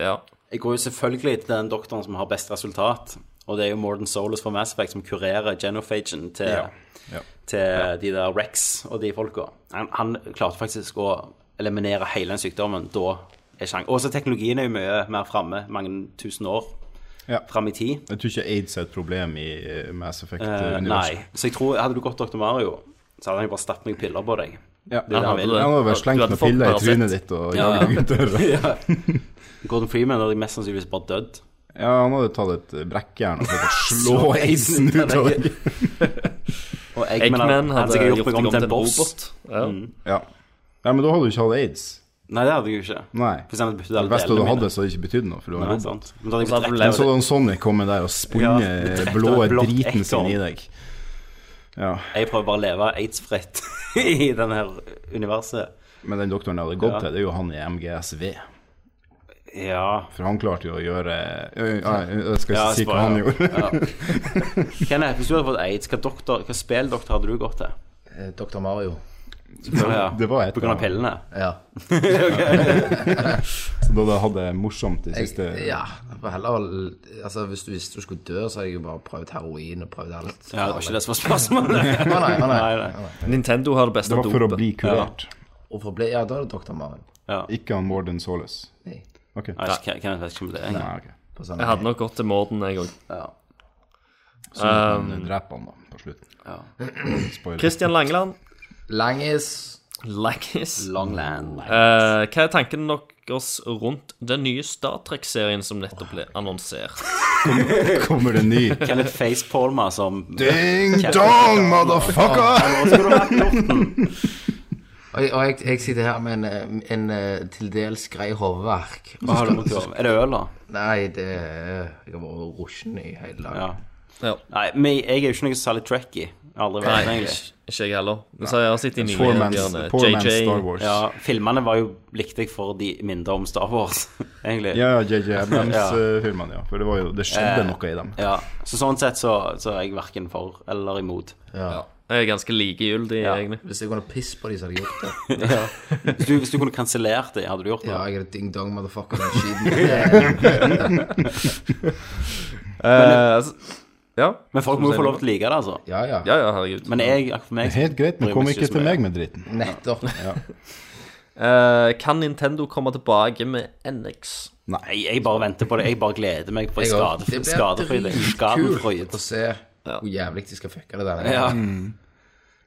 Speaker 6: Ja.
Speaker 5: Jeg går jo selvfølgelig til den doktoren som har best resultat. Og det er jo Morden Solus fra Mass Effect som kurerer genophagen til,
Speaker 8: ja.
Speaker 5: til de der Rex og de folka. Han, han klarte faktisk å eliminere hele den sykdommen. Da er sjang. Og så teknologien er jo mye mer framme. Mange tusen år
Speaker 8: Ja.
Speaker 5: fram i tid.
Speaker 8: Jeg tror ikke aids er et problem i eh, Mass
Speaker 5: Eh,
Speaker 8: Effect-universet.
Speaker 5: nei. Så jeg tror hadde du gått Dr. Mario, så hadde han jo bare stappet meg piller på deg.
Speaker 8: ja.
Speaker 5: Det er det han
Speaker 6: hadde
Speaker 5: vil.
Speaker 6: det.
Speaker 8: Han hadde
Speaker 6: Du
Speaker 8: vært slengt
Speaker 6: hadde
Speaker 8: med
Speaker 6: fått
Speaker 8: piller i
Speaker 6: Paracet.
Speaker 8: trynet ditt og
Speaker 5: Ja,
Speaker 8: jaget deg ut døra.
Speaker 5: ja. Gordon Freeman hadde mest sannsynligvis bare dødd.
Speaker 8: Ja, han hadde tatt et eh, brekkjern og prøvd å slå aidsen ut av deg.
Speaker 5: Og Eggman,
Speaker 6: Eggman
Speaker 5: hadde, hadde
Speaker 6: hadde
Speaker 5: sikkert
Speaker 6: gjort
Speaker 5: gjort meg om til en boss.
Speaker 6: Ja.
Speaker 5: Mm.
Speaker 8: Ja. ja, men da hadde du ikke hatt aids.
Speaker 5: Nei, det hadde jeg jo ikke.
Speaker 8: Nei.
Speaker 5: For eksempel byttet
Speaker 8: Det
Speaker 5: alle
Speaker 8: beste du
Speaker 5: delene
Speaker 8: hadde,
Speaker 5: mine.
Speaker 8: så hadde det ikke betydd noe. for du var
Speaker 5: Nei,
Speaker 8: en robot.
Speaker 5: sant. Men da hadde jeg
Speaker 6: Og så hadde
Speaker 5: fått
Speaker 6: du
Speaker 5: rett
Speaker 8: Men så hadde han Sonic kommet der og spunnet
Speaker 5: Ja,
Speaker 8: eh,
Speaker 5: rett og
Speaker 8: blå
Speaker 5: blått
Speaker 8: driten sin
Speaker 5: ekorn.
Speaker 8: i deg. Ja,
Speaker 5: Jeg prøver bare å leve aids-fritt i denne her universet.
Speaker 8: Men den doktoren jeg hadde gått
Speaker 5: Ja.
Speaker 8: til, det er jo han i MGSV.
Speaker 5: Ja.
Speaker 8: For han klarte jo å gjøre Øy, nei, Jeg skal
Speaker 5: Ja,
Speaker 8: ikke si hva
Speaker 5: spar-
Speaker 8: han gjorde.
Speaker 5: ja. Kenneth, hvis du hadde fått aids, hva, doktor, hva speldoktor hadde du gått til?
Speaker 7: Eh, Dr. Mario.
Speaker 5: Ja,
Speaker 8: Det var et
Speaker 5: På grunn av pillene?
Speaker 7: Ja.
Speaker 8: Så da hadde jeg hatt det morsomt de siste
Speaker 7: ja. jeg får Heller, altså, hvis du visste du skulle dø, så hadde jeg jo bare prøvd heroin og prøvd alt.
Speaker 5: Ja, det var ikke det som var spørsmålet.
Speaker 7: Å, nei, å, nei.
Speaker 5: Nei, nei.
Speaker 6: Nintendo har det
Speaker 8: Det
Speaker 6: beste
Speaker 8: var for å
Speaker 6: dopet.
Speaker 8: bli kurert.
Speaker 7: Hvorfor ble Ja, da er det Dr. Mario.
Speaker 8: Ikke han Morden Solus.
Speaker 7: Nei.
Speaker 8: Ok.
Speaker 5: Nei, ikke- Kenneth vet ikke om det er
Speaker 8: Nei,
Speaker 5: engang.
Speaker 8: ok.
Speaker 7: På sånn-
Speaker 6: Jeg hadde nok gått til Morden, jeg òg.
Speaker 5: Ja.
Speaker 8: Så um, dreper han, da, på slutten. Spoiler.
Speaker 6: Christian Langeland.
Speaker 7: Langis.
Speaker 6: Laggis.
Speaker 5: Longland.
Speaker 6: Eh, hva er tanken deres rundt den nye Star Trek-serien som nettopp ble annonsert?
Speaker 8: Kommer det ny?
Speaker 5: Kenneth facepalmer som
Speaker 8: Ding dong, motherfucker!
Speaker 7: Og, og jeg, jeg sitter her med en, eh, en eh, til dels grei hodeverk.
Speaker 5: Hva har du mot Er det øl, da?
Speaker 7: Nei, det er- Jeg har vært rushen i hele dag.
Speaker 5: Ja.
Speaker 6: Ja.
Speaker 5: Nei, men jeg er jo ikke noe særlig trekkie. Aldri vært
Speaker 6: Nei,
Speaker 5: egentlig.
Speaker 6: ikke, ikke jeg heller. Men så har jeg sittet i nye
Speaker 8: Poor man's,
Speaker 6: bjørne.
Speaker 8: poor man's Star
Speaker 6: JJ.
Speaker 8: Wars.
Speaker 5: Ja, filmene var jo likte jeg for de mindre om Star Wars, egentlig.
Speaker 8: Ja, JJ
Speaker 5: Ja.
Speaker 8: Abrams-filmene, eh, ja. For det var jo Det skjedde
Speaker 5: Eh,
Speaker 8: noe i dem.
Speaker 5: Ja, så sånn sett så, så er jeg verken for eller imot.
Speaker 6: Jeg er ganske likegyldig,
Speaker 5: Ja.
Speaker 6: egentlig.
Speaker 7: Hvis jeg kunne pisse på de, så hadde jeg gjort det.
Speaker 5: Hvis du, hvis du kunne kansellert det, hadde du gjort
Speaker 7: Ja,
Speaker 5: noe?
Speaker 7: jeg er et ding dong motherfucker. den skiten.
Speaker 6: Eh, altså, ja.
Speaker 5: Men folk må jo få lov til å like det, altså.
Speaker 7: Ja, ja.
Speaker 6: Ja, ja, herregud.
Speaker 5: Men jeg, akkurat for meg
Speaker 8: Helt greit, men
Speaker 5: bryr
Speaker 8: kom
Speaker 5: meg
Speaker 8: ikke
Speaker 5: så
Speaker 8: til
Speaker 5: mye.
Speaker 8: meg med dritten.
Speaker 7: Nettopp.
Speaker 6: Eh, kan Nintendo komme tilbake med NX?
Speaker 5: Nei, jeg bare venter på det. Jeg bare gleder meg på
Speaker 7: Jeg også.
Speaker 5: skade,
Speaker 7: Det blir
Speaker 5: skadefryd.
Speaker 7: dritkult
Speaker 5: Skadefryd.
Speaker 7: å se hvor jævlig de skal fucke det der.
Speaker 5: Ja.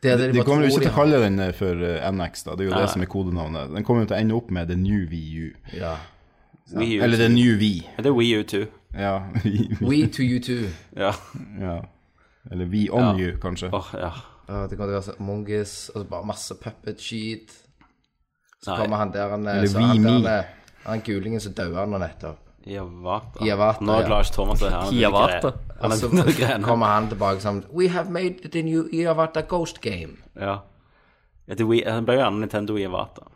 Speaker 7: Det er det
Speaker 8: De
Speaker 7: bare
Speaker 8: kommer jo
Speaker 7: tror
Speaker 8: ikke
Speaker 7: de
Speaker 8: til å
Speaker 7: har.
Speaker 8: kalle den eh, for eh, NX, da. Det er jo det som er kodenavnet. Den kommer jo til å ende opp med The New VU.
Speaker 7: ja.
Speaker 5: Wii U.
Speaker 8: Eller The New V.
Speaker 5: Det er Wii U 2.
Speaker 8: Ja.
Speaker 7: We to you too.
Speaker 5: Ja.
Speaker 8: ja. Eller We On You, kanskje.
Speaker 5: Åh, ja.
Speaker 7: Ja, det kommer til å være så Mongus, og så bare masse puppet-skit. Så
Speaker 5: Nei.
Speaker 7: kommer han der han eh,
Speaker 8: Eller
Speaker 7: så
Speaker 8: vi,
Speaker 7: han,
Speaker 8: me.
Speaker 7: der, han, han gulingen som daua nå nettopp.
Speaker 5: Javata.
Speaker 7: Javata,
Speaker 5: Nå
Speaker 7: ja.
Speaker 5: klarer ikke Thomas det her. Han er
Speaker 6: Javata.
Speaker 5: gre-
Speaker 7: Og
Speaker 5: Han er
Speaker 7: så
Speaker 5: begynner å grene.
Speaker 7: kommer han tilbake som We have made the new Iavata Ghost Game.
Speaker 5: Ja. Ja, det er Wii- Han ble jo gjerne Nintendo Javata.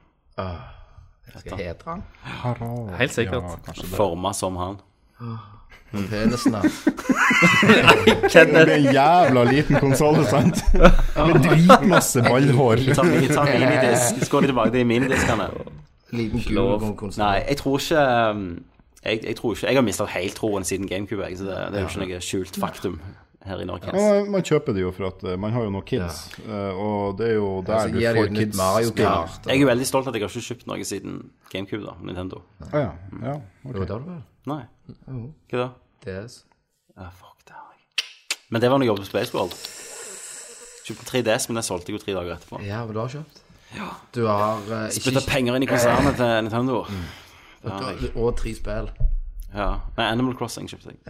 Speaker 7: Jeg skal hedre han.
Speaker 6: Helt sikkert.
Speaker 8: Ja, kanskje det.
Speaker 5: Forma som han.
Speaker 7: Penisen hans.
Speaker 8: Med en jævla liten konsoll, sant? Med dritmasse ballhår.
Speaker 5: Ta, ta minidisk. Så går de tilbake til minidiskene.
Speaker 7: Liten gul konsoll.
Speaker 5: Nei, jeg tror ikke um, jeg, jeg tror ikke Jeg har mista helt troen siden GameCube, jeg, så det, det er jo ikke noe skjult faktum. her i Norge.
Speaker 8: Ja, man, man kjøper det jo for at eh, man har jo noen kids, eh, og Altså, det er jo der
Speaker 7: så gir de ut
Speaker 8: du får
Speaker 7: nytt
Speaker 8: kids.
Speaker 7: Mario
Speaker 8: spill.
Speaker 7: Kart.
Speaker 5: Jeg er jo veldig stolt at jeg har ikke kjøpt noe siden GameCube, da. Nintendo.
Speaker 8: Ah, ja. ja ok.
Speaker 7: Jo, det har du vel.
Speaker 5: Nei. Hva da?
Speaker 7: DS.
Speaker 5: Ja, fuck, det har jeg. Men det var når jeg jobbet på Spaceworld. Kjøpte 3DS, men den solgte jeg jo tre dager etterpå.
Speaker 7: Ja, men du har kjøpt. Du har eh, ikke Mm.
Speaker 5: Spytta penger inn i konsernet til Nintendo.
Speaker 7: Du har- Og tre spill.
Speaker 5: Ja. Nei, Animal Crossing kjøpte jeg.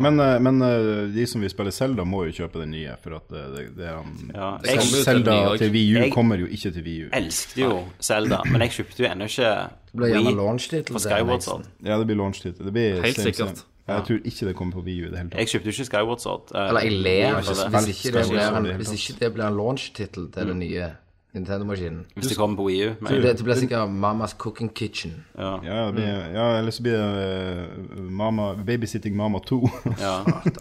Speaker 8: Men, eh, men eh, de som vil spille Zelda, må jo kjøpe den nye, for at det, det, det er um,
Speaker 5: Ja.
Speaker 8: Zelda-
Speaker 5: Jeg
Speaker 8: Zelda
Speaker 6: den nye
Speaker 8: til VU
Speaker 5: Jeg-
Speaker 8: kommer jo ikke til VU.
Speaker 5: elsket jo Zelda, men jeg kjøpte jo ennå ikke
Speaker 7: Det ble gjerne
Speaker 5: Wii
Speaker 7: launch-tittel.
Speaker 5: for Skyward Sword.
Speaker 7: liksom.
Speaker 8: Ja, det blir launch-tid. Det blir
Speaker 6: Helt
Speaker 8: same,
Speaker 6: sikkert.
Speaker 8: same. Jeg tror ikke det kommer på VU i det hele tatt.
Speaker 5: Jeg kjøpte jo ikke Skyward Sword. eh,
Speaker 7: Eller jeg ler altså.
Speaker 5: Wii
Speaker 7: hvis,
Speaker 5: for det.
Speaker 7: hvis, ikke det
Speaker 8: Skyward
Speaker 7: blir
Speaker 8: Sword i
Speaker 7: en,
Speaker 8: det hele
Speaker 7: hvis
Speaker 8: tatt.
Speaker 7: ikke det blir en launch-tittel til den nye Nintendo-maskinen.
Speaker 5: Hvis det kommer på Wii U. Men,
Speaker 7: Det, det blir sikkert Mamas Cooking Kitchen.
Speaker 8: Ja, det blir,
Speaker 5: Mm.
Speaker 8: ja, eller så blir det eh, mama, Babysitting Mama 2.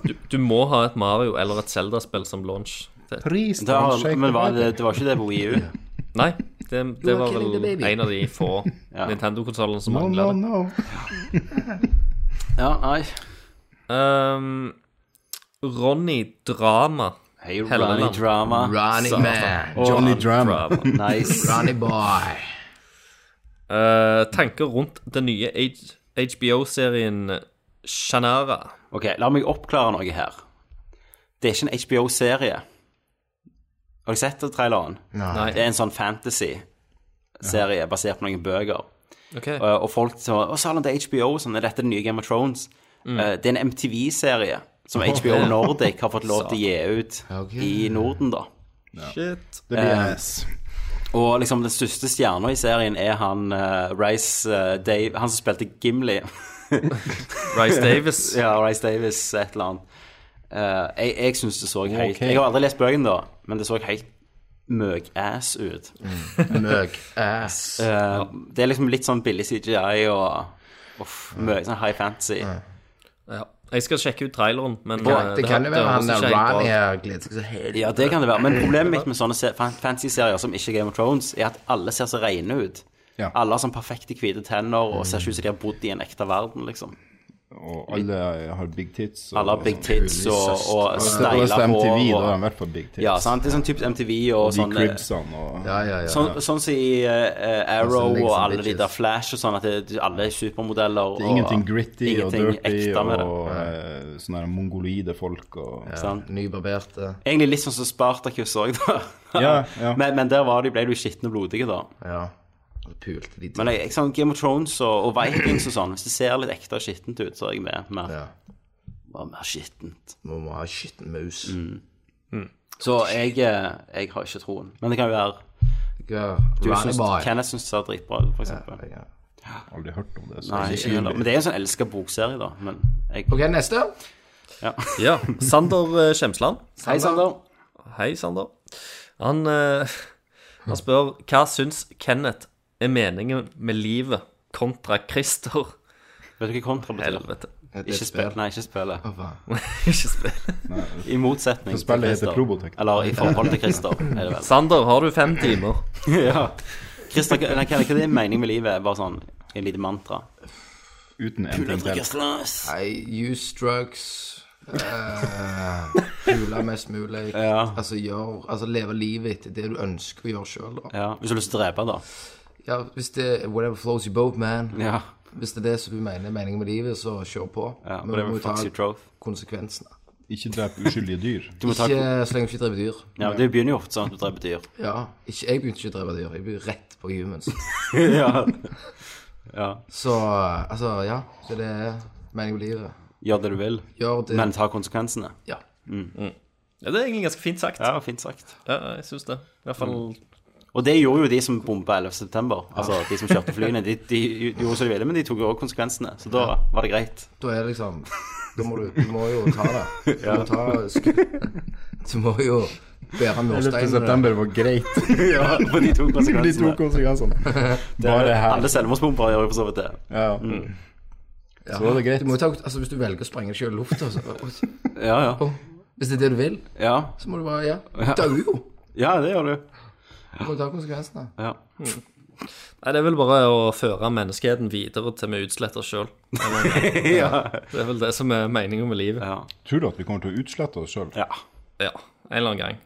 Speaker 6: Du, du må ha et Mario eller et Zelda-spill som launch. Det,
Speaker 8: Pris
Speaker 5: det har, men var det, det var ikke det på Wii U?
Speaker 6: nei, det, det
Speaker 7: are
Speaker 6: var
Speaker 7: killing the
Speaker 6: vel
Speaker 7: baby.
Speaker 6: en av de få Nintendo-konsollene som
Speaker 8: No, no,
Speaker 6: mangler det.
Speaker 8: no.
Speaker 5: Ja, nei.
Speaker 6: Ehm, Ronny Drama.
Speaker 5: Hei,
Speaker 6: Helleland.
Speaker 5: Ronny Drama.
Speaker 7: Ronny
Speaker 6: Satan.
Speaker 7: Man.
Speaker 8: Johnny Dram.
Speaker 5: Nice.
Speaker 7: Ronny Boy.
Speaker 6: Eh, tanker rundt den nye HBO-serien Shannara.
Speaker 5: Ok, la meg oppklare noe her. Det er ikke en HBO-serie. Har du sett det, traileren?
Speaker 6: Nei.
Speaker 5: Det er en sånn fantasy-serie basert på noen bøker.
Speaker 6: Ok.
Speaker 5: Eh, Og folk som Å, Salon, det er HBO, sånn er dette det nye Game of Thrones. Eh, Det er en MTV-serie som HBO Nordic har fått lov til å gi ut i Norden, da.
Speaker 6: Shit.
Speaker 8: Det blir ass.
Speaker 5: Og liksom den største stjerna i serien er han eh, Rice eh, Dave Han som spilte Gimli.
Speaker 6: Rice Davis.
Speaker 5: ja, Rice Davis, et eller annet. Eh, jeg jeg syns det så helt
Speaker 8: Ok.
Speaker 5: Jeg har aldri lest bøkene, da, men det så helt møg-ass ut.
Speaker 7: Møg. Ass.
Speaker 5: Eh, Det er liksom litt sånn billig CGI og uff, mye sånn high fantasy.
Speaker 6: Ja. Jeg skal sjekke ut traileren, men
Speaker 7: Det,
Speaker 6: eh,
Speaker 7: det kan jo
Speaker 6: det
Speaker 7: være han
Speaker 6: høres
Speaker 7: der
Speaker 6: ikke helt
Speaker 7: Ronny
Speaker 6: bra ut.
Speaker 7: her gleder seg så helt
Speaker 5: Ja, det kan det være. Men problemet mitt med sånne se- fan- fantasy-serier som ikke er Game of Thrones, er at alle ser så rene ut.
Speaker 8: Ja.
Speaker 5: Alle har sånn perfekte hvite tenner og ser ikke ut som de har bodd i en ekte verden, liksom.
Speaker 8: Og alle har big tits. og-
Speaker 5: Alle har big tits og, og
Speaker 8: Og det- og det
Speaker 5: steila
Speaker 8: er MTV,
Speaker 5: hår.
Speaker 8: da er de i
Speaker 5: Og,
Speaker 8: hvert fall big tits.
Speaker 5: ja, sant. Det er sånn typisk MTV og
Speaker 8: De
Speaker 5: sånn eh,
Speaker 8: cribsene og Sånn
Speaker 7: Ja, ja, ja.
Speaker 5: Sånn, sånn som i eh,
Speaker 7: Altså,
Speaker 5: Arrow
Speaker 7: liksom
Speaker 5: og alle de
Speaker 7: bitches.
Speaker 5: der Flash og sånn, at det, alle er supermodeller.
Speaker 8: Det er ingenting gritty og dirty
Speaker 5: ekte med det.
Speaker 8: og eh, sånne her mongoloide folk og
Speaker 5: sant?
Speaker 7: Nybarberte.
Speaker 5: Egentlig litt sånn som Spartacus òg, da.
Speaker 8: Ja, ja.
Speaker 5: Men, men der var de, ble de jo skitne og blodige, da.
Speaker 7: Ja. Pulte de
Speaker 5: Men jeg, jeg, sånn, Game of Thrones og, og Vikings og sånn, hvis det ser litt ekte og skittent ut, så er jeg med. Mer,
Speaker 7: Ja.
Speaker 5: Bare mer skittent.
Speaker 7: Må må ha skitten mus.
Speaker 5: Mm. Så jeg, eh, jeg har ikke troen. Men det kan jo være
Speaker 7: Ja,
Speaker 5: du
Speaker 7: Ronny
Speaker 5: syns,
Speaker 7: Boy.
Speaker 5: Kenneth syns det ser dritbra ut, for eksempel.
Speaker 7: Ja.
Speaker 8: Aldri hørt om det. så-
Speaker 5: Nei, ikke heller. Men det er en sånn elska bokserie, da. Men jeg
Speaker 7: Ok, neste.
Speaker 6: Ja. Sander eh, Skjemsland.
Speaker 5: Hei, Sander.
Speaker 6: Hei, Sander. Han, eh, han spør hva syns Kenneth er meningen med livet kontra Christer?
Speaker 5: Vet du hva kontra betyr?
Speaker 6: Helvete.
Speaker 5: Ikke spill. Nei, ikke spille.
Speaker 6: Ikke spill.
Speaker 5: I motsetning til
Speaker 8: spillet heter
Speaker 5: Christer.
Speaker 8: Probotech.
Speaker 5: Eller i forhold til Christer, er det vel.
Speaker 6: Sander, har du fem timer?
Speaker 5: ja. Christer, hva hva- hva er din mening med livet? Bare sånn et lite mantra.
Speaker 8: Uten en ting til.
Speaker 5: Ja.
Speaker 7: I use drugs. eh, Pule mest mulig.
Speaker 5: Ja.
Speaker 7: Altså, gjør, altså leve livet etter det du ønsker å gjøre sjøl, da.
Speaker 5: Hvis du har lyst til å drepe, da.
Speaker 7: Ja, hvis det er whatever flows your boat, man.
Speaker 5: Ja.
Speaker 7: Hvis det er det som du mener er meningen med livet, så kjør på.
Speaker 5: ja.
Speaker 7: Men du
Speaker 5: Whatever
Speaker 7: må ta
Speaker 5: fucks your troth.
Speaker 7: konsekvensene.
Speaker 8: Ikke drep uskyldige dyr.
Speaker 5: Du må ta
Speaker 7: Ikke så lenge du ikke dreper dyr.
Speaker 5: Ja, det begynner jo ofte sånn at du dreper dyr.
Speaker 7: Ja, ikke, Jeg begynte ikke å drepe dyr. Jeg begynte rett på humans.
Speaker 5: ja.
Speaker 7: Så altså, ja. Så det er meningen med livet.
Speaker 5: Gjør det du vil,
Speaker 7: Gjør det.
Speaker 5: men ta konsekvensene.
Speaker 7: Ja.
Speaker 6: Ja, det er egentlig ganske fint sagt.
Speaker 5: Ja, fint sagt.
Speaker 6: Ja, Mm. jeg syns det. I hvert fall
Speaker 5: Og det gjorde jo de som bomba 11. september. Altså, de som kjørte flyene. De, de gjorde som de ville, men de tok jo også konsekvensene. Så da var det greit.
Speaker 7: Da er det liksom Da må du, du må jo ta det. Du må, ta, sk- du må jo bære
Speaker 8: 11.
Speaker 7: mursteinene.
Speaker 8: september var greit.
Speaker 5: Ja, for de tok
Speaker 8: De tok
Speaker 5: konsekvensene.
Speaker 8: konsekvensene. Bare her.
Speaker 5: Alle selvmordsbombere gjør jo for så vidt det.
Speaker 8: Ja. Så var det greit.
Speaker 7: Du må jo ta, altså, hvis du velger å sprenge deg selv i lufta så-
Speaker 5: Ja, ja.
Speaker 7: Hvis det er det du vil,
Speaker 5: Ja,
Speaker 7: så må du bare ja. Dau jo.
Speaker 5: ja det gjør du.
Speaker 7: Du må ta konsekvensene.
Speaker 5: Ja.
Speaker 6: Nei, det er vel bare å føre menneskeheten videre til vi utsletter oss sjøl.
Speaker 5: Ja.
Speaker 6: Det er vel det som er meninga med livet.
Speaker 5: Ja.
Speaker 8: Tror du at vi kommer til å utslette oss sjøl?
Speaker 5: Ja.
Speaker 6: Ja, en eller annen gang.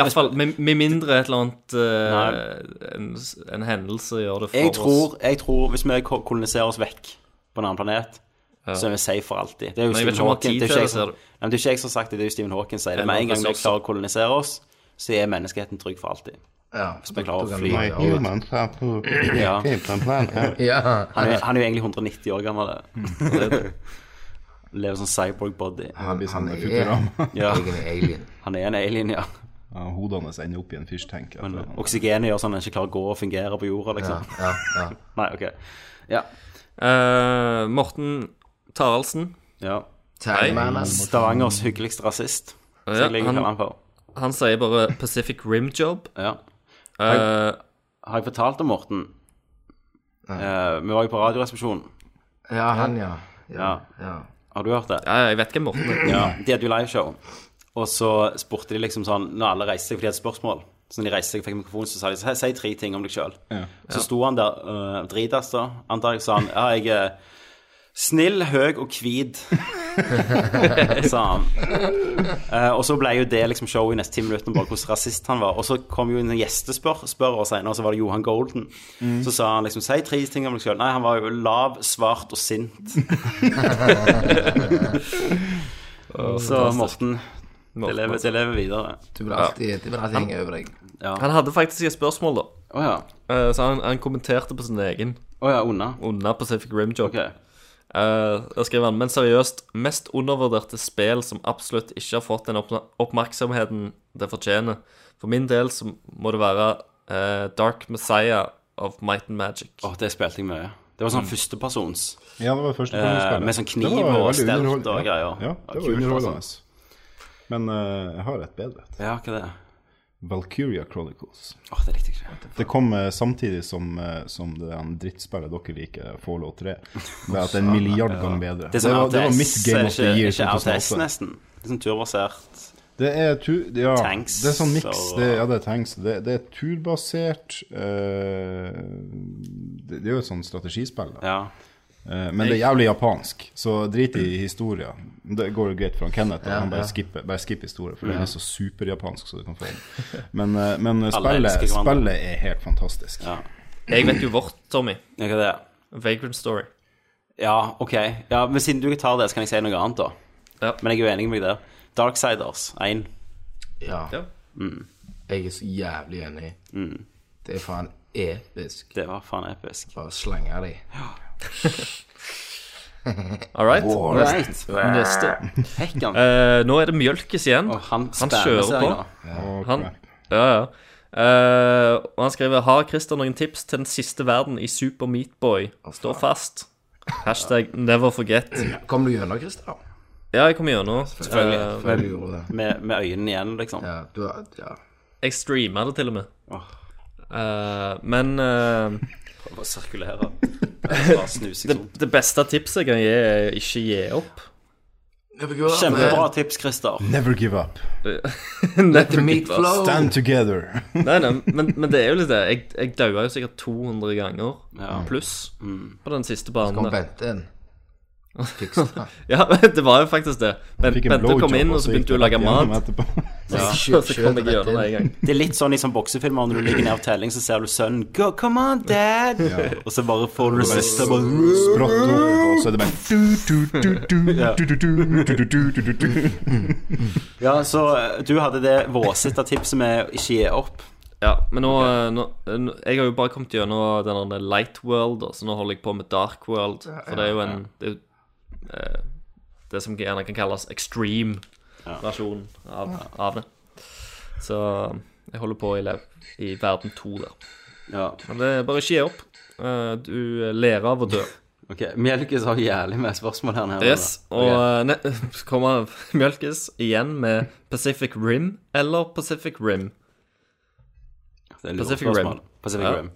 Speaker 6: Iallfall med, med mindre et eller annet eh, en, en hendelse gjør det for
Speaker 5: Jeg
Speaker 6: oss.
Speaker 5: tror, jeg tror hvis vi ko- koloniserer oss vekk på en annen planet, så er vi safe for alltid. Det er jo
Speaker 6: Men jeg
Speaker 5: Stephen
Speaker 6: vet ikke om han har
Speaker 5: Hawking.
Speaker 6: tid
Speaker 5: Det er
Speaker 6: til
Speaker 5: jo ikke jeg
Speaker 6: det,
Speaker 5: som-
Speaker 6: ser du.
Speaker 5: Nei, men det er ikke jeg som har sagt det, det er jo Stephen Hawking som sier det.
Speaker 6: Eller
Speaker 5: Med en gang vi
Speaker 6: ressurser.
Speaker 5: klarer å kolonisere oss, så er menneskeheten trygg for alltid.
Speaker 7: Ja.
Speaker 5: Hvis vi klarer å fly.
Speaker 7: Nei, human.
Speaker 5: Ja.
Speaker 7: Ja.
Speaker 5: Han er, han er jo egentlig 190 år gammel.
Speaker 6: Mm.
Speaker 5: det. Lever sånn cyborg-body.
Speaker 8: Det blir
Speaker 5: liksom
Speaker 8: sånn
Speaker 7: han er-
Speaker 8: Futurama.
Speaker 5: Ja,
Speaker 7: Egen alien.
Speaker 5: han er en alien, ja.
Speaker 8: Ja, Hodene hans ender opp i en fishtank. etter
Speaker 5: Men
Speaker 8: han-
Speaker 5: oksygenet gjør sånn at han ikke klarer å gå og fungere på
Speaker 7: Ja,
Speaker 5: jorda, liksom.
Speaker 7: ja, ja.
Speaker 5: Nei, OK. Ja.
Speaker 6: Eh, Morten Taraldsen,
Speaker 5: ja.
Speaker 7: Tagman, altså.
Speaker 5: Stavangers hyggeligste rasist. Så
Speaker 6: Ja,
Speaker 5: jeg liker å
Speaker 6: han-
Speaker 5: kalle han for.
Speaker 6: han sier bare 'Pacific Rim Job'.
Speaker 5: Ja.
Speaker 6: Eh,
Speaker 5: Har jeg fortalt om Morten? Eh, vi var jo på Radioresepsjonen.
Speaker 7: Ja, han, ja. Ja, ja.
Speaker 5: Har du hørt det?
Speaker 6: ja, jeg vet hvem Morten er.
Speaker 5: Ja. De hadde jo liveshow. Og så spurte de liksom sånn Når alle reiste seg, for de hadde spørsmål Så når de reiste seg og fikk mikrofon, så sa de si tre ting om deg sjøl. Så sto han der uh, dritas, da, antar jeg, sa han. Ja, jeg er snill, høy og hvit, sa han. Eh, og så ble jo det liksom show i neste ti minutter, bare hvordan rasist han var. Og så kom jo en gjestespørrer senere, og så var det Johan Golden. Så sa han liksom Si tre ting om deg sjøl. Nei, han var jo lav, svart og sint. så Morten, det
Speaker 6: Morten,
Speaker 5: lever,
Speaker 6: altså.
Speaker 5: det lever videre.
Speaker 7: Du vil alltid, det vil alltid henge over deg.
Speaker 6: Han hadde faktisk et spørsmål, da.
Speaker 5: Å ja.
Speaker 6: Eh, så han, han kommenterte på sin egen
Speaker 5: Å ja, unna.
Speaker 6: under Pacific Rim Job.
Speaker 5: Ok.
Speaker 6: Eh, da skriver han Men seriøst, mest undervurderte spill som absolutt ikke har fått den oppna- oppmerksomheten det fortjener. For min del så må det være eh, Dark Messiah of Might and Magic.
Speaker 5: Å, det spilte jeg mye. Det var sånn førstepersons.
Speaker 8: Ja, det var første
Speaker 5: Eh,
Speaker 8: pornospillet.
Speaker 5: med sånn kniv
Speaker 8: Det var
Speaker 5: og
Speaker 8: veldig
Speaker 5: stelt
Speaker 8: underhold-
Speaker 5: og
Speaker 8: ja.
Speaker 5: greier.
Speaker 8: Ja,
Speaker 5: Ja,
Speaker 8: det var
Speaker 5: kult,
Speaker 8: underholdende. Men eh, jeg har et bedre. et.
Speaker 5: Ja, hva er det?
Speaker 8: Valkyria Chronicles.
Speaker 5: Å, det likte jeg ikke.
Speaker 8: Det kom eh, samtidig som, eh, som det der drittspillet dere liker, Fallout 3. Bare at det er en milliard ganger bedre.
Speaker 5: er sånn
Speaker 8: var, det var
Speaker 5: RTS,
Speaker 8: mitt Game of the
Speaker 5: ikke-
Speaker 8: Year
Speaker 5: Ikke RTS,
Speaker 8: 2008.
Speaker 5: nesten. Det er sånn turbasert.
Speaker 8: Det er tu ja,
Speaker 5: Tanks
Speaker 8: Det er sånn miks.
Speaker 5: og-
Speaker 8: Det, ja, det er tanks. Det, det er turbasert eh, det, det er jo et sånt strategispill. Da.
Speaker 5: Ja.
Speaker 8: Eh, Men det er jævlig japansk, så drit i historia. Det går jo greit for han Kenneth. han bare skipper, bare skipper historie, for den er så superjapansk så du kan få den. Men, eh, men
Speaker 5: elsker
Speaker 8: spillet,
Speaker 5: hverandre.
Speaker 8: spillet er helt fantastisk.
Speaker 5: Ja.
Speaker 6: Jeg vet jo vårt, Tommy.
Speaker 5: Ja, hva er det?
Speaker 6: Vagrant Story.
Speaker 5: Ja, ok. Ja, men siden du ikke tar det, så kan jeg si noe annet, da.
Speaker 6: Ja.
Speaker 5: Men jeg er uenig med deg der. Darksiders 1.
Speaker 7: Ja. Mm.
Speaker 6: Ja.
Speaker 7: Jeg er så jævlig enig. Det er faen episk.
Speaker 5: Det var faen episk.
Speaker 7: Bare slenge de.
Speaker 6: All right.
Speaker 5: Right.
Speaker 6: Neste.
Speaker 5: Hekkan.
Speaker 6: Eh, nå er det Mjølkes igjen.
Speaker 5: Og han
Speaker 6: han
Speaker 5: spammer
Speaker 6: kjører
Speaker 5: seg
Speaker 6: på.
Speaker 5: nå.
Speaker 8: Og
Speaker 6: Han, ja, ja. Eh, og han skriver Har Christer noen tips til den siste verden i Super Meatboy? Stå fast. Hashtag never forget.
Speaker 7: Kom du gjennom, Christer?
Speaker 6: Ja, jeg kommer gjennom.
Speaker 5: Selvfølgelig.
Speaker 7: Jeg
Speaker 8: Eh,
Speaker 7: lurer det.
Speaker 5: Med, med øynene igjen, liksom.
Speaker 7: Ja, du har Ja.
Speaker 6: Jeg streama det til og med. Eh, men eh,
Speaker 5: Prøve å sirkulere. Bare snuse
Speaker 6: det,
Speaker 5: liksom.
Speaker 6: det beste tipset jeg kan gi, er ikke gi opp.
Speaker 7: eh,
Speaker 5: Kjempebra tips, Christer.
Speaker 8: Never give up.
Speaker 6: Let the
Speaker 7: Meat flow.
Speaker 8: Stand together.
Speaker 6: Nei, nei, men, men det er jo litt det. Jeg, jeg daua jo sikkert 200 ganger
Speaker 5: Ja.
Speaker 6: pluss
Speaker 8: Mm.
Speaker 6: på den siste
Speaker 7: Kom
Speaker 6: banen. der.
Speaker 7: Bente inn. Fikser det.
Speaker 6: Ja, det var jo faktisk det. Men
Speaker 8: Fikk en
Speaker 6: Bente
Speaker 8: blowjob,
Speaker 6: kom inn, og
Speaker 8: så
Speaker 6: så
Speaker 8: gikk
Speaker 6: begynte hun å
Speaker 8: det
Speaker 6: lage
Speaker 8: rett
Speaker 6: mat.
Speaker 8: gjennom etterpå.
Speaker 6: Og så kom jeg gjennom det en gang.
Speaker 5: Det er litt sånn i sånn boksefilmer når du ligger ned av telling, så ser du sønnen Go, come on, dad! Og så bare får du det siste bare,
Speaker 8: liksom Sprått opp, og så er det bare
Speaker 5: Ja, så eh, du hadde det våsete tipset med å ikke gi opp.
Speaker 6: Ja, men nå, nå, nå Jeg har jo bare kommet gjennom den der Light World, og så nå holder jeg på med Dark World. For det er jo en Det, er jo, eh, det som gjerne kan kalles extreme versjon av, av det. Så jeg holder på i, lev, i verden to der.
Speaker 5: Ja,
Speaker 6: Men det er bare ikke gi opp. Eh, Du ler av å dø.
Speaker 5: ok. Mjelkes har jævlig med spørsmål her nede.
Speaker 6: Yes, og eh, ne så kommer Mjølkes igjen med Pacific Rim eller Pacific Rim.
Speaker 5: Det er et lurt
Speaker 6: uh, Pacific Rim.
Speaker 5: spørsmål. Pacific
Speaker 6: Ja.
Speaker 5: Rim.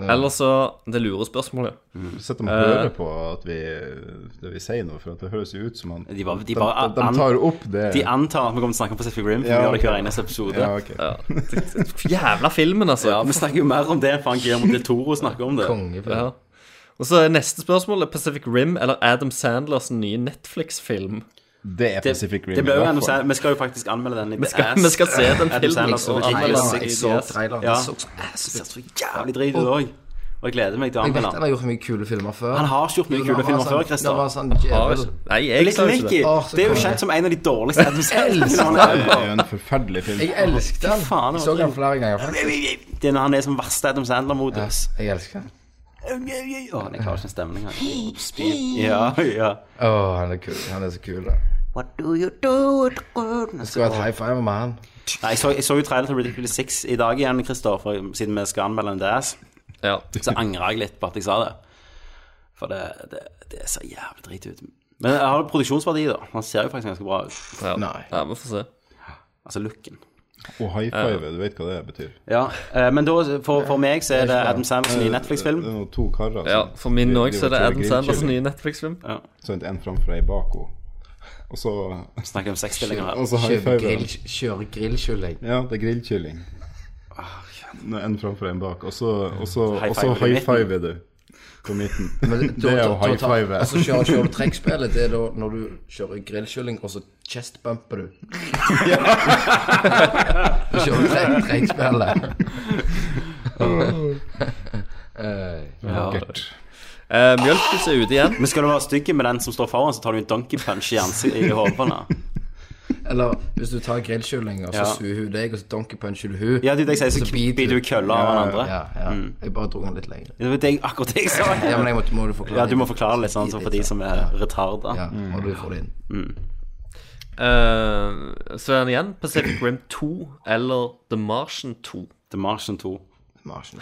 Speaker 6: Eller så Det lurer spørsmålet.
Speaker 8: Du sitter
Speaker 6: Eh.
Speaker 8: og hører på at vi, det vi sier nå, for at det høres jo ut som han
Speaker 5: De, bare, de, bare,
Speaker 8: de, de tar opp det.
Speaker 5: De antar at vi kommer til å snakke om Pacific Rim, for
Speaker 8: Ja,
Speaker 5: vi gjør det hver
Speaker 8: ok.
Speaker 5: eneste episode.
Speaker 8: ja, ok.
Speaker 6: Jævla filmen, altså.
Speaker 5: Ja, Vi snakker jo mer om det enn faen Guillermo del Toro snakker om det.
Speaker 7: Kongefilm.
Speaker 6: Ja. Og så er neste spørsmål er Pacific Rim eller Adam Sandlers nye Netflix-film.
Speaker 8: Det er
Speaker 5: Det,
Speaker 8: Pacific Rim.
Speaker 5: det blir jo
Speaker 8: i
Speaker 6: sånn
Speaker 8: hvert
Speaker 5: Adam
Speaker 8: fall.
Speaker 5: Sand- Vi skal jo faktisk anmelde den i
Speaker 6: Vi skal, vi skal se den
Speaker 5: Adam
Speaker 6: filmen.
Speaker 5: Sandler
Speaker 6: liksom,
Speaker 5: som
Speaker 6: og
Speaker 5: er
Speaker 6: anmelde
Speaker 5: Jesus.
Speaker 6: den i
Speaker 7: Jeg så
Speaker 6: DS.
Speaker 7: traileren.
Speaker 5: altså, Ja.
Speaker 7: Det så så ass
Speaker 5: ser
Speaker 7: ut.
Speaker 5: så jævlig drit ut òg. Og jeg gleder meg til å
Speaker 7: Jeg vet
Speaker 5: anmelde
Speaker 7: han
Speaker 5: den.
Speaker 7: har gjort mye kule filmer før.
Speaker 5: Han har ikke gjort mye
Speaker 7: Jo,
Speaker 5: kule
Speaker 7: han var
Speaker 5: filmer
Speaker 7: sånn-
Speaker 5: før, Christer.
Speaker 7: han var sånn djevel.
Speaker 6: Nei, altså, jeg
Speaker 5: Little
Speaker 6: sa jo ikke
Speaker 5: Nicky
Speaker 6: det.
Speaker 7: Åh, så
Speaker 5: det er jo
Speaker 7: konge.
Speaker 5: kjent som en av de dårligste Adam Sandler-filmene
Speaker 8: Det
Speaker 5: ever.
Speaker 8: er jo en forferdelig film.
Speaker 7: Jeg elsket han.
Speaker 5: faen,
Speaker 7: Jeg
Speaker 5: det
Speaker 7: så
Speaker 5: var
Speaker 7: han flere ganger. faktisk.
Speaker 5: Det er når han er som verste Adam Sandler-modus.
Speaker 7: Jeg elsket han.
Speaker 5: Å, jeg klarer ikke en stemning her. Spy. Ja, ja.
Speaker 7: Åh, han er kul. Han er så kul, da.
Speaker 5: What do you do with good? Nei,
Speaker 7: Skulle hatt high five med han.
Speaker 5: jeg, så, jeg så jo trailer til Ridiculous 6 i dag igjen, Christer, for- siden vi skal anmelde en DS.
Speaker 6: Ja.
Speaker 7: Mm.
Speaker 5: Så angrer jeg litt på at jeg sa det. For det, det, det ser jævlig drit ut. Men jeg har produksjonsverdi, da. Han ser jo faktisk ganske bra ut.
Speaker 6: Ja.
Speaker 7: Nei.
Speaker 6: ja, vi får se.
Speaker 5: Altså looken.
Speaker 8: Og high five, du vet hva det betyr.
Speaker 5: Ja, eh, men da, for, for meg så er det Adam Samson i Netflix-film.
Speaker 8: Det er noen to karer
Speaker 6: Ja,
Speaker 8: som-
Speaker 6: For min
Speaker 8: de-
Speaker 6: òg
Speaker 8: de
Speaker 6: så er det
Speaker 8: kjører
Speaker 6: Adam Sandlers
Speaker 8: grillkylling.
Speaker 6: nye Netflix-film.
Speaker 8: Sånn, en framfor ei bak henne. Og så,
Speaker 5: Snakker om sexstillinger her.
Speaker 8: og så high
Speaker 7: Kjøper
Speaker 8: five.
Speaker 7: grill, kjører grillkylling.
Speaker 8: Ja, det er grillkylling. Nå, En framfor en bak, og så, og så, og så
Speaker 5: five i
Speaker 8: high five du på midten. det er jo high five.
Speaker 7: Og så altså, kjører, kjører du trekkspillet. Det er da når du kjører grillkylling, og så chestbumper du. Så kjører du trekk- trekkspillet.
Speaker 8: Vakkert.
Speaker 6: Eh, Mjølkes er ute igjen.
Speaker 5: Men skal du være stygg med den som står foran, så tar du en donkey punch i ansiktet i hodet på henne.
Speaker 7: Eller hvis du tar grillkylling, og så
Speaker 5: Ja.
Speaker 7: suger hun deg, og så donkeypuncher du hun
Speaker 5: Ja, det er det jeg sier, så
Speaker 7: Så biter
Speaker 5: biter du Mm. kølla av den andre.
Speaker 7: Ja, ja. Jeg bare dro den litt lenger.
Speaker 5: Det var det jeg, akkurat det jeg sa.
Speaker 7: Ja, men jeg måtte, må du forklare
Speaker 5: Ja, du må forklare litt sånn så for de som Mm. er
Speaker 7: Ja,
Speaker 5: retarda.
Speaker 7: og du får det inn.
Speaker 6: Eh, så er han igjen. Pacific Rim 2 eller The Martian 2.
Speaker 5: The Martian 2.
Speaker 7: Marsjen.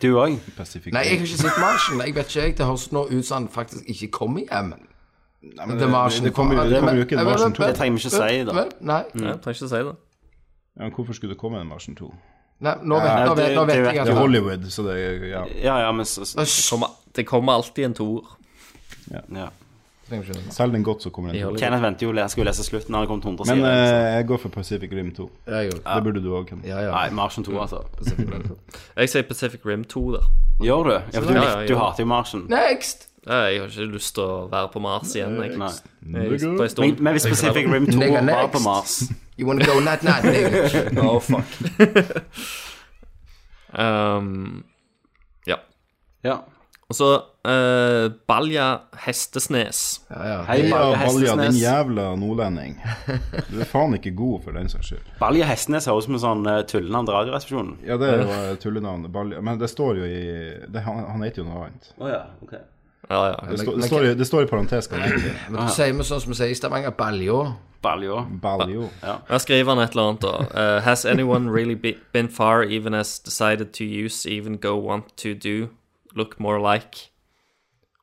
Speaker 5: Du òg?
Speaker 8: Pacific
Speaker 7: Nei, jeg
Speaker 8: Rim.
Speaker 7: har ikke sett Marsjen. Jeg vet ikke, jeg. Det høres nå ut som han faktisk ikke kommer hjem.
Speaker 8: men
Speaker 7: The
Speaker 8: det-
Speaker 7: Martian.
Speaker 8: det kommer jo- det kommer jo ikke en
Speaker 7: Men- men-
Speaker 8: Martian 2.
Speaker 5: Det trenger vi ikke si, da.
Speaker 7: men- Nei,
Speaker 6: Ja, jeg trenger ikke å si det.
Speaker 8: Ja, men hvorfor skulle det komme en Marsen 2?
Speaker 7: nei nå, vet, nå, vet, nå
Speaker 5: det-
Speaker 7: vet
Speaker 5: det
Speaker 7: jeg
Speaker 8: Det er
Speaker 7: at
Speaker 8: Hollywood, så det er ja.
Speaker 5: Ja, ja, men så, så
Speaker 6: Det kommer, det kommer alltid en toer.
Speaker 5: ja.
Speaker 8: Selg den godt, så kommer den.
Speaker 6: Hollywood.
Speaker 5: Kenneth venter jo jeg skulle lese slutten. Han har kommet 100
Speaker 8: Men
Speaker 5: sider. så-
Speaker 8: eh, jeg går for Pacific Rim 2.
Speaker 7: Jeg gjorde det.
Speaker 8: Det burde du òg, Ken.
Speaker 7: Ja, ja.
Speaker 5: Nei, Martian
Speaker 7: Mm.
Speaker 5: 2, altså.
Speaker 6: Jeg sier Pacific Rim 2 der.
Speaker 5: Gjør du? Ja, for du,
Speaker 6: Ja, ja,
Speaker 5: likte- du
Speaker 6: ja.
Speaker 5: hater jo Martian.
Speaker 7: Next!
Speaker 6: Eh, Jeg har ikke lyst til å være på Mars igjen. Jeg.
Speaker 5: Nei.
Speaker 6: Jeg, på en
Speaker 5: Men,
Speaker 6: stund.
Speaker 5: men hvis Pacific Rim 2
Speaker 7: Nigga
Speaker 5: var på
Speaker 7: next.
Speaker 5: Mars
Speaker 7: You wanna go night night, nigga?
Speaker 6: Oh, fuck. um, ja.
Speaker 5: Ja.
Speaker 6: Og så eh, Balja Hestesnes.
Speaker 7: Ja, ja.
Speaker 5: Hei,
Speaker 8: Ja,
Speaker 5: Balja
Speaker 8: Balja, din
Speaker 5: Hestesnes.
Speaker 8: jævla nordlending. Du er faen ikke god, for den saks skyld.
Speaker 5: Balja Hestnes høres ut som en sånn uh, tullenavn til Radioresepsjonen.
Speaker 8: Ja, det er jo eh, tullenavnet Balja. Men det står jo i det, han, han heter jo noe annet.
Speaker 5: Å ja, ok.
Speaker 6: Ja, ja.
Speaker 8: Det, står- det, står, i- det står i parentes hva han egentlig
Speaker 7: Men du sier vi sånn som vi sier i Stavanger, baljo.
Speaker 5: Balja.
Speaker 8: Baljo.
Speaker 6: Her skriver han et eller annet, da. Eh, has anyone really be, been far, even as decided to use, even go want to do, look more like?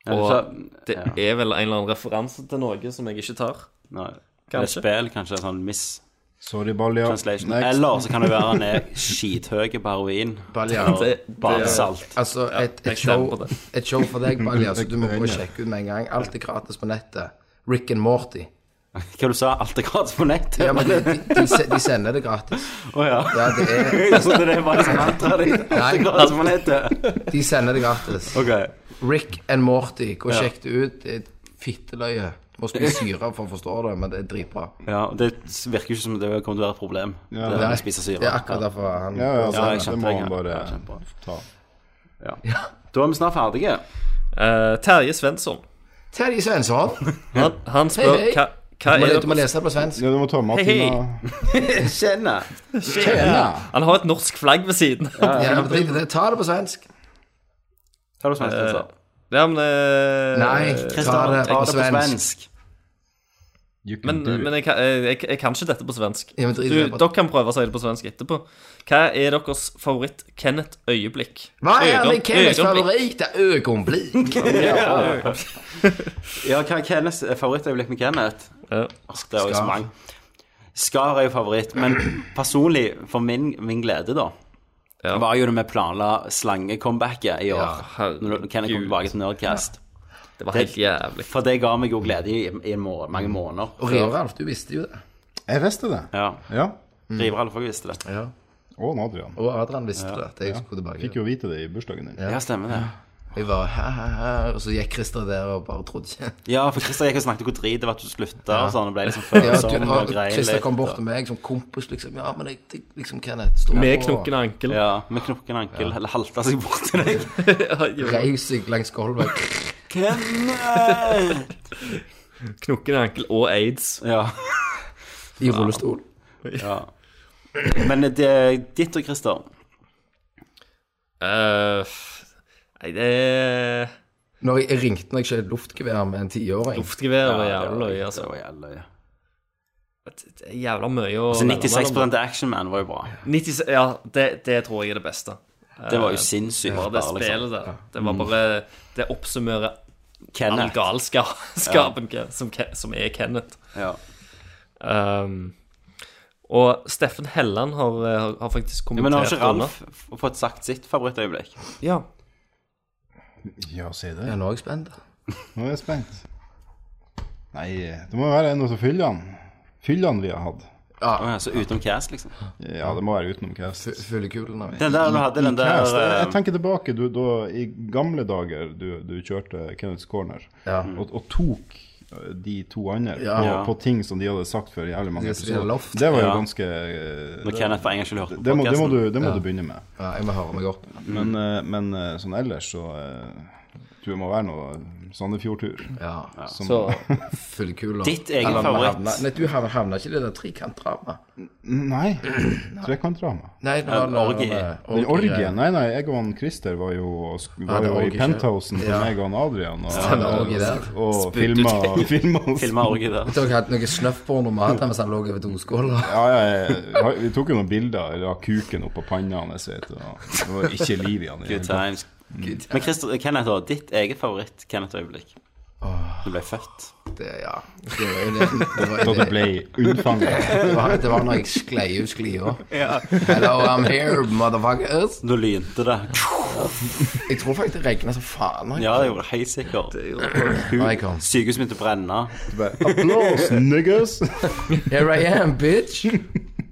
Speaker 5: Ja, du
Speaker 6: Og
Speaker 5: sa-
Speaker 6: det
Speaker 5: ja.
Speaker 6: er vel en eller annen referanse til noe som jeg ikke tar.
Speaker 5: Nei. Kanskje.
Speaker 6: Kanskje.
Speaker 5: Et spill, kanskje. Sånn mistranslation.
Speaker 8: Sorry, Balja. Next.
Speaker 5: Eller så kan det være han er skithøy på heroin.
Speaker 7: Balja.
Speaker 5: Og
Speaker 6: Det- det-
Speaker 5: bare salt.
Speaker 7: Altså, et,
Speaker 6: jeg
Speaker 7: et, show,
Speaker 6: stemmer på det.
Speaker 7: et show for deg, Balja, så du må gå og sjekke ut med en gang. Alt er gratis på nettet. Rick and Morty.
Speaker 5: Hva du sa Alt er gratis på nettet?
Speaker 7: Ja, men de, de, de, se- de sender det gratis.
Speaker 5: Å ja.
Speaker 7: Ja, det er,
Speaker 5: Jeg trodde det var liksom mantraet ditt. Alt er gratis på nettet.
Speaker 7: de sender det gratis.
Speaker 5: Ok.
Speaker 7: Rick and Morty, gå og sjekk det ut. Det er et fitteløye. Må spise syre for å forstå det, men det er dritbra.
Speaker 5: Ja, Det virker jo ikke som det kommer til å være et problem. Det er
Speaker 7: Nei,
Speaker 5: å spise syre.
Speaker 7: Det er akkurat derfor han
Speaker 8: Ja, ja, altså,
Speaker 5: Ja, jeg
Speaker 8: det
Speaker 5: skjønte
Speaker 8: må
Speaker 5: det,
Speaker 8: han
Speaker 5: ja.
Speaker 8: bare
Speaker 5: Ja, kjempebra.
Speaker 8: ta.
Speaker 5: Ja. Ja. Da er vi snart ferdige.
Speaker 6: Eh, Terje Svensson.
Speaker 7: Terje Svensson.
Speaker 6: Han, han spør
Speaker 7: Hei, hei.
Speaker 6: hva, hva
Speaker 7: Du må,
Speaker 6: er
Speaker 7: le-
Speaker 6: det
Speaker 7: du må lese det på svensk.
Speaker 8: Ja, du må ta
Speaker 6: Hei,
Speaker 8: Martina.
Speaker 5: Kjenner.
Speaker 6: Han har et norsk flagg ved siden av.
Speaker 7: Ja, men drit i det. Ta det på svensk.
Speaker 5: Tar du svensk, altså?
Speaker 6: Ja, men, eh,
Speaker 7: Nei, ta
Speaker 5: Kristian,
Speaker 7: det
Speaker 5: ta
Speaker 7: på
Speaker 5: det på
Speaker 7: svensk.
Speaker 5: svensk.
Speaker 8: You
Speaker 6: men,
Speaker 8: can do it.
Speaker 6: men jeg, kan- jeg, jeg, jeg kan ikke dette på svensk.
Speaker 7: Ja, men
Speaker 6: du,
Speaker 7: drit i det.
Speaker 6: dere kan prøve å si det på svensk etterpå. Hva er deres favoritt-Kenneth-øyeblikk?
Speaker 7: Hva er det Kenneths
Speaker 6: øyeblikk?
Speaker 7: favoritt? Det er øyeblikk.
Speaker 5: Ja, hva er Kenneths favorittøyeblikk med Kenneth?
Speaker 6: Ja.
Speaker 5: Åh, Det er jo så mange. Skar er jo favoritt, men personlig, for min, min glede, da, Det var jo det vi planla slangecomebacket i år.
Speaker 6: Ja, herregud.
Speaker 5: når Kenneth kom tilbake til Nerdcast.
Speaker 6: Det var helt jævlig.
Speaker 5: For det ga meg jo glede i, i må mange måneder.
Speaker 7: Mm. Og Riveralf, du visste jo det.
Speaker 8: Jeg visste det.
Speaker 5: Ja.
Speaker 8: Ja.
Speaker 7: Mm.
Speaker 5: Riveralf også visste det.
Speaker 7: Ja.
Speaker 8: Og Adrian.
Speaker 7: Og Adrian visste det. at Jeg skulle tilbake.
Speaker 8: Fikk jo vite det i bursdagen din.
Speaker 5: Ja, stemmer det.
Speaker 7: Jeg var her, her, her, og så gikk Christer der og bare trodde ikke.
Speaker 5: Ja, for Christer gikk og snakket hvor drit det var at du slutta, og sånn. Det ble liksom følsomt
Speaker 7: du-
Speaker 5: og greier
Speaker 7: Christer kom
Speaker 5: litt.
Speaker 7: bort til meg som kompis, liksom. Ja, men jeg, jeg liksom, Kenneth, stå
Speaker 6: Med
Speaker 7: på.
Speaker 6: knokken og ankel.
Speaker 5: Ja, med knokken ankel. Eller halta seg bort til deg.
Speaker 7: Reis deg langs gulvet.
Speaker 5: Kenneth!
Speaker 6: Knokken og ankel og aids.
Speaker 5: Ja.
Speaker 7: I rullestol.
Speaker 5: ja. Men det er ditt og Christer.
Speaker 6: Eh, f- nei, det er
Speaker 7: Når jeg jeg ringte når jeg skjøt luftgevær med en tiåring
Speaker 6: Luftgevær og
Speaker 5: det var-
Speaker 6: jævla løye, altså.
Speaker 5: det var jævla løye.
Speaker 6: Det er jævla mye å
Speaker 5: Så
Speaker 6: velge
Speaker 5: 96
Speaker 6: mellom.
Speaker 5: til Action Man var jo bra.
Speaker 6: 96 Ja, det, det tror jeg er det beste.
Speaker 5: Det var jo sinnssykt.
Speaker 6: Bare det
Speaker 5: bra, liksom.
Speaker 6: spillet der. Det
Speaker 7: Mm.
Speaker 6: var bare Det oppsummerer all
Speaker 5: Kenneth.
Speaker 6: galskapen ke- som, ke- som er Kenneth.
Speaker 5: Ja.
Speaker 6: Um, og Steffen Helland har, eh, har- har faktisk
Speaker 5: Ja, Men har
Speaker 6: kommentert
Speaker 5: ikke Ralf f- fått sagt sitt favorittøyeblikk?
Speaker 6: denne. Ja.
Speaker 8: Ja, si det.
Speaker 7: Ja, nå er jeg spent.
Speaker 8: Nå er jeg spent. Nei, det må være en av fyllene. Fyllene vi har hatt.
Speaker 5: Å ja, så utenom Cast, liksom.
Speaker 8: Ja, det må være utenom cast.
Speaker 7: F- Fyllekulene mine.
Speaker 5: Den der du hadde, den der
Speaker 8: Cast. Jeg, jeg
Speaker 5: eh,
Speaker 8: tenker tilbake du, da, i gamle dager du, du kjørte Kenneths Corner
Speaker 7: Ja.
Speaker 8: og, og tok eh, de to andre på,
Speaker 5: Ja.
Speaker 8: på ting som de hadde sagt før jævlig mange
Speaker 7: Det er
Speaker 8: episoder.
Speaker 7: loft.
Speaker 8: Det var jo
Speaker 5: Ja.
Speaker 8: ganske eh,
Speaker 5: Når Kenneth for en gangs skyld hørte på
Speaker 8: det må, det må,
Speaker 5: podcasten.
Speaker 8: du, det må du begynne med.
Speaker 7: Ja, jeg må høre meg opp.
Speaker 8: Men, eh, men eh, sånn ellers så eh, tror jeg må være noe Sandefjord-tur.
Speaker 7: Ja,
Speaker 8: Som-
Speaker 6: Så eh,
Speaker 7: Fyllekuler.
Speaker 5: Ditt egen
Speaker 7: Eller, vi
Speaker 5: favoritt.
Speaker 7: havna- Nei, du havna havna ikke i det der trekantdramaet.
Speaker 8: Nei, trekantdrama.
Speaker 7: Nei, det var
Speaker 5: orgie.
Speaker 8: Den orgien? Nei, nei, jeg og han Christer var jo, var
Speaker 7: det
Speaker 8: jo
Speaker 7: var
Speaker 8: i
Speaker 7: orgie
Speaker 8: penthousen til
Speaker 7: Ja.
Speaker 8: meg og han Adrian. Og,
Speaker 7: Stemmer, orgie der.
Speaker 8: og filma filma oss.
Speaker 5: Filma orgi der.
Speaker 7: Dere hadde noe snøffporno med han mens han lå over doskåla.
Speaker 8: Ja, ja, ja, vi tok jo noen bilder eller, av kuken oppå panna hans. vet du, og Det var ikke liv i han. i det
Speaker 5: Good
Speaker 8: hele tatt.
Speaker 5: times.
Speaker 8: Mm.
Speaker 5: Men Christer, Kenneth, da, ditt eget favoritt-Kenneth-øyeblikk?
Speaker 8: Ah.
Speaker 5: Du ble født.
Speaker 7: Det, ja. det var jo det. Det var,
Speaker 8: Da
Speaker 7: jo
Speaker 8: du
Speaker 7: det.
Speaker 8: ble unnfanga.
Speaker 7: Det var, det var når jeg sklei ut sklia. Hello, I'm here, motherfuckers.
Speaker 5: Da lynte det.
Speaker 7: Jeg tror faktisk det regna som faen. når jeg-
Speaker 5: Ja, det gjorde det helt sikkert.
Speaker 7: når jeg kom.
Speaker 5: Sykehuset begynte å brenne.
Speaker 8: Applaus, niggas!
Speaker 7: Here I am, bitch.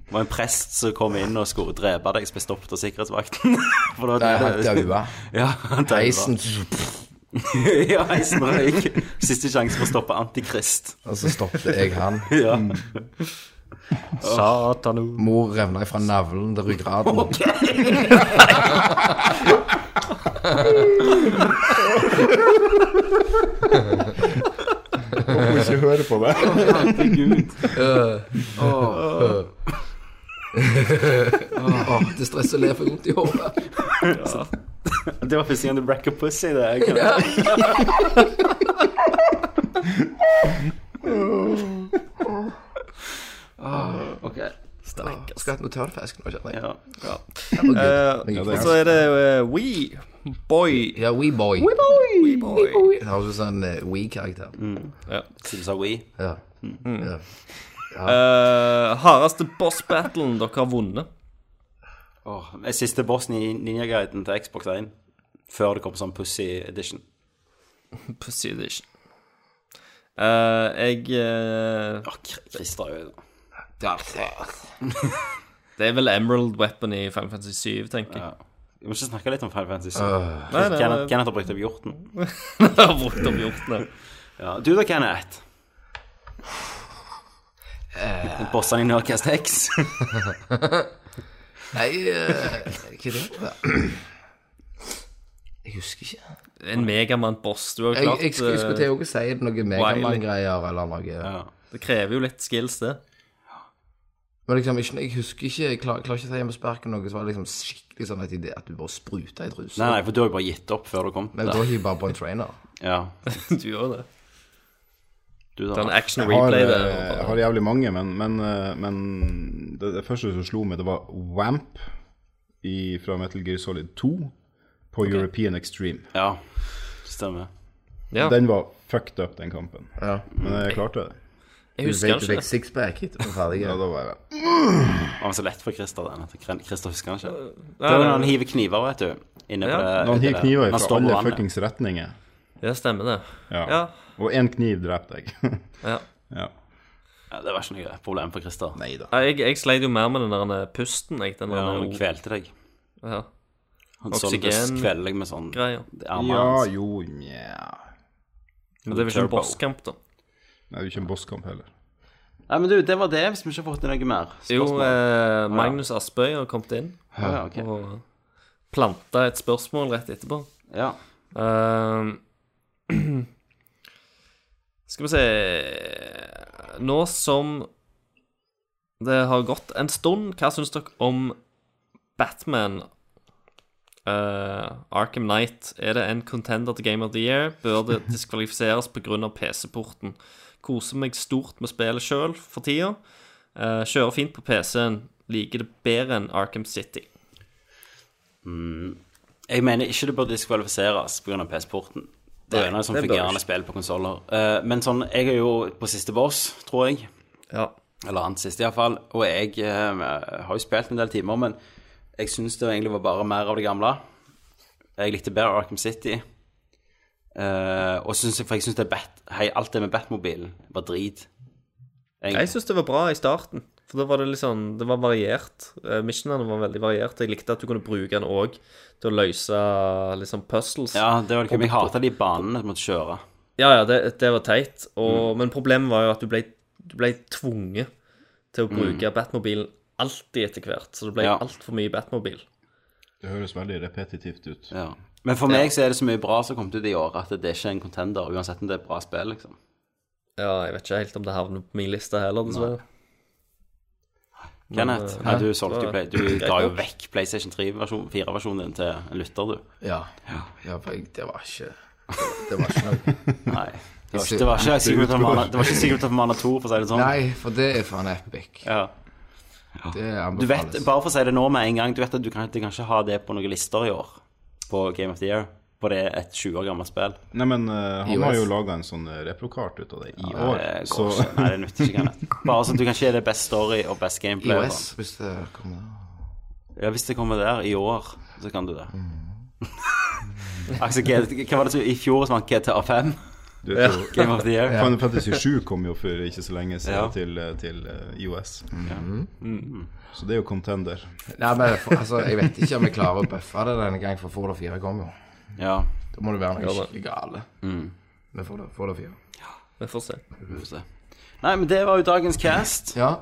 Speaker 5: Det var en prest som kom inn og skulle drepe deg, som ble stoppet av sikkerhetsvakten. For det var
Speaker 7: Der han
Speaker 5: det-
Speaker 7: daua.
Speaker 5: Ja, han daua.
Speaker 7: Heisen
Speaker 5: ja, heisen røyk. Siste sjanse for å stoppe Antikrist. Mm.
Speaker 7: Og så stoppet jeg han.
Speaker 5: Ja.
Speaker 6: Satano.
Speaker 7: Mor revna ifra navlen til ryggraden.
Speaker 8: Må ikke høre på det.
Speaker 7: Åh, det stresser ler for vondt i hodet.
Speaker 5: Det var første gang du bracka pussy. Det. Jeg kan-
Speaker 7: Skulle hatt noe tørrfisk nå, kjenner jeg.
Speaker 5: Ah, Ja.
Speaker 7: Jeg er
Speaker 8: det er-
Speaker 6: eh, og så er det uh, We Boy.
Speaker 7: Ja, Wee Boy.
Speaker 6: We Boy.
Speaker 7: Det høres ut som en eh, Wee-karakter.
Speaker 5: Så du sa we.
Speaker 7: Ja. Ja.
Speaker 6: Eh, hardeste boss-battlen dere har vunnet.
Speaker 5: Åh, jeg siste bossen i Ninja-guiden til Xbox 1. Før det kom sånn pussy edition.
Speaker 6: Pussy Edition. Eh, jeg eh,
Speaker 5: Åh, Kr- Christer er jo
Speaker 6: Det er vel Emerald Weapon i 557, tenker jeg.
Speaker 5: Vi må ikke snakke litt om Final Fantasy.
Speaker 8: Øh.
Speaker 6: Nei, nei,
Speaker 5: Kenneth,
Speaker 6: nei.
Speaker 5: Kenneth har brukt opp hjorten.
Speaker 6: Jeg har brukt opp hjortene.
Speaker 5: Ja, du da, Kenneth?
Speaker 8: Øh.
Speaker 5: Bossene i Nerdcast X.
Speaker 7: Nei, eh, hva er det? Jeg husker ikke.
Speaker 6: En megamann-boss. Du har
Speaker 7: Jeg,
Speaker 6: jo
Speaker 7: jeg,
Speaker 6: klart
Speaker 7: skulle- jeg skulle
Speaker 6: eh,
Speaker 7: til å si noe Megaman-greier eller noe.
Speaker 6: Det krever jo litt skills, det.
Speaker 7: Men liksom, ikke, jeg husker ikke Jeg klarer, klarer ikke å si med sparken noe som var liksom skikkelig sånn at, idé, at du bare spruta i trusa.
Speaker 5: Nei, nei, for du har jo bare gitt opp før du kom.
Speaker 7: Men da hiver jeg bare på en trainer.
Speaker 5: Ja,
Speaker 6: Du gjør det.
Speaker 5: du
Speaker 6: Det er en
Speaker 5: da.
Speaker 6: action
Speaker 8: Jeg har,
Speaker 6: replay, det.
Speaker 8: eh, har jævlig mange, men, men, eh, men det, det første som slo meg, det var Wamp i, fra Metal Gear Solid 2 på European Extreme.
Speaker 5: Ja, stemmer.
Speaker 6: Ja.
Speaker 8: Den var fucked up, den kampen.
Speaker 7: Ja.
Speaker 8: Men jeg klarte det.
Speaker 6: Jeg husker
Speaker 7: Vape
Speaker 6: ikke
Speaker 7: Vape
Speaker 6: det.
Speaker 7: Sixpack hit, og ferdig.
Speaker 8: Ja, da var jeg
Speaker 5: Det var så lett for Christer, den. at Kren- Christer husker han ikke. Det var når han hiver kniver, vet du. Inne
Speaker 6: Øh. Ja.
Speaker 5: på det,
Speaker 8: Når han hiver
Speaker 5: det-
Speaker 8: kniver
Speaker 5: han
Speaker 8: fra
Speaker 5: står på
Speaker 8: alle
Speaker 5: vannet.
Speaker 8: fuckings retninger.
Speaker 6: Ja, stemmer det.
Speaker 8: Ja.
Speaker 6: Ja.
Speaker 8: Og én kniv drepte jeg.
Speaker 6: ja.
Speaker 8: ja.
Speaker 5: Ja, Det var ikke noe problem for Christer.
Speaker 8: Nei da.
Speaker 6: Nei, Jeg, jeg sleit jo mer med den der eh, pusten, jeg. Den
Speaker 5: Ja, Han
Speaker 6: der
Speaker 5: kvelte deg.
Speaker 6: ja.
Speaker 5: Han
Speaker 6: Oksygen-
Speaker 5: Solbus kvelte deg med sånn
Speaker 6: greia.
Speaker 5: armene
Speaker 8: Ja,
Speaker 5: hans.
Speaker 8: jo, nja
Speaker 6: Men det er vel ikke en
Speaker 5: Turbo.
Speaker 6: bosskamp, da.
Speaker 8: Nei, det er jo ikke en bosskamp heller.
Speaker 5: Nei, men du, det var det, hvis vi ikke har fått inn noe mer.
Speaker 6: Jo,
Speaker 5: Spørsmål.
Speaker 6: eh, Magnus Aspøy har kommet inn
Speaker 5: ja, ok.
Speaker 6: og planta et spørsmål rett etterpå.
Speaker 5: ja.
Speaker 6: Ehm, skal vi se Nå som det har gått en stund, hva syns dere om Batman? Eh, Arkham Knight. Er det en contender til Game of the Year? Bør det diskvalifiseres pga. PC-porten? Koser meg stort med spillet sjøl for tida. Eh, kjører fint på PC-en. Liker det bedre enn Arkham City.
Speaker 5: Jeg mener ikke det bør diskvalifiseres pga. PC-porten. Det er jo noe sånn
Speaker 6: det bør
Speaker 5: fungerende spill på konsoller. Eh, men sånn, jeg er jo på siste boss, tror jeg.
Speaker 6: Ja.
Speaker 5: Eller annet siste, iallfall. Og jeg eh, har jo spilt en del timer, men jeg syns det egentlig var bare mer av det gamle. Jeg likte bedre Arkham City. Eh, og synes, for jeg syns hei, alt det med Batmobilen var drit.
Speaker 6: Jeg syns det var bra i starten. For da var det litt sånn, det var variert. Eh, Missionene var veldig variert. Jeg likte at du kunne bruke den òg til å løse liksom puzzles.
Speaker 5: Ja, det var det jeg hata de banene du måtte kjøre.
Speaker 6: ja, ja, det, det var teit. Og,
Speaker 5: Mm.
Speaker 6: Men problemet var jo at du ble, du ble tvunget til å bruke Batmobilen alltid etter hvert. Så det ble
Speaker 5: Mm. Ja.
Speaker 6: alt altfor mye Batmobil.
Speaker 8: Det høres veldig repetitivt ut.
Speaker 5: Ja. Men for meg så er det så mye bra som kom ut i år, at det er ikke en contender, uansett om det er et bra spill, liksom.
Speaker 6: Ja, jeg vet ikke helt om det havner på min liste heller, dessverre.
Speaker 5: Kenneth, nei, du solgte jo Play... Du
Speaker 6: greit
Speaker 5: ga jo
Speaker 6: nok.
Speaker 5: vekk PlayStation 4-versjonen din til en lytter, du.
Speaker 7: Ja. ja, for jeg, det var ikke Det var ikke noe
Speaker 5: Nei. Det var ikke, det var ikke Secret of Mana- det var ikke Secret of Mana 2, for å si det sånn.
Speaker 7: Nei, for det er faen epic.
Speaker 5: Ja.
Speaker 7: Det
Speaker 5: Du vet,
Speaker 7: anbefales.
Speaker 5: bare for å si det nå med en gang, du vet at du kan, du kan ikke ha det på noen lister i år på Game of the Year, for det er et 20 år gammelt spill.
Speaker 8: Nei, men eh, han
Speaker 7: iOS.
Speaker 8: har jo laga en sånn eh, reprokart ut av det i
Speaker 5: Nei,
Speaker 8: år,
Speaker 5: det
Speaker 8: så
Speaker 5: Eh, går ikke. Nei, det nytter ikke, Kenneth. Bare sånn at du kan ikke gi det best story og best gameplay. og
Speaker 7: IOS,
Speaker 5: sånn.
Speaker 7: hvis det kommer
Speaker 5: Ja, hvis det kommer der i år, så kan du det. Aksel, G- hva var det som i fjor som vant GTA5?
Speaker 8: du vet jo
Speaker 5: Game of the Year?
Speaker 8: Final Fantasy 7 kom jo for ikke så lenge siden
Speaker 5: Ja.
Speaker 8: til, eh, til eh, IOS. Så det er jo contender.
Speaker 7: Nei, men for, altså, jeg vet ikke om jeg klarer å bøffe det denne gang, for Fallout 4 kommer jo.
Speaker 5: Ja.
Speaker 7: Da må det være noe skikkelig gale.
Speaker 8: Mm.
Speaker 7: Med Fallout- Fallout 4.
Speaker 6: Vi får se.
Speaker 5: vi får se. Nei, men det var jo dagens cast.
Speaker 7: Ja.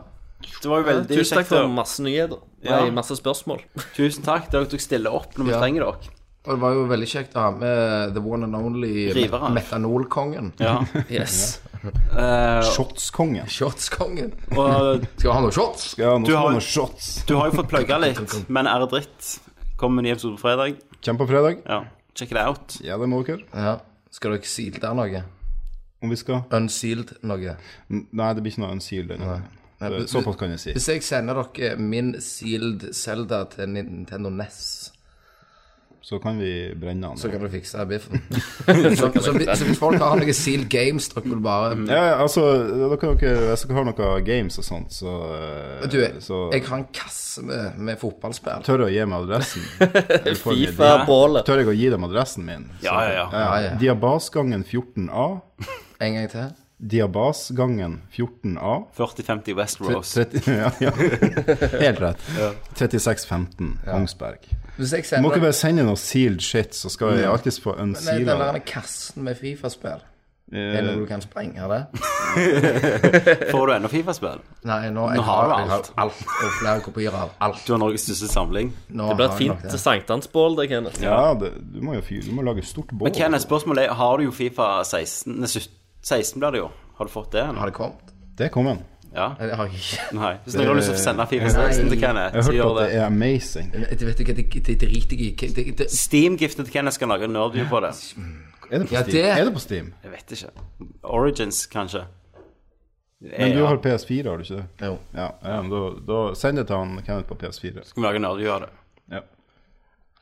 Speaker 5: Det var jo veldig
Speaker 6: Tusen takk
Speaker 5: kjekt.
Speaker 6: for
Speaker 5: å-
Speaker 6: masse nyheter.
Speaker 5: Ja.
Speaker 6: Nei, masse spørsmål.
Speaker 5: Tusen takk. Dere tok stille opp når vi
Speaker 7: Ja.
Speaker 5: trenger dere.
Speaker 7: Og det var jo veldig kjekt å ha med the one and only
Speaker 5: River, han.
Speaker 7: metanolkongen.
Speaker 5: Ja.
Speaker 6: Yes.
Speaker 8: Shotskongen.
Speaker 7: Shotskongen.
Speaker 5: Og
Speaker 7: Skal vi ha noe shots?
Speaker 8: Ja, nå
Speaker 5: Du
Speaker 8: skal
Speaker 5: har-
Speaker 8: han ha shots.
Speaker 5: du har jo fått plugga litt, men er det dritt? Kommer med ny episode på fredag.
Speaker 8: Kjem på fredag.
Speaker 5: Ja. Check it out.
Speaker 8: Ja, det må dere.
Speaker 7: Ja. Skal dere seale noe?
Speaker 8: Om vi skal
Speaker 7: Unsealed noe?
Speaker 8: N- Nei, det blir ikke noe unsealed denne gangen.
Speaker 7: Nei,
Speaker 8: Det-
Speaker 7: men-
Speaker 8: Såpass kan jeg si.
Speaker 7: Hvis jeg sender dere min sealed Zelda til Nintendo NES
Speaker 8: Så kan vi brenne
Speaker 7: Så
Speaker 8: den.
Speaker 7: kan du fikse biffen. så, så, vi- så hvis folk har noen Seal Games, dere vil bare
Speaker 8: Ja, ja, altså, da kan dere, hvis dere har noen games og sånt, så, eh,
Speaker 7: Du,
Speaker 8: så
Speaker 7: jeg har en kasse med, med fotballspill.
Speaker 8: tør jeg å gi meg adressen. Eller får jeg-
Speaker 6: Fifa-bålet.
Speaker 8: Tør jeg å gi dem adressen min? Så-
Speaker 5: Ja, ja, ja.
Speaker 8: Ja,
Speaker 7: Ja, ja.
Speaker 8: Diabasgangen 14A.
Speaker 7: En gang til.
Speaker 8: Diabasgangen 14A.
Speaker 5: 40-50 West Rose.
Speaker 8: 30, ja, ja. Helt rett. 3615 Kongsberg.
Speaker 7: Hvis jeg
Speaker 8: Må
Speaker 7: sender
Speaker 8: ikke
Speaker 7: dere
Speaker 8: bare sende noe sealed shit, så skal jeg alltids få
Speaker 7: Nei, den der
Speaker 8: unsealed.
Speaker 7: kassen med Fifa-spill, er det
Speaker 8: Eh,
Speaker 7: noe du kan sprenge det?
Speaker 5: Får du ennå Fifa-spill?
Speaker 7: Nei, nå, jeg
Speaker 5: Nå har
Speaker 7: har,
Speaker 5: du
Speaker 7: jeg har alt og flere kopier av alt.
Speaker 5: Du har Norges største samling.
Speaker 7: Nå
Speaker 6: Det blir et
Speaker 7: har jeg nok
Speaker 6: fint sankthansbål, det, Kenneth.
Speaker 8: Ja, det, du må jo fyre Du må lage stort bål.
Speaker 5: Men Kenneth, spørsmålet er, har du jo Fifa 16? Nei, 17 16 blir det jo. Har du fått det? eller?
Speaker 7: Har det kommet?
Speaker 8: Det kom en.
Speaker 5: Ja?
Speaker 7: Nei, det har jeg ikke.
Speaker 5: Nei. Hvis noen har lyst til å sende Fifa 16 til Kenneth,
Speaker 8: Jeg
Speaker 5: så
Speaker 8: hørte
Speaker 5: gjør
Speaker 8: at
Speaker 5: det.
Speaker 8: det er amazing.
Speaker 7: Det vet du ikke, det, det driter jeg i. Det- det-
Speaker 5: Steam-giftet til Kenneth skal lage en nerdview på det.
Speaker 8: Er det på
Speaker 7: Ja,
Speaker 8: Steam?
Speaker 7: det-
Speaker 8: Er det på Steam?
Speaker 5: Jeg vet ikke. Origins, kanskje.
Speaker 8: Men du
Speaker 5: ja.
Speaker 8: har PS4, har du ikke det?
Speaker 7: Jo.
Speaker 8: Ja, ja men da, da send det til han Kenneth på PS4.
Speaker 5: Skal vi lage en nerdview av det?
Speaker 8: Ja.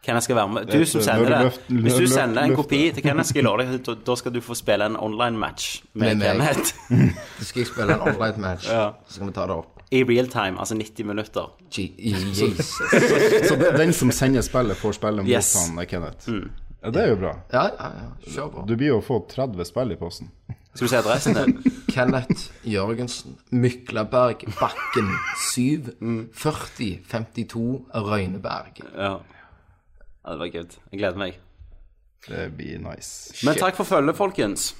Speaker 5: Kenneth skal være med.
Speaker 8: Det er
Speaker 5: Du som
Speaker 8: et
Speaker 5: sender det.
Speaker 8: løft- lø-
Speaker 5: Hvis du
Speaker 8: løft-
Speaker 5: sender en
Speaker 8: løft-
Speaker 5: kopi til Kenneth, skal jeg love deg at da- da skal du få spille en online match med
Speaker 7: Med meg.
Speaker 5: Kenneth.
Speaker 7: Så skal jeg spille en online match,
Speaker 5: Ja.
Speaker 7: så skal vi ta det opp.
Speaker 5: I real time, altså 90 minutter.
Speaker 7: Je- Jesus.
Speaker 8: Så det, den som sender spillet, får spillet mot
Speaker 5: Yes. Mm.
Speaker 8: han eh, Kenneth. Ja, det er jo bra.
Speaker 7: Ja, ja, ja. Kjør på.
Speaker 8: Du blir jo å få 30 spill i posten.
Speaker 5: Skal du se adressen din?
Speaker 7: Kenneth Jørgensen, Myklaberg, Bakken, 7, 40, 52, Røyneberg.
Speaker 5: Ja. ja det var good. Jeg gleder meg.
Speaker 8: Det blir nice.
Speaker 5: Men takk for følget, folkens.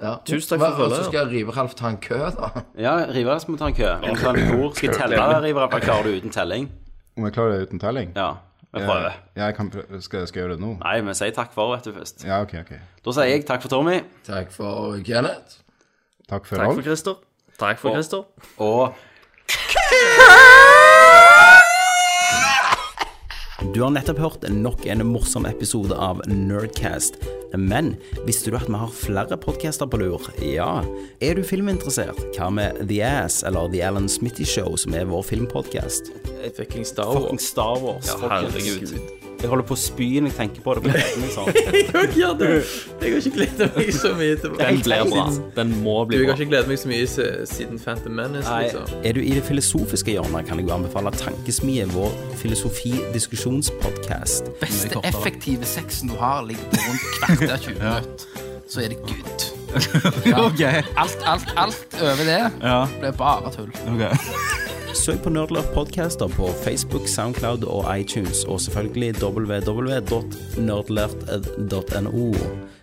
Speaker 7: Ja.
Speaker 6: Tusen takk for
Speaker 7: Hva-
Speaker 6: følget,
Speaker 7: Så skal Riveralf ta en kø, da.
Speaker 5: Ja, Riveralf må ta en kø. Om du tar en kor, skal jeg telle Riveralf? eller Klarer du uten telling?
Speaker 8: Om jeg klarer det uten telling?
Speaker 5: Ja. Vi prøver.
Speaker 8: Eh, Jeg kan prøve. Skal, skal jeg gjøre det nå?
Speaker 5: Nei, vi sier takk for, vet du, først.
Speaker 8: Ja, ok, ok.
Speaker 5: Da sier jeg takk for Tommy,
Speaker 7: Takk for Kenneth.
Speaker 8: Takk for
Speaker 6: Takk
Speaker 8: alt.
Speaker 6: for Christer. Takk for Christer.
Speaker 5: og
Speaker 12: Du har nettopp hørt nok en morsom episode av Nerdcast. Men visste du at vi har flere podcaster på lur? Ja. Er du filminteressert? Hva med The Ass eller The Alan Smitty Show, som er vår filmpodcast?
Speaker 10: Fucking Star
Speaker 5: fucking Star Wars.
Speaker 6: Herregud.
Speaker 5: Jeg holder på å spy når jeg tenker på det. på netten, liksom.
Speaker 10: Jeg har ikke hatt det. Jeg har ikke gledet meg så mye til
Speaker 6: Den blir bra. Den må
Speaker 10: Du,
Speaker 6: bli
Speaker 10: jeg
Speaker 6: bra.
Speaker 10: har ikke gledet meg så mye se- siden Phantom Menace,
Speaker 5: Nei.
Speaker 10: liksom.
Speaker 12: Er du i det filosofiske hjørnet, kan jeg jo anbefale Tankesmie, vår filosofidiskusjonspodcast.
Speaker 9: beste effektive sexen du har, ligger på rundt kvarter 20 minutter. Så er det good. Ja. Alt, alt, alt over det blir bare tull.
Speaker 12: Søk på Nerdlert Podcaster på Facebook, Soundcloud og iTunes, og selvfølgelig www.nerdlert.no.